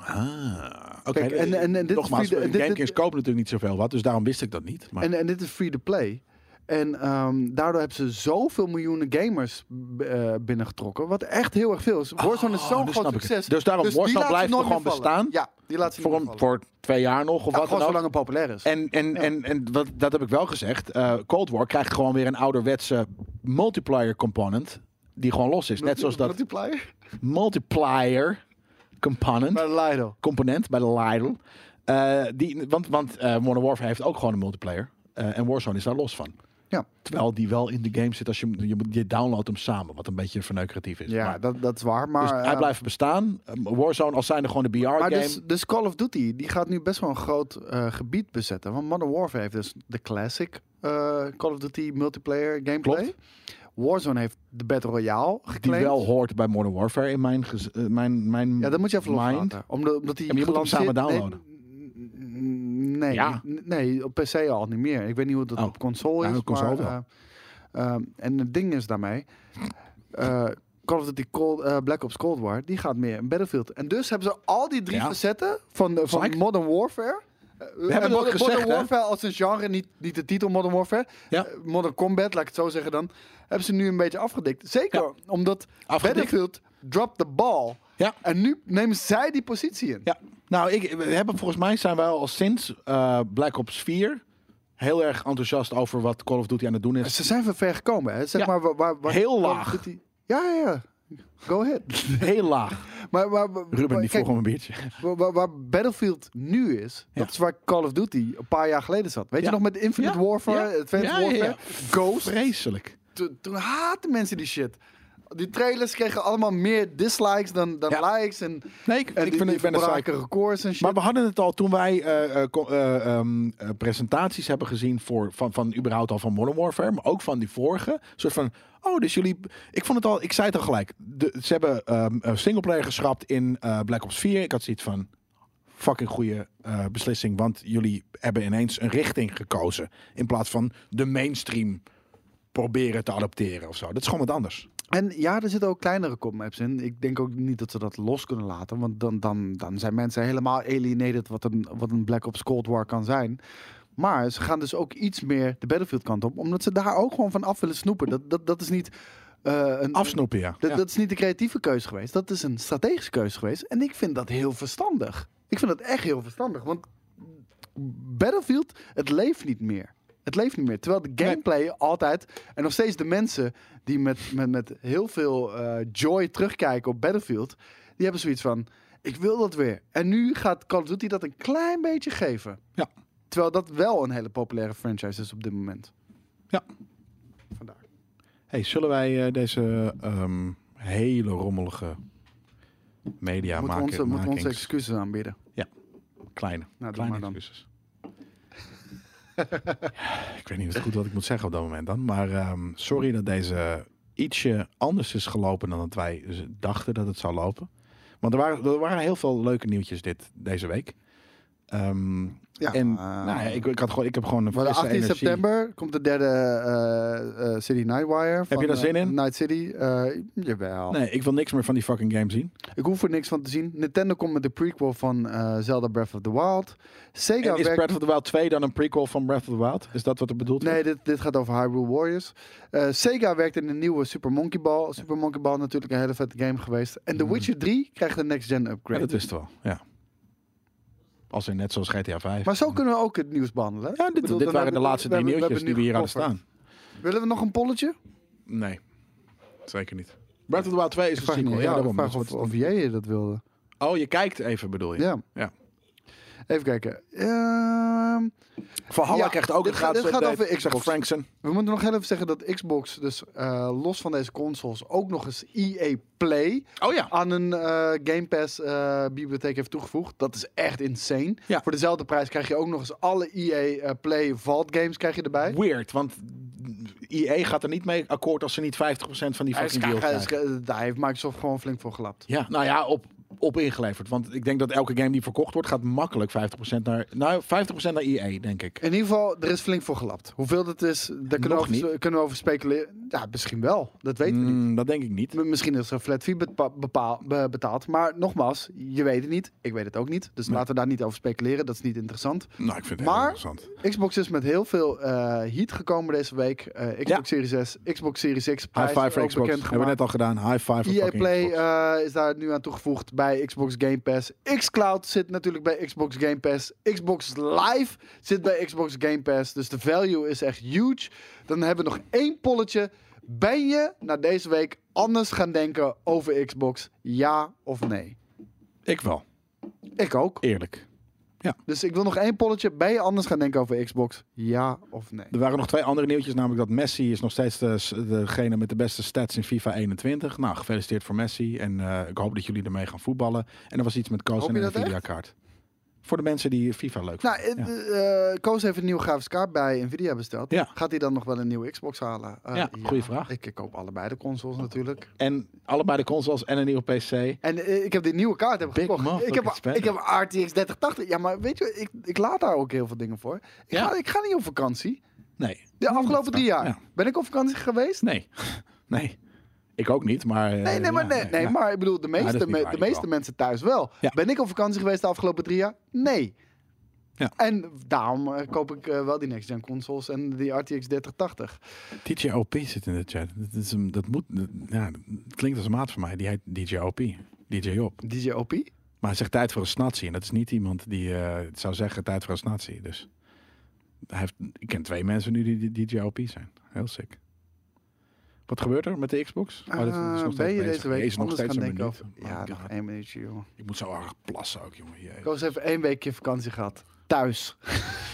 Speaker 2: Ah, oké.
Speaker 1: Kijk, en- en- en dit
Speaker 2: Nogmaals,
Speaker 1: is free- dit- dit-
Speaker 2: Gamekings kopen natuurlijk niet zoveel wat, dus daarom wist ik dat niet. Maar
Speaker 1: En, en dit is free to play. En ehm, daardoor hebben ze zoveel miljoenen gamers b- eh, binnengetrokken. Wat echt heel erg veel is. Warzone is
Speaker 2: Oh,
Speaker 1: zo'n
Speaker 2: nu
Speaker 1: groot
Speaker 2: snap ik het.
Speaker 1: succes.
Speaker 2: Dus daarom,
Speaker 1: die
Speaker 2: Warzone
Speaker 1: laat ze
Speaker 2: blijft
Speaker 1: nooit
Speaker 2: gewoon
Speaker 1: meer vallen.
Speaker 2: bestaan.
Speaker 1: Ja, die laat ze
Speaker 2: voor,
Speaker 1: niet
Speaker 2: een,
Speaker 1: meer vallen.
Speaker 2: voor twee jaar nog of
Speaker 1: Ja,
Speaker 2: wat dan
Speaker 1: gewoon
Speaker 2: ook.
Speaker 1: zolang het populair is.
Speaker 2: En, en, en, en wat, dat heb ik wel gezegd. eh, Cold War krijgt gewoon weer een ouderwetse multiplier component. Die gewoon los is. Net zoals dat
Speaker 1: Multiplier?
Speaker 2: multiplier component.
Speaker 1: Maar Lido.
Speaker 2: component bij de Lidl. Eh, die, want want eh, Modern Warfare heeft ook gewoon een multiplayer. Eh, en Warzone is daar los van.
Speaker 1: Ja.
Speaker 2: Terwijl die wel in de game zit als je, hem- je, moet- je downloadt hem samen, wat een beetje verneukeratief is.
Speaker 1: Ja,
Speaker 2: Maar-
Speaker 1: dat, dat is waar. Maar,
Speaker 2: dus hij
Speaker 1: eh,
Speaker 2: blijft bestaan. Um, Warzone als zijnde gewoon een
Speaker 1: maar
Speaker 2: BR-game.
Speaker 1: dus, dus Call of Duty die gaat nu best wel een groot eh, gebied bezetten. Want Modern Warfare heeft dus de classic eh, Call of Duty multiplayer gameplay.
Speaker 2: Klopt.
Speaker 1: Warzone heeft de Battle Royale
Speaker 2: die
Speaker 1: geclaimd.
Speaker 2: wel hoort bij Modern Warfare in mijn... gez- eh, mijn, mijn
Speaker 1: Ja, dat moet je even
Speaker 2: mind.
Speaker 1: loslaten. Omdat, omdat die
Speaker 2: Ja, maar je moet hem
Speaker 1: gelanceerd-
Speaker 2: samen
Speaker 1: nee,
Speaker 2: downloaden.
Speaker 1: n- Nee,
Speaker 2: Ja.
Speaker 1: niet- nee, op PC al niet meer. Ik weet niet hoe dat
Speaker 2: Oh.
Speaker 1: op console
Speaker 2: Ja,
Speaker 1: is.
Speaker 2: op console
Speaker 1: maar,
Speaker 2: wel.
Speaker 1: eh, ehm, en het ding is daarmee... eh, Call of Duty Cold, eh, Black Ops Cold War, die gaat meer in Battlefield. En dus hebben ze al die drie
Speaker 2: Ja.
Speaker 1: facetten van, de- van
Speaker 2: Psych.
Speaker 1: Modern Warfare... eh, en
Speaker 2: het
Speaker 1: Modern,
Speaker 2: ook gezegd,
Speaker 1: Modern
Speaker 2: hè?
Speaker 1: Warfare als een genre, niet, niet de titel Modern Warfare.
Speaker 2: Ja.
Speaker 1: Eh, Modern Combat, laat ik het zo zeggen dan. Hebben ze nu een beetje afgedikt. Zeker omdat
Speaker 2: Afgedikt.
Speaker 1: Battlefield dropped the ball.
Speaker 2: Ja.
Speaker 1: En nu nemen zij die positie in.
Speaker 2: Ja, nou, ik, we hebben, volgens mij zijn wij al sinds eh, Black Ops 4 heel erg enthousiast over wat Call of Duty aan het doen is.
Speaker 1: Ze zijn van ver gekomen. Hè? Zeg
Speaker 2: Ja.
Speaker 1: maar, waar, waar, waar-
Speaker 2: Heel
Speaker 1: waar-
Speaker 2: laag.
Speaker 1: dat die- Ja, ja, ja. Go ahead.
Speaker 2: Heel laag.
Speaker 1: Maar, maar, maar-
Speaker 2: Ruben, die
Speaker 1: kijk,
Speaker 2: vroeg om een biertje.
Speaker 1: waar, waar- waar Battlefield nu is,
Speaker 2: Ja.
Speaker 1: dat is waar Call of Duty een paar jaar geleden zat. Weet
Speaker 2: Ja.
Speaker 1: je nog met Infinite
Speaker 2: Ja.
Speaker 1: Warfare,
Speaker 2: Ja.
Speaker 1: Advanced
Speaker 2: Ja, ja, ja.
Speaker 1: Warfare, Ghost?
Speaker 2: Vreselijk.
Speaker 1: Toen, toen haatten mensen die shit. Die trailers kregen allemaal meer dislikes dan, dan
Speaker 2: Ja.
Speaker 1: likes. En,
Speaker 2: Nee, ik,
Speaker 1: en
Speaker 2: ik,
Speaker 1: die,
Speaker 2: vind,
Speaker 1: die
Speaker 2: ik ben er
Speaker 1: verbraken
Speaker 2: psycho.
Speaker 1: records en shit.
Speaker 2: Maar we hadden het al toen wij eh, eh, co- eh, ehm, eh, presentaties hebben gezien voor, van, van überhaupt al van Modern Warfare, maar ook van die vorige. Een soort van, oh, dus jullie... Ik vond het al, ik zei het al gelijk. De- ze hebben ehm, eh, singleplayer geschrapt in eh, Black Ops 4. Ik had zoiets van, fucking goede eh, beslissing, want jullie hebben ineens een richting gekozen. In plaats van de mainstream proberen te adopteren of zo. Dat is gewoon wat anders.
Speaker 1: En ja, er zitten ook kleinere commaps in. Ik denk ook niet dat ze dat los kunnen laten. Want dan, dan, dan zijn mensen helemaal alienated wat een, wat een Black Ops Cold War kan zijn. Maar ze gaan dus ook iets meer de Battlefield kant op. Omdat ze daar ook gewoon van af willen snoepen. Dat, dat, dat is niet... eh, een,
Speaker 2: Afsnoepen, ja.
Speaker 1: dat,
Speaker 2: Ja.
Speaker 1: dat is niet de creatieve keuze geweest. Dat is een strategische keuze geweest. En ik vind dat heel verstandig. Ik vind dat echt heel verstandig. Want Battlefield, het leeft niet meer. Het leeft niet meer. Terwijl de
Speaker 2: Nee.
Speaker 1: gameplay altijd... En nog steeds de mensen die met, met, met heel veel eh, joy terugkijken op Battlefield... Die hebben zoiets van, ik wil dat weer. En nu gaat Call of Duty dat een klein beetje geven.
Speaker 2: Ja.
Speaker 1: Terwijl dat wel een hele populaire franchise is op dit moment.
Speaker 2: Ja.
Speaker 1: Vandaar.
Speaker 2: Hey, zullen wij eh, deze ehm, hele rommelige media
Speaker 1: moeten, we
Speaker 2: maken?
Speaker 1: onze, moeten we onze
Speaker 2: makings-
Speaker 1: excuses aanbieden.
Speaker 2: kleine,
Speaker 1: doe
Speaker 2: kleine
Speaker 1: maar dan.
Speaker 2: excuses. Ja, ik weet niet goed wat ik moet zeggen op dat moment dan, maar ehm, sorry dat deze ietsje anders is gelopen dan dat wij z- dachten dat het zou lopen. Want er waren, er waren heel veel leuke nieuwtjes dit, deze week. Ehm,
Speaker 1: Ja,
Speaker 2: en
Speaker 1: eh,
Speaker 2: nou, ja, ik, ik, had gewoon, ik heb gewoon een
Speaker 1: Maar de
Speaker 2: frisse
Speaker 1: 18
Speaker 2: energie.
Speaker 1: september komt de derde eh, eh, City Nightwire. Heb
Speaker 2: je daar zin in?
Speaker 1: Night City. Eh, jawel.
Speaker 2: Nee, ik wil niks meer van die fucking game zien.
Speaker 1: Ik hoef er niks van te zien. Nintendo komt met de prequel van eh, Zelda Breath of the Wild.
Speaker 2: En
Speaker 1: Sega
Speaker 2: is
Speaker 1: werkt...
Speaker 2: Breath of the Wild 2 dan een prequel van Breath of the Wild? Is dat wat er bedoeld
Speaker 1: Nee,
Speaker 2: wordt?
Speaker 1: dit, dit gaat over Hyrule Warriors. Eh, Sega werkt in een nieuwe Super Monkey Ball. Super Monkey Ball natuurlijk een hele vette game geweest. En The
Speaker 2: Mhm.
Speaker 1: Witcher 3 krijgt een next-gen
Speaker 2: Ja,
Speaker 1: upgrade.
Speaker 2: dat wist wel, ja. Als in net zoals GTA 5.
Speaker 1: Maar zo kunnen we ook het nieuws behandelen.
Speaker 2: Ja,
Speaker 1: Ik
Speaker 2: dit,
Speaker 1: bedoel,
Speaker 2: dit
Speaker 1: dan
Speaker 2: waren de
Speaker 1: hebben-
Speaker 2: laatste
Speaker 1: we
Speaker 2: drie
Speaker 1: hebben- we
Speaker 2: nieuwtjes die we
Speaker 1: hebben
Speaker 2: hier
Speaker 1: nu
Speaker 2: hadden staan.
Speaker 1: gecoverd. Willen we nog een polletje?
Speaker 2: Nee, zeker niet. Breath of the Wild 2 is
Speaker 1: Ik
Speaker 2: een
Speaker 1: vraag,
Speaker 2: sequel.
Speaker 1: niet,
Speaker 2: ja,
Speaker 1: ja, ik
Speaker 2: daarom.
Speaker 1: vraag
Speaker 2: Dat
Speaker 1: of,
Speaker 2: is wat-
Speaker 1: of jij dat wilde.
Speaker 2: Oh, je kijkt even bedoel je?
Speaker 1: Ja.
Speaker 2: Ja.
Speaker 1: Even kijken. Ehm,
Speaker 2: Valhalla
Speaker 1: Ja,
Speaker 2: krijgt ook
Speaker 1: dit
Speaker 2: een
Speaker 1: gaat-
Speaker 2: gratis
Speaker 1: dit gaat
Speaker 2: update.
Speaker 1: over
Speaker 2: Zegt
Speaker 1: Xbox.
Speaker 2: Frankson.
Speaker 1: we moeten nog heel even zeggen dat Xbox dus eh, los van deze consoles ook nog eens EA Play
Speaker 2: Oh ja.
Speaker 1: aan een eh, Game Pass eh, bibliotheek heeft toegevoegd. Dat is echt insane.
Speaker 2: Ja.
Speaker 1: Voor dezelfde prijs krijg je ook nog eens alle EA eh, Play Vault games krijg je erbij.
Speaker 2: Weird, want EA gaat er niet mee akkoord als ze niet 50% van die
Speaker 1: Hij is-
Speaker 2: fucking deal
Speaker 1: hij is-
Speaker 2: krijgen.
Speaker 1: Eh, Daar heeft Microsoft gewoon flink voor gelapt.
Speaker 2: Ja, nou ja, op, op ingeleverd. Want ik denk dat elke game die verkocht wordt, gaat makkelijk 50% naar... Nou, 50% naar EA, denk ik.
Speaker 1: In ieder geval, er is flink voor gelapt. Hoeveel dat is, daar kunnen, we
Speaker 2: Nog
Speaker 1: over, kunnen we over speculeren. Ja, misschien wel. Dat weten we niet.
Speaker 2: Mm, dat denk ik niet.
Speaker 1: M- Misschien is er een flat fee bepa- bepaal- be- betaald. Maar nogmaals, je weet het niet. Ik weet het ook niet. Dus laten we daar niet over speculeren. Dat is niet interessant.
Speaker 2: Nou, ik vind
Speaker 1: heel Maar-
Speaker 2: interessant.
Speaker 1: Xbox is met heel veel eh heat gekomen deze week. Eh, Xbox Series S, Xbox Series X.
Speaker 2: High
Speaker 1: prijs
Speaker 2: five voor
Speaker 1: ook
Speaker 2: Xbox.
Speaker 1: bekend
Speaker 2: Hebben we net
Speaker 1: gemaakt.
Speaker 2: al gedaan. High five voor
Speaker 1: EA
Speaker 2: fucking
Speaker 1: Play
Speaker 2: Xbox.
Speaker 1: eh, is daar nu aan toegevoegd bij Xbox Game Pass. Xcloud zit natuurlijk bij Xbox Game Pass. Xbox Live zit bij Xbox Game Pass. Dus de value is echt huge. Dan hebben we nog één polletje. Ben je na deze week anders gaan denken over Xbox? Ja of nee?
Speaker 2: Ik wel,
Speaker 1: Ik ook.
Speaker 2: eerlijk. Ja.
Speaker 1: Dus ik wil nog één polletje. Ben je anders gaan denken over Xbox? Ja of nee?
Speaker 2: Er waren nog twee andere nieuwtjes, namelijk dat Messi is nog steeds de, degene met de beste stats in FIFA 21. Nou, gefeliciteerd voor Messi en eh, ik hoop dat jullie ermee gaan voetballen. En er was iets met Koos
Speaker 1: Hoop
Speaker 2: en
Speaker 1: je
Speaker 2: een
Speaker 1: dat echt?
Speaker 2: Nvidia-kaart. Voor de mensen die FIFA leuk
Speaker 1: Nou,
Speaker 2: vinden.
Speaker 1: eh, eh, Koos heeft een nieuwe grafische kaart bij Nvidia besteld.
Speaker 2: Ja.
Speaker 1: Gaat hij dan nog wel een nieuwe Xbox halen? Eh,
Speaker 2: Ja, goeie vraag.
Speaker 1: Ik koop allebei de consoles natuurlijk.
Speaker 2: En allebei de consoles en een nieuwe PC.
Speaker 1: En eh, ik heb die nieuwe kaart heb ik
Speaker 2: Big
Speaker 1: gekocht.
Speaker 2: motherfucking
Speaker 1: Ik heb,
Speaker 2: spender.
Speaker 1: ik heb een RTX 3080. Ja, maar weet je, ik, ik laat daar ook heel veel dingen voor. Ik,
Speaker 2: Ja.
Speaker 1: ga, ik ga niet op vakantie.
Speaker 2: Nee,
Speaker 1: De afgelopen drie jaar.
Speaker 2: ja.
Speaker 1: Ben ik op vakantie geweest?
Speaker 2: nee, nee. Ik ook niet, maar... eh,
Speaker 1: Nee, nee, maar,
Speaker 2: ja,
Speaker 1: nee, nee,
Speaker 2: ja.
Speaker 1: maar ik bedoel, de
Speaker 2: dat is
Speaker 1: meeste,
Speaker 2: niet
Speaker 1: me-
Speaker 2: waar,
Speaker 1: de
Speaker 2: ik
Speaker 1: meeste
Speaker 2: wel.
Speaker 1: mensen thuis wel.
Speaker 2: Ja.
Speaker 1: Ben ik op vakantie geweest de afgelopen drie jaar? Nee.
Speaker 2: Ja.
Speaker 1: En daarom eh, koop ik eh, wel die next-gen consoles en die RTX 3080.
Speaker 2: DJ OP zit in de chat. Dat, is een, dat moet... dat- ja, het klinkt als een maat van mij. Die heet DJ OP. DJ Op.
Speaker 1: DJ OP?
Speaker 2: Maar hij zegt tijd voor een snatsie. En dat is niet iemand die eh, het zou zeggen tijd voor een snatsie. Dus hij heeft, ik ken twee mensen nu die, die DJ OP zijn. Heel sick. Wat gebeurt er met de Xbox? Oh, dat is- dat is nog
Speaker 1: Eh,
Speaker 2: steeds
Speaker 1: ben je
Speaker 2: bezig.
Speaker 1: deze week
Speaker 2: Hij is nog
Speaker 1: anders
Speaker 2: steeds
Speaker 1: gaan
Speaker 2: een
Speaker 1: denken over...
Speaker 2: minuut. Oh
Speaker 1: Ja,
Speaker 2: my
Speaker 1: nog
Speaker 2: God.
Speaker 1: één minuutje, joh.
Speaker 2: Ik moet zo erg plassen ook, jongen. Jee.
Speaker 1: Koos heeft één weekje vakantie gehad. Thuis.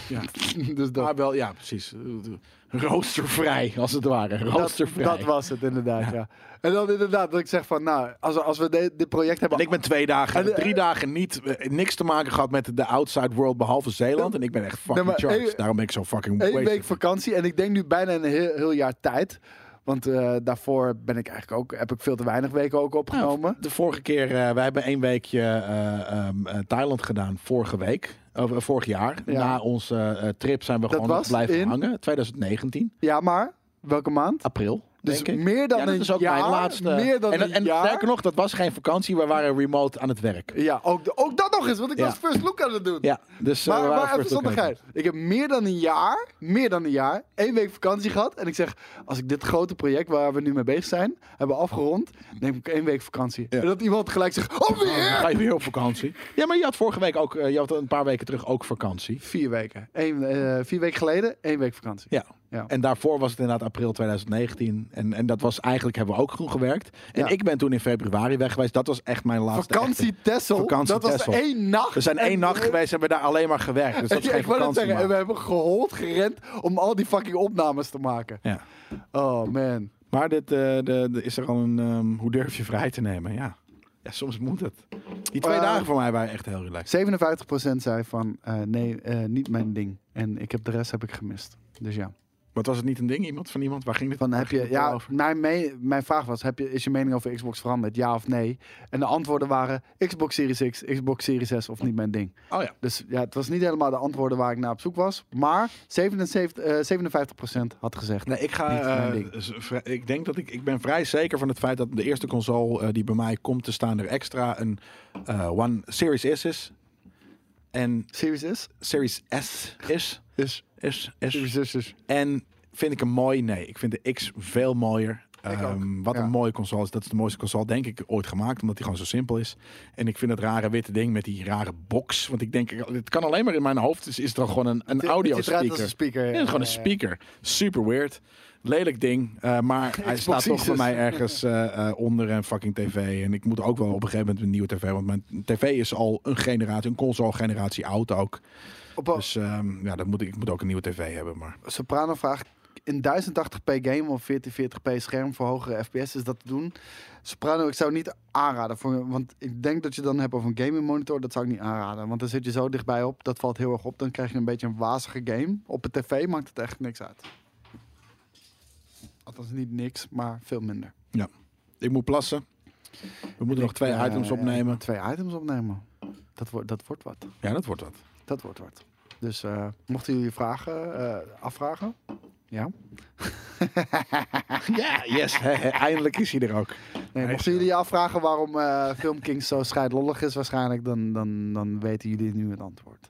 Speaker 2: Ja.
Speaker 1: dus dat,
Speaker 2: Maar wel, ja, precies.
Speaker 1: Eh,
Speaker 2: Roostervrij, als het ware.
Speaker 1: dat,
Speaker 2: Roostervrij.
Speaker 1: dat was het inderdaad, ja. En dan inderdaad dat ik zeg van, nou, als, als we de- dit project hebben...
Speaker 2: En ik ben twee dagen,
Speaker 1: En, eh,
Speaker 2: drie dagen niet, eh, niks te maken gehad met de outside world behalve Zeeland. En ik ben echt fucking
Speaker 1: maar
Speaker 2: charged.
Speaker 1: één-
Speaker 2: Daarom ben ik zo fucking
Speaker 1: Eén
Speaker 2: wasted.
Speaker 1: week vakantie en ik denk nu bijna een heel, heel jaar tijd. Want eh, daarvoor ben ik eigenlijk ook, heb ik veel te weinig weken ook opgenomen.
Speaker 2: De vorige keer, eh, wij hebben één weekje eh, ehm, eh, Thailand gedaan vorige week. Of, eh, vorig jaar.
Speaker 1: Ja.
Speaker 2: Na onze eh, trip zijn we
Speaker 1: Dat
Speaker 2: gewoon
Speaker 1: was
Speaker 2: blijven
Speaker 1: in?
Speaker 2: hangen. 2019,
Speaker 1: Ja, maar welke maand?
Speaker 2: april.
Speaker 1: Dus
Speaker 2: denk ik.
Speaker 1: meer dan
Speaker 2: ja, dat
Speaker 1: een
Speaker 2: is ook
Speaker 1: jaar,
Speaker 2: mijn laatste.
Speaker 1: meer dan
Speaker 2: en
Speaker 1: een
Speaker 2: en
Speaker 1: jaar.
Speaker 2: sterker nog, dat was geen vakantie. We waren remote aan het werk.
Speaker 1: Ja, ook, de- ook dat nog eens, want ik
Speaker 2: Ja.
Speaker 1: was first look aan het doen.
Speaker 2: Ja, dus eh,
Speaker 1: Maar,
Speaker 2: we waren
Speaker 1: maar even
Speaker 2: first look aan het
Speaker 1: zondigheid. Ik heb meer dan een jaar, meer dan een jaar, één week vakantie gehad. En ik zeg, als ik dit grote project waar we nu mee bezig zijn, hebben afgerond, neem ik één week vakantie.
Speaker 2: Ja.
Speaker 1: En dat iemand gelijk zegt, oh
Speaker 2: doen.
Speaker 1: weer!
Speaker 2: Ga je weer op vakantie? Ja, maar je had vorige week ook, eh, je had een paar weken terug ook vakantie.
Speaker 1: Vier weken. Eén, eh, vier weken geleden, één week vakantie.
Speaker 2: Ja.
Speaker 1: Ja.
Speaker 2: En daarvoor was het inderdaad april 2019. En, en dat was eigenlijk, hebben we ook groen gewerkt. En
Speaker 1: Ja.
Speaker 2: ik ben toen in februari weg geweest. Dat was echt mijn laatste. echte-
Speaker 1: Vakantie Tessel.
Speaker 2: Vakantie
Speaker 1: dat was
Speaker 2: Texel.
Speaker 1: één nacht.
Speaker 2: We zijn één nacht geweest en hebben daar alleen maar gewerkt. Dus dat is
Speaker 1: Ja,
Speaker 2: geen
Speaker 1: ik wou net
Speaker 2: vakantie.
Speaker 1: zeggen, en we
Speaker 2: maar.
Speaker 1: hebben gehold, gerend om al die fucking opnames te maken.
Speaker 2: Ja.
Speaker 1: Oh man.
Speaker 2: Maar dit, eh, de, de, is er al een... ehm, hoe durf je vrij te nemen? Ja. ja, soms moet het. Die twee
Speaker 1: Eh,
Speaker 2: dagen voor mij waren echt heel relaxed.
Speaker 1: 57% zei van eh, nee, eh, niet mijn ding. En ik heb de rest heb ik gemist. Dus ja.
Speaker 2: Wat was het niet een ding? Iemand van iemand? Waar ging dit
Speaker 1: Van,
Speaker 2: waar
Speaker 1: heb
Speaker 2: ging
Speaker 1: je,
Speaker 2: dit
Speaker 1: ja,
Speaker 2: over?
Speaker 1: mijn, me- mijn vraag was, heb je, is je mening over Xbox veranderd? Ja of nee? En de antwoorden waren Xbox Series X, Xbox Series S of niet mijn ding.
Speaker 2: Oh ja.
Speaker 1: Dus ja, het was niet helemaal de antwoorden waar ik naar op zoek was. Maar 77, eh, 57% had gezegd.
Speaker 2: Nee, ik ga.
Speaker 1: Niet mijn
Speaker 2: eh,
Speaker 1: ding.
Speaker 2: z- vrij- ik denk dat ik. Ik ben vrij zeker van het feit dat de eerste console eh, die bij mij komt te staan er extra een eh, One Series S is. En
Speaker 1: Series S?
Speaker 2: Series S is.
Speaker 1: Is.
Speaker 2: Is. Is.
Speaker 1: Series S is.
Speaker 2: En vind ik hem mooi? Nee. Ik vind de X veel mooier. Ehm, wat
Speaker 1: ja.
Speaker 2: een mooie console is. Dat is de mooiste console, denk ik, ooit gemaakt. Omdat die gewoon zo simpel is. En ik vind het rare witte ding met die rare box. Want ik denk, het kan alleen maar in mijn hoofd. Dus is het dan gewoon een, een audio
Speaker 1: Het ziet eruit als een
Speaker 2: speaker.
Speaker 1: speaker.
Speaker 2: Ja, het is gewoon een speaker. Super weird. Lelijk ding. eh, maar hij
Speaker 1: Xbox
Speaker 2: staat toch voor
Speaker 1: Series.
Speaker 2: mij ergens eh, eh, onder een fucking tv. En ik moet ook wel op een gegeven moment een nieuwe tv. Want mijn tv is al een generatie, een console generatie oud ook.
Speaker 1: Op een
Speaker 2: Dus ehm, ja, dat moet, ik- ik moet ook een nieuwe tv hebben. Maar
Speaker 1: Soprano vraagt in 1080p game of 1440p scherm voor hogere FPS is dat te doen. Soprano, ik zou niet aanraden voor, want ik denk dat je dan hebt over een gaming monitor, dat zou ik niet aanraden, want dan zit je zo dichtbij op, dat valt heel erg op, dan krijg je een beetje een wazige game. Op de tv maakt het echt niks uit. Althans niet niks, maar veel minder.
Speaker 2: ja, ik moet plassen. We moeten nog twee
Speaker 1: Ja,
Speaker 2: items
Speaker 1: ja,
Speaker 2: opnemen.
Speaker 1: Eh, Twee items opnemen. Dat wordt dat wordt wat.
Speaker 2: Ja, dat wordt wat.
Speaker 1: Dat wordt wat. Dus eh, mochten jullie vragen eh, afvragen? Ja.
Speaker 2: Ja, yes. He, he, eindelijk is hij er ook.
Speaker 1: Nee, mochten jullie je afvragen waarom eh Film Kings zo scheidlollig is waarschijnlijk, dan, dan, dan weten jullie nu het antwoord.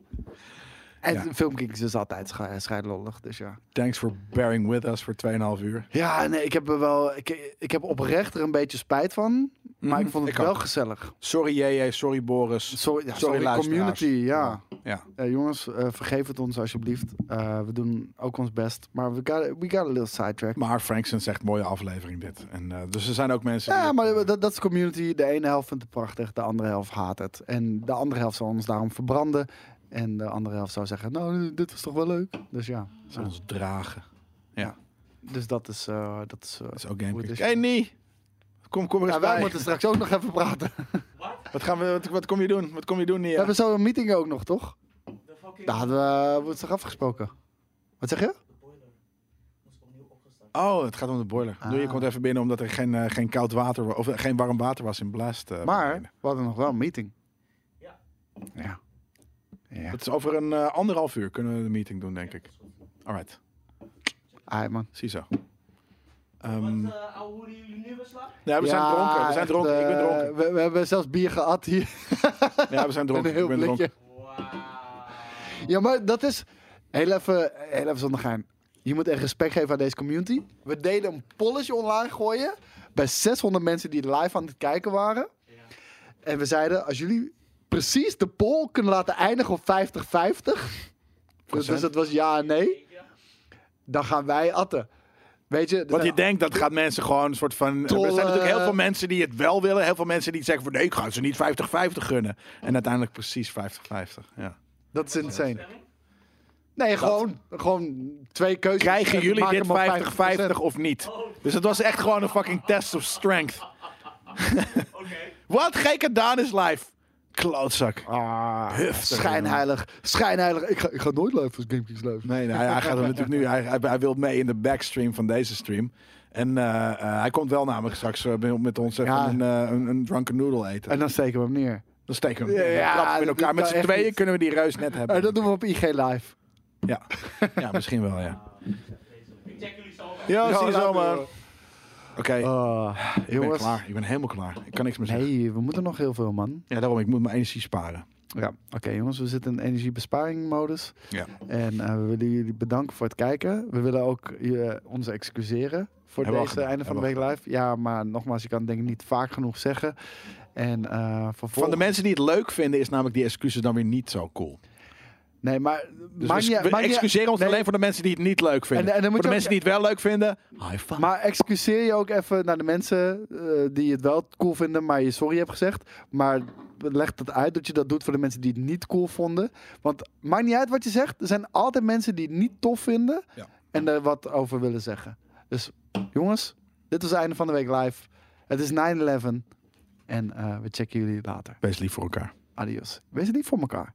Speaker 1: En
Speaker 2: Ja.
Speaker 1: Film Kings is altijd sche- scheidlollig, dus ja.
Speaker 2: Thanks for bearing with us voor 2,5 uur.
Speaker 1: Ja, nee, ik heb er wel, ik, ik heb oprecht er een beetje spijt van, maar Mhm, ik vond het
Speaker 2: ook.
Speaker 1: wel gezellig.
Speaker 2: Sorry JJ, sorry Boris.
Speaker 1: Sorry, ja, sorry,
Speaker 2: luisteraars.
Speaker 1: community, ja.
Speaker 2: ja.
Speaker 1: Eh, jongens, eh, vergeef het ons alsjeblieft. Eh, we doen ook ons best, maar we got, we got a little sidetrack.
Speaker 2: Maar Frankson zegt mooie aflevering dit. En, eh, dus er zijn ook mensen.
Speaker 1: Ja,
Speaker 2: die-
Speaker 1: maar dat, dat is community. De ene helft vindt het prachtig, de andere helft haat het. En de andere helft zal ons daarom verbranden. En de andere helft zou zeggen, nou, dit was toch wel leuk. Dus ja,
Speaker 2: Ze ons dragen.
Speaker 1: dus dat is... eh, dat is eh,
Speaker 2: Dat is ook
Speaker 1: Hoe het
Speaker 2: game.
Speaker 1: is.
Speaker 2: Hey, Nee! Kom, kom er eens
Speaker 1: ja, wij
Speaker 2: bij.
Speaker 1: moeten straks ook nog even praten.
Speaker 2: Wat, gaan we, wat, wat kom je doen? Wat kom je doen,
Speaker 1: We
Speaker 2: Nia?
Speaker 1: hebben zo een meeting ook nog, toch?
Speaker 4: De fucking
Speaker 1: Daar hadden we eh, woensdag afgesproken. Wat zeg je?
Speaker 4: de boiler moest opnieuw opgestart.
Speaker 2: Oh, het gaat om de boiler. Doe, je
Speaker 1: Ah.
Speaker 2: komt even binnen omdat er geen, eh, geen koud water wa- of eh, geen warm water was in Blast. eh,
Speaker 1: Maar
Speaker 2: beneden.
Speaker 1: we hadden nog wel een meeting.
Speaker 4: Ja.
Speaker 1: Ja. Ja.
Speaker 2: Het is over een eh, anderhalf uur kunnen we de meeting doen, denk ik. Alright,
Speaker 1: Ai, man.
Speaker 2: ziezo.
Speaker 4: Wat,
Speaker 2: Ehm
Speaker 4: eh, ouwe hoeren, jullie nu weer slaap?
Speaker 2: ja, we zijn
Speaker 1: Ja,
Speaker 2: dronken. We zijn
Speaker 1: echt,
Speaker 2: dronken. Ik ben
Speaker 1: eh,
Speaker 2: dronken.
Speaker 1: We, we hebben zelfs bier gehad hier.
Speaker 2: Ja, we
Speaker 1: Met
Speaker 2: zijn dronken.
Speaker 1: een heel
Speaker 2: Ik ben dronken.
Speaker 1: blikje.
Speaker 4: Wauw.
Speaker 1: Ja, maar dat is... Heel even, heel even zonder gein. Je moet echt respect geven aan deze community. We deden een polletje online gooien. Bij 600 mensen die live aan het kijken waren.
Speaker 4: Ja.
Speaker 1: En we zeiden, als jullie precies de poll kunnen laten eindigen op 50-50. Dus, dus het was ja en nee.
Speaker 4: Ik, ja.
Speaker 1: Dan gaan wij atten. Weet je... er
Speaker 2: Wat
Speaker 1: zijn
Speaker 2: je denkt, dat gaat mensen gewoon een soort van... Er
Speaker 1: Trollen.
Speaker 2: zijn natuurlijk heel veel mensen die het wel willen. Heel veel mensen die zeggen van... Nee, ik ga ze niet 50-50 gunnen. En uiteindelijk precies 50-50. Ja.
Speaker 1: Dat is
Speaker 4: Wat was de
Speaker 1: insane.
Speaker 4: stemming?
Speaker 1: Nee, gewoon, gewoon twee keuzes.
Speaker 2: Krijgen
Speaker 1: En
Speaker 2: jullie
Speaker 1: maak
Speaker 2: dit
Speaker 1: hem op
Speaker 2: 50-50 of niet? Dus het was echt gewoon een fucking test of strength.
Speaker 4: Oké.
Speaker 2: Wat gekke Daan is live. Klootzak.
Speaker 1: Ah,
Speaker 2: Heftig,
Speaker 1: schijnheilig. Schijnheilig. Ik ga, ik ga nooit live als GameKings live.
Speaker 2: Nee, nee, hij hij gaat er natuurlijk nu. Hij, hij, hij wil mee in de backstream van deze stream. En eh, eh, hij komt wel namelijk straks eh, met- met ons even
Speaker 1: Ja.
Speaker 2: een, eh, een, een drunken noodle eten.
Speaker 1: En dan steken we hem neer.
Speaker 2: dan steken we hem
Speaker 1: Ja,
Speaker 2: dan trappen we in
Speaker 1: dat-
Speaker 2: elkaar.
Speaker 1: dat
Speaker 2: Met
Speaker 1: kan
Speaker 2: z'n
Speaker 1: echt
Speaker 2: tweeën
Speaker 1: niet.
Speaker 2: kunnen we die reus net hebben.
Speaker 1: En dat doen we op IG live.
Speaker 2: ja. ja, misschien wel, ja.
Speaker 4: Ik check jullie zo. wel.
Speaker 2: Ja,
Speaker 1: Ja,
Speaker 2: zie je zo,
Speaker 1: laten
Speaker 2: man.
Speaker 1: we.
Speaker 2: Oké,
Speaker 1: Ah,
Speaker 2: ik ben
Speaker 1: jongens.
Speaker 2: klaar. Ik ben helemaal klaar. Ik kan niks meer zeggen.
Speaker 1: Nee, we moeten nog heel veel, man.
Speaker 2: Ja, daarom, ik moet mijn energie sparen.
Speaker 1: Ja. Oké, jongens, we zitten in energiebesparingmodus.
Speaker 2: Ja.
Speaker 1: En eh, we willen jullie bedanken voor het kijken. We willen ook je, ons excuseren voor
Speaker 2: Hebben we al
Speaker 1: deze
Speaker 2: gedaan,
Speaker 1: einde van de week
Speaker 2: hebben we
Speaker 1: live. Ja, maar nogmaals, je kan het denk ik niet vaak genoeg zeggen. En eh
Speaker 2: Van de
Speaker 1: vervolgens...
Speaker 2: mensen die het leuk vinden, is namelijk die excuses dan weer niet zo cool.
Speaker 1: Nee, maar...
Speaker 2: Dus
Speaker 1: maakt
Speaker 2: we,
Speaker 1: niet-
Speaker 2: we
Speaker 1: maakt niet-
Speaker 2: excuseren ons
Speaker 1: nee,
Speaker 2: alleen voor de mensen die het niet leuk vinden.
Speaker 1: En- en dan moet
Speaker 2: voor de
Speaker 1: je ook-
Speaker 2: mensen die het wel leuk vinden, high five.
Speaker 1: Maar excuseer je ook even naar de mensen eh, die het wel cool vinden, maar je sorry hebt gezegd. Maar leg dat uit dat je dat doet voor de mensen die het niet cool vonden. Want maakt niet uit wat je zegt. Er zijn altijd mensen die het niet tof vinden
Speaker 2: Ja.
Speaker 1: en er wat over willen zeggen. Dus jongens, dit was het einde van de week live. Het is 9-11 en eh, we checken jullie later.
Speaker 2: Wees lief voor elkaar.
Speaker 1: Adios. Wees het niet voor elkaar.